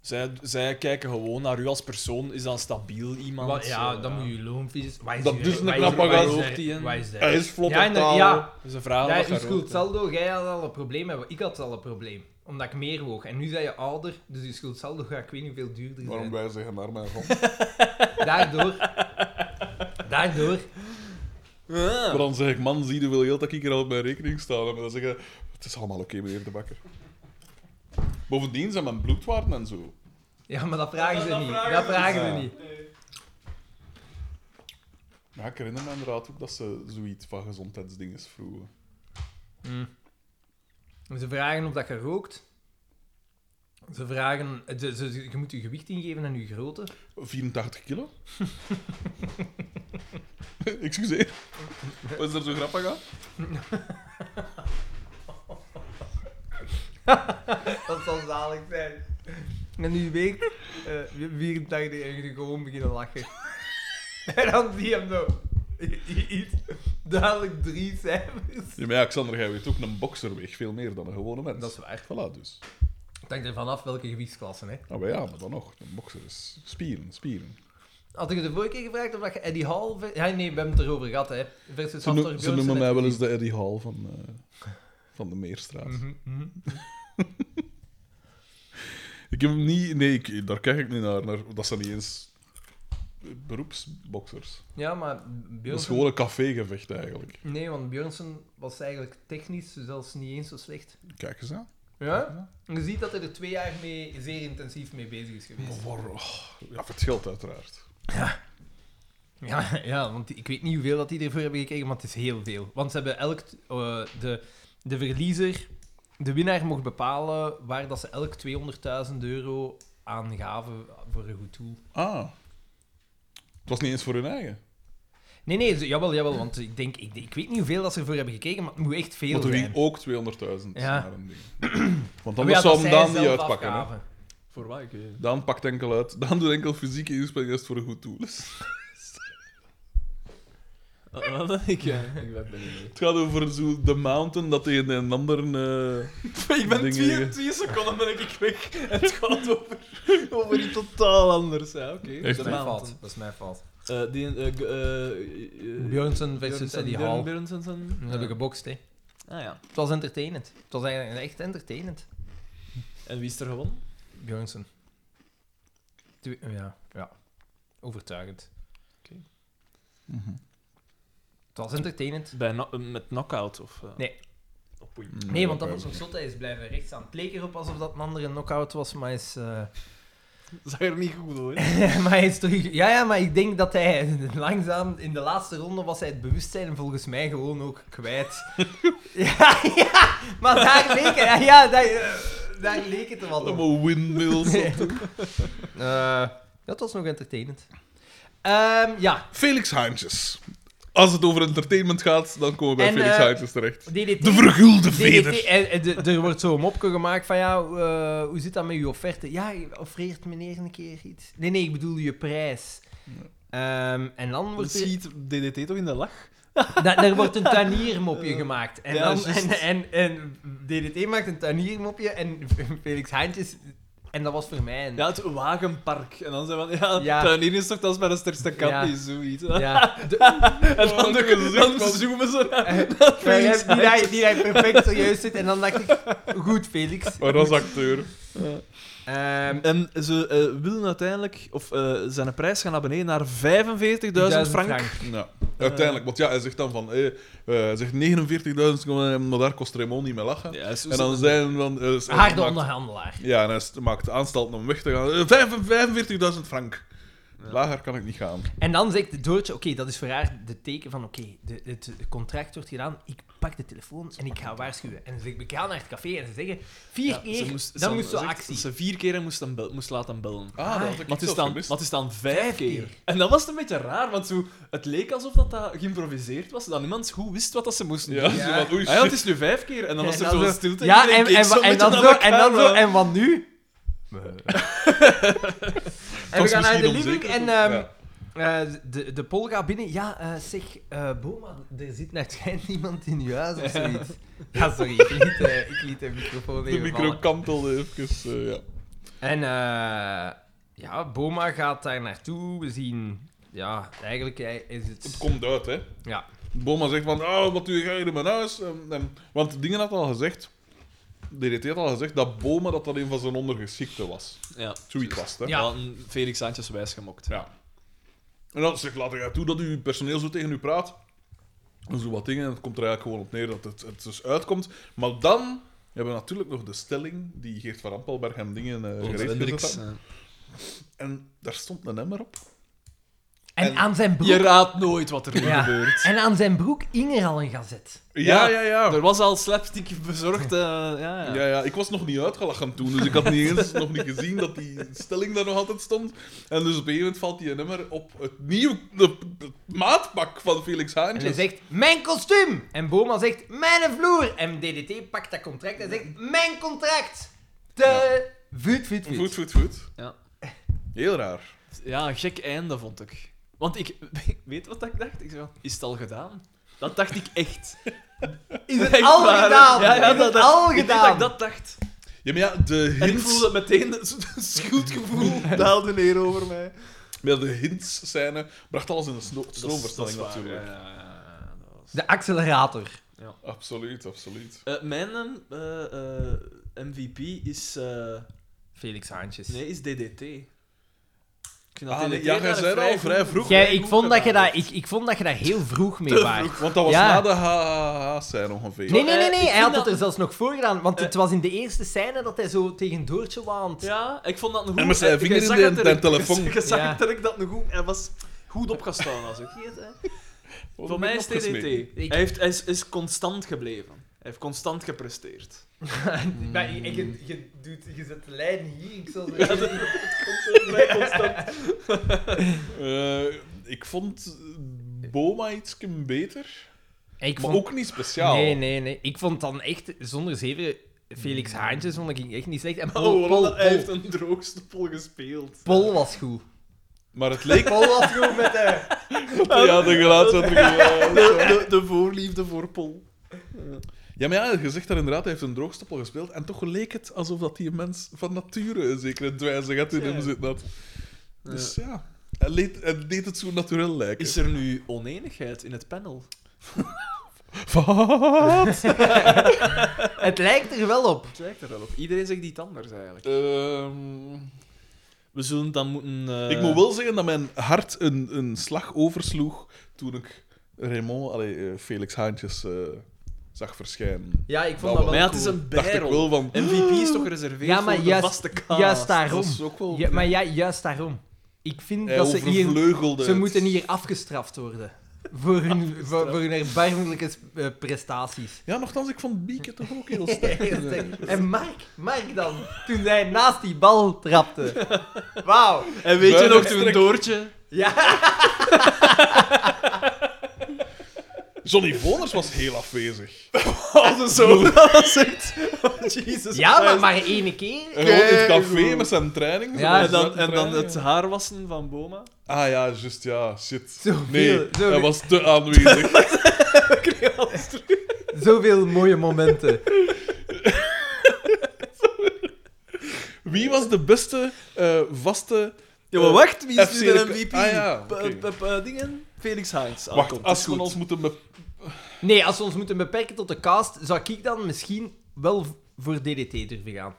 Zij, zij kijken gewoon naar u als persoon. Is dat stabiel iemand? Wat- ja, Eh, dan moet je loonvis... wat Dat je- is een wat knappe wat gast. is er- Die een- wat is er- Hij is vlot Ja, op en er- taal. ja, Dus een vraag Ja, wat je je rookt, hè. schuldsaldo, jij had al een probleem, maar ik had al een probleem. Omdat ik meer woog. En nu ben je ouder, dus je schuldsaldo gaat ik weet niet hoeveel duurder zijn. Waarom wij zeggen naar mijn god. Daardoor... daardoor... Ja. Maar dan zeg ik, man, zie je hoeveel geld dat ik hier al op mijn rekening staan heb. En dan zeg je, het is allemaal oké, meneer de bakker. Bovendien zijn mijn bloedwaarden en zo. Ja, maar dat vragen ze niet. Dat vragen ze Ja. niet. Ja, ik herinner me inderdaad ook dat ze zoiets van gezondheidsdingen vroegen. Ze vragen of dat je rookt. Ze vragen... ze- ze- je moet je gewicht ingeven en je grootte. 84 kilo? Excuseer. Wat is er zo grappig aan? Dat zal zalig zijn. En nu week eh 84 en je gewoon beginnen lachen. En dan zie je hem zo. i- i- Iets, dadelijk drie cijfers. Ja, maar ja, Xander, jij weet ook een bokser weegt veel meer dan een gewone mens. Dat is waar. Voilà, dus. Het hangt ervan af welke gewichtsklasse, hè. Nou, maar ja, maar dan nog. Een bokser is spieren, spieren. Had ik je de vorige keer gevraagd of dat je Eddie Hall... ver- Ja, nee, we hebben het erover gehad, hè. Versus Ze, Hunter noem- ze Bjornsen noemen en- mij wel eens de Eddie Hall van, eh, van de Meerstraat. Mhm, mhm. Ik heb hem niet... Nee, ik, daar kijk ik niet naar, naar. Dat zijn niet eens beroepsboksers. Ja, maar Dat is Björnsen... gewoon een cafégevecht, eigenlijk. Nee, want Björnsen was eigenlijk technisch zelfs niet eens zo slecht. Kijk eens aan. Ja? En je ziet dat hij er twee jaar mee zeer intensief mee bezig is geweest. Maar waar- oh, ja, voor het geld, uiteraard. Ja, ja, want ik weet niet hoeveel dat die ervoor hebben gekregen, maar het is heel veel. Want ze hebben elk... eh, de, de verliezer... De winnaar mocht bepalen waar dat ze elk 200.000 euro aan gaven voor een goed doel. Ah. Het was niet eens voor hun eigen. Nee, nee, ze- jawel, jawel, want ik denk... Ik, ik weet niet hoeveel dat ze ervoor hebben gekregen, maar het moet echt veel Moeten zijn. wie ook 200.000 Ja. naar een ding. Want Maar ja, anders dat zou hem zij Daan niet zelf uitpakken. Hè? afgaven. Voor waar ik weet het. Daan pakt enkel uit. Daan doet enkel fysieke inspanning als het voor een goed doel Dus- is. Ah, wat? Ik, eh, ik ben ben niet mee. Het gaat over zo de mountain dat tegen een ander... eh, Ik ben Dingen- twee, twee seconden ben ik weg. En het gaat over, over iets totaal anders. Ja, oké. Dat is De Heeft mijn maand. fout. Dat is mijn fout. Eh, die... eh, g- eh, eh, Björnsen versus Björnsen, Eddie Björn- Hall. Björnsen, zijn- Dat hebben we gebokst, hè. Ah ja. Het was entertainend. Het was eigenlijk echt entertainend. En wie is er gewonnen? Björnsen. Twee- Ja, ja. Overtuigend. Oké. Het was entertainend. Bij no- eh, met knockout of... eh? Nee. Oh, poei. Nee, want dat was nog zot. Hij is blijven rechtstaan. Het leek erop alsof dat een andere knockout was, maar hij is... eh, Zag er niet goed hoor. maar hij is terug... Ja, ja, maar ik denk dat hij langzaam... In de laatste ronde was hij het bewustzijn volgens mij gewoon ook kwijt. ja, ja! Maar daar leek, het- ja, ja, daar, eh, daar leek het wel op. Allemaal windmills. Eh, dat was nog entertainend. Ehm, ja, Felix Haantjes. Als het over entertainment gaat, dan komen we bij En, Felix eh, Haantjes terecht. DDT. De vergulde DDT, veder. en- en eh, de- er wordt zo'n mopje gemaakt van, ja, eh, hoe zit dat met uw offerte? Ja, je offreert meneer een keer iets. Nee, nee, ik bedoel je prijs. Ehm, en dan wordt er, Schiet DDT toch in de lach? da- daar wordt een tuiniermopje gemaakt. En, Ja, dan, en, juist. en, en DDT maakt een tuiniermopje en Felix Haantjes... En dat was voor mij. een- Ja, het wagenpark. En dan zijn we van, ja, Ja. tuinier is toch dat is bij de sterkste kant, Ja. die zoiets. ja. De- En dan, dat de, gezicht dan van- zoomen ze naar eh, maar je Felix hebt die daar- die daar perfect serieus zit. En dan dacht ik, goed Felix. Maar dat is acteur. Ehm, En ze eh, willen uiteindelijk, of eh, zijn prijs gaan naar beneden naar 45.000 frank. Ja. Uiteindelijk, want ja, hij zegt dan van... eh, eh, hij zegt 49.000, maar daar kost Raymond niet mee lachen. Ja, zo- En dan zijn van... eh, hij Harde maakt- onderhandelaar. Ja, en hij st- maakt aanstalt om weg te gaan. Eh, vijf- 45.000 frank. Lager kan ik niet gaan. En dan zegt Doortje, oké, dat is voor haar de teken van, oké, de- het het contract wordt gedaan, ik pak de telefoon en ik ga waarschuwen. En ze zegt, ik ga naar het café en ze zeggen, vier Ja, keer, ze moest- dan ze- moest ze zegt- actie. Ze vier keer moest, hem bel- moest laten bellen. Ah, dat had ik Maar het, is zelfs dan, gemist. maar het is dan vijf, Vijf keer. keer. En dat was het een beetje raar, want zo, het leek alsof dat, dat geïmproviseerd was. Dat niemand goed wist wat dat ze moesten Ja, doen. zo Ja. van, oei, Ah ja, het shit. is nu vijf keer. En dan was En er dan zo'n zo- stilte. ja, iedereen en, keek en, en, zo'n beetje dan naar zo, en dan elkaar, zo, maar- en wat nu? en we was gaan naar de misschien living en onzeker, ehm, eh, de, de pol gaat binnen. Ja, eh, zeg, eh, Boma, er zit naar het schijn iemand in je huis of zoiets. Ja, sorry, ik liet, eh, ik liet de microfoon De even micro vallen. kantelde even, eh, ja. En eh, ja, Boma gaat daar naartoe. We zien, ja, eigenlijk hij- is Het het. komt uit, hè. Ja, Boma zegt van, oh, wat doe jij hier in mijn huis? En, en- want Dingen had al gezegd, DDT had al gezegd, dat Boma dat dat een van zijn ondergeschikten was. Ja. Zoiets was het, hè. Ja. Ja. hadden Felix Sanchez wijsgemokt. Ja. En dan zegt, laat ik toe dat uw personeel zo tegen u praat. En zo wat dingen. En het komt er eigenlijk gewoon op neer dat het, het dus uitkomt. Maar dan hebben we natuurlijk nog de stelling die Geert van Rampelberg hem dingen Oh, eh Onze gereed gezet Hendricks, had. eh. En daar stond een emmer op. En, En- aan zijn Je broek. raadt nooit wat er nu Ja. gebeurt. En aan zijn broek hing er al een gazet. Ja, ja, ja. Er was al slapstick bezorgd. eh, ja, ja. Ja, ja, ik was nog niet uitgelachen toen, dus ik had niet eens nog niet gezien dat die stelling daar nog altijd stond. En dus op een gegeven moment valt die nummer op het nieuwe de, het maatpak van Felix En hij Haantjes. zegt: Mijn kostuum! En Boma zegt: Mijn vloer! En DDT pakt dat contract en zegt: Mijn contract! De Voet, voet, voet. Voet, voet, voet. Ja. Heel raar. Ja, een gek einde vond ik. Want ik weet wat ik dacht. Ik zei, van, is het al gedaan? Dat dacht ik echt. Is het Echt al waar, hè? gedaan? Ja, ja, Is het dat- al Ik weet dat ik gedaan? dat dacht. Ja, maar ja, de En ik hints, voelde meteen een schuldgevoel daalde neer over mij. ja, de hints scène bracht alles in de sno- stroomversnelling Dat is- dat is waar, natuurlijk. ja, ja, ja, ja, dat was- De accelerator. Absoluut, absoluut. Eh, mijn eh, eh, MVP is, eh, Felix Haantjes. nee, is DDT. Ik vind Ah, nee, ja, jij eigenlijk zei dat al vrij vroeg. Jij, vrij ik, goed vond dat je gedaan dat, ik, ik vond dat je daar heel vroeg mee was. Want dat was Ja. na de HHH-scène ongeveer. Nee, nee, nee, Eh, nee. ik hij vind had het dat- er zelfs nog voor gedaan. Want Eh. het was in de eerste scène dat hij zo tegen Doortje waant. Ja, ik vond dat een goed... En met zijn eh, vinger jij zag in de- het direct. de telefoon. Je zag Ja. het direct dat een goed... Hij was goed opgestaan als ik hier, hè. Wat Voor heb mij ik is nog gesmeed? DDT. Ik- Hij, heeft, hij is, is constant gebleven. Hij heeft constant gepresteerd. Maar je, je, je doet, je zet de lijn hier. Ik zal Ja, dat- Vrij constant. Eh, ik vond Boma iets beter. Ik Maar vond... ook niet speciaal. Nee, nee, nee. Ik vond dan echt, zonder zeven, Felix Haantjes vond ik echt niet slecht. En Paul, Oh, Paul, voilà, hij Paul- heeft een droogstoppel gespeeld. Paul was goed. Maar het leek... Paul was goed met de... ja, de geluidsuitdrukking. De, de, de voorliefde voor Pol. Ja, maar ja, je zegt daar inderdaad, hij heeft een droogstoppel gespeeld. En toch leek het alsof dat die mens van nature een zekere dwijzigheid in hem Ja. zit. Dat. Dus ja, hij leed- hij deed het zo natuurlijk lijken. Is er nu oneenigheid in het panel? Wat? Het lijkt er wel op. Het lijkt er wel op. Iedereen zegt iets anders eigenlijk. Ehm, We zullen dan moeten. eh, Ik moet wel zeggen dat mijn hart een, een slag oversloeg toen ik Raymond, allee, eh, Felix Haantjes, eh, zag verschijnen. Ja, ik vond vond dat dat wel Maar wel ja, het is een Dacht ik bijrol. wel van... MVP is toch gereserveerd Ja, maar voor juist- de vaste cast. Juist Dat daarom. is ook wel... Ja, maar ja, juist daarom. Ik vind hij dat ze hier... overvleugelde Ze Eh, het. moeten hier afgestraft worden. Voor hun, voor, voor hun erbarmelijke eh, prestaties. Ja, nogthans, ik vond Bieke toch ook heel sterk. En Mark, Mark dan, toen hij naast die bal trapte. Wauw. En weet je Buiten nog toen strekt. Doortje... Ja. Johnny Voners was heel afwezig. Als een zo zegt... Jezus ja, maar maar ene keer. En Eh, gewoon in het café Keigoed. met zijn training. zo Ja, met En en zijn dan, en dan training. het haarwassen van Boma. Ah ja, juist, ja, shit. Zoveel, nee, zoveel. hij was te aanwezig. Zoveel mooie momenten. Wie was de beste eh, vaste... Ja, maar wacht, wie is FC nu de de- MVP? Ah, ja, P- oké. p- p- dingen? Felix Heinz. Ah, Wacht, komt, als is we goed. ons moeten... be- Nee, als we ons moeten beperken tot de cast, zou ik dan misschien wel v- voor DDT durven gaan.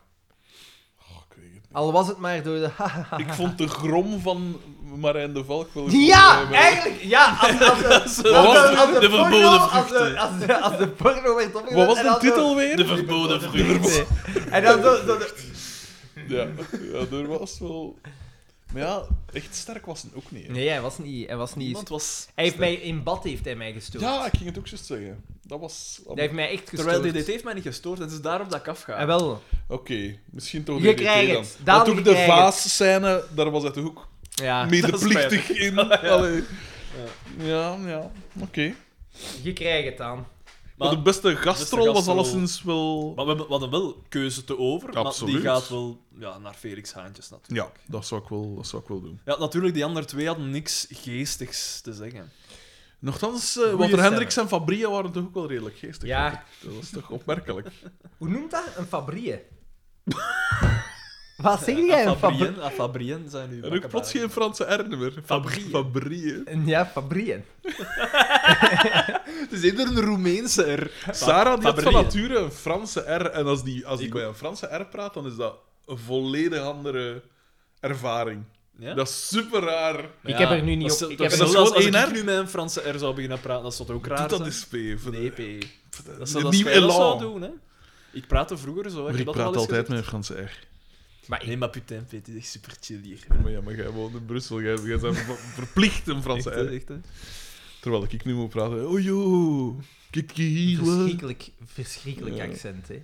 Oh, ik weet het niet. Al was het maar door de... Ik vond de grom van Marijn de Valk wel... Eh, Ja, wel- eigenlijk. Ja, als, als, als, als, Zo, Wat was als- de- als de porno- verboden als de, vruchten? als, de, als de porno werd opgezet... Wat was en de dan zo- titel weer? De verboden De vrucht. verboden- En dan zo... zo de- Ja, ja, er was wel... Maar ja, echt sterk was het ook niet. hè. Nee, hij was niet... Hij, was Niemand niet was... hij heeft mij... In bad heeft hij mij gestoord. Ja, ik ging het ook juist zeggen. Dat was... Hij heeft mij echt gestoord. Terwijl DDT heeft mij niet gestoord, en het is daarop dat ik afga. Ah, wel. Oké, misschien toch Je DDT krijgt dan. het. Daan, Want je ook de krijgt het. Ah, vaas-scène, daar was het ook Ja. medeplichtig in. Allee. Ja. Ja, ja, oké. Je krijgt het aan. Maar de beste gastrol was gastrol- alleszins wel... Maar we hebben- we hadden wel keuze te over, Absoluut. maar die gaat wel ja, naar Felix Haantjes natuurlijk. Ja, dat zou ik wel, dat zou ik wel doen. Ja, natuurlijk, die andere twee hadden niks geestigs te zeggen. Nochtans, eh, Walter stemmen. Hendricks en Fabria waren toch ook wel redelijk geestig. Ja. vond ik. Dat was toch opmerkelijk. Hoe noemt dat? Een fabrie. Wat zeg jij? Een fabrie? Fabrien, ah, Fabrien zijn nu En ook plots geen Franse R meer. Fabrie. Fabrie. Ja, fabrieën. Het is eerder een Roemeense R. Sarah die had van Fabrie. nature een Franse R. En als die, als die Ik bij een Franse R praat, dan is dat een volledig andere ervaring. Ja? Dat is super raar. Maar Ik ja, heb er nu niet dat op- is- ik dat heb is er- zelfs Dat is als gewoon ik nu met een Franse R zou beginnen praten, dat zou toch ook raar Doe dat zijn? eens, P. Voor de- Nee, P. Dat de zou dat nieuw wij dat elan. zou doen, hè. Ik praatte vroeger zo, hè. Maar heb ik dat praat wel eens altijd met gezegd. een Franse R. Maar ik- Nee, maar putain, P, het is echt super chill hier. Maar ja, maar jij woont in Brussel. Jij, jij bent ver- verplicht een Echt, Franse hè, R. echt, hè. Terwijl ik nu moet praten. Oh joh, kijk hier. wat. verschrikkelijk, verschrikkelijk Ja. accent, hè.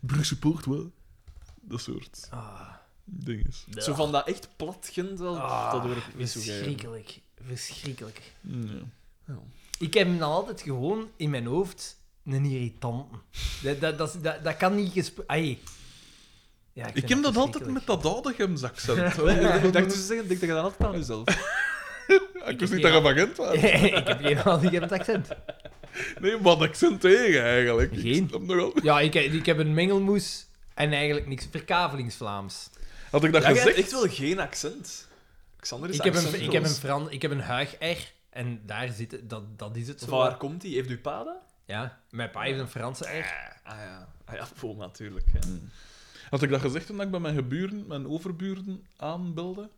Brugse poort, wat. Dat soort Ah, dingen. Zo van dat echt plat gent, dat, Ah, dat hoor ik niet zo graag. verschrikkelijk. Verschrikkelijk. Ja. Ik heb hem dan altijd gewoon in mijn hoofd een irritant. Dat, dat, dat, is- dat, dat kan niet gesproken... Ja, Ik heb dat altijd met dat Oudegem-accent. Ik dacht dus te zeggen, ik denk dat je dat altijd aan jezelf. Ik wist niet dat je van Gent was. ik heb geen al die accent. Nee, wat accent tegen eigenlijk. Ik Geen. snap nog altijd- Ja, ik, ik heb een mengelmoes en eigenlijk niks verkavelingsvlaams. Had ik dat Ja, jij hebt gezegd? echt wel geen accent. Xander is Ik heb, een, accentloos. ik, heb een Fran, ik heb een huig R en daar zit het, dat, dat is het zo. Van waar komt die? Heeft u pada? Ja, mijn pa heeft een Franse R. Ah ja, ah, ja vol natuurlijk. Ja. Had ik dat gezegd toen ik bij mijn geburen, mijn overburen aanbelde?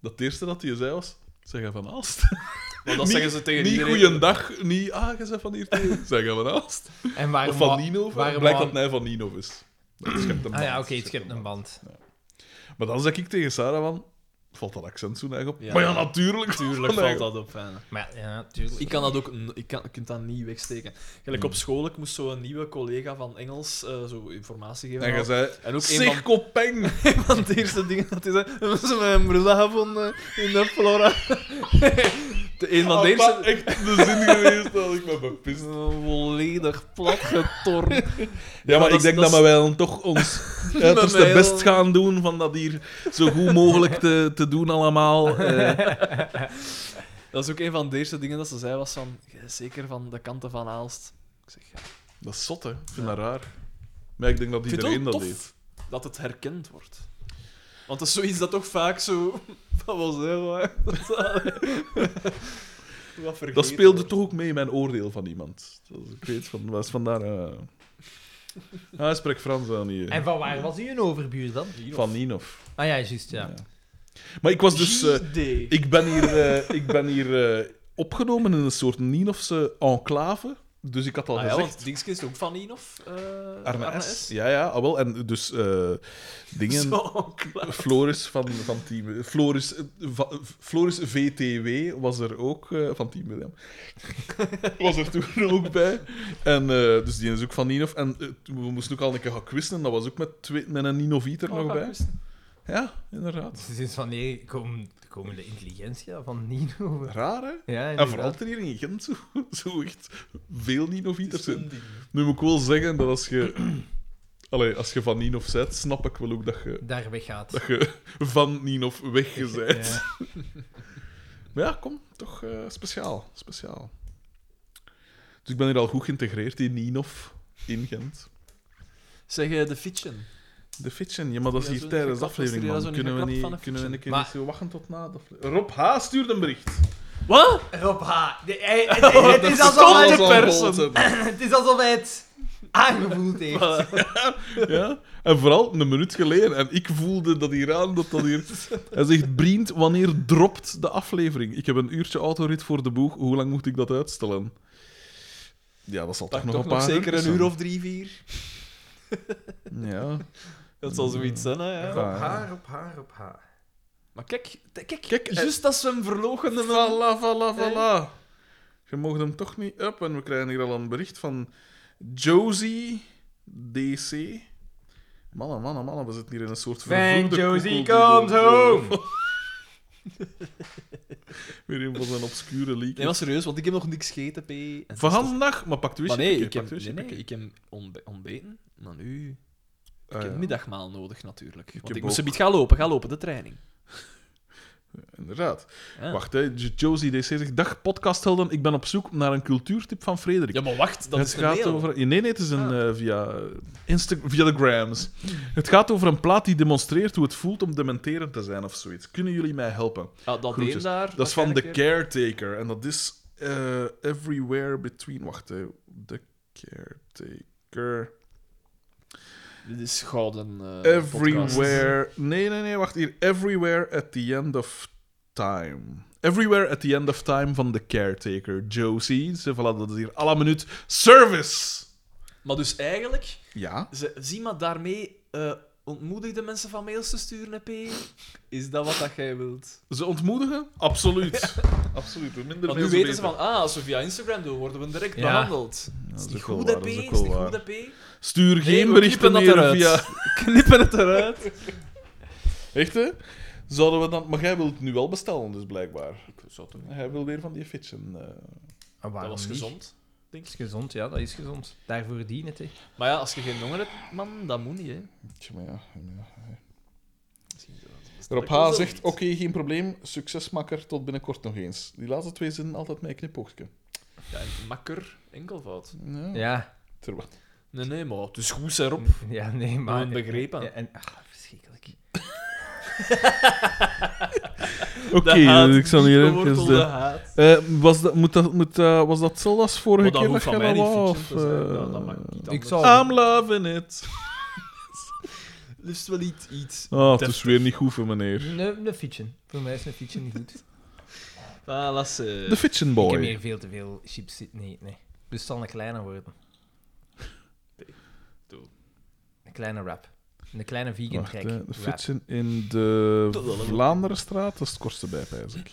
Dat het eerste dat hij zei was... Zeg je van Aalst? Maar dat Niet- zeggen ze tegen Niet iedereen. goeiedag, niet... Ah, je bent van hier tegen. Zeg je van Aalst? En waarom Of van wa- Nino? Blijkt waarom dat wa- hij van Nino is. Dat schept een band. Ah ja, oké, het schept schept een band. band. Maar dan zeg ik tegen Sarah van... Valt dat accent zo erg op? Ja. Maar ja, natuurlijk. Tuurlijk valt dat op. hè. Maar ja, natuurlijk. Ik kan dat ook, n- ik kan, ik kunt dat niet wegsteken. Gelijk Mm. op school, ik moest zo een nieuwe collega van Engels eh, zo informatie geven. En je zei... En ook een Zeg, van, kopeng! een van de eerste dingen dat hij zei, dat was mijn bril gevonden eh, in de flora. De- een van de Had dat eerste... echt de zin geweest dat ik me bepist. Volledig plat getornd. Ja, maar dat ik is- denk dat dat is- we wel toch ons uiterste heel- best gaan doen van dat hier zo goed mogelijk te, te doen allemaal. Eh, Dat is ook een van de eerste dingen dat ze zei, was van, "Jij bent zeker van de kanten van Aalst. Ik zeg, ja. dat is zot, hè. Ik vind dat raar. Maar ik denk dat Ik vind het iedereen wel dat tof heeft. dat het herkend wordt. Want dat is zoiets dat toch vaak zo... Dat was heel waar. Dat is- Wat vergeten Dat speelde wordt. toch ook mee in mijn oordeel van iemand. Dus ik weet van, was vandaar... eh Ah, hij spreekt Frans aan hier. En van waar was u een overbuur dan? Van Ninov. Ah ja, juist, ja. Ja. Maar ik was dus... eh, GD. Ik ben hier, eh, ik ben hier eh, opgenomen in een soort Ninofse enclave. Dus ik had al Ah ja, gezegd... want Dingske is ook van Inof. eh Arne, S. Ja, ja, ah, wel. En dus eh, dingen... Zo, klaar. Floris van, van Team... Floris, eh, va- Floris VTW was er ook... eh, van Team William. was er toen ook bij. En eh, dus die is ook van Ninov. En eh, toen- we moesten ook al een keer gaan quizzen. en Dat was ook met, twee, met een Ninovieter Oh, nog bij. Ja, inderdaad. Sinds wanneer komen, komen de intelligentie van Nino? Raar, hè? Ja, En inderdaad. vooral ten hier in Gent, zo, zo echt veel Ninoviters Het is zijn. een ding. Nu moet ik wel zeggen dat als je... Allee, als je van Ninov bent, snap ik wel ook dat je, Daar weggaat. dat je van Ninov weggezet. Ja. Maar ja, kom, toch eh, speciaal. Speciaal. Dus ik ben hier al goed geïntegreerd in Ninov, in Gent. Zeg eh, de fietsen. De Fitchen, ja, maar dat is Ja, hier zo'n tijdens de geklap, aflevering, was er man. ja zo'n Kunnen we, geklap van niet, de kunnen we een Fitchen. keer Maar- niet zo wachten tot na de aflevering? Rob H. stuurde een bericht. Wat? Rob H. De- hij- het, het is alsof Alles hij al het, bold, hè. het is alsof hij het aangevoeld heeft. Ja, en vooral een minuut geleden. En ik voelde dat hier aan, dat dat hier... Hij zegt, Brient, wanneer dropt de aflevering? Ik heb een uurtje autorit voor de boeg. Hoe lang moet ik dat uitstellen? Ja, dat zal toch Pak nog toch een nog paar zeker een zijn. uur of drie, vier. Ja. Dat zal zoiets zijn, hè. Ja. Ah, ja. op haar, op haar. Maar kijk, t- kijk, Kijk, eh, juist als we hem verlogen... Voilà, voilà, voilà. Je mocht hem toch niet up. En we krijgen hier al een bericht van Josie DC. Mannen, mannen, mannen, we zitten hier in een soort Van vervloekte Josie koekeldoodle. comes home. Weer een van zijn obscure leak. Nee, maar serieus, want ik heb nog niks gegeten, P. En Van dat is vandaag, maar pak de toch- whisky. Maar nee, ik pak heb, de whisky, nee, nee, pak de- ik heb ontbe- ontbeten, maar nu... Ik Ah, heb ja. middagmaal nodig, natuurlijk. Want heb ik moest ook- een beetje gaan lopen, gaan lopen, de training. Inderdaad. Ja. Wacht, hè. J- Josie DC zegt... Dag, podcasthelden. Ik ben op zoek naar een cultuurtip van Frederik. Ja, maar wacht, dat het is een gaat mail. Ah. over. Nee, nee, het is een, eh, via, eh, Insta via de Grams. Het gaat over een plaat die demonstreert hoe het voelt om dementerend te zijn of zoiets. Kunnen jullie mij helpen? Ah, dat Groetjes. deed daar. Dat is van The waarschijnlijk weer. Caretaker. En dat is eh, Everywhere Between. Wacht, hè. The Caretaker. Dit is gouden. eh, podcast. Everywhere. Nee, nee, nee, wacht hier. Everywhere at the end of time. Everywhere at the end of time van The Caretaker. Josie. Ze voilà, dat is hier alle minuut. Service! Maar dus eigenlijk, Ja. ze, zie maar daarmee eh ontmoedigde mensen van mails te sturen, hè, P. Is dat wat dat jij wilt? Ze ontmoedigen? Absoluut. Absoluut. Hoe minder Want nu mensen, weten ze beter. van, ah, als we via Instagram doen, worden we direct Ja. behandeld. Ja, is dat niet ook wel goed, hè, waar, P. dat is Is ook niet wel goed, waar. hè, P. Stuur geen we berichten knippen dat meer eruit. via... Knippen het eruit. Echt, hè? Zouden we dan... Maar jij wilt het nu wel bestellen, dus blijkbaar. Ik zou het doen. Hij wil weer van die fietsen. eh. Ah, waarom Dat was niet? gezond. denk Dat ik. is gezond, ja, dat is gezond. Daarvoor dient het, hè. Maar ja, als je geen honger hebt, man, dat moet niet, hè. Tja, maar ja, ja. Misschien zo- Rob H. zegt, oké, geen probleem. Succesmakker, tot binnenkort nog eens. Die laatste twee zinnen altijd met een knipoogje. Ja, en makker, enkelvoud. Ja. Ja. Terwijl- Nee, nee, maar het is goed, hè, Rob. Ja, nee, maar... Gewoon begrepen. Ja, en... Ach, verschrikkelijk. Oké, De haat, ik zal hier die even gewortelde de- haat. Eh, was, dat, moet dat, moet, dat- was dat hetzelfde als vorige Maar Oh, dat keer? hoeft van mij jij niet, dat wou, Vincent. of, Dat, is- eh, Ah. Oh. dat, dat mag niet Ik anders. zal- I'm loving it. Liefst wel iets... iets. Ah, het is Deftig. weer niet goed voor meneer. Een een fietsen. Voor mij is een fietsen niet goed. Ah, las, eh, De Fitchin Ik Boy. heb hier veel te veel chips zitten nee, nee. Dus het zal een kleiner worden. Doe. Een kleine wrap. Een kleine vegan Wacht, track. hè, de wrap. Fitchin in de Tot wel, hè. Vlaanderenstraat, dat is het kortste bij, pijs ik.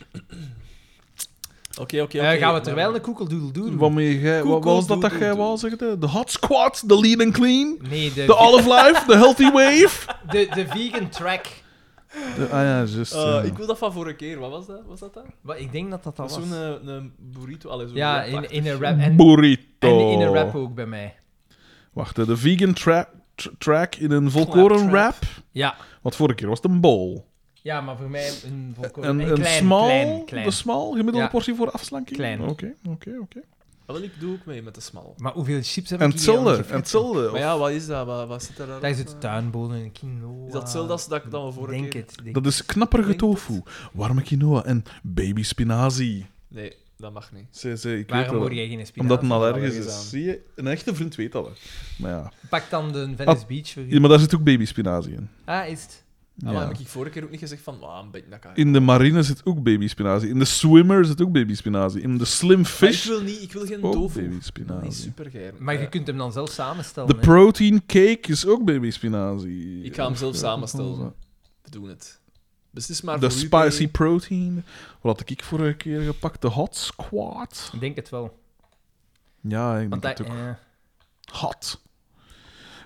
Oké, oké, Eh, oké. gaan we terwijl een koekeldoedel doen? Waarmee jij- Wat wat was dat dat jij wou zeggen? De hot squat, de lean and clean, Nee, de, de olive life, de healthy wave. de, de vegan track. De- ah ja, juist. Eh, ja. ik wil dat van vorige keer. Wat was dat? Was dat dat? Wat, ik denk dat dat al Dat was was. zo'n eh, een burrito. Allee, zo'n ja, in, wrapachtig. in een rap. En, en Burrito. in een rap ook bij mij. Wacht, hè, de vegan tra- tra- track in een volkoren Claptrap. wrap. Ja. Want vorige keer was het een bowl. Ja, maar voor mij een volkoren. Een, en een klein, small, klein, klein. de small, gemiddelde Ja. portie voor afslanking? Klein. Oké, oké, oké. Ah, wel, ik doe ook mee met de smal. Maar hoeveel chips heb ik En hier al hetzelfde, en gefressen? hetzelfde. Maar ja, wat is dat? Wat, wat zit er daar? eh? Daar zit tuinbodem en quinoa. Is dat hetzelfde als dat ik dan vorige denk keer... Het, denk Dat is knapperige Ik denk tofu, warme quinoa en baby spinazie. Nee, dat mag niet. Ze, ze, ik Waarom weet word dat. jij geen spinazie? Omdat het een allergisch allergisch aan. is. Zie je? Een echte vriend weet dat wel. Maar ja. Pak dan de Venice Beach voor ja, u. maar daar zit ook baby spinazie in. Ah, is het? Ah, Ah. Ja. maar heb ik vorige keer ook niet gezegd van... Ah, een beetje, dat kan. In de marine zit ook baby spinazie. In de swimmer zit ook baby spinazie. In de slim Maar ik fish wil niet... Ik wil Eh, geen ook tofu. Oh, baby nou Dat is spinazie. super geil. Maar je kunt hem dan zelf samenstellen. De hè. protein cake is ook baby spinazie. Ik ga hem zelf Ja, samenstellen. We doen het. Beslis maar De voor u, eh, spicy P. protein. Wat had ik vorige keer gepakt? De hot squat. Ik denk het wel. Ja, ik Want denk dat, het ook. eh, Hot.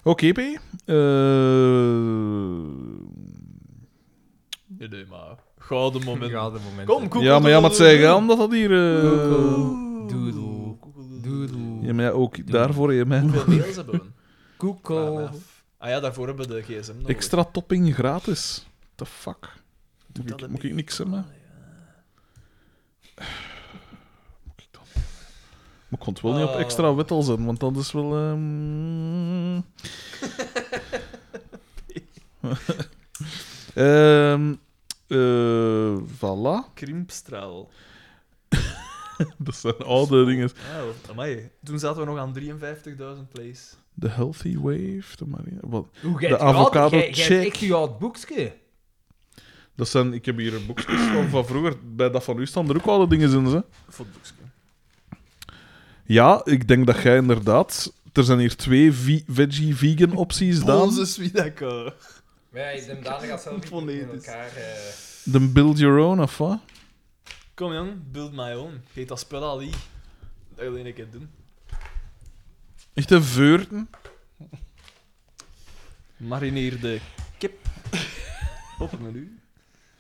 Oké, P. Eh, Nee, nee, maar... Gouden moment. ja, de moment. Kom, koek. Ja, maar ja, maar het zijn gedaan dat dat hier... eh, Google. Doodle. Doodle. Ja, maar ja, ook daarvoor heb je mij nog Hoeveel mails hebben we? Vraag me Koekel. af. Ah ja, daarvoor hebben we de gsm nodig. extra topping gratis. The fuck? Moet dat ik, een moet ik niks hebben? Ah, Moet ik dan- Maar ik kon het wel niet op Oh. extra wittel zetten, want dat is wel... ehm. Ehm, eh, voilà. Krimpstraal. Dat zijn oude dingen. Wauw, Ah, amai. Toen zaten we nog aan 53.000 plays. The Healthy Wave, de Marina... Wat? Hoe jij De het je oud- avocado jij- jij check. hebt echt je oud boekje. Dat zijn, ik heb hier boekjes van, van vroeger. Bij dat van u staan er ook oude dingen in. Hè? Footboekske. Ja, ik denk dat jij inderdaad. Er zijn hier twee vi- veggie-vegan opties. Dan. Swidako. Ja, je bent dadelijk als zelf niet met elkaar, eh, Dan build your own of wat? Kom jong, build my own. Geet dat spel al hier. Dat wil ik een keer doen. Echt een veurten. Marineer de kip. Op het menu.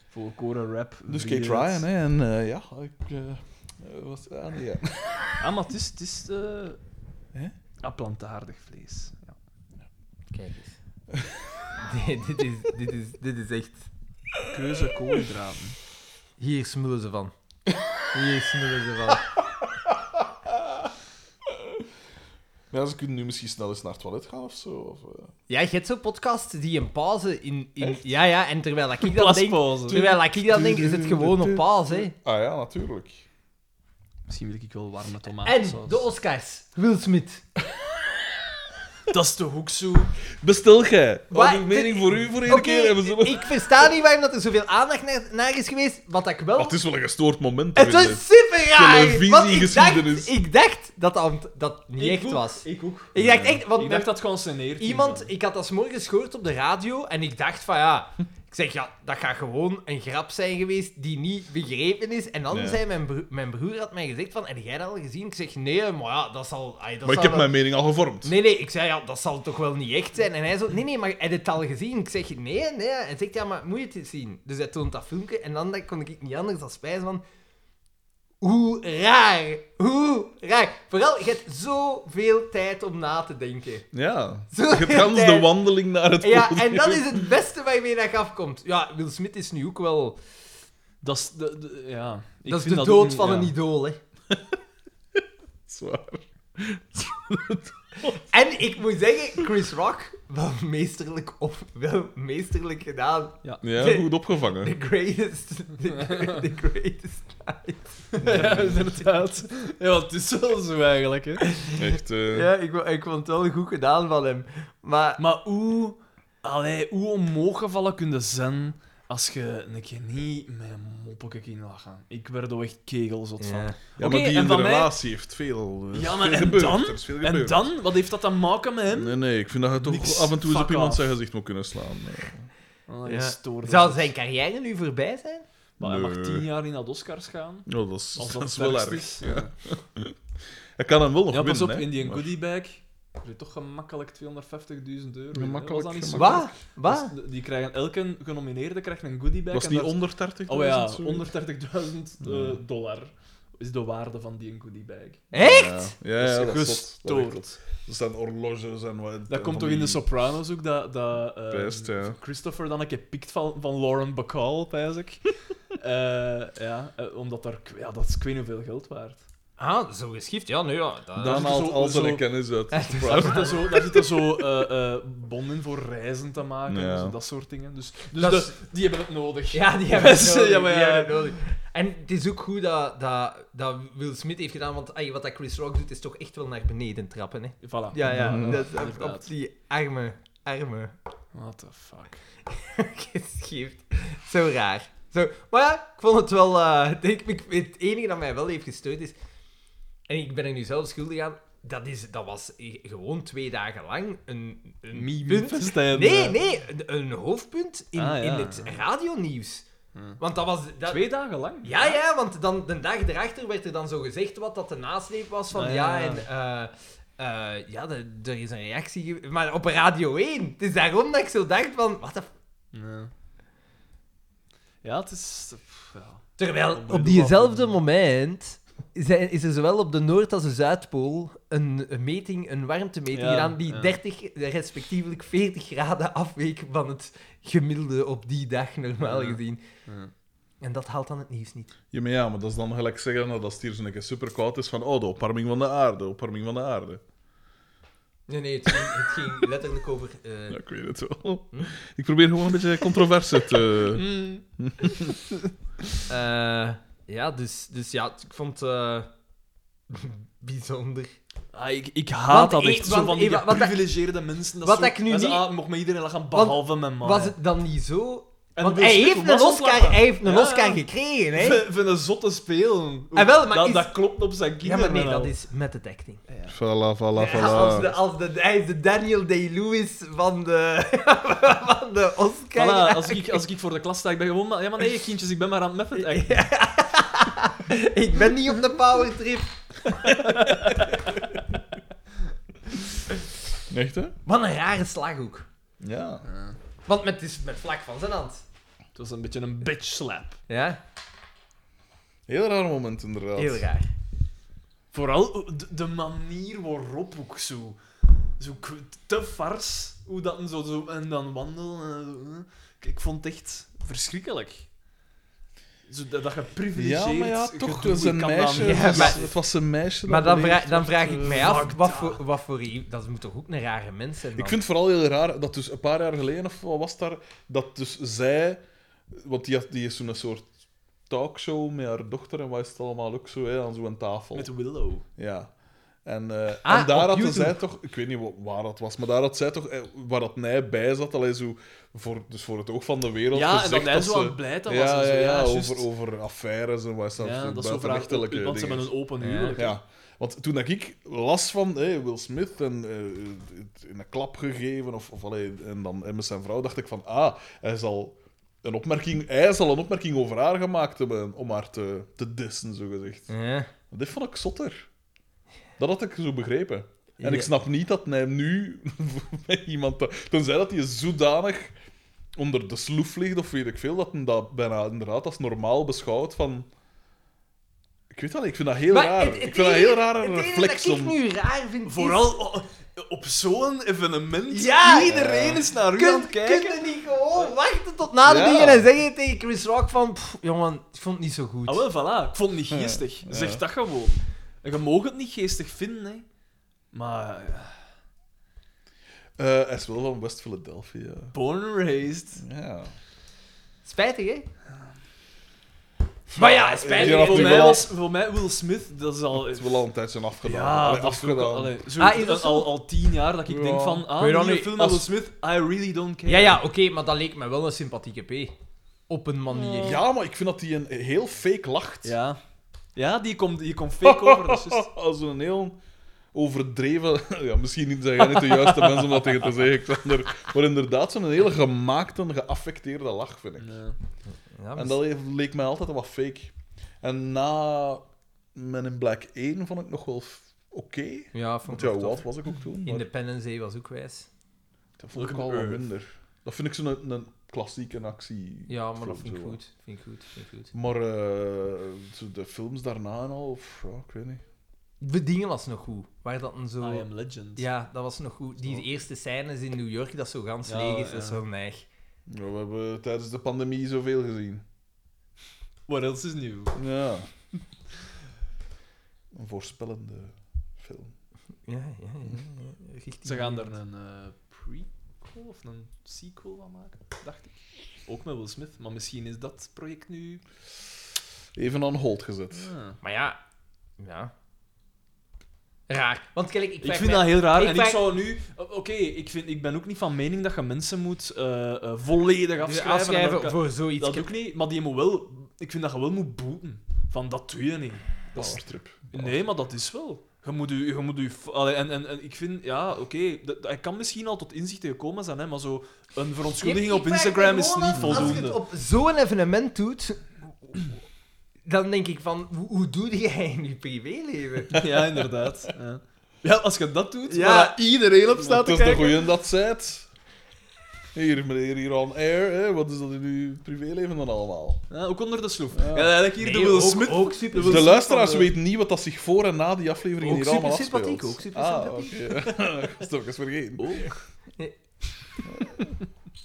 Voor koren rap. Dus kijk Ryan, hè? En eh, ja, ik. eh, eh, was, ah, nee, ja. Ah, maar het is... Het is eh, Hè? ah, plantaardig vlees. Ja. Kijk eens. Nee, dit, is, dit, is, dit is echt... Keuze koolhydraten. Hier smullen ze van. Hier smullen ze van. Ja, ze kunnen nu misschien snel eens naar het toilet gaan of zo. Of, eh. Ja, je hebt zo'n podcast die een pauze in... in ja, ja, en terwijl ik dan denk... Plaspauze. Terwijl ik dan denk, is het gewoon op pauze, hè. Ah ja, natuurlijk. Misschien wil ik wel warme En tomatensaus. de Oscars. Will Smith. Dat is toch ook zo? Bestel jij. Wat Wat? een mening voor u voor één Oké, keer. En we zullen... ik versta niet waarom dat er zoveel aandacht naar, naar is geweest. Wat ik wel... Wat Ah, is wel een gestoord moment. Het hè, was super raar! Want ik televisiegeschiedenis. dacht, ik dacht dat dat, dat niet Ik echt ook, was. Ik ook. Ik dacht echt, want ik dacht dat het gewoon sceneert. iemand, ik had dat 's morgens gehoord op de radio en ik dacht van ja, ik zeg ja, dat gaat gewoon een grap zijn geweest die niet begrepen is. En dan Ja. zei mijn, broer, mijn broer had mij gezegd van, heb jij dat al gezien? Ik zeg nee, maar ja, dat zal. ai, dat Maar zal ik heb wel- mijn mening al gevormd. Nee, nee, ik zei ja, dat zal toch wel niet echt zijn. En hij zo, nee, nee, maar heb je het al gezien? Ik zeg nee, nee. Hij zegt ja, maar moet je het eens zien? Dus hij toont dat filmpje en dan dacht- kon ik niet anders dan spijzen van. Hoe raar. Hoe raar. Vooral, je hebt zoveel tijd om na te denken. Ja. Zo Je hebt gans de tijd. wandeling naar het Ja, podium. en dat is het beste waarmee dat je afkomt. Ja, Will Smith is nu ook wel... Dat is de, de- ja. Ik dat is vind de ook dood niet- van ja. een idool, hè. Zwaar. En ik moet zeggen, Chris Rock, wel meesterlijk, op, wel meesterlijk gedaan. Ja, goed opgevangen. The greatest, the, the greatest night. Ja, inderdaad. Ja, want het is wel zo eigenlijk, hè. Echt. eh, Ja, ik, wa- ik vond het wel goed gedaan van hem. Maar Maar hoe... Allee, hoe omhoog gevallen kun je zijn als je een keer niet met moppen in laat gaan? Ik werd er echt kegelzot van. Ja, Oké, maar die en in de van mij- relatie heeft veel. eh, Ja, maar veel en gebeurd. dan? Er is veel En gebeurd. dan? Wat heeft dat te maken met hem? Nee, nee, ik vind dat je toch Niks. af en toe eens op Fuck iemand off. zijn gezicht moet kunnen slaan. eh. Oh, Ja. ja. stoorde. zou zijn carrière nu voorbij zijn? Maar hij mag Nee. tien jaar in dat Oscars gaan. Ja, Oh, dat is, Als dat dat is wel het ergst erg. is. Ja. Hij kan hem wel nog ja, winnen, pas op, hè. in die Maar- goodiebag krijg je toch gemakkelijk 250.000 euro. Gemakkelijk, Was dat niet zo? Wat? Dus Wat? de- die krijgen, elke genomineerde krijgt een goodiebag. Was en die daar- onder 30? Oh ja, zo? 130.000 eh, Ja. dollar is de waarde van die goodiebag. Echt? Ja, ja, ja, dat is zot. Dat is Gestoord. zot. Er staan horloges en wat. eh, Dat komt van toch in de die- Sopranos ook, dat, dat eh, Best, ja. Christopher dan een keer pikt van, van Lauren Bacall, pijs ik. Eh, ja, eh, omdat daar, ja, dat is ik weet niet hoeveel geld waard. Ah, zo geschift. Ja, nee, ja. dat- Dan Zo- haalt al zo- zijn kennis uit. Daar zitten zo, daar zitten zo eh, eh, bonnen voor reizen te maken, Ja. dus dat soort dingen. Dus, dus Dat is- de- die hebben het nodig. Ja, die hebben het Ja, nodig. maar die ja. hebben het nodig. En het is ook goed dat, dat, dat Will Smith heeft gedaan, want ay, wat dat Chris Rock doet, is toch echt wel naar beneden trappen, hè? Ja, Voilà. ja. Ja, dat, op- op, inderdaad. die arme, arme What the fuck. geschift. Zo raar. Zo, maar ja, ik vond het wel... eh, ik denk, ik, het enige dat mij wel heeft gestoord is... En ik ben er nu zelf schuldig aan. Dat, is, dat was i- gewoon twee dagen lang een, een punt. Meme-festijn. Nee, nee. Een, een hoofdpunt in, eh. Ah, ja. in het radionieuws. Want dat was... Dat, Twee dagen lang? Ja, ja, want dan, de dag erachter werd er dan zo gezegd wat dat de nasleep was van Ah, ja, ja, ja. en eh, eh, ja, de- er is een reactie, ge- maar op Radio 1. Het is daarom dat ik zo dacht van, wat de f- Ja, ja het is... pff, ja. Terwijl Op op diezelfde diezelfde moment zijn- is er zowel op de Noord- als de Zuidpool een, een meting, een warmtemeting Ja, gedaan die ja. 30, respectievelijk 40 graden afweek van het gemiddelde op die dag, normaal Ja, gezien. ja. En dat haalt dan het nieuws niet. Ja, maar ja, maar dat is dan gelijk zeggen dat als het hier zo'n keer super koud is van oh, de opwarming van de aarde, opwarming van de aarde. Nee, nee, het ging, het ging letterlijk over... eh, Ja, ik weet het wel. Ik probeer gewoon een beetje controverse te... Eh, ja, dus, dus ja, ik vond het eh, bijzonder. Ah, ik, ik Want haat dat ik- echt, zo want van die ik- wat- wat- geprivilegeerde mensen. Dat wat zo, ik nu dat ze, niet- ah, mocht met iedereen lachen, behalve mijn man. Was het dan niet zo? En Want Will hij Smith heeft, was een Oscar, ontslagen. hij heeft een Ja. Oscar gekregen, hè? Van- Van een zotte spelen. Ah, wel, maar dat, is- dat klopt op zijn Ja, kinderen. maar nou. nee, wel. dat is met het acting. Voilà, voilà, Ja, als de, voilà. als de, hij is de Daniel Day-Lewis van de, van de Oscar. Voilà, als ik, als ik voor de klas sta, ik ben gewoon... maar- Ja, maar nee, kindjes, ik ben maar aan het meffen. Echt. Ik ben niet op de powertrip. Echt, hè? Wat een rare slaghoek. Ja. Want met, het is met vlak van zijn hand. Het was een beetje een bitch slap. Ja, Heel raar moment, inderdaad. heel raar. Vooral de, de manier waarop ook zo... Zo k- te fars. Hoe dat en zo, zo... En dan wandelen. en zo, hè. Ik vond het echt verschrikkelijk. Zo, dat, dat Ja, geprivilegeerd... maar ja, gedoe, toch. Het was een ik kan dat meisje. niet. Ja, het, was, maar- het was een meisje. Maar dat dan, vra- beleefd dan werd, vraag ik eh, mij af, fucked wat up. voor, wat voor... i- Dat moet toch ook een rare mens zijn? Ik man? vind het vooral heel raar dat dus een paar jaar geleden, of wat was het daar, dat dus zij... Want die, had, die is zo'n soort talkshow met haar dochter en wat is het allemaal ook zo, hè, aan zo'n tafel. Met Willow. Ja. En, eh, Ah, en daar op hadden YouTube. zij toch, ik weet niet wa- waar dat was, maar daar had zij toch, eh, waar dat Nij bij zat, allee, zo voor, dus voor het oog van de wereld. Ja, en gezegd dat hij zo ze- aan het blijten was. Ja, en zo. ja, ja, juist. over, over affaires en wat is dat, Ja, dat is zo vraag. Want buitenechtelijke ze hebben dingen. een open Ja. huwelijk. Ja, want toen dat ik las van hey, Will Smith en eh, het in een klap gegeven of, of allee, en dan en met zijn vrouw, dacht ik van ah, hij zal een opmerking, hij zal een opmerking over haar gemaakt hebben om haar te, te dissen, zogezegd. Ja. Dit vond ik zotter. Dat had ik zo begrepen. Ja. En ik snap niet dat hij nu met iemand... te- Tenzij dat hij zodanig onder de sloef ligt, of weet ik veel, dat hij dat bijna inderdaad als normaal beschouwt van... Ik weet dat niet, ik vind dat heel Maar raar. het- het ik vind dat heel enige- raar het een enige reflex dat ik om... nu raar vind is- Vooral o- op zo'n evenement. Ja! Iedereen is naar u aan Kun, het kijken. kun je niet gewoon wachten tot na de Ja. dingen en zeggen tegen Chris Rock van... "Pff, jongen, ik vond het niet zo goed. Ah, wel, voilà. Ik vond het niet geestig. Ja. Zeg Ja. dat gewoon. En je mag het niet geestig vinden, hè. Maar ja, Eh, hij is wel van West Philadelphia. born and raised. Ja. Spijtig, hè? Maar ja, die spijtig. had voor, nu mij wel- was, voor mij Will Smith, dat is al... Het is wel al een tijd zijn afgedaan. ja, Allee, dat is ook afgedaan. al, allee, zo, Ah, is dat zo? al, al tien jaar dat ik Ja. denk van... Weet Ah, je nieuwe dat niet, film als- van Will Smith, I really don't care. Ja, ja, oké, maar dat leek me wel een sympathieke P. Op een manier. ja, maar ik vind dat hij een heel fake lacht. Ja, ja die komt die komt fake over. dat is juist. Als een heel overdreven... Ja, misschien zijn jij niet de juiste mensen om dat tegen te zeggen, Xander. Maar inderdaad, zo'n hele gemaakte, geaffecteerde lach, vind ik. Nee. Ja, En dat le- leek mij altijd wat fake. En na Men in Black 1 vond ik nog wel f- oké. ja, vond Want ik ja, wel wat tof. was ik ook toen? Maar Independence Day was ook wijs. dat vond ik Look al at wat Earth. minder. Dat vind ik zo'n een, een klassieke actie. Ja, maar dat film vind ik zo. goed. Vind ik goed, vind ik goed. Maar eh, zo de films daarna en al, of, ja, ik weet niet. De dingen was nog goed. Waar dat een I zo... am legend. Ah, Ja, dat was nog goed. Die eerste scènes in New York, dat zo gans Ja, leeg is, dat ja. is wel neig. Ja, we hebben tijdens de pandemie zoveel gezien. What else is new? Ja. een voorspellende film. Ja, ja, ja. ja. Richting- Ze gaan daar een eh, prequel of een sequel van maken, dacht ik. Ook met Will Smith, maar misschien is dat project nu. Even on hold gezet. Ah. Maar ja... Ja. Raar. Want kijk, ik Ik vraag vind mij- dat heel raar. ik en vraag- ik zou nu. o- Oké, ik, vind- ik ben ook niet van mening dat je mensen moet eh, eh, volledig afschrijven. en dus afschrijven dat kan- voor zoiets. dat ook niet, maar die moet wel. Ik vind dat je wel moet boeten. Van dat doe je niet. Dat is- Powertrip. Nee, maar dat is wel. Je moet u, je moet u, f- allee, en, en, en ik vind, ja, oké, dat- hij kan misschien al tot inzichten gekomen zijn, hè, maar zo een verontschuldiging op Ik vraag me Instagram is gewoon niet af, Als je het voldoende. op zo'n evenement doet, dan denk ik van, hoe, hoe doe jij in je privéleven? Ja, inderdaad. Ja. ja, als je dat doet, Ja. waar iedereen op staat Het te is de kijken. goeie dat zet. Hier, meneer, hier on air. Hè? Wat is dat in uw privéleven dan allemaal? Ja, ook onder de sloef. Ja. Ja, eigenlijk hier de Nee, Will ook- Smith. ook super- de Will De Smith luisteraars van de- weten niet wat dat zich voor en na die aflevering Ook hier allemaal super afspeelt. sympathiek, ook super Ah, oké. dat is toch eens vergeten. Nee.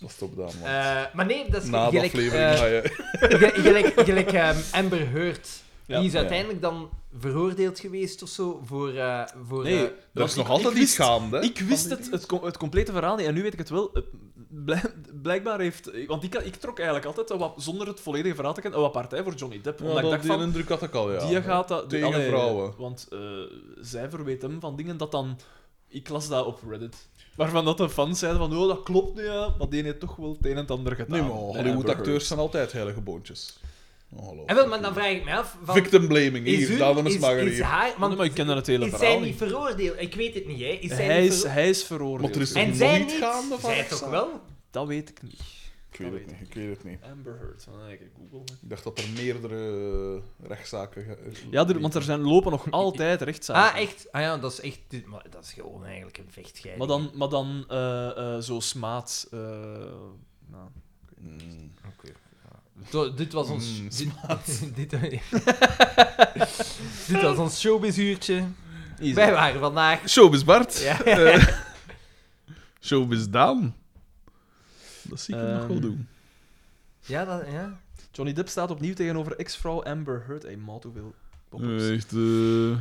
Dat stop dan, man. Eh, maar nee, dat is na de gelijk, aflevering eh, ga je... ge- gelijk, gelijk ehm, Amber Heard. Ja. die is Ja. uiteindelijk dan veroordeeld geweest of zo voor... eh, voor Nee, eh, Dat dat is ik- nog ik altijd wist- iets gaande. hè, Ik wist van die het, het, co- het complete verhaal niet, en nu weet ik het wel. Eh, blijk- Blijkbaar heeft... Want ik, ik trok eigenlijk altijd, een wat- zonder het volledige verhaal te kennen, een wat partij voor Johnny Depp. dingen. omdat Ja, ik dat, dacht die van... indruk had ik al, ja. Die gaat dat... Tegen allee, vrouwen. Want eh, zij verweet hem van dingen dat dan... Ik las dat op Reddit. Waarvan dat de fans zeiden van, oh, dat klopt nu, ja. Maar die heeft toch wel het een en het ander gedaan. Nee, maar bij Amber Heard. Hollywood-acteurs zijn altijd heilige boontjes. Ongelooflijk. en Ah, wel, maar dan vraag ik me af... Van, Victim blaming, is hier, hun- dames en is- heren. is hier. haar... Maar, Want nee, maar ik kende het hele is zij verhaal niet niet. veroordeeld? Ik weet het niet, hè. Is zij Hij niet is, vero- hij is Maar er is veroordeeld. toch En zij nooit gaande niet? van Zij haar toch zaak? wel? Dat weet ik niet. Ik weet het niet, ik weet het niet. Amber Heard, van eigenlijk Google. hè. Ik dacht dat er meerdere eh, rechtszaken... ge- Ja, er- want er zijn, lopen nog altijd rechtszaken. Ah, echt? Ah ja, dat is echt... dit- Maar dat is gewoon eigenlijk een vechtgeil. Maar dan, maar dan eh, eh, zo smaad... eh, nou. Mm. Zo, dit was ons... Mm, dit, dit, dit was ons showbizuurtje. Easy. Wij waren vandaag... Showbiz Bart. Ja. Eh, showbiz Daan. Dat zie ik hem nog wel Ehm. doen. Ja, dat... Ja. Johnny Depp staat opnieuw tegenover ex-vrouw Amber Heard. Hey, maat, hoeveel pop-ups. Echt, eh, Eh,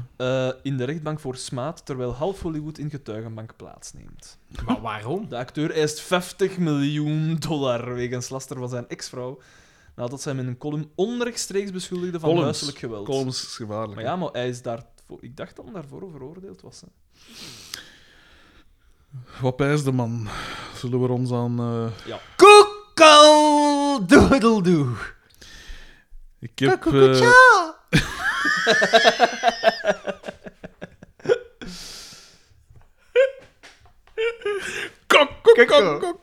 in de rechtbank voor smaad, terwijl half Hollywood in getuigenbank plaatsneemt. Maar waarom? De acteur eist 50 miljoen dollar wegens laster van zijn ex-vrouw, nadat zij hem in een column onrechtstreeks beschuldigde van Columns. huiselijk geweld. columns is gevaarlijk. Maar ja, maar hij is daarvoor... Ik dacht dat hij daarvoor veroordeeld was. Hè. hè. Wat pijst de man? Zullen we ons aan... eh, Koekeldoedeldoe. Ik heb... eh, Koekoetja. Kok, kok, kok, kok,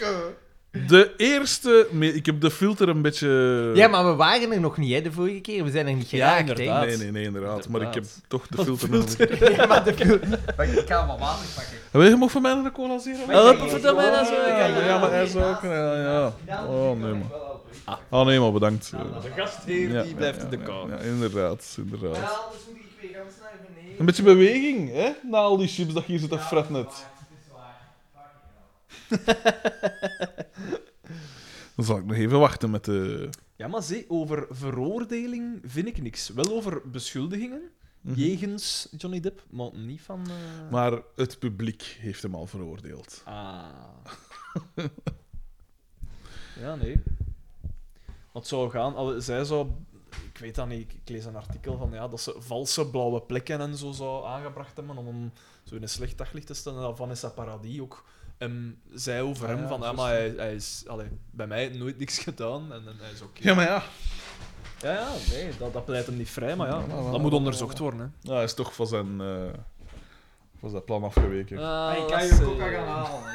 kok. De eerste... me- Ik heb de filter een beetje... Ja, maar we waren er nog niet, hè, de vorige keer. We zijn er niet eh, Ja, geraakt, inderdaad. Nee, nee, nee, inderdaad. Maar ik heb Inderdaad. toch de filter nog een beetje- hè. Ja, maar de... Ik ga wat water pakken. Wil je nog van mij een cola zero? Help, vertel mij dat zo. Ja, ja, maar hij is ook... Ja, ja. Oh, nee, man. man. Oh nee, maar bedankt. Ja, De gastheer ja, die blijft in de ja, kou. ja, inderdaad, inderdaad. Wel, dus moet ik weer gans naar beneden. Een beetje beweging, hè? Na al die chips dat je hier zit te fretten. net. Het is waar. Fucking hell. Dan zal ik nog even wachten met de... Ja, maar zie, over veroordeling vind ik niks. Wel over beschuldigingen, jegens Johnny Depp, maar niet van... eh, Maar het publiek heeft hem al veroordeeld. Ah. ja, nee. Wat zou gaan... al- Zij zou... Ik weet dat niet, ik ik lees een artikel van ja, dat ze valse blauwe plekken en zo zou aangebracht hebben om hem zo in een slecht daglicht te stellen. En dat Vanessa Paradis ook hem zei over Ah, hem ja, van ja, juist, maar hij, hij is allee, bij mij nooit niks gedaan en, en hij is oké. Ja, maar ja. Ja, ja, nee, dat, dat pleit hem niet vrij, maar ja, Ja, maar wel, dat moet onderzocht worden. Hè. ja hij is toch van zijn... eh, van zijn plan afgeweken. Ah, Maar ik kan lassie. je coca gaan halen, hè.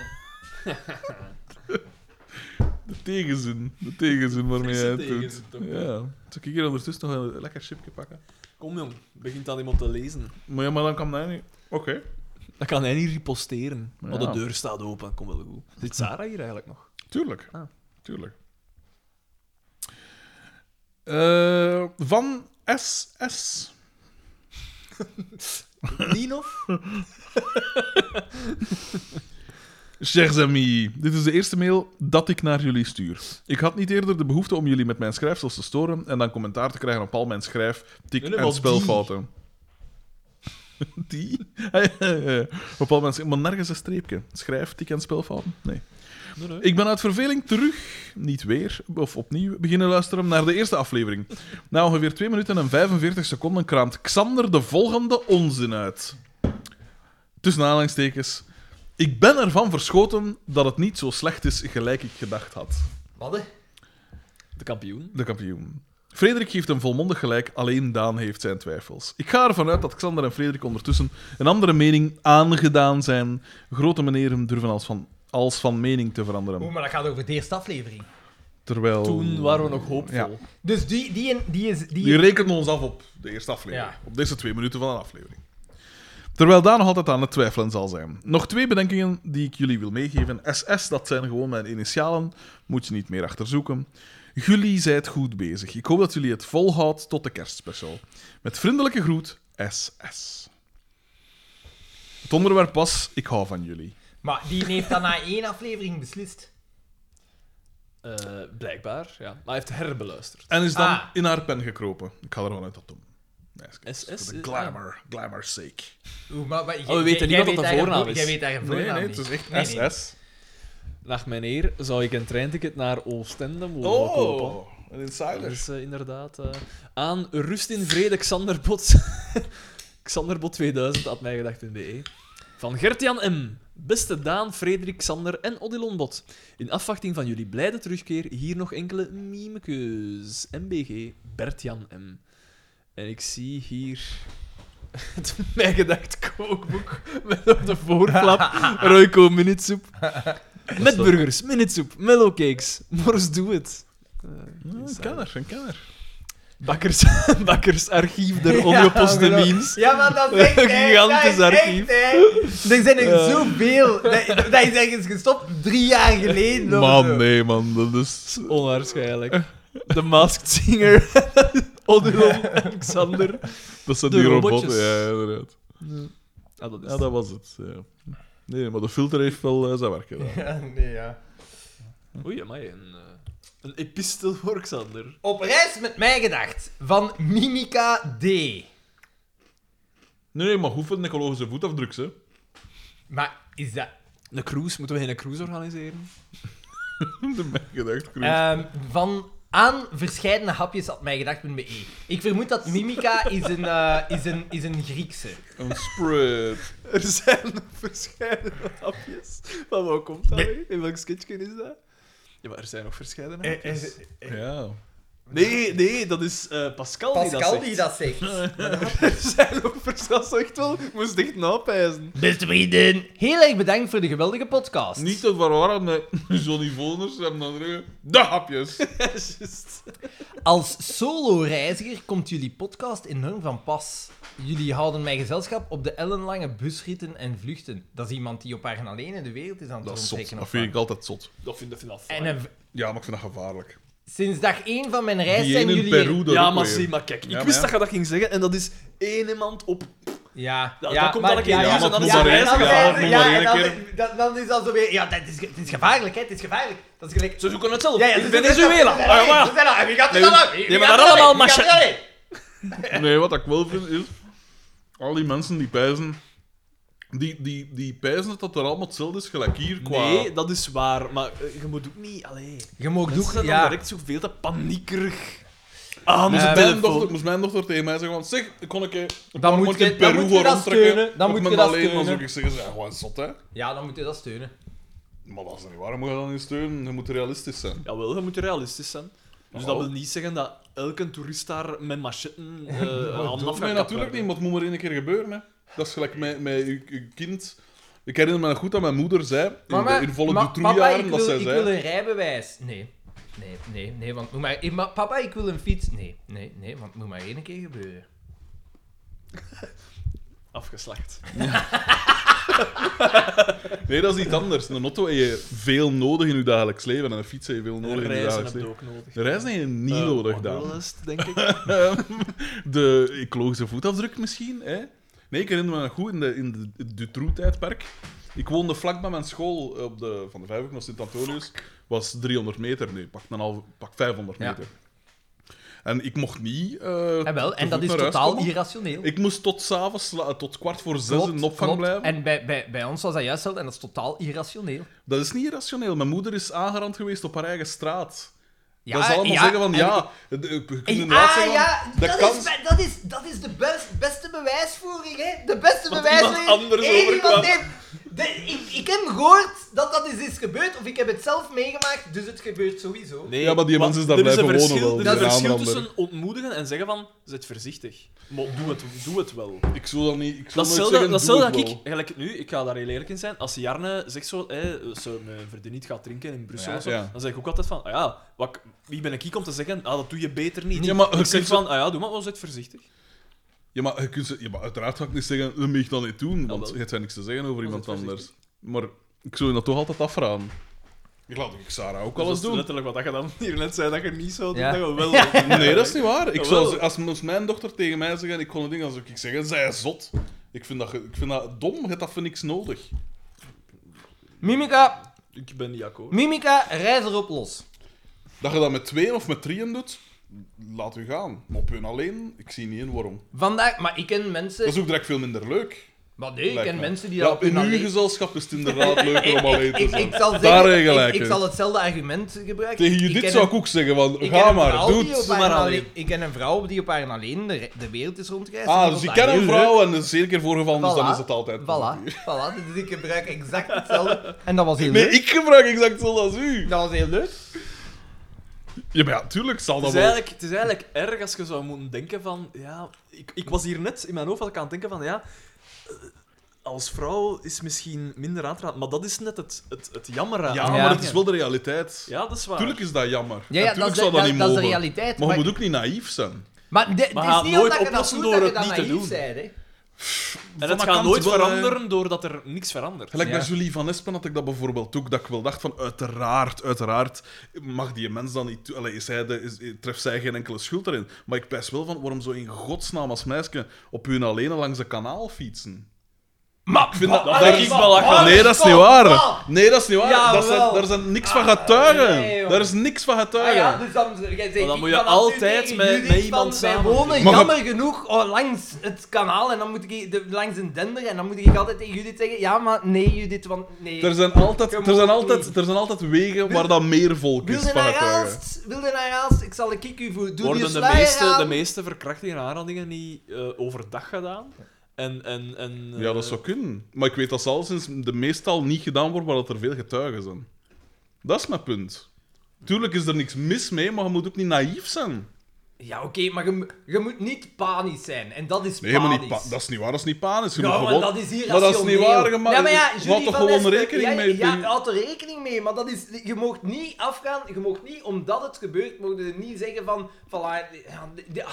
De tegenzin. De tegenzin waarmee Frisse hij het doet. tegenzin, toch, hè? Ja. Zal ik hier ondertussen nog een lekker chipje pakken? Kom jong, begint dat iemand te lezen. Maar ja, maar dan kan hij niet... Oké. Dat kan hij niet reposteren, maar Ja. Hm. de deur staat open. Kom wel goed. Zit Sarah hier eigenlijk nog? Tuurlijk. Ah. Tuurlijk. Eh, van SS. Ninov? Chers amis, dit is de eerste mail dat ik naar jullie stuur. Ik had niet eerder de behoefte om jullie met mijn schrijfsels te storen en dan commentaar te krijgen op al mijn schrijf, tik Nee, nee, en maar spelfouten. Die? op al mijn schrijf, maar nergens een streepje. Schrijf, tik en spelfouten? Nee. Nee, nee. Ik ben uit verveling terug, niet weer, of opnieuw, beginnen luisteren naar de eerste aflevering. Na ongeveer 2 minuten en 45 seconden kraamt Xander de volgende onzin uit. Tussen aanhalingstekens. Ik ben ervan verschoten dat het niet zo slecht is gelijk ik gedacht had. Wat, hè? De kampioen. De kampioen. Frederik geeft hem volmondig gelijk, alleen Daan heeft zijn twijfels. Ik ga ervan uit dat Xander en Frederik ondertussen een andere mening aangedaan zijn. Grote meneren durven als van, als van mening te Oeh, veranderen. maar dat gaat over de eerste aflevering. Terwijl... Toen waren we nog hoopvol. Oh. Ja. Dus die, die, en- die is... Die, Die rekenen ons af op de eerste aflevering. Ja. Op deze twee minuten van een aflevering. Terwijl Daan nog altijd aan het twijfelen zal zijn. Nog twee bedenkingen die ik jullie wil meegeven. SS, dat zijn gewoon mijn initialen. Moet je niet meer achterzoeken. Jullie zijt goed bezig. Ik hoop dat jullie het volhoudt tot de kerstspecial. Met vriendelijke groet, SS. Het onderwerp was, ik hou van jullie. Maar die heeft dat na één aflevering beslist. Eh, blijkbaar, ja. Maar hij heeft herbeluisterd. En is dan Ah. in haar pen gekropen. Ik ga er wel uit dat doen. Nee, SS voor is- de glamour, glamour sake. Oeh, maar... maar Oh, we weten niet wat dat de voornaam is. Jij weet daar een Nee, voornaam nee, niet. het is echt Nee, SS. nee. Dag meneer, zou ik een treinticket naar Oostende mogen kopen? Oh, een Dat insider. is eh, inderdaad... eh, aan rust in vrede, Xander Bot. Xander Bot 2000 had mij gedacht in BE. Van Gertjan M. Beste Daan, Frederik, Xander en Odilon Bot. In afwachting van jullie blijde terugkeer, hier nog enkele mimekeus. MBG, Bertjan M. En ik zie hier het mij gedacht kookboek met op de voorflap Royco minutsoep. Met burgers, minutsoep, mellowcakes. Mors, doe het. Eh, Ah, Een kenner, een kenner. Bakkers, bakkersarchief der ongeposte Ja, memes. Ja, maar dat is echt, hè. Gigantisch Dat is echt, archief. hè. Er zijn er zoveel. Dat, dat is ergens gestopt drie jaar geleden. of zo. Man, nee, man, dat is. Onwaarschijnlijk. The Masked Singer, Odilon en Xander. Dat zijn De die robotten. robotjes. Ja, inderdaad. Ah, dat is Ja, dat was het. Ja. Nee, maar de filter heeft wel eh, zijn werk gedaan. Ja, nee, ja. Oei, amai, een, eh, een epistel voor Xander. Op reis met mij gedacht van Mimica D. Nee, maar hoeveel een ecologische voetafdruk, hè? Maar is dat. Een cruise, moeten we geen cruise organiseren? De mijn gedacht, Chris. Ehm, van aan verschillende hapjes had mij gedacht met E. Ik vermoed dat Mimica is een, eh, is een, is een Griekse. Een spread. Er zijn verschillende hapjes. Van waar komt dat weer? In welk sketchje is dat? Ja, maar er zijn nog verschillende hapjes. Ja. Nee, nee, dat is eh, Pascal, die dat Pascal zegt. die dat zegt. Er zijn nog verschillende... Dat is echt wel... Ik moest echt napijzen. Beste vrienden, heel erg bedankt voor de geweldige podcast. Niet te verwarren met Johnny Voners en dan zeggen, de hapjes. Juist. Als solo-reiziger komt jullie podcast enorm van pas. Jullie houden mij gezelschap op de ellenlange busritten en vluchten. Dat is iemand die op haar en alleen in de wereld is aan het Dat is zot. rondtrekken. Dat of vind wat. ik altijd zot. Dat vind, dat vind ik En een, Ja, maar ik vind dat gevaarlijk. Sinds dag één van mijn reis Die zijn ene in jullie... hier- Peru, dat Ja, ook maar weer. zie, maar kijk, ik Ja, maar wist ja. dat je dat ging zeggen en dat is één iemand op. Ja, Ja, ja, dan komt maar- dan een keer ja, nieuws maar en dan doe is het maar reis eens, dan- ja, gegaan. nog maar ja, en één dan, keer. dan, dan is dat zo weer... Ja, dat is, het is gevaarlijk, hè. Het is gevaarlijk. Dat is gelijk... Ze zoeken het zelf. Ja, ja, in ze- Venezuela. ze- ze- Ah, ja, ze zijn al- en Wie gaat Nee, er dan nee, maar daar allemaal macha- Nee, wat ik wel vind is. Al die mensen die pijzen. Die, die, die pijzen dat dat er allemaal hetzelfde is, gelijk hier. Qua... Nee, dat is waar, maar eh, je moet ook niet. Allee. Je mag Mensen doen, zijn ja. dan direct zoveel te paniekerig aan Moest de het Mijn dochter, telefoon. moest mijn dochter tegen mij zeggen: want zeg, ik kon een keer. een eh, Dan paar moet maanden je- in dan Peru moet je gaan dat rondtrekken, steunen, dan op moet je mijn dat alleen, Dan steunen. zou ik zeggen: ze zijn gewoon zot, hè? Ja, dan moet je dat steunen. Maar dat is niet waar, moet je dat niet steunen? Je moet realistisch zijn. Jawel, je moet realistisch zijn. Dus dat Oh. wil niet zeggen dat elke toerist daar met machetten eh handen af gaat Nee, kappen. natuurlijk niet, maar het moet maar één keer gebeuren. Hè. Dat is gelijk met, met uw, uw kind. Ik herinner me nog goed dat mijn moeder zei, in, Mama, de, in volle ma- papa, ik Dutroux-jaren, wil, dat zij ik zei... wil een rijbewijs. Nee. Nee, nee, nee, want moet maar... eh, ma- Papa, ik wil een fiets. Nee, nee, nee, want het moet maar één keer gebeuren. Afgeslacht. Nee, dat is iets anders. Een auto heb je veel nodig in je dagelijks leven en een fiets heb je veel nodig in je Reizen dagelijks heb je leven. ook nodig. De reizen heb je niet Eh, nodig, Daan. wandelrust, denk ik. de ecologische voetafdruk misschien. Hè? Nee, ik herinner me nog goed in de, in de het Dutroux-tijdperk. Ik woonde vlak bij mijn school eh, op de, van de Vijfhoek naar Sint-Antonius. Was 300 meter nu, pak, een halve, pak 500 Ja. meter. En ik mocht niet. eh En Ah, wel, te en dat voet is naar huis totaal komen. irrationeel. Ik moest tot s'avonds, tot kwart voor zes Klopt, in opvang klopt. blijven. En bij, bij, bij ons was dat juist zo, en dat is totaal irrationeel. Dat is niet irrationeel. Mijn moeder is aangerand geweest op haar eigen straat. Ja, dat is allemaal ja, zeggen van en- ja. de- de- je kunt en- inderdaad ah, zeggen van, ja, de dat, kans- is, be- dat, is, dat is de best- beste bewijsvoering, hè? De beste Wat bewijsvoering. iemand anders Eén overkwam. iemand heeft- de- ik, ik heb gehoord dat dat is, is gebeurd, of ik heb het zelf meegemaakt, dus het gebeurt sowieso. Nee, Ja, maar die wa- mensen is daar er een blijven verschil- wonen wel, Er is die een verschil Aanlander. tussen ontmoedigen en zeggen van, zet voorzichtig. Maar doe het, doe het wel. Ik zou dat niet. Ik zou Dat is nooit hetzelfde zeggen, dat, is doe hetzelfde het dat ik, wel. gelijk nu, ik ga daar heel eerlijk in zijn, als Jarne zegt zo, hè, ze mijn vriendin niet gaat drinken in Brussel Ja. of zo, Ja. dan zeg ik ook altijd van, ah ja, wat, ik- wie ben ik hier om te zeggen, ah, dat doe je beter niet. Ja, maar ik je zeg kunt van, ah ja, doe maar, wel, zet voorzichtig. Ja, maar, je kunt ze- ja, maar uiteraard ga ik niet zeggen, dat mag je dat niet doen, want wel. je hebt niks te zeggen over iemand het anders. Maar ik zou dat toch altijd afraden. Ik laat ik Sarah ook Dus dat alles is doen. Letterlijk wat dat je dan hier net zei, dat je niet zou doen, Ja. dat je wel Nee, dat is niet waar. Ik zou, Jawel. als, als mijn dochter tegen mij zeggen, ik kon een ding, dan zou ik zeggen, zij is zot. Ik vind dat, ge- ik vind dat dom, je hebt dat voor niks nodig. Mimica, Ik ben niet akkoord. Mimica, reis erop los. Dat je dat met tweeën of met drieën doet, laat u gaan. Maar op hun alleen, ik zie niet in waarom. Vandaag, maar ik ken mensen... Dat is ook direct veel minder leuk. Maar nee, ik lijkt ken mij. mensen die ja, dat op hun In uw alleen- gezelschap is het inderdaad leuker om alleen te Ik, zijn. ik zal Daar zeggen, heb je gelijk ik, ik in. zal hetzelfde argument gebruiken. Tegen Ik Judith ken zou een- ik ook zeggen, van, ik ken ga een maar, vrouw doe die op het. haar maar alleen- alleen. Ik ken een vrouw die op haar alleen de, re- de wereld is rondgereisd. Ah, en dus die ik vond dat ken een heel vrouw en dat is zeker keer voorgevallen, leuk. dus dan is het altijd. Voilà, voilà. Dus ik gebruik exact hetzelfde. En dat was heel Nee, leuk. ik gebruik exact hetzelfde als u. Dat was heel leuk. Ja, maar ja, tuurlijk zal Het dat is, wel. eigenlijk, het is eigenlijk erg als je zou moeten denken van... Ja, ik, ik was hier net in mijn hoofd had ik aan het denken van... Ja, eh, als vrouw is misschien minder aan te raden, maar dat is net het, het, het jammer aan. Ja, aan maar Ja. het is wel de realiteit. Ja, dat is waar. Tuurlijk is dat jammer. Ja, ja En dat, is tuurlijk de, zou dat dat, niet dat is de mogen. realiteit. Maar je moet ook niet naïef zijn. maar de- het Maar is gaat niet nooit omdat je dat oplossen doet door dat je het dat niet te naïef doen. bent, hè. En het Van dat gaat kant nooit wel, eh, veranderen doordat er niks verandert. Gelijk Ja. bij Julie van Espen had ik dat bijvoorbeeld ook, dat ik wel dacht van, uiteraard, uiteraard mag die mens dan niet... toe- Allee, is hij de, is, treft zij geen enkele schuld erin. Maar ik pijs wel van, waarom zou in godsnaam als meisje op hun alleen langs de kanaal fietsen? Maar Ik vind dat... Dat daar- vind ik belachelijk. Nee, dat is niet waar. Nee, dat is niet waar. Jawel. Ah, Daar zijn, daar zijn niks van getuigen. nee, joh. daar is niks van Ah getuigen. ja, dus dan, jij zegt, dan moet ik je vanaf nu altijd tegen met- Judith met iemand van, samen Wij wonen doen. jammer genoeg oh, langs het kanaal en dan moet ik de- langs een dender en dan moet ik altijd tegen Judith zeggen, ja maar nee Judith, want nee. Er zijn, altijd, Je er, moet zijn het altijd, niet. er zijn altijd wegen waar dat meer volk is Wilde van naar getuigen. Aalst, wilde naar Aalst, ik zal een kick u voor. Doe je Worden de sluier meeste, aan. de meeste verkrachtingen en aanradingen niet eh, overdag gedaan? En, en, en, Ja, dat eh, zou kunnen. Maar ik weet dat ze alleszins de meestal niet gedaan wordt, maar dat er veel getuigen zijn. Dat is mijn punt. Tuurlijk is er niks mis mee, maar je moet ook niet naïef zijn. Ja oké, maar je, mo- je moet niet panisch zijn. En dat is Nee, panisch. helemaal niet pa- dat is niet waar, dat is niet panisch. Je Ja, moet maar gewoon... dat is hier maar dat is niet waar, je ma- ja, maar ja, je Julie houdt toch van gewoon Espen, rekening ja, mee? Ja, Die- houd er rekening mee, maar dat is, je mag niet afgaan, je mag niet, omdat het gebeurt, mag je niet zeggen van, voilà, ja, d- ja,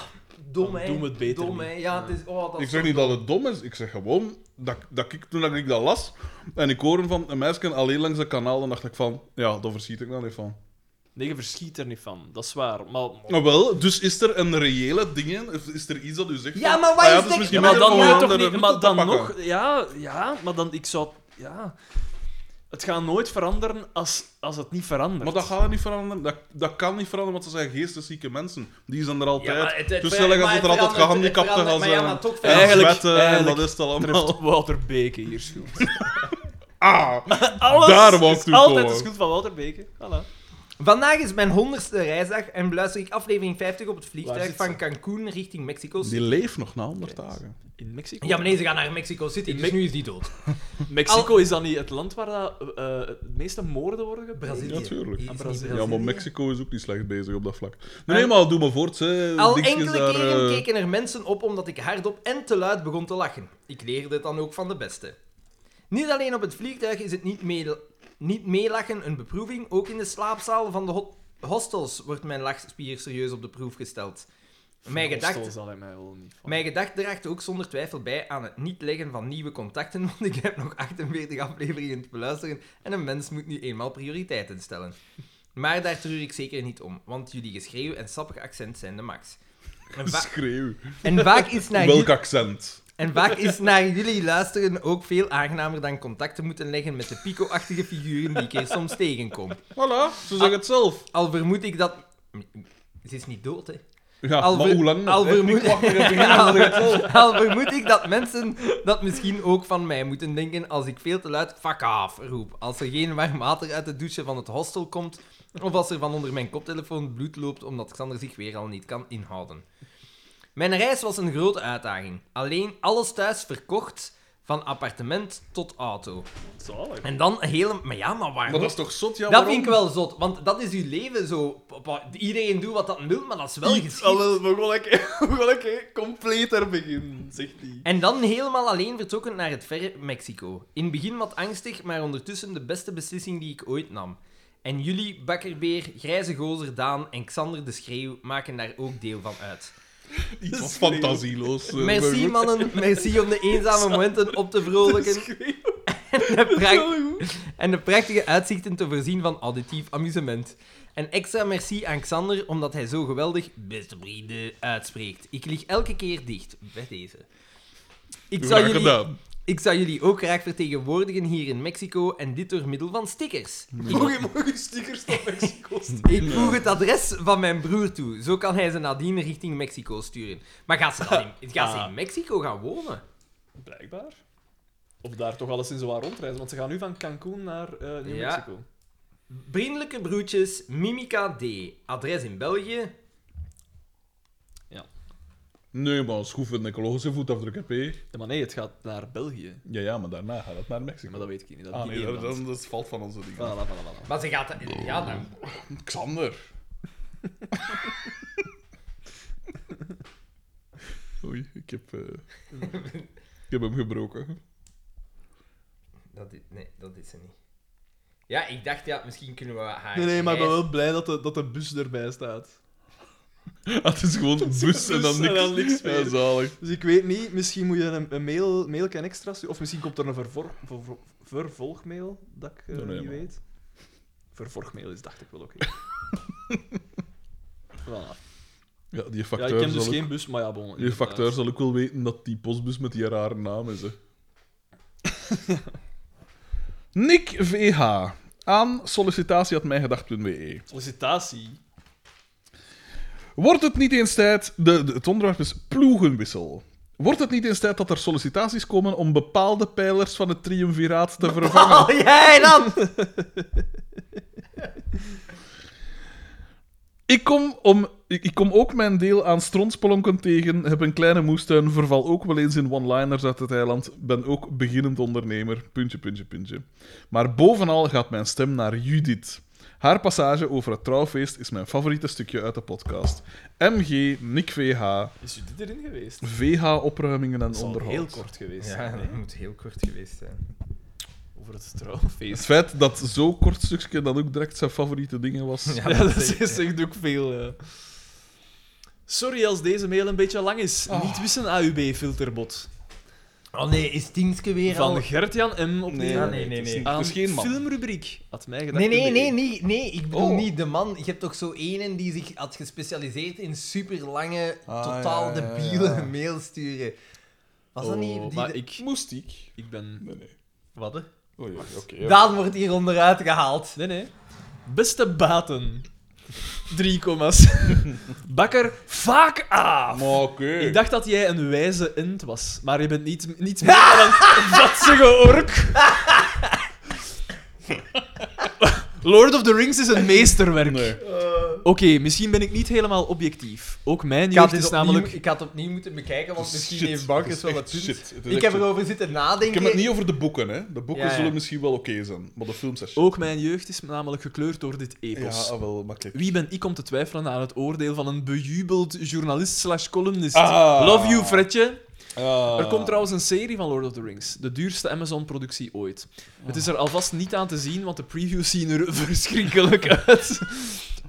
dom Dan hè. doen we het beter Dom niet. hè, ja, het is, oh, dat Ik is zeg zo niet dom. dat het dom is, ik zeg gewoon dat, dat ik toen ik dat las en ik hoorde van een meisje alleen langs het kanaal, dan dacht ik van, ja, daar verschiet ik nou niet van. Nee, je verschiet er niet van. Dat is waar. Maar, Nou wel, dus is er een reële ding of is er iets dat u zegt... Ja, van, maar wat ah is dat dat- misschien Ja, maar beter dan om een moet toch andere niet... route Maar te dan pakken? nog... Ja, ja, maar dan... Ik zou... Ja... Het gaat nooit veranderen als, als het niet verandert. Maar dat gaat niet veranderen. Dat, dat kan niet veranderen, want ze zijn geesteszieke mensen. Die zijn er altijd. Dus maar het- het Zo ver- snel maar als het er het verandert- altijd het gehandicapten gaan verandert, maar zijn. ja, maar toch en eigenlijk- zwetten, en eigenlijk dat is het Treft allemaal. Oh, Wouter Beke hier schuld. Ah, Alles Daar wou ik is toe altijd komen. de schuld van Wouter Beke. Voilà. Vandaag is mijn honderdste reisdag en beluister ik aflevering 50 op het Waar vliegtuig zit van ze? Cancún richting Mexico City. die leeft nog na 100 dagen. In Mexico. Ja, maar nee, ze gaan naar Mexico City, dus nu is die dood. Mexico is dan niet het land waar dat, eh, eh, het meeste moorden worden gepleegd? Brazilië. Ja, tuurlijk. Is Ja, niet Brazilië. Ja, maar Brazilië? Mexico is ook niet slecht bezig op dat vlak. Nee, nee, maar doe maar voort. Hè. Al Dingetjes enkele daar, keren eh, keken er mensen op omdat ik hardop en te luid begon te lachen. Ik leerde het dan ook van de beste. Niet alleen op het vliegtuig is het niet, mee, niet meelachen een beproeving, ook in de slaapzaal van de hot- hostels wordt mijn lachspier serieus op de proef gesteld. Mijn Hostel gedachten zal hij mij wel niet van. Mijn gedachte draagt ook zonder twijfel bij aan het niet leggen van nieuwe contacten, want ik heb nog 48 afleveringen te beluisteren en een mens moet nu eenmaal prioriteiten stellen. Maar daar treur ik zeker niet om, want jullie geschreeuw en sappig accent zijn de max. En, va- Schreeuw. en vaak is naar Welk jullie, accent? en vaak is naar jullie luisteren ook veel aangenamer dan contacten moeten leggen met de pico-achtige figuren die ik hier soms tegenkom. Voilà, ze zeggen het zelf. Al vermoed ik dat... Ze is niet dood, hè? Ja, Al maar ver- hoe lang nog? al hè? vermoed- Ik wacht er even in, dan zeg ik "Oh." het zelf. Al vermoed ik dat mensen dat misschien ook van mij moeten denken als ik veel te luid fuck off roep. Als er geen warm water uit de douche van het hostel komt. Of als er van onder mijn koptelefoon bloed loopt omdat Xander zich weer al niet kan inhouden. Mijn reis was een grote uitdaging. Alleen alles thuis verkocht, van appartement tot auto. Zalig. En dan helemaal... Maar ja, maar waarom? Maar dat is toch zot, ja? Dat waarom? vind ik wel zot, want dat is uw leven zo. Papa, Iedereen doet wat dat wil, maar dat is wel geschikt. Alles begon ik, begon ik completer begin, zegt hij. En dan helemaal alleen vertrokken naar het verre Mexico. In het begin wat angstig, maar ondertussen de beste beslissing die ik ooit nam. En jullie, Bakkerbeer, Grijze Gozer, Daan en Xander de Schreeuw maken daar ook deel van uit. Iets wat Schreeuw. fantasieloos. eh, maar Merci goed. mannen, merci om de eenzame momenten op te vrolijken en de, pracht- en de prachtige uitzichten te voorzien van auditief amusement. En extra merci aan Xander omdat hij zo geweldig beste vrienden uitspreekt. Ik lig elke keer dicht bij deze. Ik Graag zou jullie gedaan. Ik zou jullie ook graag vertegenwoordigen hier in Mexico en dit door middel van stickers. Mogen je, mogen je stickers naar Mexico steken? Ik voeg het adres van mijn broer toe. Zo kan hij ze nadien richting Mexico sturen. Maar gaat ze, dan in, gaat ze in Ah. Mexico gaan wonen? Blijkbaar. Of daar toch alleszins wel rondreizen, want ze gaan nu van Cancún naar eh New Ja. Mexico. Vriendelijke broertjes, Mimica D. Adres in België. Nee, maar schroef een ecologische voetafdruk heb je. Ja, maar nee, het gaat naar België. Ja, ja, maar daarna gaat het naar Mexico. Maar dat weet ik niet. Dat ah, die nee, dat, Ah. Nederland. dat, dat valt van onze dingen. Voilà, voilà, voilà. Maar ze gaat... Ja, dan... Xander. Oei, ik heb, eh, ik heb hem gebroken. Dat is, nee, dat is ze niet. Ja, ik dacht, ja, misschien kunnen we haar... Nee, nee, maar ik ben reis- wel blij dat de, dat de bus erbij staat. Ah, het is gewoon een bus en dan bus en niks. dan niks meer. Ja, zalig. Dus ik weet niet, misschien moet je een, een mail, mail kan extra sturen. Of misschien komt er een vervor- ver- vervolgmail, dat ik eh, Nee, nee, niet maar- weet. Vervolgmail is, dacht ik wel, oké. voilà. Ja, die Ja, facteur, ik ken zal, dus ook, geen bus, maar ja, bon. die inderdaad. facteur zal ook wel weten dat die postbus met die rare naam is. Hè. Nick VH. Aan sollicitatie.mijgedacht.be Sollicitatie. Wordt het niet eens tijd... De, de- het onderwerp is ploegenwissel. Wordt het niet eens tijd dat er sollicitaties komen om bepaalde pijlers van het triumviraat te vervangen? Oh, jij dan! Ik kom, om, ik, ik kom ook mijn deel aan stronspolonken tegen, heb een kleine moestuin, verval ook wel eens in one-liners uit het eiland, ben ook beginnend ondernemer, puntje, puntje, puntje. Maar bovenal gaat mijn stem naar Judith. Haar passage over het trouwfeest is mijn favoriete stukje uit de podcast. MG, Nick VH, Is u dit erin geweest? VH-opruimingen en Dat zal onderhoud. heel kort geweest zijn. hè? moet heel kort geweest zijn. Over het Het trouwfeest. feit dat zo'n kort stukje dat ook direct zijn favoriete dingen was. Ja, dat is echt ook veel. eh. Sorry als deze mail een beetje lang is. Niet wissen AUB-filterbot. Oh nee, is Tienske weer al... Van Gert-Jan M. opnieuw. nee, nee, nee. Het is, niet- Aan het is geen man. filmrubriek. Had mij gedacht. Nee, nee, nee, nee, nee, ik bedoel Oh. niet de man. Je hebt toch zo ene die zich had gespecialiseerd in superlange, Ah, totaal ja, ja, ja, debiele ja. mails sturen. Was dat Oh, niet? Die maar de- ik, Moest ik? ik ben... Nee, nee. Wat, hè? Oh, ja, oké. ja. Daan wordt hier onderuit gehaald. Nee, nee. Beste baten. Drie commas. Bakker, vaak af. Maar oké. Ik dacht dat jij een wijze int was, maar je bent niet, niet meer dan een vatsige ork. Lord of the Rings is een meesterwerk. Eh. Nee. Oké, misschien ben ik niet helemaal objectief. Ook mijn Ik had, jeugd dit is opnieuw, namelijk... ik had het opnieuw moeten bekijken, want misschien Shit, heeft Bankers het wel is wat echt punt. shit. Het is Ik echt heb shit. erover zitten nadenken. Ik heb het niet over de boeken, hè. De boeken Ja, ja. zullen misschien wel oké zijn, maar de films zijn shit. Ook mijn jeugd is namelijk gekleurd door dit Ja, Oh, epos. ah, wel makkelijk. Wie ben ik om te twijfelen aan het oordeel van een bejubeld journalist slash columnist? Ah. Love you, Fredje. Ah. Er komt trouwens een serie van Lord of the Rings, de duurste Amazon-productie ooit. Het is er alvast niet aan te zien, want de previews zien er verschrikkelijk uit.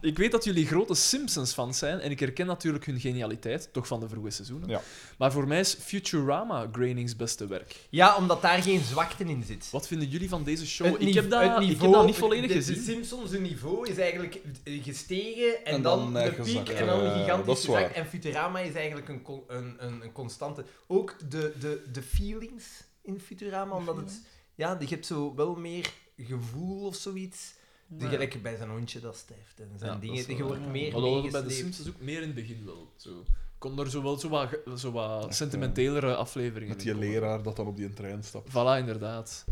Ik weet dat jullie grote Simpsons-fans zijn en ik herken natuurlijk hun genialiteit, toch van de vroege seizoenen. Ja. Maar voor mij is Futurama Groening's beste werk. Ja, omdat daar geen zwakte in zit. Wat vinden jullie van deze show? Het ik, nive- heb dat, het ik heb niveau- dat niet volledig de, gezien. De Simpsons, hun niveau is eigenlijk eh, gestegen en, En dan, dan, eh, de piek gezakt. en dan Ja, een dat gigantisch is gezakt. waar. En Futurama is eigenlijk een, con- een, een, een constante. Ook de, de, de feelings in Futurama, omdat het... Ja, je hebt zo wel meer gevoel of zoiets. De Ja. gelijk bij zijn hondje dat stijft en zijn Ja, dat dingen. is wel Je wordt waar. meer Maar dat was bij de meegesleept. Simpsons ook meer in het begin wel. Zo. Kon er zo wel zo wat, ge- zo wat sentimentelere afleveringen Met die in komen. leraar dat dan op die trein stapt. Voilà, inderdaad.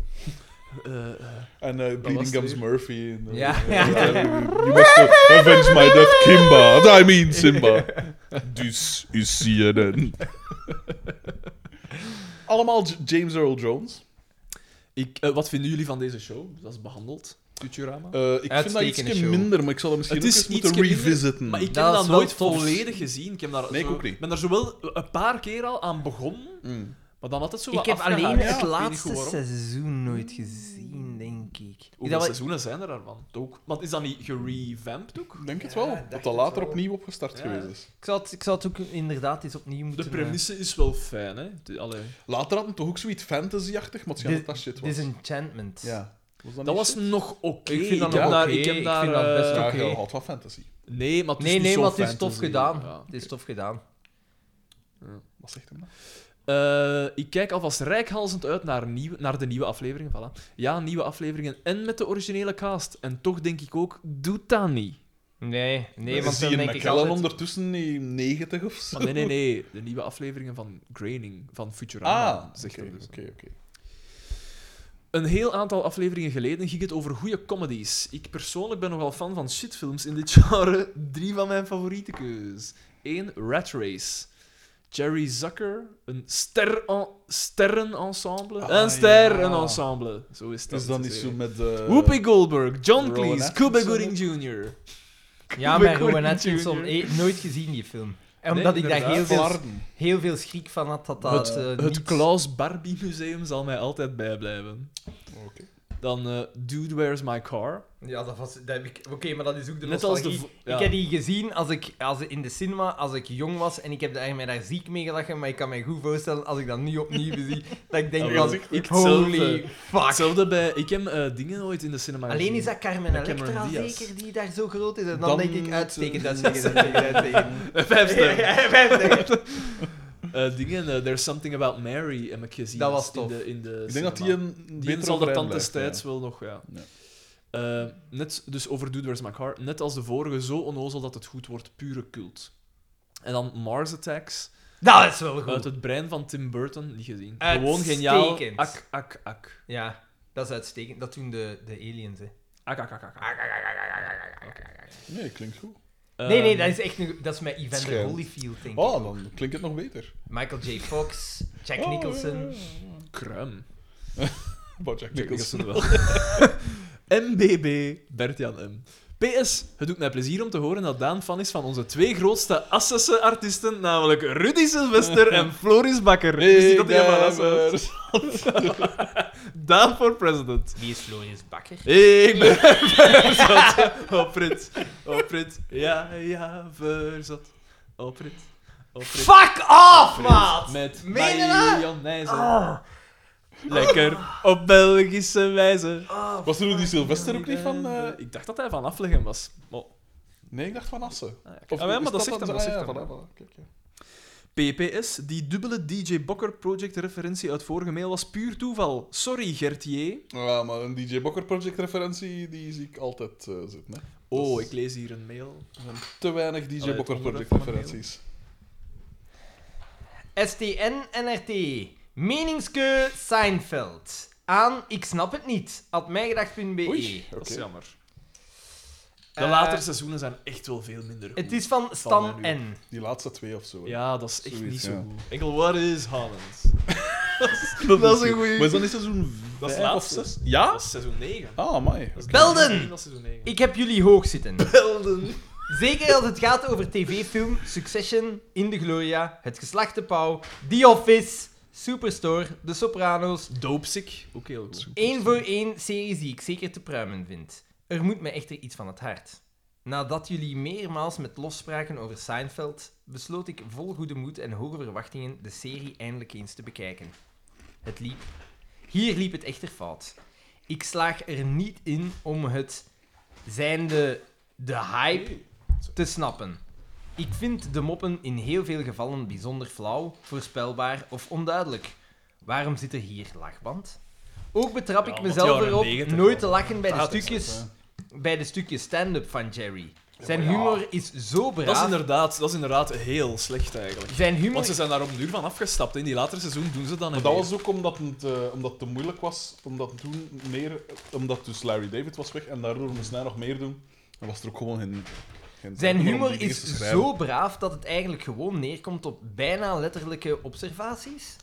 Eh, eh. En eh Bleeding was het Gums weer. Murphy. En, eh, Ja. eh, You must avenge my death, Kimba. I mean, Simba. Dus is CNN. Allemaal J- James Earl Jones. ik, eh, wat vinden jullie van deze show? Dat is behandeld, Futurama. Eh, ik vind dat Uitstekende ietsje show. minder, maar ik zal hem misschien Het ook is eens moeten ietsje minder, revisiten. maar ik heb dat dat, is wel nooit tof. volledig gezien. Ik heb daar Nee, ik zo- ook niet. ben daar zowel een paar keer al aan begonnen, Mm. maar dan had het zo Ik wat heb afgehaakt. alleen Ja, ik het weet niet laatste goed waarom. seizoen nooit gezien, denk ik. Is Hoeveel dat wat- seizoenen zijn er daarvan? Ook. Want is dat niet gerevamped ook? Ik denk het Ja, wel, dacht dat het dat later wel. opnieuw opgestart Ja. geweest is. Ik zou, het, ik zou het ook inderdaad eens opnieuw moeten... De eh, premisse is wel fijn, hè? De- allee. Later had het toch ook zoiets fantasy-achtig, maar het schijnt Dis- dat dat shit was. Disenchantment. Ja. Was Dat niet was shit? nog oké. Ik vind dat heb nog daar- oké, Ik heb ik daar... vind dat best eh, Ja, oké. je had wat fantasy. Nee, maar het is Nee, niet nee, zo maar het is fantasy. tof gedaan. Ja. Het is tof gedaan. Wat zegt hem dat? Eh, ik kijk alvast reikhalzend uit naar, nieuw, naar de nieuwe afleveringen. Voilà. Ja, nieuwe afleveringen en met de originele cast. En toch denk ik ook, doet dat niet. Nee, nee, Is want dan Ian denk ik McKellen altijd... Ah, ondertussen in 90 of zo? Maar nee, nee, nee. De nieuwe afleveringen van Graining, van Futurama, Ah, zegt oké, hem dus. oké, oké. Een heel aantal afleveringen geleden ging het over goede comedies. Ik persoonlijk ben nogal fan van shitfilms in dit genre. Drie van mijn favoriete keus. Eén, Rat Race. Jerry Zucker, een ster sterrenensemble. Ah, een sterrenensemble. Zo is dat. Is Dus dan te niet zo zeggen. met... eh, Whoopi Goldberg, John Rowan Cleese, Atkinson Cuba ook? Gooding Jr. Ja, maar Rowan Cuba Gooding Atkinson, Jr.. eh, nooit gezien die film. En omdat Nee, ik daar heel inderdaad. veel, Flarden. heel veel schrik van had, dat dat eh, Het, niet- het Klaus Barbie Museum zal mij altijd bijblijven. Oké. Dan eh, Dude Where's My Car. Ja, dat was... dat heb ik- Oké, maar dat is ook de Net als de... nostalgie. vo- ja. Ik heb die gezien als ik, als, in de cinema als ik jong was en ik heb daar, mij daar ziek mee gelachen, maar ik kan me goed voorstellen als ik dat nu opnieuw zie, dat ik denk Ja, van, maar ik- holy hetzelfde. fuck. Hetzelfde bij... Ik heb eh, dingen ooit in de cinema Alleen gezien. is dat Carmen Met Cameron Electra Diaz. zeker die daar zo groot is. En dan, Dan denk ik, moet, uitstekend, eh, uitstekend, uitstekend, uitstekend. Vijf sterren. Vijftig. Eh, dingen, eh, There's Something About Mary heb ik gezien. Dat was tof. In de, in de Ik denk dat die cinema. een Die beter zal er overeind tand blijft, destijds ja. wel nog, ja. Ja. Eh, net, dus over Dude Where's My Car. Net als de vorige, zo onnozel dat het goed wordt. Pure cult. En dan Mars Attacks. Dat is wel Uit goed. het brein van Tim Burton, niet gezien. Gewoon Uitstekend. geniaal. Ak, ak, ak. Ja, dat is uitstekend. Dat doen de, de aliens, hè. Ak, ak, ak, ak, ak. Nee, klinkt goed. Eh, Nee, nee, Ehm, dat is echt... een- Dat is met Evander Schijn. Holyfield, denk ik. Oh, dan klinkt het nog beter. Michael J. Fox, Jack Oh, Nicholson. ja, ja, ja. Ehm, Kruim. Wat Jack Nicholson. wel. MBB Bert-Jan M. PS, het doet mij plezier om te horen dat Daan fan is van onze twee grootste Assesse artiesten, namelijk Rudy Sylvester en Floris Bakker. Dus niet dat hij helemaal Assen eh, was. dus- Daan voor president. Wie is Floris Bakker? Ik ben verzot. Oh, Prit. Oh, Prit. Ja, ja, verzot. Oh, Prit. Oprit- Fuck off, maat! Met Meen je dat? mayonaise. Oh, Lekker op Belgische wijze. oh. Was Ah. er nog die Sylvester ook niet van... eh, Ik dacht dat hij van afleggen was. Maar, Nee, ik dacht van Assen. ah, ja, Of ah, ja, is maar dat zegt dan- hem, dat ah, zegt ja, hem. voilà, voilà. Kijk, ja. PPS, die dubbele DJ Bokker Project referentie uit vorige mail was puur toeval. Sorry, Gertje. Ja, maar een DJ Bokker Project referentie, die zie ik altijd eh, zitten. Hè. Oh, Dus ik lees hier een mail. er zijn Te weinig DJ Allee, het Bokker onderwerp Project van mijn referenties. STN NRT. Meningske Seinfeld. Aan ik snap het niet. At Oei, mijgedacht.be. oké. Dat is jammer. De E. Eh, latere seizoenen zijn echt wel veel minder goed. Het is van mij Stan nu. N. Die laatste twee of zo. hè. Ja, dat is echt Zoiets, niet zo ja. goed. Enkel, what is Holland? Dat, is een goeie. Maar is dat niet seizoen vijf Dat is of laatste. zes? Ja? Dat is seizoen 9. Ah, mij. Belden! Dat is seizoen 9. Ik heb jullie hoog zitten. Belden! Zeker als het gaat over tv-film, Succession, In de Gloria, Het Geslacht de Pauw, The Office, Superstore, De Soprano's. Doopsick, ook heel goed. Eén voor één series die ik zeker te pruimen vind. Er moet me echter iets van het hart. Nadat jullie meermaals met lofspraken over Seinfeld, besloot ik vol goede moed en hoge verwachtingen de serie eindelijk eens te bekijken. Het liep. Hier liep het echter fout. Ik slaag er niet in om het zijnde de hype te snappen. Ik vind de moppen in heel veel gevallen bijzonder flauw, voorspelbaar of onduidelijk. Waarom zit er hier lachband? Ook betrap Ja, ik omdat mezelf jaren erop 90 nooit te lachen bij de Ah, dat is stukjes, bij de stukjes stand-up van Jerry. Zijn Ja. humor is zo Dat is, braaf. inderdaad, dat is inderdaad heel slecht eigenlijk. Zijn Want ze humor... zijn daar op duur van afgestapt. In die latere seizoen doen ze dan Maar dat was ook omdat het, eh, omdat het te moeilijk was. Omdat toen meer... Omdat dus Larry David was weg en daardoor moest hij nog meer doen. Dan was er ook gewoon geen... geen tijd Zijn meer om humor die dingen te is schrijven. zo braaf dat het eigenlijk gewoon neerkomt op bijna letterlijke observaties.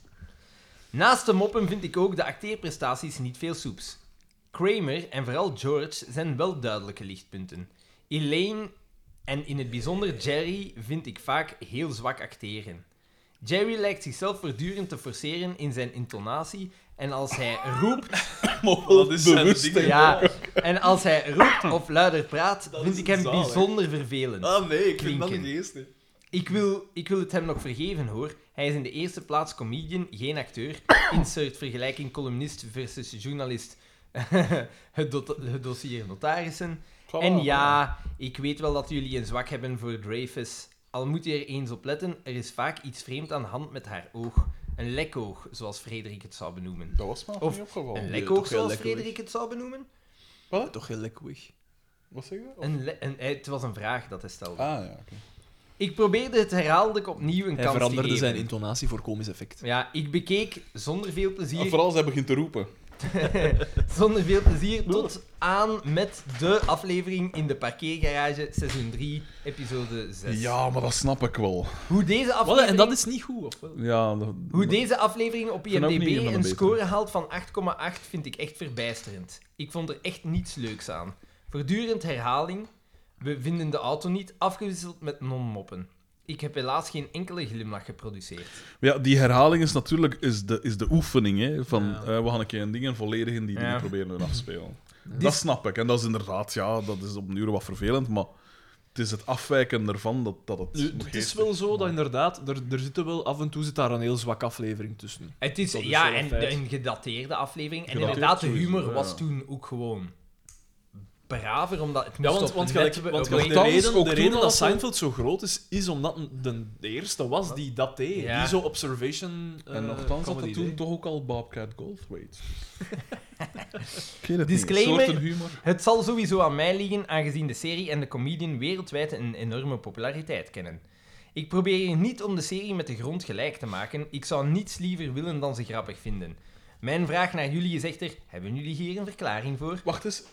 Naast de moppen vind ik ook de acteerprestaties niet veel soeps. Kramer en vooral George zijn wel duidelijke lichtpunten. Elaine en in het bijzonder Jerry vind ik vaak heel zwak acteren. Jerry lijkt zichzelf voortdurend te forceren in zijn intonatie en als hij roept Maar Dat is zijn bewust, ding. hè. Ja, en als hij roept of luider praat, Dat vind is ik hem zalig. bijzonder vervelend. Ah nee, ik vind dat vind dat Klinken. niet niet eens. Ik wil, ik wil het hem nog vergeven hoor. Hij is in de eerste plaats comedian, geen acteur. Insert vergelijking columnist versus journalist. het, dot- het dossier notarissen. Voilà, En voilà. ja, ik weet wel dat jullie een zwak hebben voor Dreyfus. Al moet je er eens op letten, er is vaak iets vreemd aan de hand met haar oog. Een lekoog, zoals Frederik het zou benoemen. Dat was me Of niet opgevallen. Een toch lekoog, heel zoals lekoog. dus. Frederik het zou benoemen? Toch heel lekker weg. Wat zeg je? Of- Een le- een- eh, het was een vraag dat hij stelde. Ah, ja, oké. Ik probeerde het herhaaldelijk opnieuw een Hij kans te geven. veranderde zijn intonatie voor komisch effect. Ja, ik bekeek zonder veel En plezier Ah, Vooral als hij begint te roepen. Zonder veel plezier tot aan met de aflevering in de parkeergarage, seizoen 3, episode 6. Ja, maar dat snap ik wel. Hoe, deze Wat, en aflevering, dat is niet goed, of wel? Ja, dat... hoe deze aflevering op vind ook niet een van IMDb de een betere. score haalt van 8,8 vind ik echt verbijsterend. Ik vond er echt niets leuks aan. Voortdurend herhaling, we vinden de auto niet, afgewisseld met non-moppen. Ik heb helaas geen enkele glimlach geproduceerd. Ja, die herhaling is natuurlijk is de, is de oefening. Hè, van Ja. eh, we gaan een keer een ding en volledig in die Ja. dingen proberen te afspelen. Die- Dat snap ik. En dat is inderdaad, ja, dat is op een uur wat vervelend, maar het is het afwijken ervan dat, dat het. Nu, Het is wel zo dat inderdaad, er, er zitten wel af en toe zit daar een heel zwakke aflevering tussen. Het is, Dat is ja, wel een en feit. de- een gedateerde aflevering. en Gedateerd inderdaad, de sowieso, humor ja. was toen ook gewoon braver, omdat het Ja, moest want, op want net- gelijk- op- want op- gelijk de Althans, reden, ook de toen reden dat was er- Seinfeld zo groot is, is omdat de, de eerste was die dat deed. Ja. Die zo observation eh, En nogthans had comedy dat toen deed. toch ook al Bobcat Goldthwait. Ik weet het Disclaimer. Niet. Soorten humor. Het zal sowieso aan mij liggen, aangezien de serie en de comedian wereldwijd een enorme populariteit kennen. Ik probeer hier niet om de serie met de grond gelijk te maken. Ik zou niets liever willen dan ze grappig vinden. Mijn vraag naar jullie is echter: hebben jullie hier een verklaring voor? Wacht eens,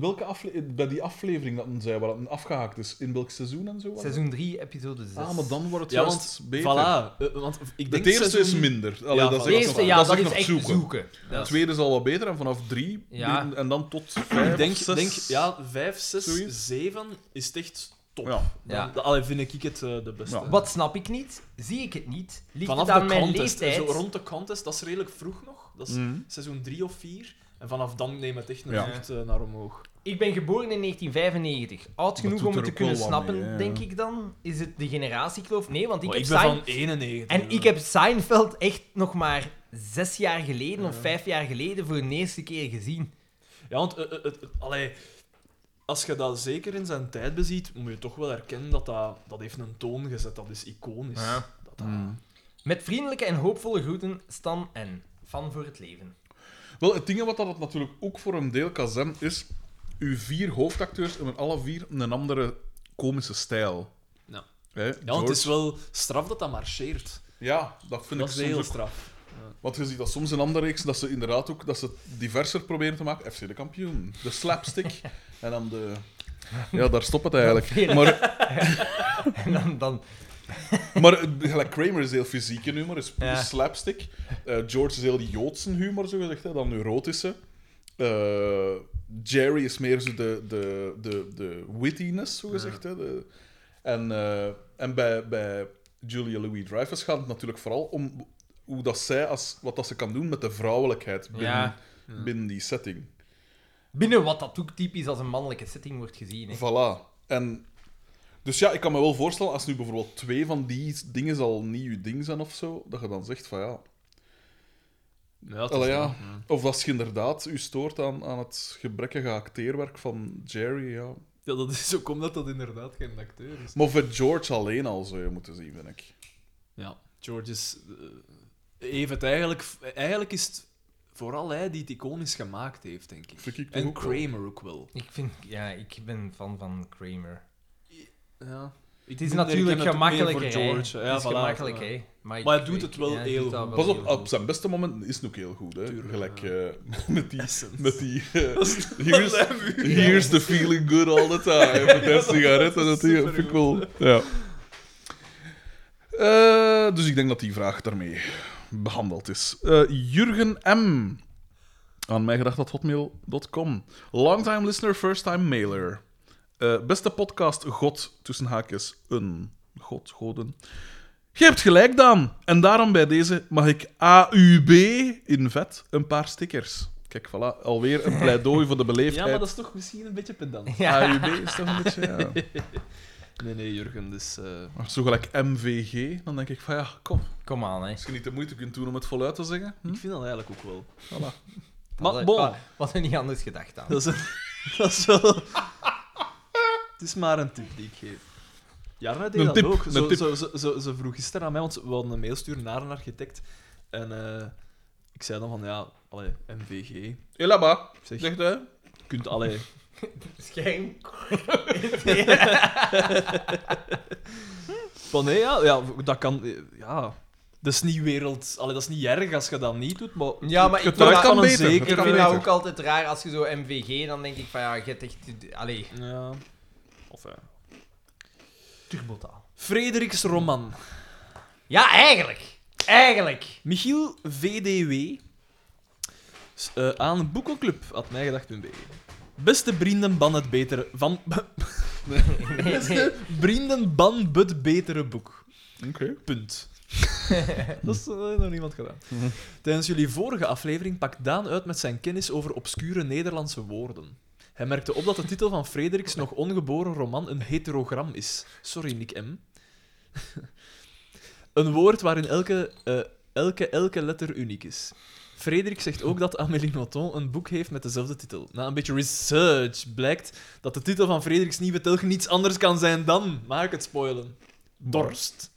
welke afle- bij die aflevering dat men zei waar het afgehaakt is, in welk seizoen en zo? was het? Seizoen 3, episode 6. Ah, maar dan wordt het Ja, juist want, beter. voilà. eh, want ik De denk eerste is seizoen- minder. Allee, Ja, dat voilà. De is echt eerste, nog- ja, dat dat, is echt is nog echt zoeken. zoeken. De Dat is- tweede is al wat beter en vanaf drie Ja. en- en dan tot vijf, Ik denk, zes. denk, ja, 5, 6, Zoiets. 7 is het echt top. Ja. Dan, Ja. Allee, vind ik het eh, de beste. Ja. Wat snap ik niet? Zie ik het niet? Ligt Vanaf het aan de mijn contest, eh, leeftijd? zo rond de contest, dat is redelijk vroeg nog. Dat is Mhm. seizoen 3 of 4. En vanaf dan neemt het echt een Ja. vlucht eh, naar omhoog. Ik ben geboren in 1995. Oud Dat genoeg doet om het er te ook kunnen wel wat snappen, mee, hè, denk ja. ik dan. Is het de generatiekloof? Nee, want ik Maar heb Oh, ik ben Sein- van dus. 91. En ik heb Seinfeld echt nog maar zes jaar geleden of vijf jaar geleden voor de eerste keer gezien. Ja, want eh, eh, het- het- allee, als je dat zeker in zijn tijd beziet, moet je toch wel erkennen dat dat, dat heeft een toon gezet. Dat is iconisch. Ja. Dat, dat- Mhm. Met vriendelijke en hoopvolle groeten, Stan en Van voor het leven. Wel, het ding wat dat natuurlijk ook voor een deel kan zijn, is... Uw vier hoofdacteurs hebben alle vier een andere komische stijl. Ja. Hè, ja, want het is George- wel straf dat dat marcheert. ja, dat vind Dat ik is soms heel ook- straf. Want je ziet dat soms in andere reeksen, dat ze inderdaad ook dat ze het diverser proberen te maken. FC de kampioen, de slapstick en dan de... Ja, daar stopt het eigenlijk. Maar, En dan, dan maar eh, gelijk Kramer is heel fysieke humor, is puur Ja. slapstick. Eh, George is heel die Joodse humor, zogezegd, hè, dan neurotische. Eh, Jerry is meer zo de, de, de, de wittiness, zogezegd. Hè, de, en eh, en bij, bij Julia Louis-Dreyfus gaat het natuurlijk vooral om hoe dat zij als, wat dat ze kan doen met de vrouwelijkheid binnen, Ja. binnen die setting. binnen wat dat ook typisch als een mannelijke setting wordt gezien. Hè. Voilà. En, dus ja, ik kan me wel voorstellen, als nu bijvoorbeeld twee van die dingen al niet je ding zijn of zo, dat je dan zegt van ja... Ja, het is Allee, wel- ja. Of als je inderdaad u stoort aan, aan het gebrekkige acteerwerk van Jerry, ja. Ja, dat is ook omdat dat inderdaad geen acteur is. Maar voor George alleen al zou je moeten zien, vind ik. Ja, George is... eh, heeft het eigenlijk... Eigenlijk is het vooral hij die het iconisch gemaakt heeft, denk ik. Vind ik toch En ook wel. Kramer ook wel. Ik vind, ja, ik ben fan van Kramer. Ja. Het is natuurlijk gemakkelijk, hè. George. Ja, het is voilà. gemakkelijk, Ja. hè. Maar, Maar ik hij doet weet- het wel ja, hij heel doet dat goed. wel Pas op, heel op zijn beste momenten is het ook heel goed, hè. Tuurlijk, Gelijk ja. eh, met die... Essence. Met die eh, here's, here's the feeling good all the time. Met haar sigaret en dat die- vind ik wel... Ja. Eh, dus ik denk dat die vraag daarmee behandeld is. Eh, Jurgen M. Aan mij gedacht hotmail.com. Longtime listener, first time mailer. Eh, beste podcast, God, tussen haakjes, een God, goden. Je hebt gelijk, Daan. En daarom bij deze mag ik AUB in vet een paar stickers. Kijk, voilà, alweer een pleidooi voor de Ja, beleefdheid. maar dat is toch misschien een beetje pedant. Ah, AUB is toch een beetje... Ja. Nee, nee, Jurgen, dus... eh, Maar Zo gelijk MVG, dan denk ik van ja, kom. Kom aan, hè. Als je niet de moeite kunt doen om het voluit te zeggen. Hm? Ik vind dat eigenlijk ook wel. Voilà. Maar ah, bon, Wat er niet anders gedacht aan. dat is, dat is wel... Het is maar een tip die ik geef. Jarna deed Een dat tip, ook. een Zo, tip. Zo, zo, zo, ze vroeg gisteren aan mij, want we hadden een mail sturen naar een architect. En eh, ik zei dan van, ja, allee, MVG. Elaba, Ik zeg, je zegt hij. kunt, allee, Schenk. Van nee, ja, ja, dat kan. eh, Ja. Dat is niet wereld. Allee, dat is niet erg als je dat niet doet, maar. Mm. Ja, maar ik Het vind kan, dat, kan kan een beter. zeker- ik het kan vind dat beter. ook altijd raar als je zo MVG, dan denk ik van ja, je hebt echt. Allee, Ja. Of ja. turbotaal. Frederiks Roman. Ja, eigenlijk. Eigenlijk. Michiel VDW. S- eh, aan boekenclub, had mij gedacht toen Beste vrienden, ban het betere. Van. Beste vrienden, ban het betere boek. Oké. Punt. dat is eh, nog niemand gedaan. Tijdens jullie vorige aflevering pakt Daan uit met zijn kennis over obscure Nederlandse woorden. Hij merkte op dat de titel van Frederiks nog ongeboren roman een heterogram is. Sorry, Nick M. een woord waarin elke, eh, elke, elke letter uniek is. Frederik zegt ook dat Amélie Nothomb een boek heeft met dezelfde titel. Na een beetje research blijkt dat de titel van Frederiks nieuwe telg niets anders kan zijn dan... Maak het spoilen. Dorst.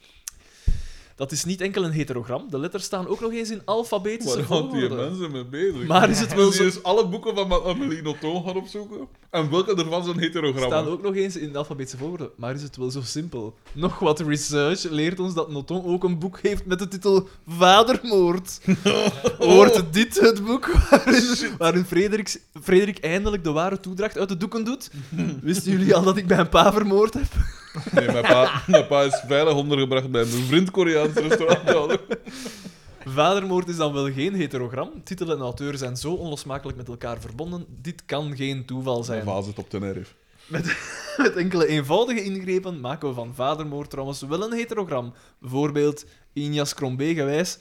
Dat is niet enkel een heterogram. De letters staan ook nog eens in alfabetische Waar houdt die volgorde. mensen mee bezig? Maar is het wel Die zo- eens alle boeken van Amelie Nothomb gaan opzoeken. En welke ervan zijn heterogram? staan ook nog eens in alfabetische volgorde. Maar is het wel zo simpel? Nog wat research leert ons dat Noton ook een boek heeft met de titel Vadermoord. Hoort dit het boek waarin, waarin Frederiks, Frederik eindelijk de ware toedracht uit de doeken doet? Wisten jullie al dat ik mijn pa vermoord heb? Nee, mijn pa, mijn pa is veilig ondergebracht bij een vriend Koreaans restaurant. Vadermoord is dan wel geen heterogram. Titel en auteur zijn zo onlosmakelijk met elkaar verbonden. Dit kan geen toeval Zijn zijn. vaas het op Tenerife. Met enkele eenvoudige ingrepen maken we van vadermoord trouwens wel een heterogram. Bijvoorbeeld Injas Krombe gewijs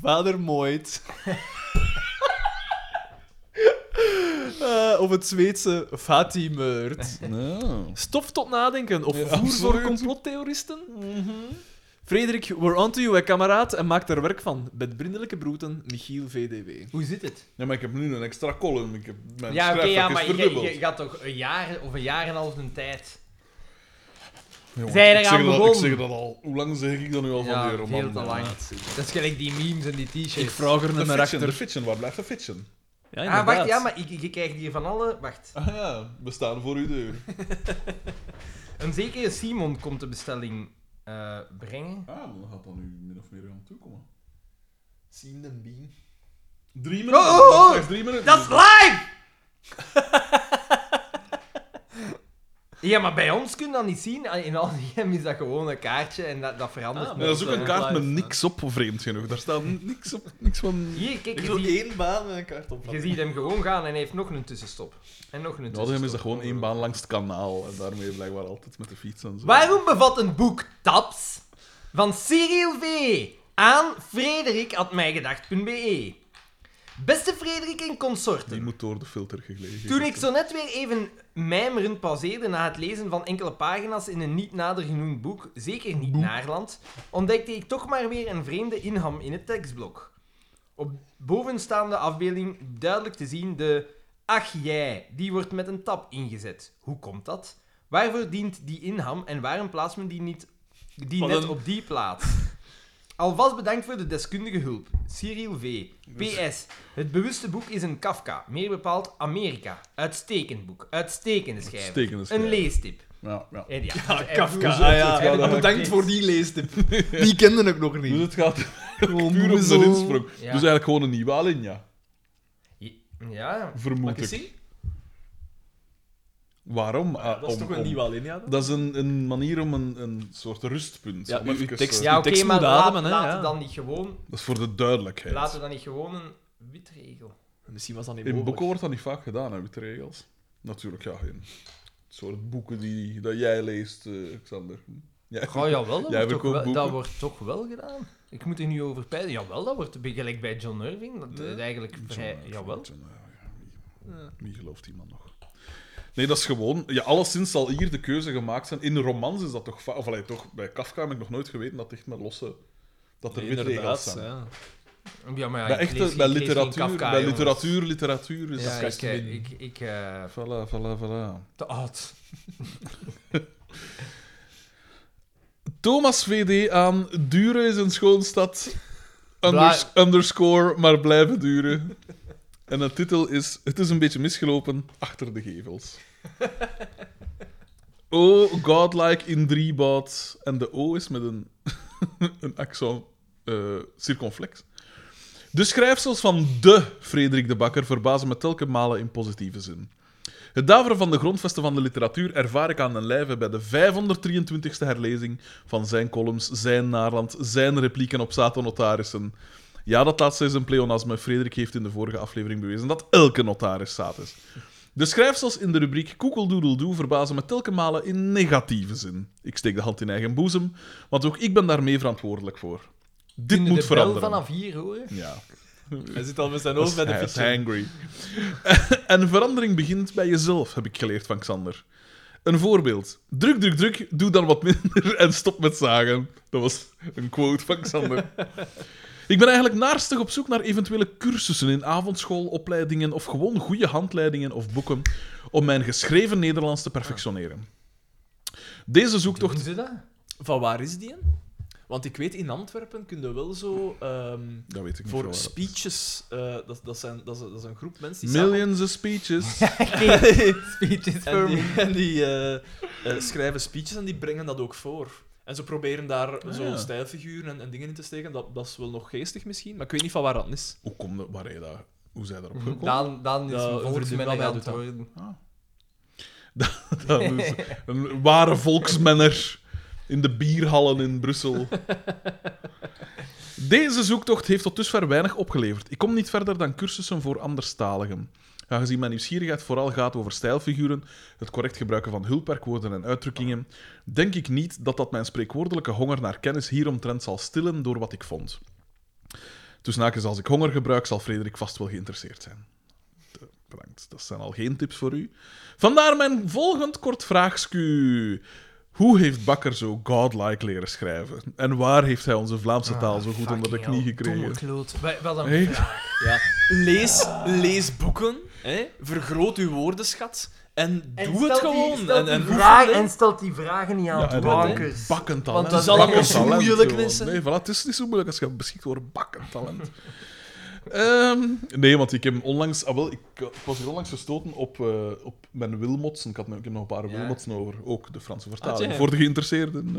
vadermooid. Eh, of het Zweedse Fatih meurt. No. Stof tot nadenken of Ja, voer voor absoluut. complottheoristen? Frederik, we're onto you, hè, kameraad, en maak er werk van. Met vriendelijke broeten, Michiel VDW. Hoe zit het? Ja, maar ik heb nu een extra column. Ik heb mijn ja, oké, ja, maar je, verdubbeld. je gaat toch een jaar of een jaar en een half een tijd. Jongen, Zij ik eraan zeg dat- Ik begonnen? zeg dat al. Hoe lang zeg ik dat nu al Ja, van die roman? veel te lang. Dat is gelijk die memes en die Ik t-shirts. vraag er De een maar fiction, de achter. fiction. Waar blijft de fiction? Ja, Ah, inderdaad. wacht, ja, maar ik, ik- ik krijg hier van alle... Wacht. Ah ja, we staan voor uw deur. Een zekere Simon komt de bestelling eh, brengen. Ah, dan gaat dat nu min of meer aan toekomen. Sien den Bean. Drie minuten. Oh, oh, oh. slechts Drie minuten. Dat is live! ja, maar bij ons kun je dat niet zien. Ah, In Aldium is dat gewoon een kaartje en dat, dat verandert. Ah, Ja, dat is ook nooit, een hè. kaart met niks op, vreemd genoeg. Daar staat niks op, niks van... Hier, kijk, Ik je wil ziet, één baan met een kaart op. je ziet hem gewoon gaan en hij heeft nog een tussenstop. En nog een In Oudhem is dat tussenstop. gewoon één baan langs het kanaal. En daarmee blijkbaar altijd met de fiets en zo. Waarom bevat een boek Taps van Cyril V. aan frederik.mijgedacht.be E? Beste Frederik en consorten. Die moet door de filter gegleden. Toen ik zo net weer even mijmerend pauzeerde na het lezen van enkele pagina's in een niet nader genoemd boek, zeker niet Naarland, ontdekte ik toch maar weer een vreemde inham in het tekstblok. Op bovenstaande afbeelding duidelijk te zien de Ach jij, die wordt met een tab ingezet. Hoe komt dat? Waarvoor dient die inham en waarom plaatst men die niet die Wat net een- op die plaats? Alvast bedankt voor de deskundige hulp. Cyril V. Dus- PS. Het bewuste boek is een Kafka, meer bepaald Amerika. Uitstekend boek, uitstekende schrijver. Uitstekende schrijver. Een leestip. Ja, ja. En ja, Ja, en- Kafka. Dus en- Ah, ja. en- en- Bedankt voor die leestip. Die kende ik nog Dus niet. het gaat Gewoon puur om zo. de insprong. Dus Ja. eigenlijk gewoon een nieuwe Alinea, Ja, Mag ik vermoed eens ik. zien? Waarom? Ah, Dat is om- toch een om- nieuwe alinea? dan? Dat is een, een manier om een, een soort rustpunt. Ja, om uw even, tekst- eh, ja die oké, tekst maar moet laat, ademen, hè, laten ja. dan niet gewoon, Dat is voor de duidelijkheid. laten dan niet gewoon een witregel. Misschien was dat niet In mogelijk. boeken wordt dat niet vaak gedaan, hè, met de regels. Natuurlijk, ja. In het soort boeken die, dat jij leest, eh, Xander. Jij- Oh jawel, dat, Jij wordt toch, verkoopt wel, boeken. dat wordt toch wel gedaan. Ik moet er nu over peilen. Jawel, dat wordt gelijk bij John Irving. Dat is eigenlijk vrij... Zo'n- Jawel. zo'n- ja, ja. Wie gelooft die man nog? Nee, dat is gewoon... Ja, alleszins zal hier de keuze gemaakt zijn. In romans is dat toch... va- Of allee, toch, bij Kafka heb ik nog nooit geweten dat het echt met losse... Dat er witte regels Inderdaad, zijn. ja. Ja, maar ja, Bij, ik lees echte, geen- bij, ik lees geen literatuur, Kafka, bij jongens. literatuur, literatuur is Ja, dat... ik, eh, Kastmin. ik, ik, eh, Voilà, voilà, voilà. te oud. Thomas VD aan Duren is een schoonstad. Blij- underscore, maar blijven duren. En de titel is Het is een beetje misgelopen achter de gevels. Oh, godlike in driebaat. En de O is met een, een accent eh, circonflex. De schrijfsels van de Frederik de Bakker verbazen me telkens malen in positieve zin. Het daveren van de grondvesten van de literatuur ervaar ik aan den lijve bij de 523ste herlezing van zijn columns, zijn naarland, zijn replieken op Sato-notarissen. Ja, dat laatste is een pleonasme. Frederik heeft in de vorige aflevering bewezen dat elke notaris Saat is. De schrijfsels in de rubriek Koekeldoedeldoe verbazen me telkens malen in negatieve zin. Ik steek de hand in eigen boezem, want ook ik ben daarmee verantwoordelijk voor. Dit Kunnen moet de bel veranderen. vanaf hier horen. Ja. Hij zit al met zijn hoofd bij de Hij is fiets. hangry. en verandering begint bij jezelf, heb ik geleerd van Xander. Een voorbeeld. Druk, druk, druk, doe dan wat minder en stop met zagen. Dat was een quote van Xander. ik ben eigenlijk naarstig op zoek naar eventuele cursussen in avondschool, opleidingen of gewoon goede handleidingen of boeken om mijn geschreven Nederlands te perfectioneren. Deze Doen zoektocht... ze dat? Van waar is die? een? Want ik weet, in Antwerpen kun je wel zo... ehm, Dat weet ik niet. voor waar. speeches, eh, dat, dat, zijn, dat, is, dat is een groep mensen die Millions of speeches. Speeches samen... En for me. die, en die eh, eh, schrijven speeches en die brengen dat ook voor. En ze proberen daar Ah, zo ja. stijlfiguren en, en dingen in te steken. Dat, dat is wel nog geestig misschien, maar ik weet niet van waar dat is. Hoe komt dat? Waar heb je Mhm. dat? Hoe zij daarop gekomen? Dan, dan is Ja, een verdienen volksmenner wij aan doet het dat. worden. Dat is een ware volksmenner in de bierhallen in Brussel. Deze zoektocht heeft tot dusver weinig opgeleverd. Ik kom niet verder dan cursussen voor anderstaligen. Aangezien mijn nieuwsgierigheid vooral gaat over stijlfiguren, het correct gebruiken van hulpwerkwoorden en uitdrukkingen, denk ik niet dat dat mijn spreekwoordelijke honger naar kennis hieromtrent zal stillen door wat ik vond. Dus Tussen haakjes, als ik honger gebruik, zal Frederik vast wel geïnteresseerd zijn. Bedankt. Dat zijn al geen tips voor u. Vandaar mijn volgend kort vraagsku. Hoe heeft Bakker zo godlike leren schrijven? En waar heeft hij onze Vlaamse taal zo goed onder de Ah, Fucking knie hell, domme gekregen? kloot. Wa- Wat een Hey. vraag. Ja. Lees, lees boeken, hè? vergroot uw woordenschat en, En doe het stelt die- gewoon. stelt en, die en vraag- oefen, hè. en stelt die vragen niet aan Ja, de en dus. bankers. bakkend Want talent. dat is allemaal Bakkend zo talent, moeilijk, gewoon. mensen. Nee, voilà, het is niet zo moeilijk als je beschikt over bakkend talent. Ehm, nee, want ik heb onlangs... Ah, wel, ik, ik was hier onlangs gestoten op, eh, op mijn Wilmotsen. Ik, had, nog- ik heb nog een paar Ja. Ah, Wilmotsen over. Ook de Franse vertaling. tja. voor de geïnteresseerden.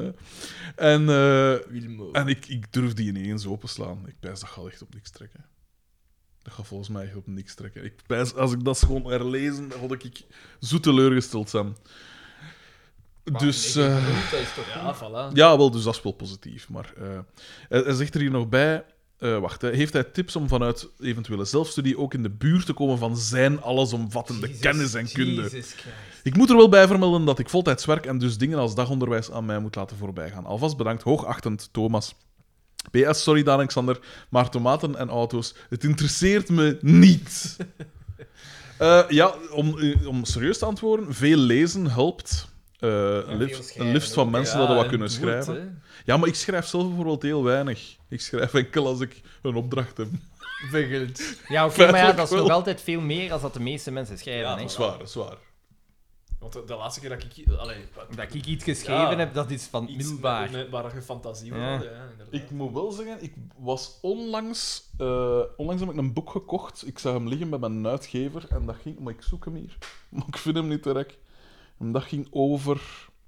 eh. En, eh, Wilmo. en ik, ik durf die ineens openslaan. Ik pijs, dat gaat echt op niks trekken. Dat gaat volgens mij echt op niks trekken. Ik pijs, als ik dat gewoon herlezen, dan had ik zo teleurgesteld zijn. Dus... eh, Ja, voilà. ja, wel, dus dat is wel positief. Maar eh, hij, hij zegt er hier nog bij. eh, wacht, hè. heeft hij tips om vanuit eventuele zelfstudie ook in de buurt te komen van zijn allesomvattende Jezus, kennis en kunde? Jezus Christus. Ik moet er wel bij vermelden dat ik voltijds werk en dus dingen als dagonderwijs aan mij moet laten voorbijgaan. Alvast bedankt, hoogachtend Thomas. PS, sorry Daan en Xander, maar tomaten en auto's, het interesseert me niet. Eh, ja, om, eh, om serieus te antwoorden, veel lezen helpt. Eh, een lift- schrijven een lift van ook, mensen Ja, dat dat wat en kunnen doe schrijven. het, hè. Ja, maar ik schrijf zelf bijvoorbeeld heel weinig. Ik schrijf enkel als ik een opdracht heb. Begint. Ja, oké, maar ja, Feitelijk dat is wel. nog altijd veel meer dan dat de meeste mensen schrijven. Ja, hè. Dat is waar, dat is waar. Want de, de laatste keer dat ik... Allee, wat- Dat ik iets geschreven Ja. heb, dat is van iets middelbaar. met- met waar je fantasie Ja. ja. ja, inderdaad. Ik moet wel zeggen, ik was onlangs... eh, onlangs heb ik een boek gekocht. Ik zag hem liggen bij mijn uitgever. En dat ging... Maar ik zoek hem hier. Maar ik vind hem niet direct. En dat ging over...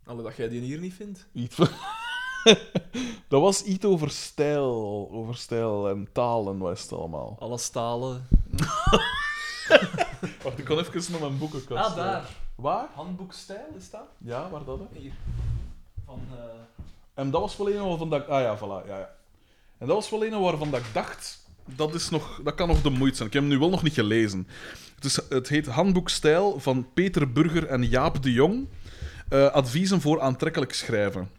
Allee, dat jij die hier niet vindt. Iets van... dat was iets over stijl. Over stijl en taal en wat is het allemaal. Alle stalen. Wacht, ik kon even naar mijn boekenkast. Ah, daar. Waar? Handboekstijl, is dat? Ja, waar dat? hè? Hier. Van... eh, En dat was wel een waarvan dat ik... Ah ja, voilà. Ja, ja. En dat was wel een waarvan dat ik dacht... Dat, is nog, dat kan nog de moeite zijn. Ik heb hem nu wel nog niet gelezen. Het, is, het heet Handboek Stijl van Peter Burger en Jaap de Jong. Eh, adviezen voor aantrekkelijk schrijven.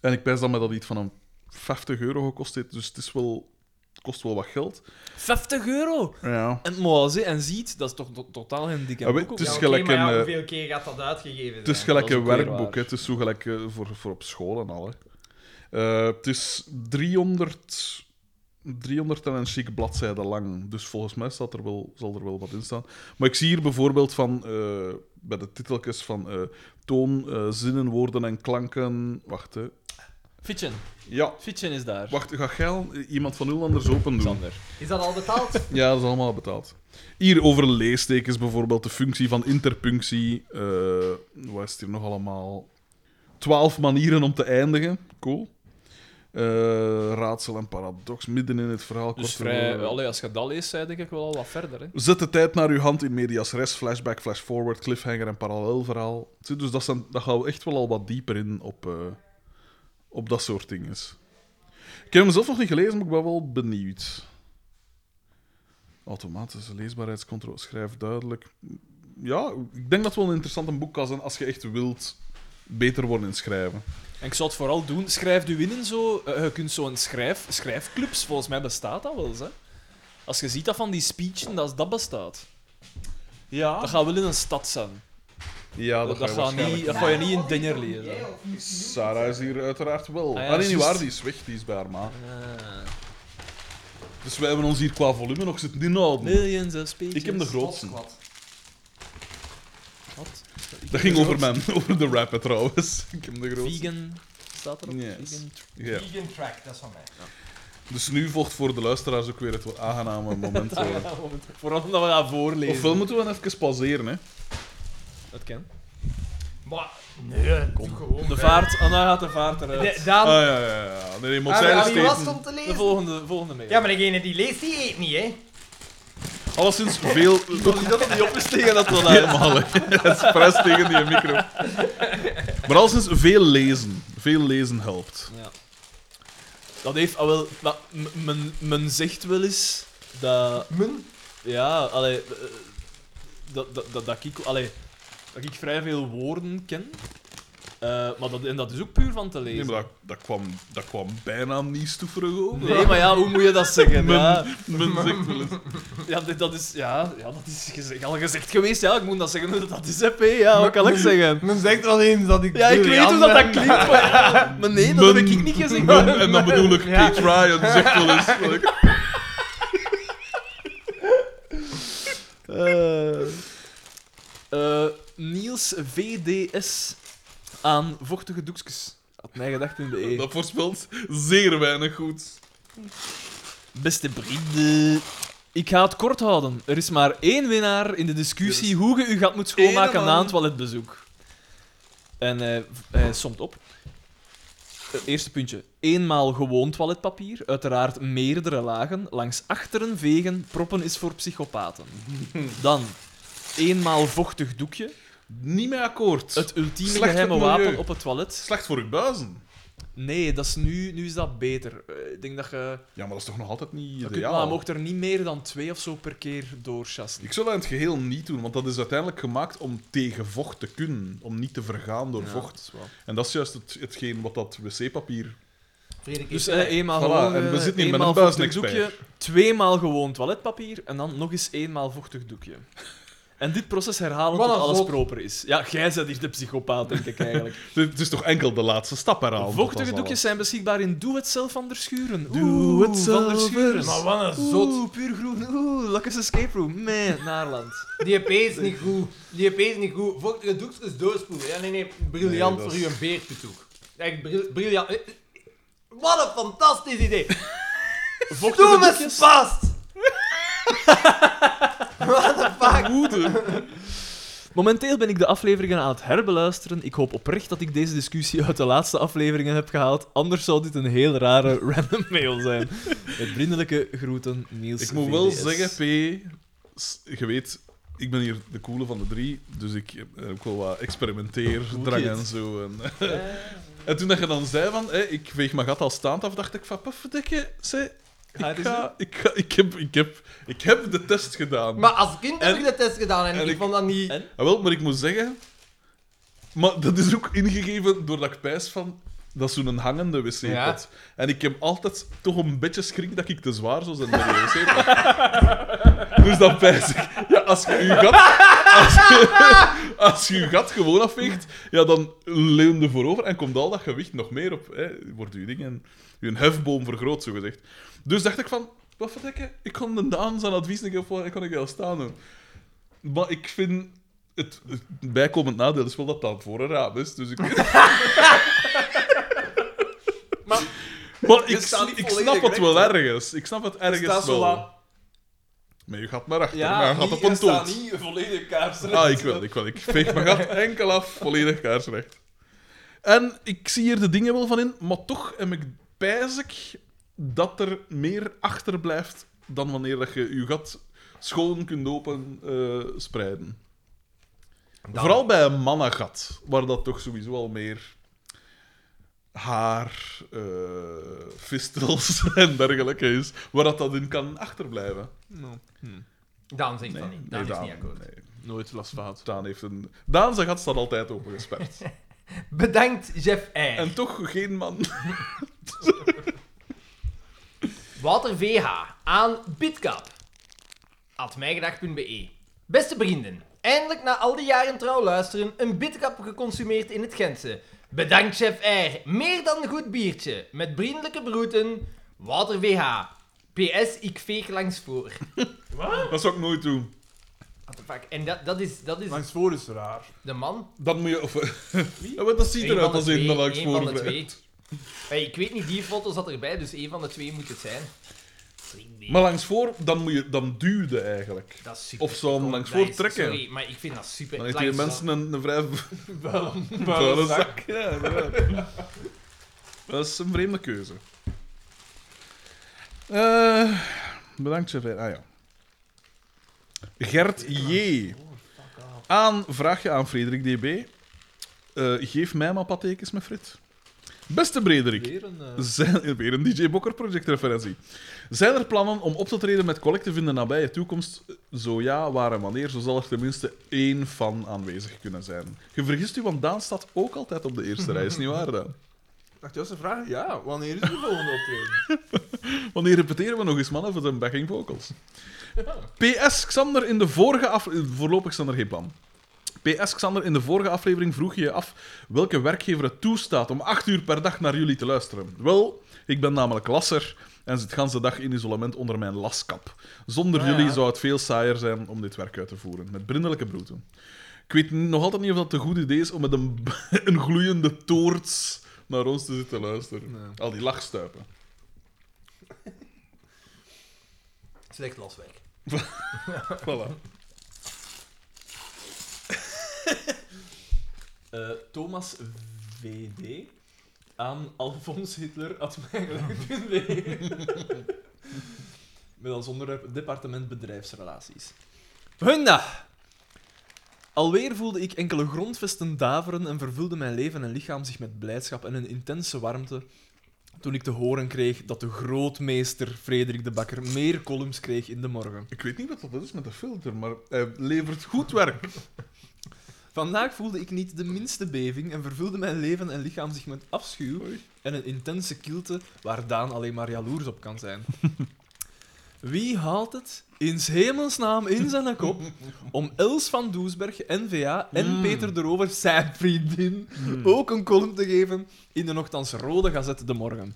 En ik pijs dat me dat iets van een 50 euro gekost heeft. Dus het is wel, het kost wel wat geld. 50 euro! Ja. En mooi, hè. en ziet, dat is toch to- totaal geen dikke Ja, weet- boek. ook. Ah, het is Ja, oké, gelijk maar ja, een, eh, hoeveel keer gaat dat uitgegeven Het is zijn? gelijk dat is een ook weer werkboek. waar. Hè. Het is zo gelijk eh, voor, voor op school en al. Hè. Eh, het is 300, 300 en een chic bladzijde lang. Dus volgens mij staat er wel, zal er wel wat in staan. Maar ik zie hier bijvoorbeeld van, eh, bij de titeltjes van eh, toon, eh, zinnen, woorden en klanken. Wacht, hè. Fitchen. Ja, Fitchen is daar. wacht. Ga jij al iemand van Ullanders open doen? Xander. Is dat al betaald? Ja, dat is allemaal betaald. Hier over leestekens bijvoorbeeld, de functie van interpunctie. eh wat is het hier nog allemaal? Twaalf manieren om te eindigen. Cool. Eh, raadsel en paradox midden in het verhaal. eh, Dus korte vrij, woorden. allee, als je dat leest, zei denk ik wel al wat verder. Hè. Zet de tijd naar uw hand in medias res, flashback, flash forward, cliffhanger en parallelverhaal. Zie, Dus dat, zijn, dat gaan we echt wel al wat dieper in op, eh, op dat soort dingen. Ik heb hem zelf nog niet gelezen, maar ik ben wel benieuwd. Automatische leesbaarheidscontrole, schrijf duidelijk. Ja, ik denk dat het wel een interessant boek kan zijn als je echt wilt beter worden in schrijven. En ik zou het vooral doen, schrijf u in in zo. eh, je kunt zo'n schrijf, schrijfclubs, volgens mij bestaat dat wel eens. Hè. Als je ziet dat van die speechen, dat, dat bestaat. Ja, Dat gaat wel in een stad zijn. ja dat, Dat, dat, gaat ga je waarschijnlijk niet, dat ga je niet in Denner lezen. Sarah is hier uiteraard wel. Ah ja, Ah, nee, niet juist. waar, die is weg, die is bij haar ma. Ah. Dus wij hebben ons hier qua volume nog zitten inhouden. Millions of speeches. Ik heb de grootste. Wat? Dat ging over, mijn, over de rapper trouwens. Ik heb de grootste. Vegan. Staat erop? Yes. Vegan. Ja. Vegan track, dat is van mij. Dus nu volgt voor de luisteraars ook weer het wat aangename moment. eh. Vooral omdat we dat voorlezen. Ofwel moeten we dan even pauzeren, hè? Dat kan. Maar, nee, kom gewoon. De vaart, Anna gaat de vaart eruit. De, dan, Ah ja, ja, ja. Nee, nee, moet zij aan wie was het steden. om te De lezen? volgende, volgende mee. Ja, maar degene die leest, die eet niet, hè? Alleszins veel. Als je dat niet op is tegen dat wel uit. Helemaal, hè. Het is pres tegen die micro. Maar alleszins veel lezen. Veel lezen helpt. Ja. Dat heeft al wel. Maar m- men, men zegt wel eens dat. Mun. Ja, allee, eh, dat, dat, dat, dat ik. Allee, dat ik vrij veel woorden ken. Eh, Eh, maar dat, en dat is ook puur van te lezen. Nee, maar dat, dat, kwam, dat kwam bijna niet stoeverig over. Nee, maar ja, hoe moet je dat zeggen? Ja, Men zegt wel eens... ja, dit- dat is, ja, ja, dat is gezegd, al gezegd geweest. Ja, ik moet dat zeggen. Dat is EP, ja, wat kan ik zeggen? Men zegt alleen dat ik. Ja, ik weet hoe dat, dat klinkt, maar, ja, maar nee, dat heb Men- ik niet gezegd. men- En dan bedoel ik Ja. Kate Ryan, zegt wel eens... like, Eh, Niels VDS aan vochtige doekjes. Had mij gedacht in de E. Dat voorspelt zeer weinig goed. Beste vrienden. Ik ga het kort houden. Er is maar één winnaar in de discussie hoe je u gaat moeten schoonmaken Ene na een man. toiletbezoek. En eh, v- hij somt op. Eh, Eerste puntje. Eenmaal gewoon toiletpapier, uiteraard meerdere lagen, langs achteren vegen, proppen is voor psychopaten. Dan, eenmaal vochtig doekje, Niet mee akkoord. het ultieme Slecht voor het geheime milieu. wapen op het toilet. Slecht voor je buizen. Nee, dat is nu, nu is dat beter. Eh, ik denk dat je... Ja, maar dat is toch nog altijd niet Ja, maar je ideaal? mocht er niet meer dan twee of zo per keer doorchassen. Ik zou dat in het geheel niet doen, want dat is uiteindelijk gemaakt om tegen vocht te kunnen. Om niet te vergaan door Ja, vocht. dat is wel. En dat is juist het, hetgeen wat dat wc-papier... Dus eh, eenmaal Voilà, gewoon... en we eh, zitten hier met eenmaal een vochtig buisnexpert. doekje, tweemaal gewoon toiletpapier en dan nog eens eenmaal vochtig doekje. En dit proces herhalen Wat tot een alles god. proper is. Ja, jij bent hier de psychopaat, denk ik eigenlijk. Het het is toch enkel de laatste stap eraan. Vochtige doekjes zijn beschikbaar in Doe Het Zelf van der Schuren. Doe Oeh, het van der zelf, Schuren. Maar wat een zot. Oeh, puur groen. Oeh, Lucky's Escape Room. Man, Naarland. Die EP is niet goed. Die EP is niet goed. Vochtige doekjes doorspoelen. Ja, nee, nee. Briljant Nee, dat voor is- uw beerpitoek. Echt bril- briljant. Eh, eh, Wat een fantastisch idee. Vochtige Doe me doekjes. vast! What the fuck? Momenteel ben ik de afleveringen aan het herbeluisteren. Ik hoop oprecht dat ik deze discussie uit de laatste afleveringen heb gehaald. Anders zou dit een heel rare random mail zijn. Met vriendelijke groeten, Niels. Ik moet wel VDS. zeggen, P, s- je weet, ik ben hier de coole van de drie, dus ik heb ook wel wat experimenteerdrang kid. en zo. En, en toen dat je dan zei van, hé, ik veeg mijn gat al staand af, dacht ik van, pufferdikke, zei, Ga het ik, eens ga, ik, ga, ik, heb, ik, heb, ik heb de test gedaan. Maar als kind heb En- ik de test gedaan en, en ik, ik- vond dat niet... en- Ah, wel, maar ik moet zeggen, maar dat is ook ingegeven doordat ik pijs van, dat is zo'n hangende wc-pot. Ja. En ik heb altijd toch een beetje schrik dat ik te zwaar zou zijn bij de wc-pot. dus dan pijs ik, ja, als je je gat, als je, als je, je gat gewoon afweegt, ja, dan leun je voorover en komt al dat gewicht nog meer op. Hè, wordt je ding en je hefboom vergroot, zogezegd. Dus dacht ik van, wat verdekken, ik kan de Daan zijn advies niet geven, ik kan ik wel staan doen. Maar ik vind het, het bijkomend nadeel is wel dat dat voor een raam is. Dus ik... maar maar ik, staat niet ik volledig snap het wel recht, ergens. Ik snap het ergens staat zo wel. wat- Maar je gaat maar achter. Ja, maar je gaat niet- op een je staat toot. niet volledig kaarsrecht. Ah, ik wel, ik wel. Ik veeg mijn gat enkel af, volledig kaarsrecht. En ik zie hier de dingen wel van in, maar toch heb ik pijs ik dat er meer achter blijft dan wanneer dat je je gat schoon kunt open eh, spreiden. Vooral bij een mannengat, waar dat toch sowieso al meer haar, eh, fistels en dergelijke is, waar dat, dat in kan achterblijven. No. Hm. Daan zegt dat niet. Daan is Daan, niet akkoord. nee. Nooit last van gehad. Daan heeft een... Daan zijn gat staat altijd opengesperd. Bedankt, Jeff I. En toch geen man. Wouter VH aan Bitcap. Atmijgedag.be. Beste vrienden, eindelijk na al die jaren trouw luisteren, een Bitcap geconsumeerd in het Gentse. Bedankt, chef R. Meer dan een goed biertje. Met vriendelijke groeten, Wouter VH. PS, ik veeg langs voor. Dat zou ik nooit doen. What the fuck? En dat, dat is, dat is Langs voor is raar. de man. Dan moet je... Of, ja, maar dat ziet Eén eruit van de als een twee, dat langs één van de voren twee. rijdt. Hey, ik weet niet, die foto zat erbij, dus één van de twee moet het zijn. Maar langs voor, dan, moet je, dan duwde eigenlijk. Dat is super. Of zou hem Kom, langs dat voor is- trekken. Sorry, maar ik vind dat super. Dan heeft die Langs- mensen een, een vrij vuile Vuile zak. zak. Ja, inderdaad. dat is een vreemde keuze. Eh, bedankt, chef. R. Ah ja. Gert J. Aan, vraagje aan Frederik DB. Eh, geef mij maar pattekens met frit. Beste Brederik. Weer een... eh, Zijn, weer een DJ Bokker Project referentie. Zijn er plannen om op te treden met collectief in de nabije toekomst? Zo ja, waar en wanneer, zo zal er tenminste één fan aanwezig kunnen zijn. Je vergist u, want Daan staat ook altijd op de eerste rij, is niet waar Daan? Dacht Joost, een vraag? Ja, wanneer is de volgende optreden? Wanneer repeteren we nog eens mannen voor de backing vocals? PS Xander in de vorige aflevering... Voorlopig staan er geen plan. PS Xander, in de vorige aflevering vroeg je je af welke werkgever het toestaat om acht uur per dag naar jullie te luisteren. Wel, ik ben namelijk lasser en zit ganse dag in isolement onder mijn laskap. Zonder Ah, ja. jullie zou het veel saaier zijn om dit werk uit te voeren, met brindelijke broeten. Ik weet nog altijd niet of dat een goed idee is om met een, b- een gloeiende toorts naar ons te zitten luisteren. Nee. Al die lachstuipen. Slecht laswerk. Voilà. Eh, Thomas VD aan Alfons Hitler at Met als onderwerp departement bedrijfsrelaties. Hunda! Alweer voelde ik enkele grondvesten daveren en vervulde mijn leven en lichaam zich met blijdschap en een intense warmte toen ik te horen kreeg dat de grootmeester Frederik de Bakker meer columns kreeg in de morgen. Ik weet niet wat dat is met de filter, maar hij levert goed werk. Vandaag voelde ik niet de minste beving en vervulde mijn leven en lichaam zich met afschuw Oei. en een intense kilte waar Daan alleen maar jaloers op kan zijn. Wie haalt het in 's hemelsnaam in zijn kop om Els van Doesberg, N-VA en Mm. Peter de Rover, zijn vriendin, ook een column te geven in de nochtans rode gazette De Morgen?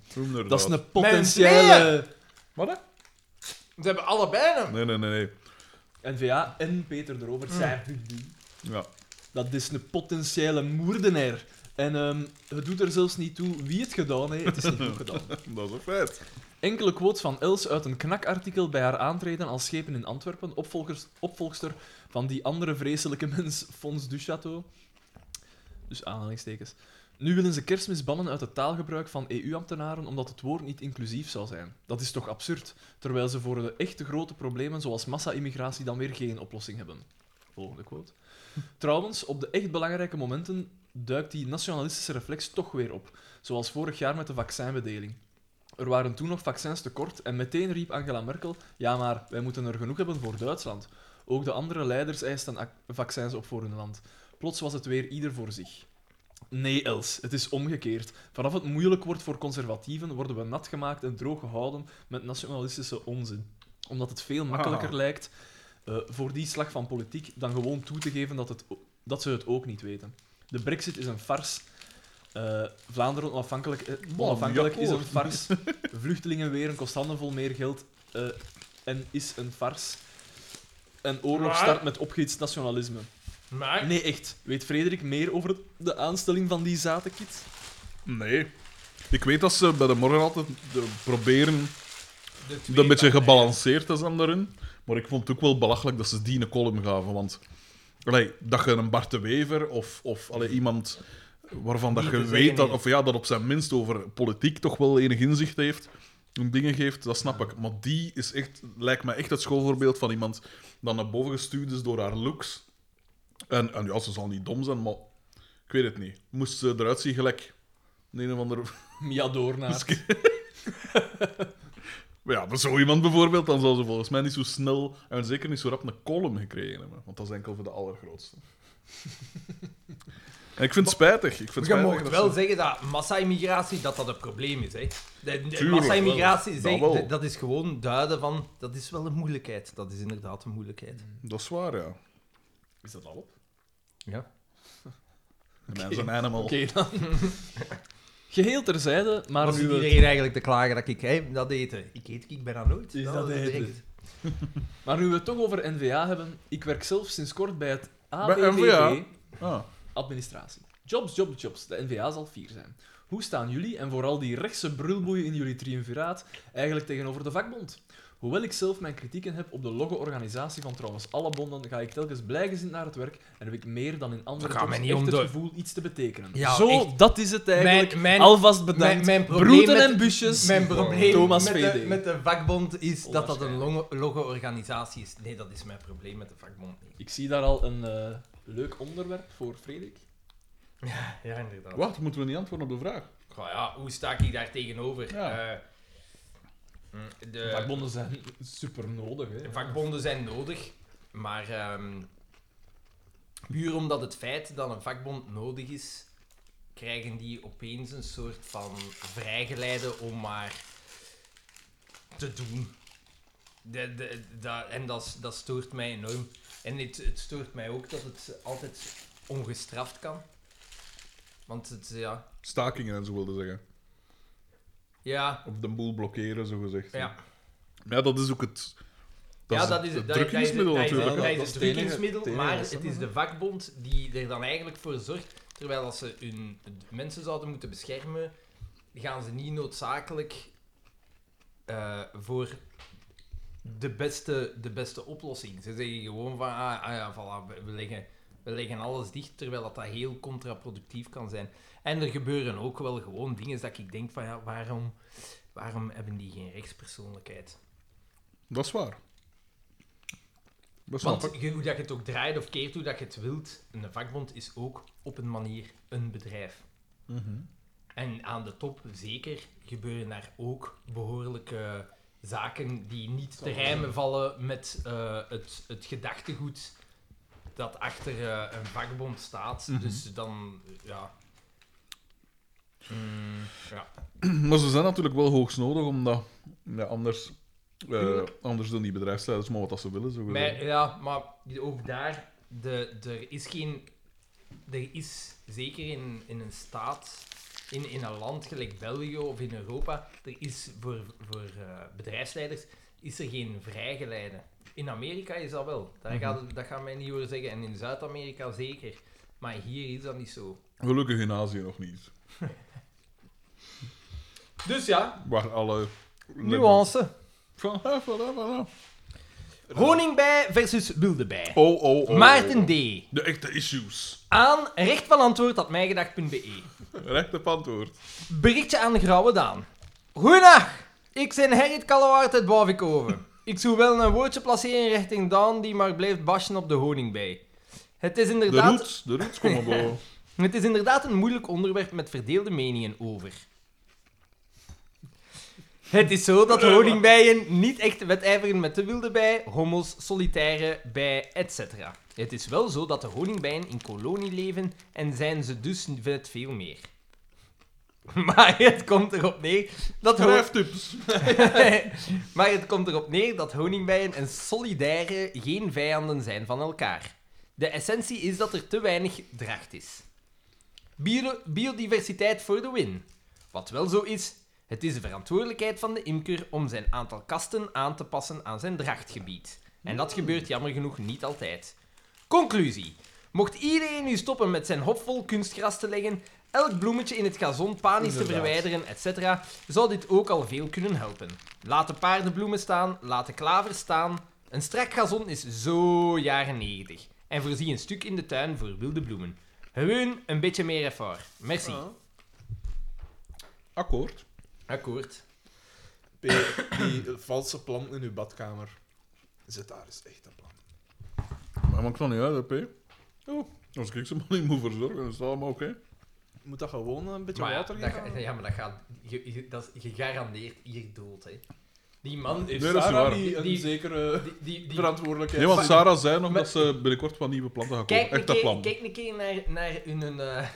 Dat is een potentiële... Wat? Ze hebben allebei hem. Nee, nee, nee. nee. N-VA en Peter de Rover, zijn vriendin. Ja. Dat is een potentiële moordenaar. En ehm, het doet er zelfs niet toe wie het gedaan heeft. Het is niet goed gedaan. Dat is een feit. Enkele quotes van Els uit een knakartikel bij haar aantreden als schepen in Antwerpen, opvolgers, opvolgster van die andere vreselijke mens, Fons Duchateau. Dus aanhalingstekens. Nu willen ze kerstmis bannen uit het taalgebruik van EU-ambtenaren omdat het woord niet inclusief zou zijn. Dat is toch absurd, terwijl ze voor de echte grote problemen zoals massa-immigratie dan weer geen oplossing hebben. Volgende quote. Trouwens, op de echt belangrijke momenten duikt die nationalistische reflex toch weer op, zoals vorig jaar met de vaccinbedeling. Er waren toen nog vaccins tekort en meteen riep Angela Merkel: Ja, maar wij moeten er genoeg hebben voor Duitsland. Ook de andere leiders eisten ac- vaccins op voor hun land. Plots was het weer ieder voor zich. Nee, Els, het is omgekeerd. Vanaf het moeilijk wordt voor conservatieven, worden we nat gemaakt en droog gehouden met nationalistische onzin. Omdat het veel makkelijker Ah. lijkt eh, voor die slag van politiek dan gewoon toe te geven dat, het, o- dat ze het ook niet weten. De Brexit is een farce. Eh, Vlaanderen onafhankelijk, eh, ja, onafhankelijk is een akkoord. farce. Vluchtelingen weer een kostandenvol meer geld eh, en is een farce. En oorlog Maar- start met opgehitst nationalisme. Maar... Nee, echt. Weet Frederik meer over het- de aanstelling van die zatenkit? Nee. Ik weet dat ze bij de morgen altijd de- proberen De twee dat een beetje partijen. gebalanceerd te zijn daarin. Maar ik vond het ook wel belachelijk dat ze die een column gaven. Want allee, dat je een Bart de Wever of, of allee, iemand waarvan dat Niet je te zeggen weet dat, heeft. of ja, dat op zijn minst over politiek toch wel enig inzicht heeft. en Dingen geeft, dat snap ik. Maar die is echt, lijkt mij echt het schoolvoorbeeld van iemand dat naar boven gestuurd is door haar looks. En, en ja, ze zal niet dom zijn, maar ik weet het niet. Moest ze eruit zien gelijk een een of andere Mia Doornaert. maar ja, maar zo iemand bijvoorbeeld, dan zou ze volgens mij niet zo snel en zeker niet zo rap een column gekregen hebben. Want dat is enkel voor de allergrootste. en ik vind het spijtig. Ik vind het Je spijtig mag dat wel ze- zeggen dat massa-immigratie dat dat een probleem is. Hè. De, de Tuurlijk, massa-immigratie wel. zeg, Dat wel. de- dat is gewoon duiden van dat is wel een moeilijkheid. Dat is inderdaad een moeilijkheid. Dat is waar, ja. Is dat al op? Ja. De mens is een animal. Oké dan. Geheel terzijde, maar Maar nu nu... we- iedereen eigenlijk te klagen dat ik hè, dat eten. Ik eet ik bijna nooit. Is dat eten? direct. Maar nu we het toch over NVA hebben, ik werk zelf sinds kort bij het NVA? ABVV Ah, administratie. Jobs, jobs, jobs. De NVA zal fier zijn. Hoe staan jullie en vooral die rechtse brulboeien in jullie triumviraat eigenlijk tegenover de vakbond? Hoewel ik zelf mijn kritieken heb op de logge organisatie van trouwens alle bonden, ga ik telkens blijgezind naar het werk en heb ik meer dan in andere Dat gaat mij jobs niet echt om het de- gevoel iets te betekenen. Ja, Zo, echt. dat is het eigenlijk. Mijn- mijn- Alvast bedankt. mijn- mijn probleem Broeten met- en busjes. Mijn probleem Thomas met, de, VD. met de vakbond is dat dat een Onwaarschijnlijk. longe, logge organisatie is. Nee, dat is mijn probleem met de vakbond niet. Ik zie daar al een eh, leuk onderwerp voor Frederik. Ja, inderdaad. wacht, moeten we niet antwoorden op de vraag? Goh, ja, hoe sta ik daar tegenover? Ja. Eh, mm, de Vakbonden zijn super nodig. Hè. vakbonden zijn nodig, maar ehm, puur omdat het feit dat een vakbond nodig is, krijgen die opeens een soort van vrijgeleide om maar te doen. De, de, da- en dat, s- dat stoort mij enorm. En het, het stoort mij ook dat het altijd ongestraft kan. Want het, ja, Stakingen en zo wilde zeggen. ja, Of de boel blokkeren, zo gezegd. ja. Ja, dat is ook het. ja, dat is het. Dat is- het dat is- drukkingsmiddel dat is- natuurlijk. Dat hè. is Dat het is het enige- drukkingsmiddel, het enige maar dat ze het is de vakbond die er dan eigenlijk voor zorgt. Terwijl als ze hun mensen zouden moeten beschermen, gaan ze niet noodzakelijk eh, voor de beste, de beste oplossing. Ze zeggen gewoon van, ah, ah ja, voilà, we- we leggen, we leggen alles dicht, terwijl dat, dat heel contraproductief kan zijn. En er gebeuren ook wel gewoon dingen dat ik denk van, ja, waarom, waarom hebben die geen rechtspersoonlijkheid? Dat is waar. Dat snap Want ik. je- hoe dat je het ook draait of keert, hoe dat je het wilt, een vakbond is ook op een manier een bedrijf. Mhm. En aan de top zeker gebeuren daar ook behoorlijke zaken die niet te rijmen vallen met eh, het, het gedachtegoed dat achter eh, een vakbond staat. Mhm. Dus dan, eh, ja. Mm, ja. Maar ze zijn natuurlijk wel hoogst nodig, omdat ja, anders, eh anders doen die bedrijfsleiders maar wat dat ze willen. Zo gezegd. Maar, ja, maar ook daar, de, er is geen... Er is zeker in, in een staat, in, in een land gelijk België of in Europa, er is voor, voor eh, bedrijfsleiders is er geen vrijgeleide. In Amerika is dat wel. Daar gaat, het- dat gaan wij niet horen zeggen. En in Zuid-Amerika zeker. Maar hier is dat niet zo. Gelukkig in Azië nog niet. Dus ja, Waar alle. nuance. Van, ah, voilà, voilà. Honingbij versus wilde bij. Oh, oh, oh. Maarten D. De echte issues. Aan recht van antwoord dat mijgedacht.be. Recht op antwoord. Berichtje aan de Grauwe Daan. Goedendag, ik ben Gerrit Kallewaard uit Bavikoven. Ik zou wel een woordje placeren richting Daan die maar blijft bashen op de honingbij. Het is De inderdaad... roots, de roots komen boven. Het is inderdaad een moeilijk onderwerp met verdeelde meningen over. Het is zo dat honingbijen niet echt wedijveren met de wilde bij, hommels, solitaire bij, etc. Het is wel zo dat de honingbijen in kolonie leven en zijn ze dus vet veel meer. Maar het komt erop neer dat de ho- Drijftips. maar het komt erop neer dat honingbijen en solidaire geen vijanden zijn van elkaar. De essentie is dat er te weinig dracht is. Bio- biodiversiteit voor de win. Wat wel zo is, het is de verantwoordelijkheid van de imker om zijn aantal kasten aan te passen aan zijn drachtgebied. En dat gebeurt jammer genoeg niet altijd. Conclusie. Mocht iedereen nu stoppen met zijn hop vol kunstgras te leggen, elk bloemetje in het gazon panisch te Inderdaad. verwijderen, etc., zou dit ook al veel kunnen helpen. Laat de paardenbloemen staan, laat de klaver staan. Een strak gazon is zo jaren 90. En voorzie een stuk in de tuin voor wilde bloemen. Gewoon een beetje meer effort. Merci. Akkoord. Akkoord. P, die valse plant in uw badkamer. Zet daar eens echt een plant. Maar maakt dan niet uit, hè, P. Oh, als ik ze maar niet moet verzorgen, dan is het allemaal oké. Moet dat gewoon een beetje Maar ja, water dat geven? ga- ja, maar dat gaat je, je- dat is gegarandeerd hier dood, hè. Die man... Heeft Nee, dat is Sarah waar. niet een Die- zekere Die, die, die, verantwoordelijkheid? Nee, want Maar- Sarah zei nog Maar- dat ze binnenkort wat nieuwe planten gaat kopen. kijk, een Echt dat keer, plan. kijk een keer naar, naar hun... hun, eh,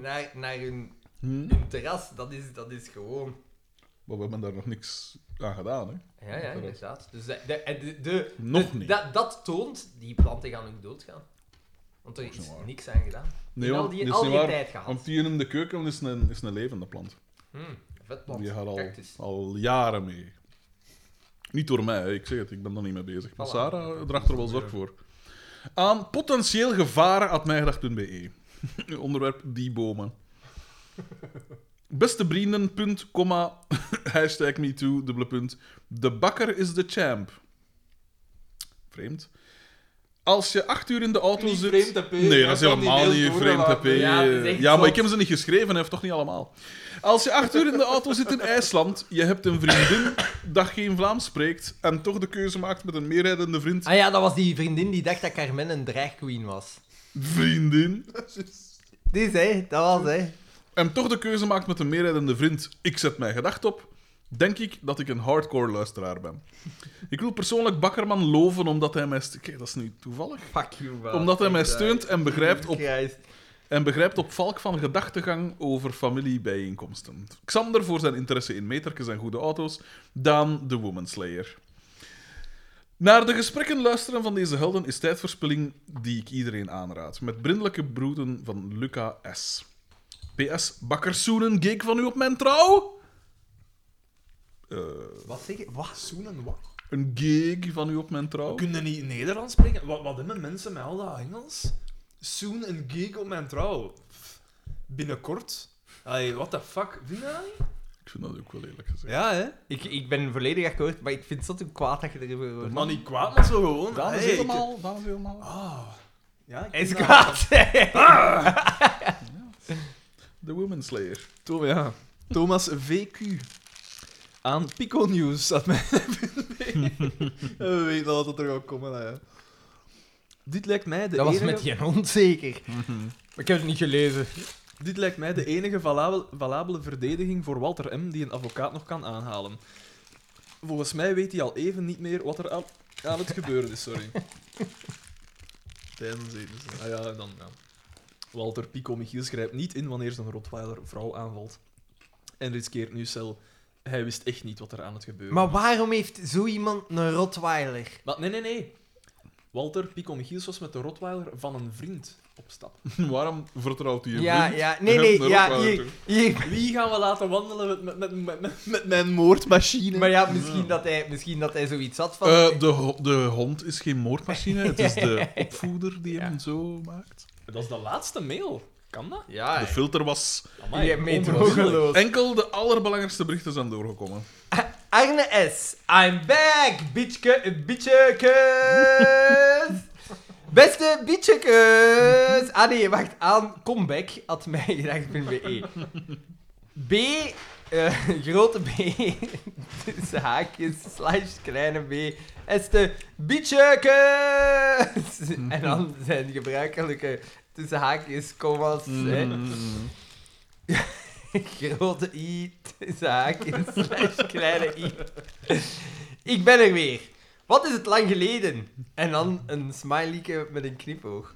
naar, naar hun, Hm? hun terras. Dat is, dat is gewoon... Maar we hebben daar nog niks aan gedaan, hè. Ja, ja, Terras. inderdaad. Dus dat- dat- en de, de, Nog de- niet. Dat, dat toont, die planten gaan ook doodgaan. Want er Dat is is niet waar. niks aan gedaan. Nee, En al want die, dat al niet die waar. tijd gehad. Want die in de keuken is een, is een levende plant. Hmm, vet plant. Die gaat al, Cactus. al jaren mee. Niet door mij, hè. ik zeg het, ik ben daar niet mee bezig. Maar Voilà. Sarah draagt er wel zorg voor. Aan potentieel gevaren at mijgedacht.be. e. Onderwerp die bomen. Beste vrienden, punt, komma, hashtag MeToo, dubbele punt. De bakker is de champ. Vreemd. Als je acht uur in de auto Niet zit... vreemd, hè, P. Nee, Je dat is hebt al die helemaal mail niet vreemd, hè, doorgelaten. P. Ja, dat is echt Ja, maar zot. ik heb ze niet geschreven, hij heeft toch niet allemaal. Als je acht uur in de auto zit in IJsland, je hebt een vriendin dat geen Vlaams spreekt en toch de keuze maakt met een meerrijdende vriend. Ah ja, dat was die vriendin die dacht dat Carmen een drag queen was. Vriendin. Dus hè, dat was hè. en toch de keuze maakt met een meerijdende vriend, ik zet mijn gedacht op, denk ik dat ik een hardcore luisteraar ben. Ik wil persoonlijk Bakkerman loven omdat hij mij... st- Kijk, dat is nu toevallig. Fuck you, man. Omdat hij mij Echt eh, waar. steunt en begrijpt op Christ. en begrijpt op valk van gedachtegang over familiebijeenkomsten. Xander voor zijn interesse in metertjes en goede auto's, Daan de Womanslayer. Naar de gesprekken luisteren van deze helden is tijdverspilling die ik iedereen aanraad. Met brindelijke broeden van Luca S. PS, bakkersoenen, geek van u op mijn trouw? Eh, Wat zeg je? Wat? Zoenen, wat? een geek van u op mijn trouw? Kun je niet Nederlands spreken? Wat, wat hebben mensen met al dat Engels? Soon een geek op mijn trouw. Pff, Binnenkort. Hey, what the fuck? Vind je dat niet? Ik vind dat ook wel eerlijk gezegd. Ja, hè? Ik, ik ben volledig akkoord, maar ik vind het zo te kwaad dat je erover hoort. Maar niet kwaad, maar zo gewoon. Daan is hey, ik- helemaal... Daan is helemaal... Ah. Ja, ik Hij is vind dat- kwaad. De Womanslayer. To- ja. Thomas VQ. Aan Pico News zat mij. We weten al dat er gaat komen. Hè. Dit lijkt mij de Dat was enige... met geen hond zeker. Mhm. Ik heb het niet gelezen. Dit lijkt mij de enige valabel- valabele verdediging voor Walter M. die een advocaat nog kan aanhalen. Volgens mij weet hij al even niet meer wat er aan, aan het gebeuren is, sorry. Tijdens eten. zo. Ah ja, en dan. Ja. Walter Pico Michiels grijpt niet in wanneer zijn Rottweiler vrouw aanvalt. En riskeert nu cel. Hij wist echt niet wat er aan het gebeuren Maar waarom heeft zo iemand een Rottweiler? Maar nee, nee, nee. Walter Pico Michiels was met de Rottweiler van een vriend op stap. Waarom vertrouwt hij je Ja, vriend? ja. Nee, Je nee. hebt een Ja, Rottweiler hier, hier. Wie gaan we laten wandelen met, met, met, met, met mijn moordmachine? Maar ja, misschien dat hij, misschien dat hij zoiets had van... Eh, de, ho- de hond is geen moordmachine, het is de opvoeder die hem zo maakt. Dat is de laatste mail. Kan dat? Ah, ja, De filter was... je hebt onmogelijk. meedogenloos. Enkel de allerbelangrijkste berichten zijn doorgekomen. Arne S. I'm back, bitchke, bitchekes. Beste bitchekes. Ah nee, wacht. Aan comeback at mijgedacht.be. E. B. eh, grote B. Tussen haakjes, slash, kleine B. Este bitchekes. En dan zijn gebruikelijke tussen haakjes, commas. Mm. hè. Grote i, tussen haakjes, slash kleine i. Ik ben er weer. Wat is het lang geleden? En dan een smileyke met een knipoog.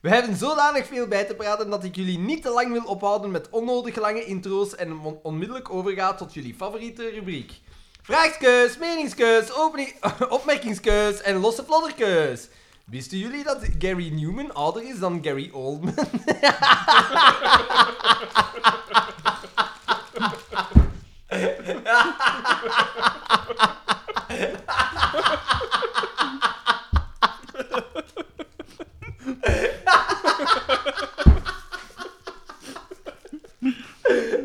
We hebben zodanig veel bij te praten dat ik jullie niet te lang wil ophouden met onnodig lange intro's en on- onmiddellijk overga tot jullie favoriete rubriek. Vraagkeus, meningskeus, opening- opmerkingskeus en losse flodderkeus. Wisten jullie dat Gary Newman ouder is dan Gary Oldman?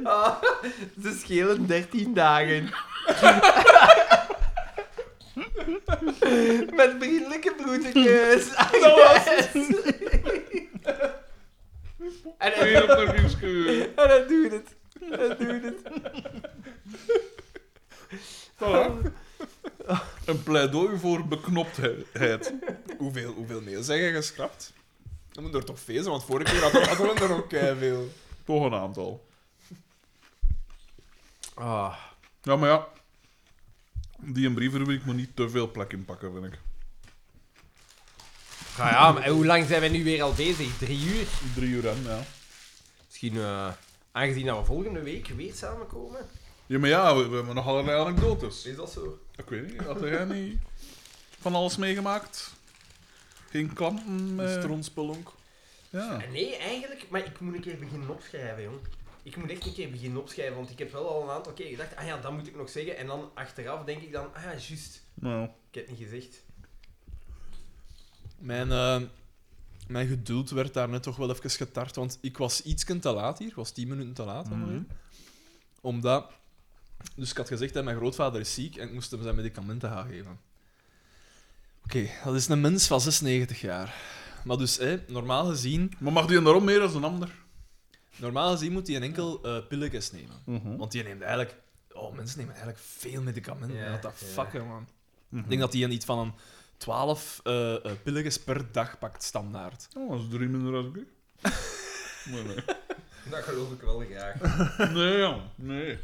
Ah, ze schelen 13 dagen. Met vriendelijke broedertjes. Dat was En hij, Weer op de nieuwskeur. en hij doet het. Hij doet het. Een pleidooi voor beknoptheid. Hoeveel, hoeveel mails zijn jij geschrapt? Dat moet er toch veel zijn, want vorige keer hadden hadden we er ook eh, veel. Toch een aantal. Ah. Ja, maar ja. Die een brievenrubriek moet niet te veel plek inpakken, vind ik. Ja, nou ja, maar hoe lang zijn wij nu weer al bezig? Drie uur? Drie uur aan, ja. Misschien, eh, aangezien dat we volgende week weer samenkomen. Ja, maar ja, we, we hebben nog allerlei anekdotes. Is dat zo? Ik weet niet, had jij niet van alles meegemaakt? Geen klanten? eh, Stronspelonk. ja. Nee, eigenlijk, maar ik moet een keer beginnen opschrijven, jong. Ik moet echt een keer beginnen opschrijven, want ik heb wel al een aantal keer gedacht, ah ja, dat moet ik nog zeggen. En dan achteraf denk ik dan, ah ja, juist, Nou, ik heb het niet gezegd. Mijn, eh, mijn geduld werd daar net toch wel even getart, want ik was iets te laat hier. Ik was tien minuten te laat. Mhm. ongeveer. Omdat... Dus ik had gezegd dat mijn grootvader is ziek en ik moest hem zijn medicamenten gaan geven. Oké, dat is een mens van 96 jaar. Maar dus, hè, normaal gezien... maar mag die een daarom meer dan een ander? Normaal gezien moet hij een enkel eh pilletjes nemen. Mhm. Want die neemt eigenlijk... Oh, mensen nemen eigenlijk veel medicamenten. Ja, What the ja. fuck, hè, man. Mhm. Ik denk dat hij een iets van een 12 eh eh, pilletjes per dag pakt, standaard. Oh, dat is drie minder dan ik. Nee, nee. Dat geloof ik wel graag. Nee, ja. Nee.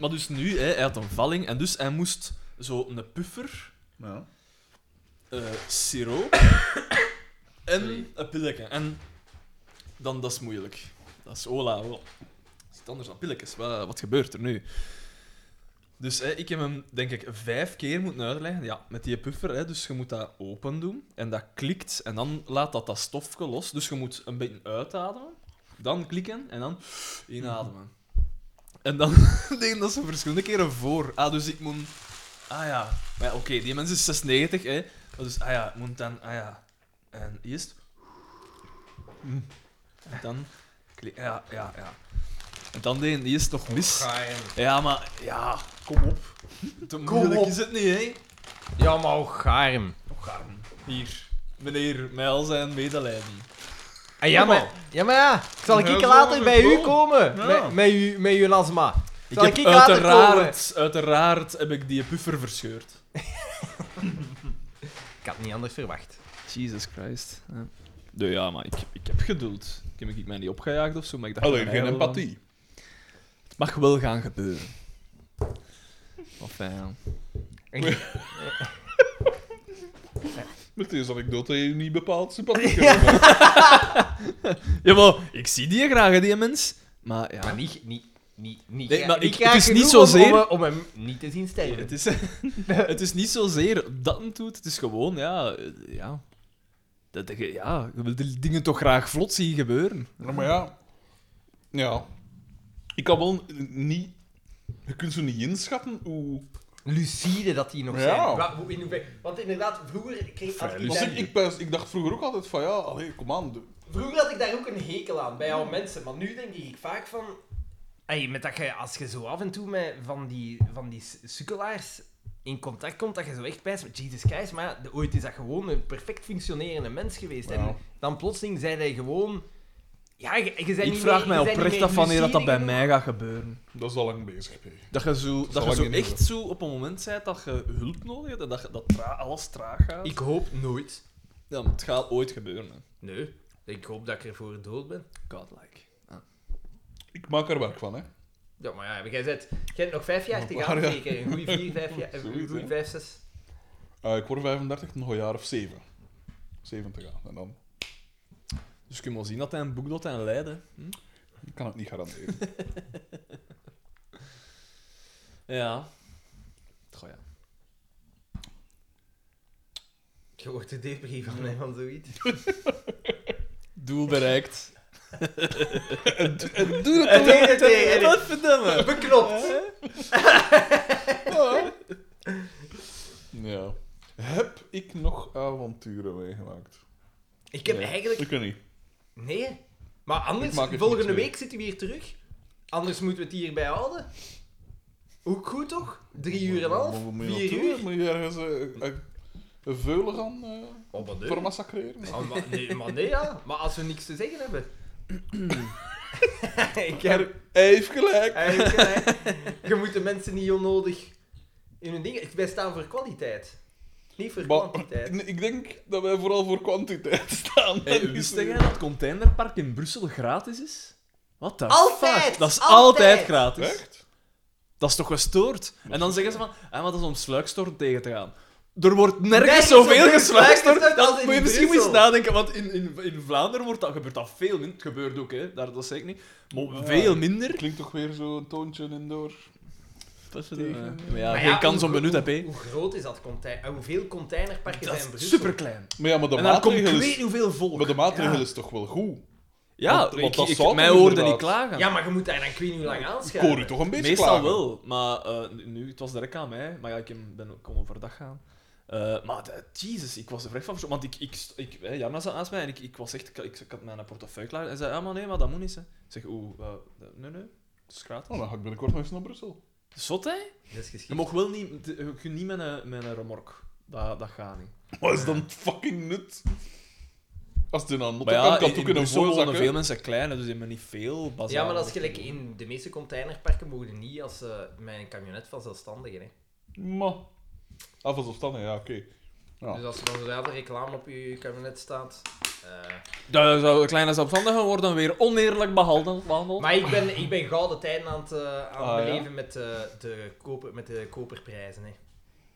Maar dus nu, hè, hij had een valling en dus hij moest zo een puffer, Ja. eh siroop en een pilletje. En dan, dat is moeilijk. Dat is hola, hola. Dat is iets anders dan pilletjes. Wat, wat gebeurt er nu? Dus hè, ik heb hem, denk ik, vijf keer moeten uitleggen. Ja, met die puffer, hè, dus je moet dat open doen. En dat klikt. En dan laat dat dat stofje los. Dus je moet een beetje uitademen. Dan klikken en dan inademen. Mm-hmm. En dan deden dat ze verschillende keren voor. Ah, dus ik moet... Ah ja. Maar ja, oké, die mensen is 96, hè. Maar Dus, ah ja, ik moet dan... Ah ja. En eerst... Mm. En dan... klik- Ja, ja, ja. En dan deden die eerst nog mis. Ja, maar ja, kom op. Te moeilijk op. is het niet, hè? Ja, maar ook gaarm. Hier, meneer, mij al zijn medelijden. Ah, ja, maar, ja, maar ja. Zal ik, Ja, zo later bij gewoon. u komen? Ja. Met, met, u, met uw lasma. Ik Zal heb ik later uiteraard, uiteraard heb ik die puffer verscheurd. Ik had het niet anders verwacht. Jesus Christ. Ja, nee, ja maar ik, ik heb geduld. Ik heb ik mij niet opgejaagd of zo, maar ik dacht... Alleen van, geen hey, wel, empathie. Het mag wel gaan gebeuren. Wat fijn. Met deze anekdote heb je niet bepaald sympathiek. Ja, maar ik zie die graag, hè, die mens. Maar ja... Maar niet... niet, niet, niet Nee, graag- maar ik- graag het is niet genoeg om- Om, zozeer- om hem niet te zien sterven. Het is, het is niet zozeer dat het doet, het is gewoon, ja... eh, ja. Dat, dat je- ja, je wil die dingen toch graag vlot zien gebeuren. Ja, maar ja. Ja. Ik kan wel niet... Je kunt zo niet inschatten hoe... Lucide dat die nog Ja. zijn. Wa- hoe- in hoever- Want inderdaad, vroeger kreeg had ik, Dus daar, ik, ik, pers- ik dacht vroeger ook altijd van, ja, allee, kom aan. de- vroeger had ik daar ook een hekel aan, bij oude mensen. Maar nu denk ik vaak van... Mm. Hey, met dat je, als je zo af en toe met van die, van die s- sukkelaars in contact komt, dat je zo echt pijst met Jesus Christ, maar ja, de- ooit is dat gewoon een perfect functionerende mens geweest. Ja. En dan plotseling zei hij gewoon... Ja, je, je bent Ik niet vraag meer- mij je bent oprecht niet meer af wanneer dat, dat lucide bij mij gaat gebeuren. Dat is al lang bezig, P. Dat je zo, dat zal je ik zo niet echt zo op een moment bent dat je hulp nodig hebt en dat, je- dat tra- alles traag gaat. genoeg. Ik hoop nooit. Ja, maar het gaat ooit gebeuren. Hè. Nee. Ik hoop dat ik ervoor dood ben. Godlike. Ik maak er werk van, hè. Ja, maar ja, maar jij zet, jij hebt nog vijf jaar te gaan, Maar ja. zeker. Een goede vier, vijf jaar, een Zoiets, goede hè. vijf, zes. Eh, ik word 35, nog een jaar of 7. 70 gaan. En dan Dus kun je wel zien dat hij een boek doet en lijden. Hm? ik kan het niet garanderen. Ja. Goh, ja. Je wordt er depri van, hè, van zoiets. Doel bereikt. Doe het nee, nee, nee. Wat verdomme. Beknopt. ja. Heb ik nog avonturen meegemaakt? Ik heb Nee. eigenlijk... Ik weet niet. Nee. Maar anders, Ik maak het volgende niet mee. week zitten we hier terug. Anders moeten we het hierbij houden. Ook goed, toch? Drie uur en een half, Moet je vier naartoe? uur. Moet je ergens eh, eh, een veulen gaan eh, Oh, maar nee. vermassacreren? Ah, maar nee, maar nee, ja. Maar als we niks te zeggen hebben... ik heb... Hij heeft gelijk. Eigenlijk, hè. je moet de mensen niet onnodig in hun dingen. Wij staan voor kwaliteit, niet voor Maar- kwantiteit. Nee, ik denk dat wij vooral voor kwantiteit staan. Dus, eh, Hey, wist jij dat het containerpark in Brussel gratis is? Wat dan? Altijd! Dat is Altijd! altijd gratis. Echt? Dat is toch gestoord? En dan zeggen ze van, ah, maar dat is om sluikstorm tegen te gaan. Er wordt nergens Nergens zoveel zoveel gesluikstort. gesluikstort als Dan in moet je misschien eens Brussel. nadenken, want in, in, in Vlaanderen wordt dat, gebeurt dat veel minder. Het gebeurt ook, hè. Daar, dat zeg ik niet. Maar Ja. veel minder. Klinkt toch weer zo'n toontje in door. Tegen- Maar ja, Maar geen ja, kans om hoe- benut heb, hè. Hoe groot is dat container? en Hoeveel containerparken zijn Dat in is Brussel? superklein. Maar ja, maar de En dan komt ik maatregel weet is... niet hoeveel volk. Maar de maatregel Ja. is toch wel goed? Ja, Want- want ik, dat ik- zou mij toch hoorde inderdaad- niet klagen. Ja, maar je moet daar dan ik weet niet hoe lang Ik hoor u aanschuiven. toch een beetje Meestal klagen? wel, maar eh, nu, het was direct aan mij, maar ja, ik heb- ben ook kom overdag gaan. Eh, maar de- jezus, ik was er echt van verschokt, want ik, ik, st- ik, hè, Jarna zat naast mij en ik, ik was echt, ik, ik had mijn portefeuille klaar en zei, ja maar nee, maar dat moet niet, hè. Ik zeg, oeh, eh, nee, nee, het is gratis. Oh, dan ga ik binnenkort nog eens naar Brussel. Zot, hè? Dat is Je geschikt. mag wel niet, je kunt niet met een, met een remork. Dat, dat gaat niet. Wat is dan fucking nut? Als het in Maar een notte ja, kan, kan in, het ook in in een Brussel wonen voorzak. veel hè? mensen klein, hè, dus die hebben niet veel bazaar. Ja, maar dat is gelijk in de meeste containerparken mogen niet als eh, mijn camionet van zelfstandigen. Hè. Maar... Ah, van zelfstandig, ja, oké. Ja. Dus als er dan zodra de reclame op je kabinet staat. eh, Daar zou de kleine zelfstandigen worden weer oneerlijk behandeld. behandeld. Maar ik ben, ik ben gouden tijden aan het, eh, aan het Ah, ja? beleven met, eh, de koper, met de koperprijzen. Hè.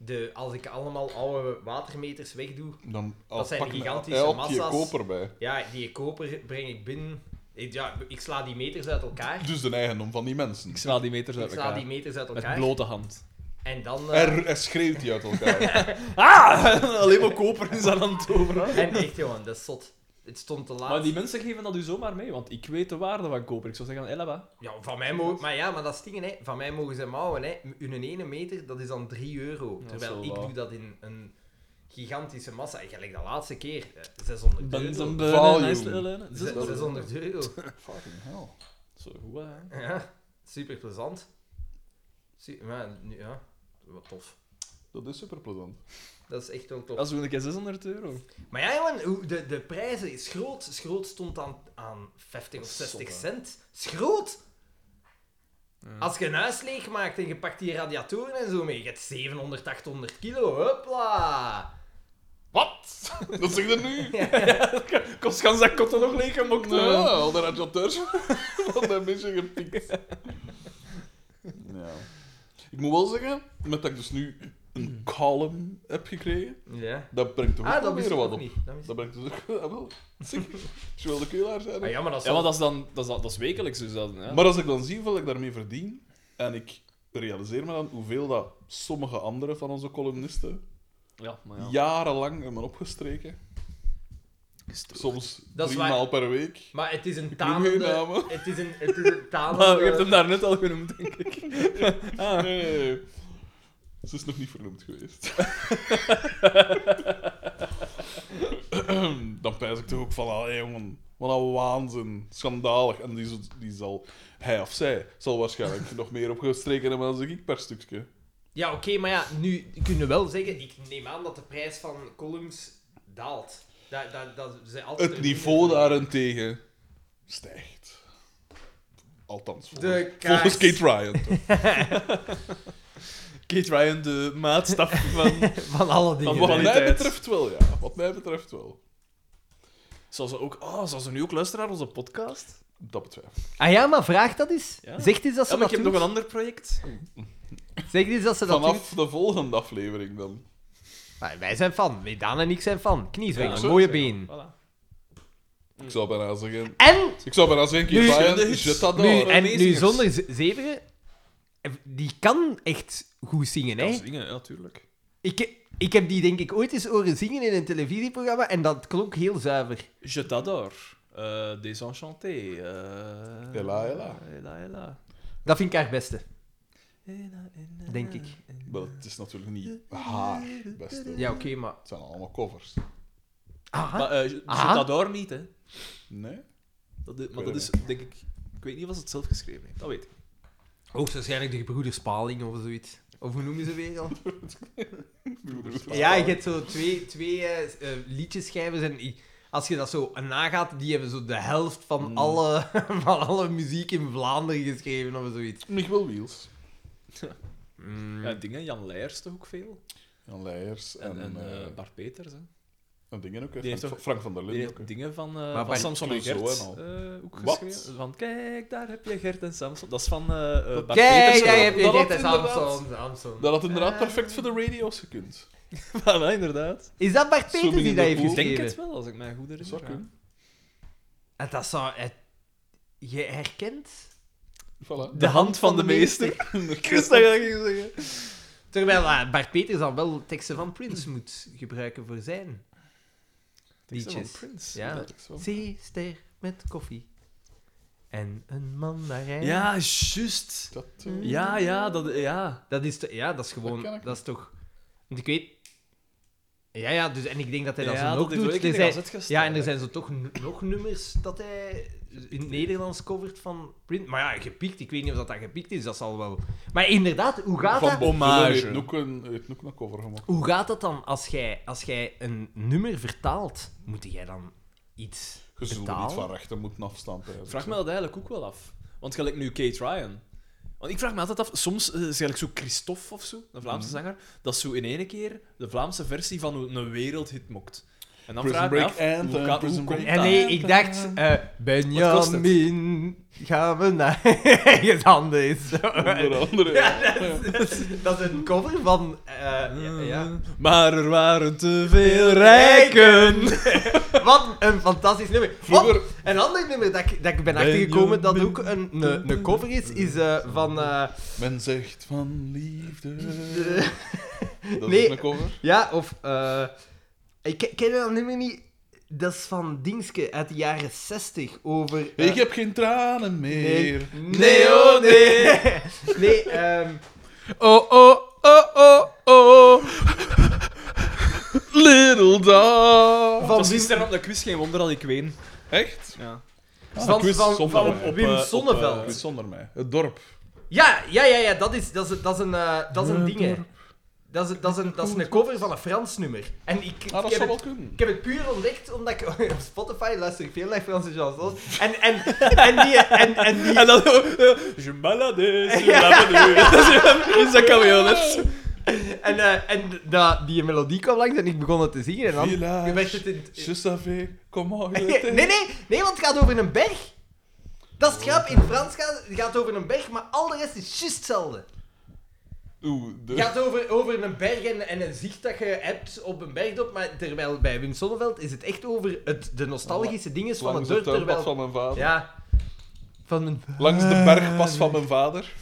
De, als ik allemaal oude watermeters wegdoe, Dan Dat zijn pak me gigantische elk je massa's. koper bij. ja, die koper breng ik binnen. Ik, ja, ik sla die meters uit elkaar. Dus de eigendom van die mensen. Ik sla die meters Ik uit sla elkaar. die meters uit Met elkaar. blote hand. En dan. eh, Er, er schreeuwt die uit elkaar. Ah! Alleen maar koper is aan het over. en echt, jongen, dat is zot. Het stond te laat. Maar die mensen geven dat u zomaar mee, want ik weet de waarde van koper. Ik zou zeggen, Elaba. Ja, van mij mogen... Maar ja, maar dat is dingen, hè. Van mij mogen ze mouwen, hè. Hun ene meter, dat is dan 3 euro. is Terwijl wel ik waar. doe dat in een gigantische massa. En Gelijk de laatste keer. eh, 600 euro. Value. Zes- Zo 600 euro. Fucking hell. goed, hè. Ja, super plezant. Maar, nu- ja, wat tof. Dat is super plezant. Dat is echt wel tof. Dat is gewoon een keer 600 euro. Maar ja, jongen, hoe- de, de prijzen is groot. Schroot stond aan, aan 50 of 60 cent. Schroot! Als je een huis leegmaakt en je pakt die radiatoren en zo mee, je hebt 700, 800 kilo. Hopla! Wat? Dat zeg je nu? Kost gans dat kotten nog leeggemokt. hè. Nou, al de radioacteurs van dat beetje gepikt. Ja. Ik moet wel zeggen, met dat ik dus nu een column heb gekregen, Ja. dat brengt toch Ah, ook dat wel wist ik weer wat ook op. niet. Dat wist ik- Dat brengt dus ook ah, wel. Zeg, je wil de keulaar zijn. Ah, ja, maar dat is Ja, maar wel- dat is dan dat is, dat is wekelijks. Dus dat, ja. Maar als ik dan zie hoeveel ik daarmee verdien, en ik realiseer me dan hoeveel dat sommige anderen van onze columnisten ja, maar ja. jarenlang hebben opgestreken. Soms Dat is drie waar. maal per week. Maar het is een Ik noem geen tamende... namen. Het is een, het is een tamende... Maar je hebt hem daarnet al genoemd, denk ik. Nee, nee, nee. Ze is nog niet vernoemd geweest. Dan pijs ik toch ook van, ah jongen, wat een waanzin. Schandalig. En die, z- die zal, hij of zij, zal waarschijnlijk nog meer opgestreken hebben dan ik per stukje. Ja, oké, maar ja, nu kunnen we wel zeggen... Ik neem aan dat de prijs van columns daalt. Dat, dat, dat ze altijd Het er minder niveau van- daarentegen stijgt. Althans, volgens, De kaars. volgens Kate Ryan. toch? Kate Ryan, de maatstaf van... Van alle dingen. Van Wat mij Kwaliteit. betreft wel, ja. Wat mij betreft wel. Zou ze ook... Oh, zou ze nu ook luisteren naar onze podcast? Dat betwijfel ik. Ah ja, maar vraag dat eens. Ja. Zeg eens dat ze Ja, maar dat ik heb doet. nog een ander project. Zeg eens dat ze dat doet. Vanaf de volgende aflevering dan. Maar wij zijn fan. Nee, Daan en ik zijn fan. Kniezwengel, Ja, mooie zo. been. Voilà. Ik zou bijna zeggen... En, Ik zou bijna zeggen, Nu- Kate de Ryan, hits. je dat nu, door. en nu Amazingers. zonder ze- zeveren, eh, die kan echt goed zingen, Kan hè? zingen, ja, tuurlijk. Ik, ik heb die denk ik ooit eens horen zingen in een televisieprogramma en dat klonk heel zuiver. Je t'adore. Eh Désenchanté. eh, Ella, Ella. Ella, Ella. Dat vind ik haar beste, Ella, Ella. denk ik. Maar het is natuurlijk niet haar beste. Ja, oké, maar... Het zijn allemaal covers. Ah, Maar eh, je Aha. t'adore niet, hè. Nee? Dat is, maar weet dat is, het denk ik... Ik weet niet of ze het zelf geschreven heeft. Dat weet ik. Mm. hoogstwaarschijnlijk de gebroeders Paling of zoiets. Of hoe noemen ze weer al? Broeders. Ja, je hebt zo twee, twee eh, eh, liedjeschrijvers en i- als je dat zo nagaat, die hebben zo de helft van, alle, van alle muziek in Vlaanderen geschreven of zoiets. Mm. Michiel Wiels. Ja, eh, dingen. Jan Leijers toch ook veel. Jan Leijers En, en, en eh, eh, Bart Peters, hè. en dingen ook. hè. die heeft Frank, ook- Frank van der Die Linden ook. heeft hè. dingen van, eh bij van Samson en Clouseau Gert en al. eh, ook Wat? geschreven. Van kijk, daar heb je Gert en Samson. Dat is van eh eh, Bart Kijk, Peters. jij hebt je dat dit inderdaad. Samson, Samson. Dat had Eh, inderdaad perfect voor de radio's gekund. Voilà, inderdaad. Is dat Bart Peters Swimming die in dat the heeft pool. Ik denk het geschreven? wel, als ik mij goed Dat zou herinner. kunnen. En dat zou... Het, je herkent... Voilà. De hand van de meester. Ik wist dat je dat ging zeggen. Terwijl eh, Bart Peters dan wel teksten van Prince moet gebruiken voor zijn liedjes. Prince. Ja. Dat is wel- Zeester met koffie. En een mandarijn. Ja, juist. Dat, eh, Ja, ja, dat... Ja. Dat is, te- ja, dat is gewoon... Dat ken Dat, ik is toch... Want ik weet... Ja, ja, dus, en ik denk dat hij dat Ja, zo dat nog heeft wel doet. een Er keer in de zijn, gazet gestaan, ja, en er hè. zijn zo toch n- nog nummers dat hij in het Nederlands covert van Print. Maar ja, gepikt. Ik weet niet of dat, dat gepikt is, dat zal wel... Maar inderdaad, hoe gaat Van dat, Bob Dylan Hommage. heeft ook een, heeft ook een cover gemaakt. hoe gaat dat dan als jij, als jij een nummer vertaalt? Moet jij dan iets Je zult er niet betalen? van rechten moeten afstaan. pijs ik Vraag zo. me dat eigenlijk ook wel af. Want gelijk nu Kate Ryan. Want ik vraag me altijd af, soms eh, is eigenlijk zo Christophe of zo, een Vlaamse zanger, dat zo in één keer de Vlaamse versie van een- een wereldhit mokt. En dan Prison vraag ik me Break af, Anthem, hoe, kan, Prison hoe komt Break En dat? nee, ik dacht, eh kost het? Benjamin, gaan we naar ergens anders. Onder andere. ja. Dat is een cover van... eh, ja, ja. Maar er waren te veel rijken. Wat een fantastisch nummer. Vroeger- Oh, een ander nummer dat ik, dat ik ben achtergekomen dat ook een, een, een cover is, is eh, van... eh, Men zegt van liefde. de- Dat Nee. is een cover. ja, of... eh, ik ke- ken dat nummer niet. Dat is van Dingske uit de jaren 60 over... eh, Ik heb geen tranen meer. nee, nee, oh nee. nee, ehm Oh, oh, oh, oh, oh. Little dog. Het van was Wim, gisteren op de quiz, geen wonder dat ik ween. Echt? Ah. Ja. van, quiz van, zonder van mij. Op, Wim eh, op, Sonneveld. Het is zonder mij. Het dorp. Ja, ja, ja, ja, dat is, dat is, dat is een, eh, dat is een ding, hè. Dat is, dat, is een, dat is een cover van een Frans nummer. En ik, Ah, ik, dat heb zou wel het, kunnen. ik heb het puur ontdekt omdat ik op Spotify luister ik veel naar Franse chansons. En, en, en die... En, en die En dan... Je malade, je malade. Dat is hem, is dat camionet. en, eh, en dat, die melodie kwam langs en ik begon het te zingen. En dan Village, werd het in... Je savais comment je Nee, t'aimais. nee, nee, want het gaat over een berg. Dat is het grap. In Frans gaat het gaat over een berg, maar al de rest is juist hetzelfde. Oeh, de... Het gaat over, over een berg en, en een zicht dat je hebt op een bergdop, maar terwijl bij Wim Sonneveld is het echt over het, de nostalgische dingen van het langs dorp. het tuinpad Terwijl, van mijn vader. Ja. Van Ah. mijn... Langs de bergpas van mijn vader.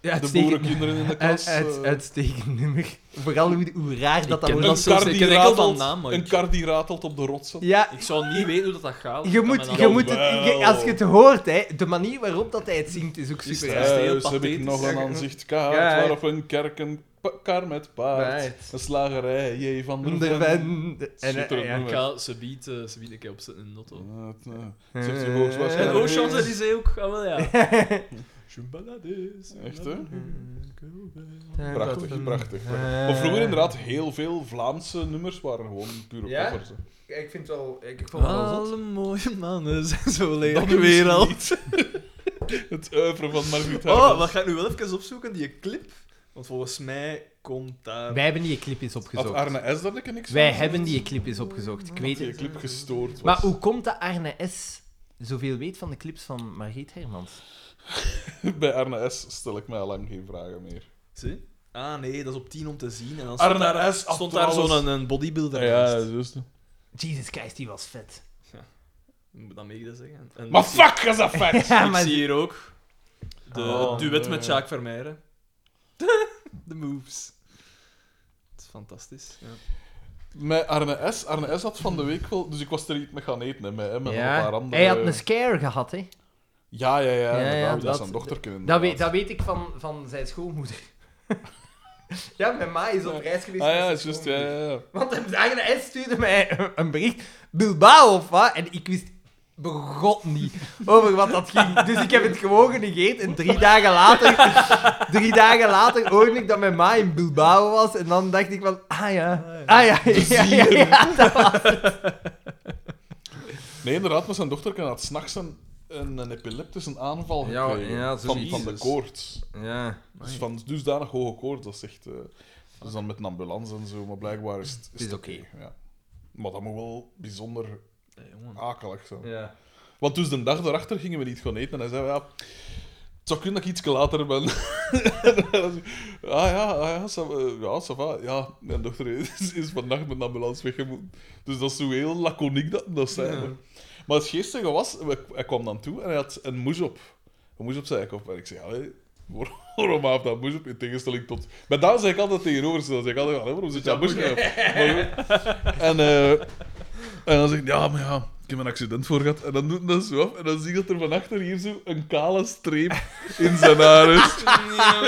Ja, De boerenkinderen in de klas. eh, uitstekend nummer. Vooral hoe, hoe raar dat dat ken wordt. dat Een is kar, zo- ik die ken enkel van ratelt- naam, maar een ik- kar die ratelt op de rotsen. Ja, Ik zou niet weten hoe dat, dat gaat. je Dat moet, men je dan- moet het, je- als je het hoort, hè, de manier waarop dat hij het zingt is ook Is super het- raar. heel Thuis dus heb pathetisch. ik nog een Ja, aanzichtkaart ja, ja. waarop een kerk een pa- kar met paard. Paard. Een slagerij, J. van der De Ven. wen- de- en, eh, Schitterend ja. Ik nummer. ga ze biedt een keer opzetten in de auto. Eh, eh, het heeft hier hoogstwaarschijnlijk- En ook Champs-Élysées ook. Ah, wel ja. Je malade, je Echt, hè? Ja, dat is Prachtig, een- prachtig. Eh. Maar vroeger inderdaad, heel veel Vlaamse nummers waren gewoon pure Ja? covers. hè. Ja, Ik vind het wel... Ik vond het wel zot. Alle mooie mannen zijn zo lelijk. Dat de is wereld. Het oeuvre van Margriet Oh, Hermans. wat ga ik nu wel even opzoeken, die clip? Want volgens mij komt daar... Wij hebben die clip eens Had opgezocht. Arne S. daar niks van Wij gezegd? hebben die clip eens opgezocht. Ik weet Die het. clip gestoord was. Maar hoe komt dat Arne S. zoveel weet van de clips van Margriet Hermans? Bij Arne S. stel ik mij al lang geen vragen meer. Zie? Ah nee, dat is op 10 om te zien. En dan stond daar, Arne S. stond daar had alles- zo'n een bodybuilder Ja, naast. juist. Jesus Christ, die was vet. Dat mag ik dat zeggen. En Maar ik zie- fuck, is dat vet! Ja, Ik maar zie hier ook de Oh, het duet nee. met Jacques Vermeijren. de moves. Het is fantastisch. Ja. Met Arne S. Arne S had van de week wel... Dus ik was er niet mee gaan eten, hè, met hem en een paar ja. andere... Hij had een scare gehad, hè? Ja, ja, ja, ja, inderdaad, dat dat- is zijn dochterke. Dat inderdaad. weet, dat weet ik van, van zijn schoonmoeder. ja, mijn ma is op reis geweest. Ah met ja, zijn is juist, ja, schoonmoeder. ja, ja. Want de Arne S. stuurde mij een bericht. Bilbao of wat? En ik wist begot niet over wat dat ging. Dus ik heb het gewoon genegeerd. En drie dagen later, drie dagen later hoorde ik dat mijn ma in Bilbao was. En dan dacht ik van, ah ja, ah ja, ja, ja, ja, dat was- Nee, inderdaad, maar zijn dochterke had s'nachts een, een, een epileptische aanval Ja, gekregen. ja, van, zoiets. van de Jezus. koorts. ja. Dus van dusdanig hoge koorts, dat is echt... eh, dus dan met een ambulance en zo, maar blijkbaar is het, is het oké. ja. Maar dat moet wel bijzonder Hey, jongen. akelig zijn. Ja. Want dus de dag daarachter gingen we niet gaan eten en hij zei, ja, het zou kunnen dat ik iets later ben. ah ja, ah ja, ça, va, ja, ça va. Ja, mijn dochter is, is vannacht met de ambulance weggemoet. Dus dat is zo heel laconiek dat, dat zijn. hè. Maar het geestige was, hij- hij kwam dan toe en hij had een moes op. Een moes op zijn kop. En ik zei, allee, waar- waarom heeft dat moes op? In tegenstelling tot... Maar daar zei ik altijd tegenover, dan zei ik altijd, allee, waarom zit dat moes op? Maar- En... eh, en dan zeg ik, ja, maar ja, ik heb een accident voor gehad. En dan doet hij dat zo af. En dan zie je dat er van achter hier zo een kale streep in zijn haar is.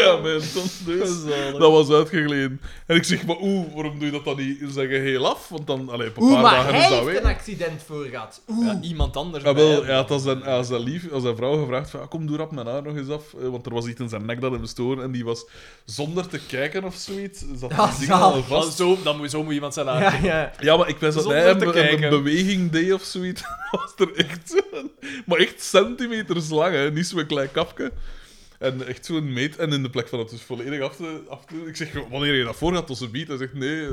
Ja, mijn tand dus. Zalig. Dat was uitgegleden. En ik zeg, maar oeh, waarom doe je dat dan niet in zijn geheel af? Want dan, allee, op een Oeh, paar maar dagen hij is dat heeft een weer. accident voor gehad. Ja, iemand anders. Ja, bij Ah, wel, hem. ja, het was zijn, hij was zijn lief, als zijn vrouw gevraagd van, "Ah, kom, doe rap mijn haar nog eens af. Eh, Want er was iets in zijn nek dat hem stoorde. En die was, zonder te kijken of zoiets, zat Ah, die ding al zalig. Want vast. zo, dan moet, zo moet iemand zijn haar. ja. Ja, maar ik wist dat Zonder hij te een, een kijken. beweging deed of zoiets. ziet, dan was er echt zo'n... Maar echt centimeters lang, hè. Niet zo'n klein kapje. En echt zo'n meet en in de plek van het dus volledig af te, af te... Ik zeg, wanneer je dat voor gaat, tot ze biedt. Hij zegt, nee,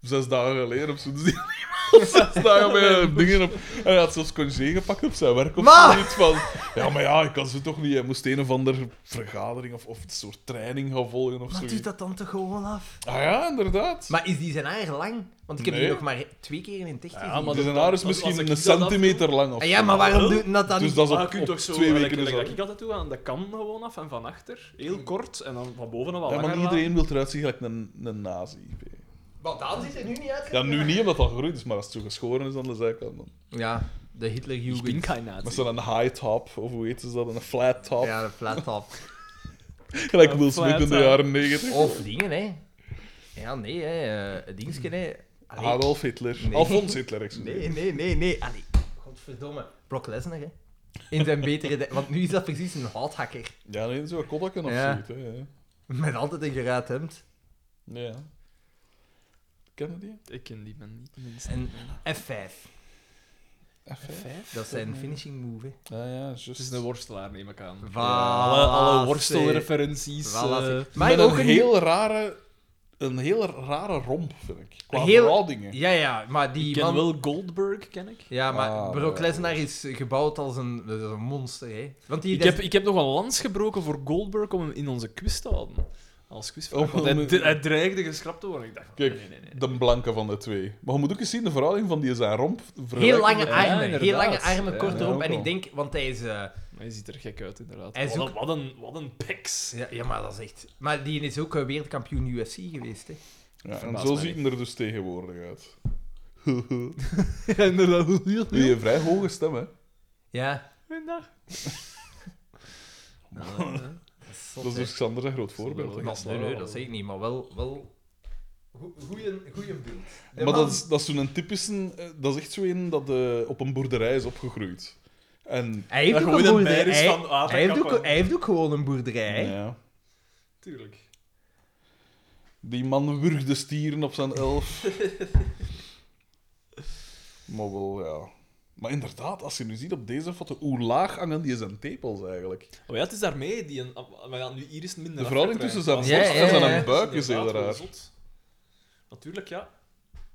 zes dagen geleden of zo. Dus die had zes dagen met eh, dingen op... En hij had zelfs congé gepakt op zijn werk of Maar- zoiets van... Ja, maar ja, ik kan ze toch niet... Hij moest een of andere vergadering of, of een soort training gaan volgen of Maar zoiets. doet dat dan toch gewoon af? Ah ja, inderdaad. Maar is die zijn haar lang? Want ik heb Nee. die nog maar twee keer in het echt Ja, gezien. maar Ah, dat- zijn haar is dat- als misschien ik Dus een dat afdoe- centimeter lang of Ah ja, zo. maar waarom doet dat dan Dus niet? dat is Maar Ah, je op, kunt op toch zo, twee gelijk- weken is gelijk dat. dat ik altijd doe, aan de kam gewoon af en van achter. Heel kort en dan van boven nog wel Ja, maar langer niet laten. iedereen wil eruit zien gelijk een, een nazi. Want Daan zit er nu niet uit. Ja, nu niet omdat dat gegroeid is, maar als het zo geschoren is aan de zijkant dan. Ja, de Ik ben Hitlerjugend. geen Met nazi. zo'n high top, of hoe heet ze dat? Een flat top. Ja, de flat top. Gelijk Will Een Smith in flat de top. jaren negentig. Of dingen, hè. Ja, nee, hè. eh, Het dingetje, hè. Allee. Adolf Hitler. Nee. Alfons Hitler, excuseer. Nee, nee, nee, nee. Allee. Godverdomme. Brock Lesnar, hè. In zijn betere... de- Want nu is dat precies een houthakker. Ja, nee, zo'n kodakken of Ja. zoiets. Hè. ja. Met altijd een geruit hemd. Ja. Ken je die? Ik ken die man niet. minstens. En F5. F5? Dat is zijn finishing move, hè. Ja, ja, juist. Het is een worstelaar, neem ik aan. Voilà, alle, alle worstelreferenties. eh, Voilà, Met maar een ook een heel rare... Een heel rare romp, vind ik. Qua Heel- heel... dingen. Ja, ja, maar die Ik ken man... wel Goldberg, ken ik. Ja, maar Ah, Brock ja. Lesnar is gebouwd als een, dat is een monster, hè. Want die... Ik heb, ik heb nog een lans gebroken voor Goldberg om hem in onze quiz te houden. Als quizvraag. Oh, want hij, nee. hij dreigde geschrapt te worden. Ik dacht, van, Kijk, nee, nee, nee. de blanke van de twee. Maar je moet ook eens zien de verhouding van die zijn romp. Heel vergelijken lange met- Ja, armen, heel lange inderdaad. armen, Ja, kort ja, erop. ook En wel. ik denk, want hij is... eh, Maar hij ziet er gek uit, inderdaad. Hij is Wat, ook- een, wat, een, wat een peks. Ja, ja, maar dat is echt... Maar die is ook eh, wereldkampioen UFC geweest, hè. Ja, en Verbaast zo mij ziet hij er dus tegenwoordig uit. inderdaad. Die een vrij hoge stem, hè. Ja. Nou, Goedendag. Dat is dus Xander zijn groot voorbeeld. hè. Dat is Nee, nee, wel- dat zeg ik niet, maar wel... wel... Goeie beeld. Maar dat is, dat is zo'n typische... eh, Dat is echt zo een dat eh, op een boerderij is opgegroeid. En... Hij heeft, Dat ook een gewoon een boerderij. beer is Hij, van aan te hij heeft kappen. ook, hij heeft ook gewoon een boerderij. hè. Ja. Tuurlijk. Die man wurgde stieren op zijn elf. maar wel, ja... Maar inderdaad, als je nu ziet op deze foto, hoe laag hangen die zijn tepels eigenlijk. Oh ja, het is daarmee. Die een, ah, maar ja, nu hier is het minder. De verhouding afgetraind. tussen zijn Maar Ja, soms- borst ja, en ja. zijn buik is heel inderdaad wel raar. zot. Natuurlijk, ja.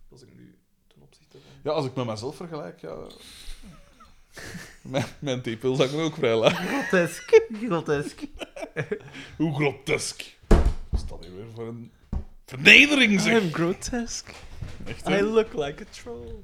Dat is ik nu ten opzichte van... Ja, als ik met mezelf vergelijk, ja... mijn, mijn tepels hangen ook vrij laag. Grotesk. Grotesk. Hoe grotesk. Wat is dat hier weer voor een vernedering, zeg? grotesque. Echt, I hè? look like a troll.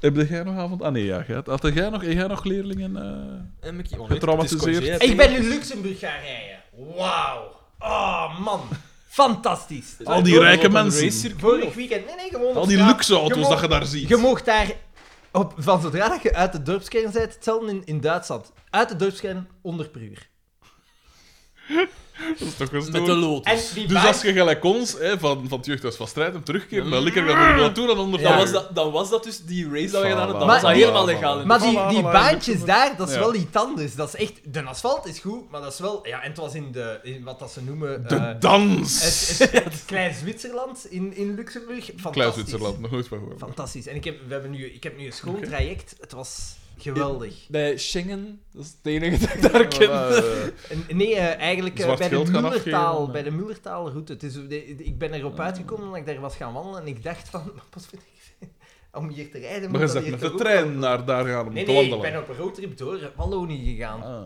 Heb jij nog avond... Ah nee, ja. jij- Had jij nog, heb jij nog leerlingen... eh? En ik, oh, Getraumatiseerd. Ik ben in Luxemburg gaan rijden. Wauw. Oh, man. Fantastisch. Al die rijke mensen. Vorig weekend... Nee, nee, gewoon op Al die straat. luxe auto's Je dat mag- je daar ziet. Je moogt daar... Op, van zodra dat je uit de dorpskern bent, hetzelfde in, in Duitsland. Uit de dorpskern, onder per uur. Dat is toch Met de gestoord? En lotus. die Dus baas- als je gelijk ons, hè, van, van het jeugdhuis van strijd, hem terugkeert, dan lekker gaat er naartoe dan onder Dan, Ja. was dat, dan was dat dus die race dat we gedaan hebben. Dan Maar was dat die- helemaal legaal. in Maar de- die, die baantjes daar, dat is Ja. wel iets anders. Dat is echt... De asfalt is goed, maar dat is wel... Ja, en het was in de... In wat dat ze noemen... De eh, dans! het, het, het Klein Zwitserland in, in Luxemburg. Fantastisch. Klein Zwitserland, nog nooit van gehoord. Fantastisch. En ik heb, we hebben nu, ik heb nu een schooltraject. Het was geweldig. Bij Schengen, dat is het enige dat ik daar ken. En- nee, eh, eigenlijk eh, Zwart bij, de geld gaan afgeven, Mullertaal, eh. Ah. bij de Mullertaalroute. Het is, de- ik ben erop uitgekomen omdat ik daar was gaan wandelen. En ik dacht van, wat vind ik om hier te rijden? Maar moet je dat zegt hier met toch de ook trein wel- naar daar gaan om Nee, te nee, ik ben wandelen. op een roadtrip door Wallonië gegaan. Ah,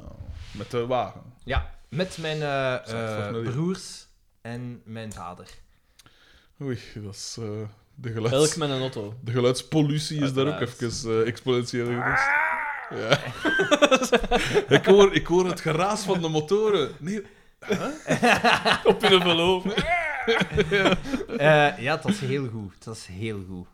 met de wagen. Ja, met mijn eh, eh, Zeg, voor mij. broers en mijn vader. Oei, dat is... eh, de, geluids, Elk met een auto. de geluidspollutie is daar ook Uiteraard. even eh, exponentieel geweest. Ja. ik, hoor, ik hoor het geraas van de motoren. Nee, Op in een verloof. Eh, ja, het was heel goed. Het was heel goed.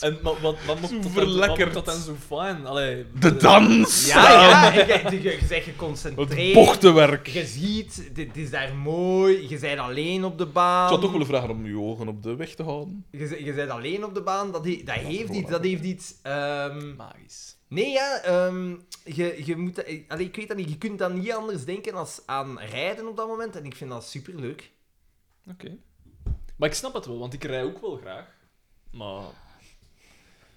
En maar wat, wat moet Zo dat dan- verlekkerd. wat moet dat dan zo fijn? Allee, eh, de dans! Ja, ja, je, je, je bent Het geconcentreerd. bochtenwerk. Je ziet, dit is daar mooi. Je bent alleen op de baan. Ik zou toch willen vragen om je ogen op de weg te houden. Je, z- je bent alleen op de baan. Dat, he- dat heeft voilà. iets. Dat heeft iets. ehm, Magisch. nee, ja. ehm, je, je moet. dat- eh, allee, ik weet dat niet. Je kunt dan niet anders denken als aan rijden op dat moment. En ik vind dat superleuk. Oké. Maar ik snap het wel, want ik rij ook wel graag. Maar...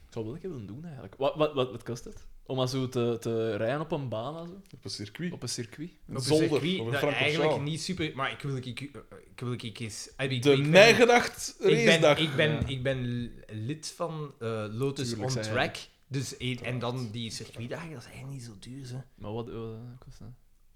zou wel een keer willen doen, eigenlijk. Wat, wat, wat, wat kost het? Om maar zo te, te rijden op een baan, en zo, Op een circuit. op een circuit. Een Op een zolder. circuit Of een dat Frank eigenlijk niet super... Maar ik wil ik, ik, ik wil ik, ik eens... Ah, ik- De ik ben- mijgedacht ik ben, racedag. ik, ben, ik ben lid van eh, Lotus Tuurlijk, on zei hij. Track. Dus, en, en dan die circuitdagen, dat is eigenlijk niet zo duur, hè. Maar wat, wat kost dat?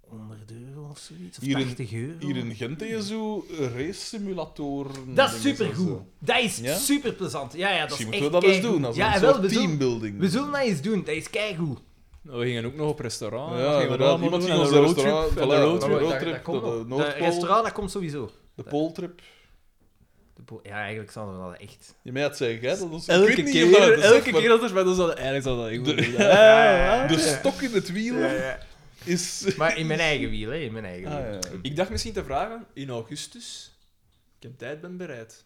100 euro of zoiets, of Hier in- 80 euro. Hier in Gent heb je zo race simulator. Dat is supergoed. Dat is Ja? super plezant. Ja, ja, dat Misschien is moeten we echt dat eens keigoed. doen. Als ja, een wel, soort we, zullen, teambuilding. we zullen dat eens doen. Dat is keigoed. Nou, we gingen ook nog op restaurant. Ja, Wat gingen we inderdaad, daar allemaal iemand doen? En ging ons een naar roadtrip, restaurant- en voilà, een roadtrip. naar dat, roadtrip. dat komt de nog. Noordpool. De restaurant, dat komt sowieso. De poltrip. De po- Ja, eigenlijk zouden we dat echt... Je mij had zeggen, hè? Dat was, ik Elke weet niet of dat- dat keer, is elke echt maar- keer dat er bij ons hadden, eigenlijk zou dat ik De- Ah, moeten doen. Ja, De ja. stok in het wiel is. Maar in mijn eigen wiel, hè. In mijn eigen Ah, wiel. ja. Ik dacht misschien te vragen, in augustus, ik heb tijd, ben bereid.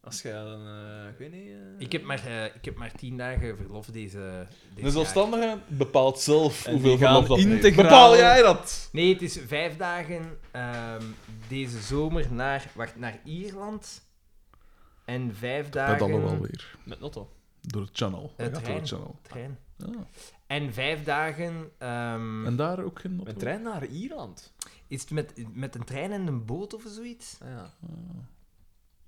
Als jij dan, eh, ik weet niet... eh, Ik heb, maar, eh, ik heb maar tien dagen verlof deze, deze De zelfstandige bepaalt zelf En hoeveel die gaan verlof dat neemt. integraal- Bepaal jij dat? Nee, het is vijf dagen ehm, deze zomer naar, wacht, naar Ierland. En vijf dagen... alweer. Met Notto. Door het channel. Hij gaat door het channel. Trein. En vijf dagen ehm, daar ook geen Met trein naar Ierland. is het met, met een trein en een boot of zoiets. Ah, ja.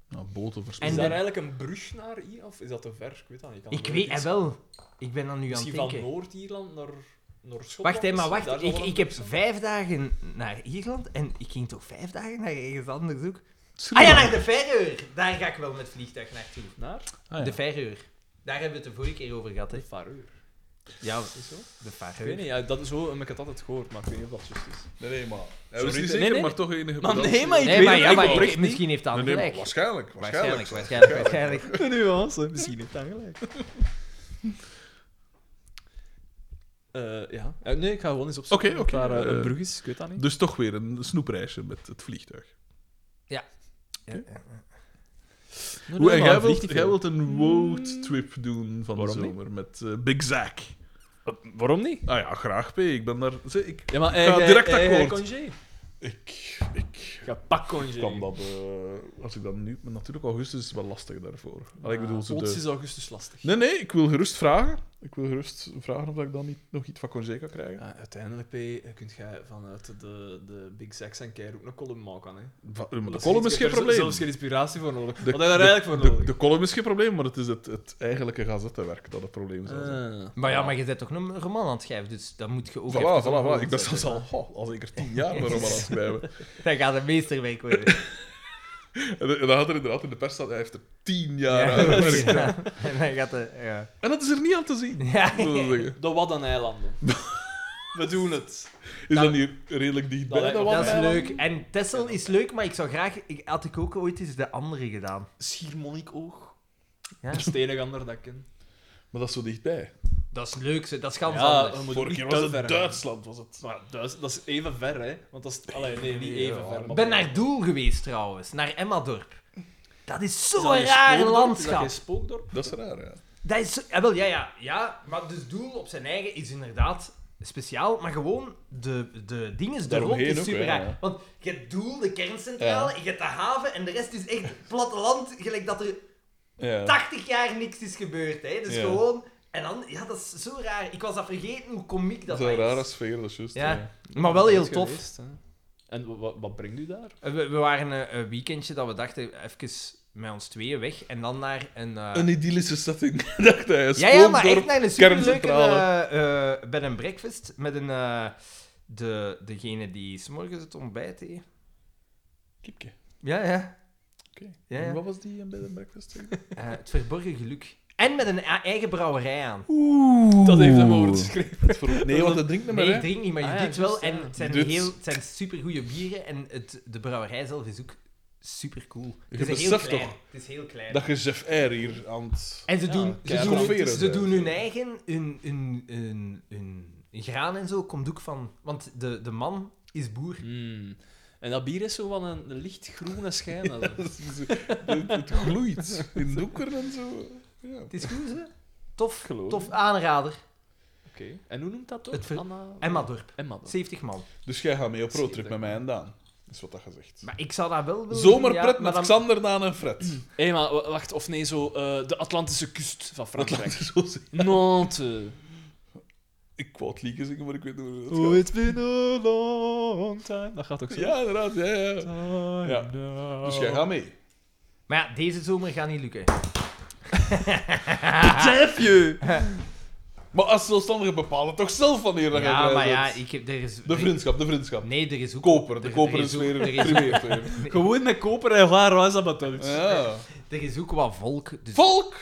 Nou, boten Is En daar de- eigenlijk een brug naar Ierland? Of is dat te ver? Ik weet dat niet. Ik, kan Ik er weet iets- het wel. Ik ben dan nu aan het Misschien van denken. Noord-Ierland naar, naar Schotland. Wacht, hè, maar wacht. Daar zal Ik, wel een ik brug heb zijn. vijf dagen naar Ierland en ik ging toch vijf dagen naar ergens anders ook? Ah ja, naar de Verreur. Daar ga ik wel met vliegtuig naartoe. Naar? Ah, De Verreur. Daar hebben we het de vorige keer over gehad, hè. De Faroe. Ja, Is zo? de Ik weet Verreur. niet, ja, dat is zo heb ik het altijd gehoord, maar ik weet niet of dat juist is. Nee, nee, maar. Hij Sorry. was niet Nee, zeker, nee. maar toch enige. Maar bedankt. nee, maar ik Nee, weet maar, het ja, maar eigenlijk ik- oprecht niet. misschien heeft dat Nee, nee, maar gelijk. waarschijnlijk. Waarschijnlijk. Waarschijnlijk, waarschijnlijk, waarschijnlijk. De nuance, misschien niet aangelijk. Eh ja. Eh, nee, ik ga gewoon eens opzoeken Oké, oké, of daar eh, eh, een brug is. Ik weet dat niet. Dus toch weer een snoepreisje met het vliegtuig. Hoe, en jij, wilt, jij wilt een roadtrip doen van Waarom de niet? zomer met eh, Big Zack. Waarom niet? Ah ja, graag P. Ik ben daar. Zie, ik, Ja, maar eh, Ik ga direct akkoord. congé. ik, ik Ga pak congé. kan dat. eh, als ik dat nu. Maar natuurlijk, augustus is wel lastig daarvoor. Allee, ik bedoel, zo Plots de- is augustus lastig. Nee, nee, ik wil gerust vragen. Ik wil gerust vragen of dat ik dan niet nog iets van congé kan krijgen. Ja, uiteindelijk, P, eh, kunt jij vanuit de, de Big Sex en Keir ook een column maken. Hè? Va- maar de Dat column iets- is geen daar probleem. zelfs geen inspiratie voor nodig. De- Wat heb je daar de- eigenlijk voor de- nodig? De column is geen probleem, maar het is het, het eigenlijke gazettenwerk dat het probleem zou zijn. Ah. Maar ja, maar je bent toch een roman aan het schrijven, dus dat moet je ook Voilà, voilà, voilà. Ik ben zelfs al, oh, al zeker tien jaar waarom aan het schrijven. Dat gaat een meesterwerk worden. En dan had er inderdaad in de pers staan, hij heeft er tien jaar aan Ja, gewerkt. ja. En dan gaat de... Ja. En dat is er niet aan te zien. Ja. zullen we zeggen. De Waddeneilanden. We doen het. Is Dat- dat hier redelijk dichtbij? dat de Dat is Waddeneilanden? leuk. En Tessel is leuk, maar ik zou graag... Ik, had ik ook ooit eens de andere gedaan. Schiermonnikoog. Ja. Ja. Stenegander, dat ik ken. Maar dat is zo dichtbij. Dat is leuk, ze- dat is gans Ja, anders. we moeten Vorige niet keer te was ver het gaan. Duitsland. Was het. Maar Duits- dat is even ver, hè? Want dat is. Allee, nee, niet even Ja, ver. maar- Ik ben naar Doel geweest, trouwens. Naar Emmadorp. Dat is Is dat zo'n raar geen spookdorp? Is dat landschap. geen spookdorp? Dat is raar, ja. Dat is... zo- Ja, wel, ja, ja, ja. Maar dus Doel op zijn eigen is inderdaad speciaal. Maar gewoon de, de dingen, de rond Daaromheen is ook, super ja, raar. ja. Want je hebt Doel, de kerncentrale, je hebt de haven en de rest is echt platteland. Gelijk dat er ja. 80 jaar niks is gebeurd. Hè. Dus Ja. gewoon... En dan... Ja, dat is zo raar. Ik was dat vergeten hoe komiek dat, Dat is een dat is. rare sfeer, dat is juist. Ja, maar wel heel Dat is tof. geweest, hè. En wa- wa- wat brengt u daar? Eh, We, we waren een, een weekendje dat we dachten, even met ons tweeën weg. En dan naar een... eh, Een idyllische setting, dacht hij. ja, ja, maar echt naar een superleuke kerncentrale. eh, eh, bed and breakfast. Met een... eh, de, degene die s'morgens het ontbijt eet. Kipke. Ja, ja. Oké. Ja, ja. En Wat was die in bed and breakfast? Eh, het verborgen geluk. En met een a- eigen brouwerij aan. Oeh. Dat heeft hem over het schreef. Nee, want dat drinkt niet Nee, meer, ik hè? drink niet, maar je Ah, ja, doet wel. juist, ja. En het zijn, Je doet- heel, het zijn supergoeie bieren. En het, de brouwerij zelf is ook supercool. Je Het is heel beseft klein. toch Het is heel klein. Dat je Jeff Eyre hier aan het... En ze Ja, doen, ze kei doen, groot. ze doen hun eigen, hun, hun, hun, hun graan en zo komt ook van. Want de, de man is boer. Hmm. En dat bier is zo van een een lichtgroene schijn. alsof. Het, het gloeit in doeker en zo. Ja. Het is goed, hè? Tof, Geloof tof ik. aanrader. Oké. En hoe noemt dat toch? Het ver- Anna... Emmadorp, Emma. dan. 70 man. Dus jij gaat mee op roadtrip met mij en Daan. is wat dat gezegd. Maar ik zou dat wel willen doen, Zomerpret ja, maar met dan- Xander, Daan en Fred. Hé, maar wa- wacht, of nee, zo eh, de Atlantische kust van Dat laat Frankrijk. eh. ze zo zeggen. Nantes. Ik wou het liedje zingen, maar ik weet niet hoe dat gaat. Oh, it's been a long time. Dat gaat ook zo. Ja, inderdaad. Ja, ja. Ja. Dus jij gaat mee. Maar ja, deze zomer gaat niet lukken. Bedrijf je! Maar als zelfstandige bepalen toch zelf wanneer dat ja, gaat maar ja, ik heb... Er is... De vriendschap, de vriendschap. Nee, er is ook... Koper, de er- koper er is ook- weer er is- primeert weer. Ah, Gewoon met koper en waar was dat uit? Ja. Er is ook wat volk. Dus... Volk!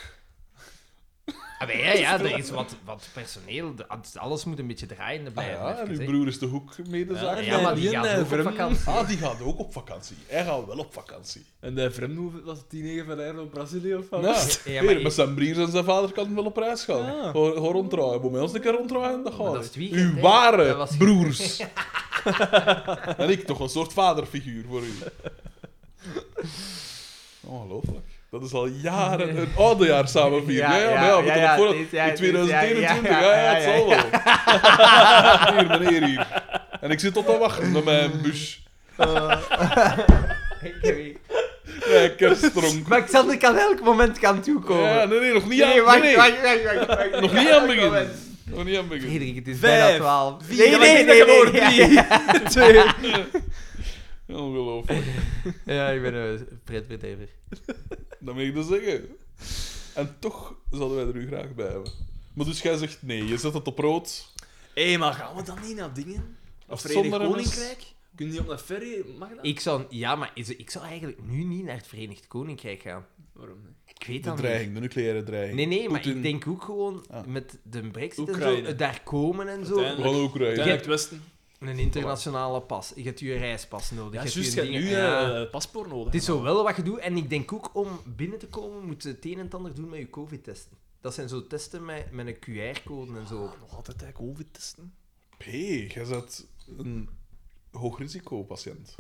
Ah, maar ja, ja, er is wat, wat personeel. de- Alles moet een beetje draaiende Ah blijven. ja, en even, uw hè. broer is de hoek Ja, medezaak. maar die Die gaat en, eh, ook op vreemden. vakantie. Ah, die gaat ook op vakantie. Hij gaat wel op vakantie. En de vreemde was het tien van Ireland, Brazilië of wat? Ja, Ja, maar Hier, met zijn broers en zijn vader kan wel op reis gaan. Ja. Gewoon gewoon ronddraaien. Moet mij ons een keer ronddraaien, dat Maar gaat. dat is niet. het weekend, Uw hè. ware Dat was- broers. en ik toch een soort vaderfiguur voor u. Ongelooflijk. Dat is al jaren een oudejaar samen vieren. Ja, ja, maar ja, we hebben het voor- dit- ja, in dit- ja, 2021. Ja, ja, het zal wel. Hier, meneer, hier. En ik zit tot te wachten op mijn bus. Ik weet- Ja, kerstdronk. Maar Xander kan elk moment gaan toekomen. Ja, nee, nee, nog niet nee, aan. wacht, nee, nee. wacht, wacht, wacht, wacht. Nog niet aan het begin. Nog niet aan het begin. Frederik, het is Vijf, bijna twaalf. vier, dan ben ik geboren, ja. Ongelooflijk. Ja, ik ben eh, een pretbedrijver. Dat mag ik dus zeggen. En toch zouden wij er u graag bij hebben. Maar dus jij zegt nee, je zet het op rood. Hé, maar gaan we dan niet naar dingen? Of Verenigd Zonder hem is- Koninkrijk? Kun je niet op naar ferry? Mag dat? Ik zou, ja, maar is, ik zou eigenlijk nu niet naar het Verenigd Koninkrijk gaan. Waarom niet? Ik weet De dat dreiging, de nucleaire niet. dreiging. Nee, nee, maar Poetin. ik denk ook gewoon Ah. met de brexit en Oekraïne. zo, eh, daar komen en zo, We Uiteindelijk. gaan ook rijden. Uiteindelijk het Westen. een internationale pas. Je hebt je reispas nodig. Ja, je hebt juist, je je hebt dingen- nu ja. eh, paspoort nodig. Het is zo wel wat je doet. En ik denk ook om binnen te komen, moet je het een en het ander doen met je COVID-testen. Dat zijn zo testen met, met een QR-code en zo. Ah, nog altijd hè, COVID testen. P, jij zet een hoogrisicopatiënt.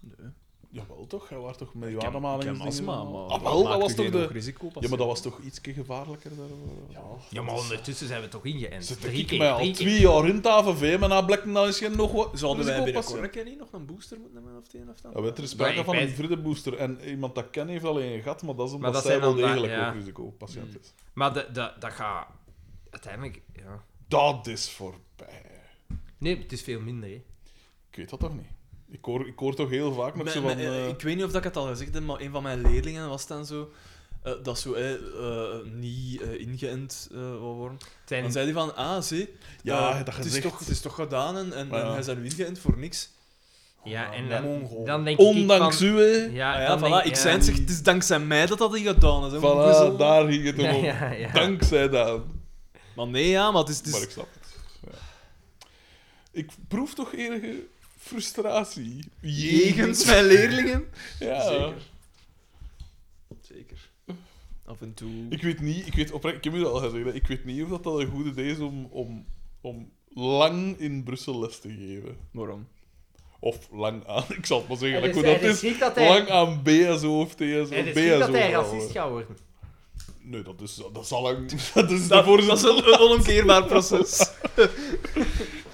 Nee. Jawel toch? Jij was toch met je Ik heb- ademhaling? ik heb astma, maar... Ah, wel, dat maakt was u toch geen hoog de... risico Ja, maar dat was toch iets gevaarlijker daarover? Ja, maar ondertussen zijn we toch ingeënt. Zit Drie ik keer, mij al drie keer. twee jaar in het AVV, maar na blekken nou is geen nog wat Zouden wij risicopatiënt. binnenkort niet nog een booster moeten hebben of het een of het Ja, ander? weet, er is sprake Maar ik van een weet- vierde booster. En iemand dat ken heeft alleen een gat, maar dat is omdat Maar dat zij zijn wel dan- degelijk ja. ook risicopatiënt is. Maar dat, dat, dat gaat uiteindelijk. Ja. Dat is voorbij. Nee, het is veel minder. Hè. Ik weet dat toch niet. Ik hoor, ik hoor toch heel vaak nog Mijn- zo van... mijn- eh, eh, Ik weet niet of dat ik het al gezegd heb, maar een van mijn leerlingen was dan zo... eh, dat zo eh, eh, niet eh, ingeënt eh wil worden. Het En zijn, dan zei hij van, ah, zie, ja, eh, dat het, is gezegd. toch, het is toch gedaan en, en, Maar ja. en hij is daar nu ingeënt voor niks. ja, en Ja, dan, Mongool. dan denk Ondanks ik. u, hè. Van, ja, Ah, ja, dan voilà, denk- ik ja. zei het, zeg, het is dankzij mij dat dat hier gedaan is. hè, Voilà, ongezel. daar ging het om. Ja, ja, ja. Dankzij dat. Maar nee, ja, maar het is... Het is- Maar ik snap het. Ja. Ik proef toch enige frustratie. Jegens mijn leerlingen? Ja. Zeker. Zeker. Af en toe. Ik weet niet, ik weet oprecht, ik heb u dat al gezegd, hè. ik weet niet of dat dat een goed idee is om, om, om lang in Brussel les te geven. Waarom? Of lang aan, ik zal het maar zeggen, Hij like is- hoe dus hij dat is is. schrik dat hij- Lang aan BSO of TSO. Het is BSO niet dat hij wel, racist hè. gaat worden. Nee, dat is, dat is al lang. Dat is Dat, daarvoor is dat is een, een onomkeerbaar proces.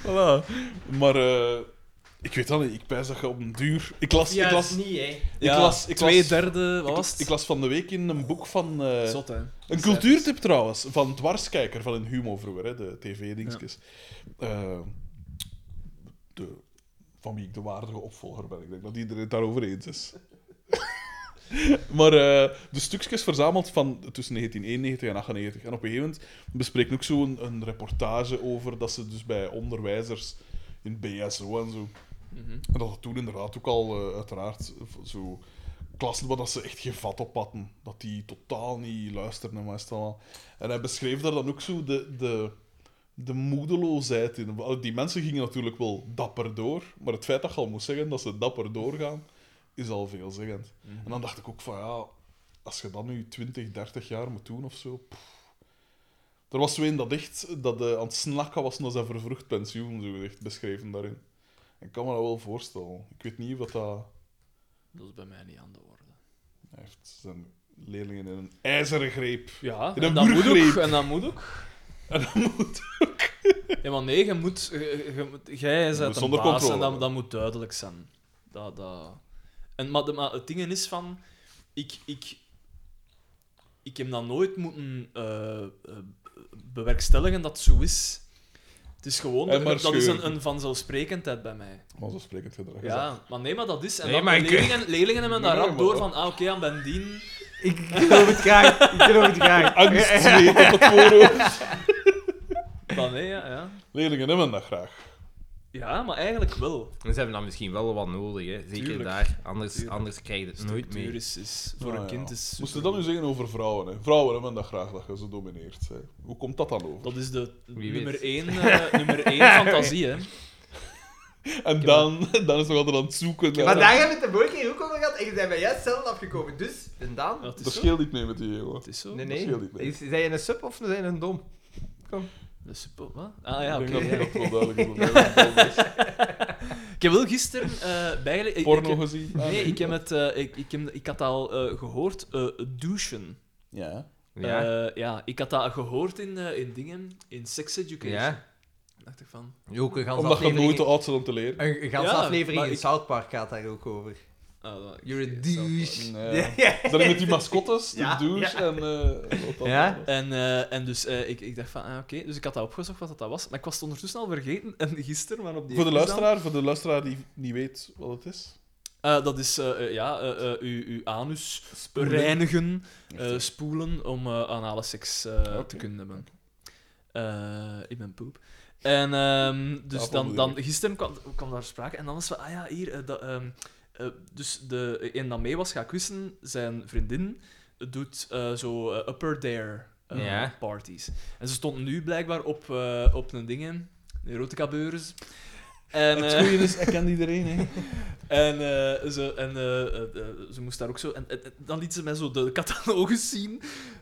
Voilà. Maar eh, ik weet dat niet, ik pijs dat je op een duur. Ik las, ik las, niet, hè? ik las, ik twee las, derde, wat ik- was het? ik las van de week in een boek van. eh, Zot, hè. Een cultuurtip trouwens, van Dwarskijker, van een Humo vroeger, hè, de tv-dingetjes. Eh, de, van wie ik de waardige opvolger ben. Ik denk dat iedereen het daarover eens is. maar eh, de stukjes verzameld van tussen 1991 en 1998. En op een gegeven moment bespreekt ook zo'n een, reportage over dat ze dus bij onderwijzers in BSO en zo... En dat het toen inderdaad ook al, eh, uiteraard, v- zo klassen waar dat ze echt geen vat op hadden. Dat die totaal niet luisterden meestal. En hij beschreef daar dan ook zo de, de, de moedeloosheid in. Wel, Die mensen gingen natuurlijk wel dapper door, maar het feit dat je al moest zeggen dat ze dapper doorgaan, is al veelzeggend. Mhm. En dan dacht ik ook van, ja, als je dat nu 20, 30 jaar moet doen of zo... pff. Er was zo een dat echt dat eh, aan het snakken was naar zijn vervroegd pensioen, zo gezegd, beschreven daarin. Ik kan me dat wel voorstellen. Ik weet niet wat dat... Dat is bij mij niet aan de orde. Hij heeft zijn leerlingen in een ijzeren greep. Ja, In een en dat moet ook. boergreep. En dat moet ook. En dat moet... Ja, maar nee, je moet... je- je moet- Jij bent een zonder baas controle. en dat, dat moet duidelijk zijn. Dat, dat... En, maar, de- maar het ding is van... Ik, ik, ik heb dat nooit moeten eh, eh, bewerkstelligen dat het zo is. Het is gewoon... En maar dat is een, scheuren. een vanzelfsprekendheid bij mij. Maar zo sprekend gedrag. is dat. Ja, maar nee, maar dat is... En Nee, dat- maar ik- leerlingen, leerlingen hebben daar Nee, rap maar- door van... Ah, oké, aan Bendien... Ik geloof het graag. Ik geloof het graag. Angst, zweet op het voorhoofd. Dan, nee, ja, ja. Leerlingen hebben dat graag. Ja, maar eigenlijk wel. Dus Ze hebben dan misschien wel wat nodig, hè. zeker Tuurlijk. daar. Anders, Tuurlijk. anders krijg je het nooit Structuur meer. is, is voor Ah, een kind ja. is... Moest je dat nu zeggen over vrouwen? Hè? Vrouwen hebben dat graag, dat je ze domineert. Hè? Hoe komt dat dan over? Dat is de Wie weet. nummer één, eh, nummer één fantasie, hè. En dan, dan is nog altijd aan het zoeken. naar- Maar daar hebben we het de vorige keer ook over gehad en je bent bij juist zelf afgekomen. Dus, en Ja, dan? het Dat is zo. scheelt niet mee met die jongen. Het is zo. Nee, dat nee. scheelt niet, nee. Is, zijn je een sub of zijn je een dom? De suppo- wat? Ah ja, oké. Ik denk ja. dat dat wel duidelijk is. dat dat wel is. Ik heb wel gisteren eh bijgele... ik- Porno ik- gezien? Ah, Nee, ik, heb het, eh, ik, ik, heb, ik had al eh, gehoord, eh, douchen. Ja. Ja. Eh, ja, ik had dat gehoord in, eh, in dingen, in sex education. ja. Dan dacht ik van... Ook een ganse Omdat je nooit aflevering. te oud bent om te leren. Een een ganse Ja, aflevering maar in ik- South Park gaat daar ook over. ah, dat- You're a ik- zelf- douche. Eh, Nee. Dan met die mascottes, de Ja, douche en... eh, wat dan Ja? ook. En, eh, en dus eh, ik, ik dacht van, ah, oké. Dus ik had dat opgezocht wat dat was. Maar ik was het ondertussen al vergeten. En gisteren, maar op die... Voor de examen- luisteraar, voor de luisteraar die niet weet wat het is. Eh, dat is, eh, eh, ja, eh, eh, uw, uw anus reinigen, eh, spoelen, om eh, anale seks eh, te kunnen hebben. Eh, in mijn poep. En ehm, dus Dat dan, vond ik. dan, gisteren kwam, kwam daar sprake en dan was we, ah ja, hier, eh, dat, ehm, eh, dus de, en dan mee was gaan kussen, zijn vriendin doet eh, zo eh, upper dare eh, Ja. parties. En ze stond nu blijkbaar op, eh, op een dingen, een erotica-beurs. En, Het eh, goede is, ik ken iedereen, hè. en, eh, ze, en eh, eh, eh, ze moest daar ook zo. En, en- en dan liet ze mij zo de catalogus zien.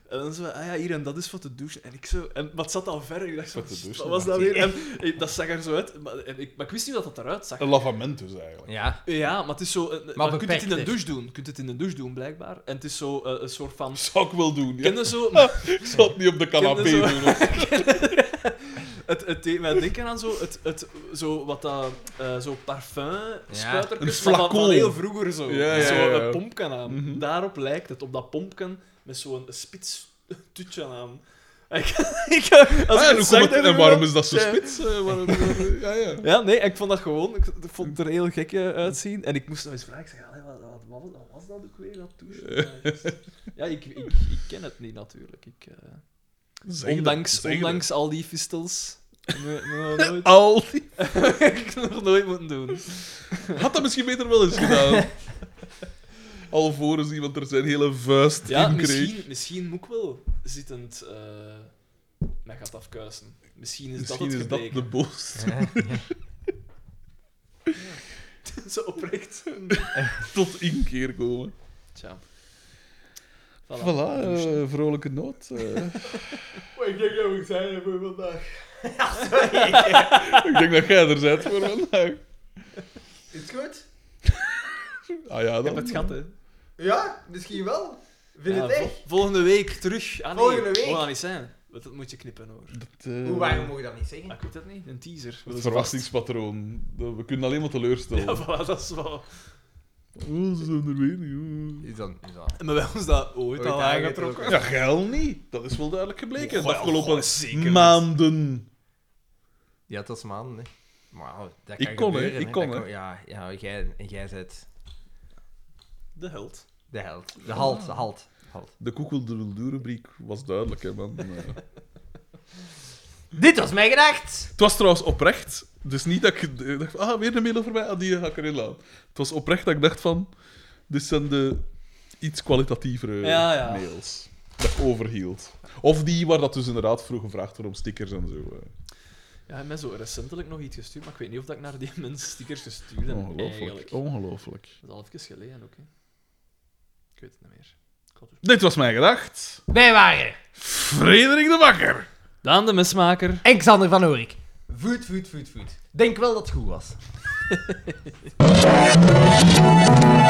En dan zei ze, ah ja, hier en dat is voor te douchen. En ik zo. En wat zat dan verder? Ik dacht, zo, Voor te "Sst, douchen, wat was dat weer? En, eh, dat zag er zo uit. Maar, en ik, maar ik wist niet dat dat eruit zag. Een lavament dus, eigenlijk. Ja. Ja, maar het is zo. eh, Maar, je kunt het in beperkter. een douche doen. Je kunt het in een douche doen, blijkbaar. En het is zo eh, een soort van. Zou ik wel doen, ja. Ken je zo? Ik zou het niet op de canapé Ken je doen. hoor. Het, het deed mij denken aan zo, het, het, zo wat dat, eh, zo parfum, spuitertjes, Een maar van, van flacon. heel vroeger zo. Ja, ja, Zo ja, ja. een pompken aan. Mhm. Daarop lijkt het, op dat pompken met zo'n spits tutje aan. Ik, ik, als ik Ah, en, hoe het zag, komt het- dacht en ik waarom wel- is dat zo Ja. spits? Eh, waarom- waarom- ja, ja. Ja, nee, ik vond dat gewoon, ik, ik vond het er heel gek eh, uitzien. En ik moest nog eens vragen, ik zeg, "Allee, wat, wat, wat, was- wat was dat ook weer, dat douche? Ja, juist. Ja, ik, ik, ik ken het niet natuurlijk. Ik, eh, Zeg dat, ondanks zeg dat. ondanks al die fistels. Nee, nee, nooit. Al die- heb ik nog nooit moeten doen. Had dat misschien beter wel eens gedaan. Alvorens iemand er zijn hele vuist Ja, in kreeg. misschien, misschien moet ik wel zittend eh mij gaat afkuisen. Misschien is Misschien dat is het dat de gebleken. boost. Zo oprecht. Tot inkeer komen. Tja. Voilà. Dus Voilà, eh, vrolijke noot. eh. Ik denk dat we zijn voor vandaag. ik denk dat jij er bent voor Ah, vandaag. Is het goed? Ah ja, Ik heb dan. het gat, hè. Ja, misschien wel. Vind Ja, het vol- echt? volgende week terug. Ah, nee. Volgende week? Moet dat niet zijn. Want dat moet je knippen, hoor. Dat, eh, Hoe, waarom moet je dat niet Ah, zeggen? Ik weet het niet. Een teaser. Het verwachtingspatroon. Dat- We kunnen alleen maar teleurstellen. Ja, voilà, dat is wel... Oh, ze zijn er weer niet. Is dan, is dan. Maar wij hebben ons dat ooit, Ooit al aangetrokken. aangetrokken. Ja, geil niet. Dat is wel duidelijk gebleken. Goh, de afgelopen goh, zeker niet. maanden. Ja, dat is maanden, hè. Maar wow, dat Ik kan kon, hè. gebeuren, Ik kon, Dat hè. kan- Ja, ja jij, jij bent De held. de held. Ah. De halt, de halt. halt. De koekeldoedeldoe-rubriek was duidelijk, hè, man. Eh, Dit was mijn gedacht! Het was trouwens oprecht. Dus niet dat ik eh, dacht, ah, weer een mail over mij, ah, die ga ik erin laten. Het was oprecht dat ik dacht van, dit zijn de iets kwalitatievere Ja, ja. mails. Dat ik overhield. Of die waar dat dus inderdaad vroeg gevraagd werd om stickers en zo. eh. Ja, hij heeft mij zo recentelijk nog iets gestuurd, maar ik weet niet of dat ik naar die mensen stickers gestuurd heb, eigenlijk. Ongelooflijk. Ongelooflijk. Dat is al even geleden ook, hè. Ik weet het niet meer. Ik had het- Dit was mijn gedacht. Wij waren Frederik de Bakker. Daan de mesmaker. en Xander van Oorik. Voet, voet, voet, voet. Denk wel dat het goed was.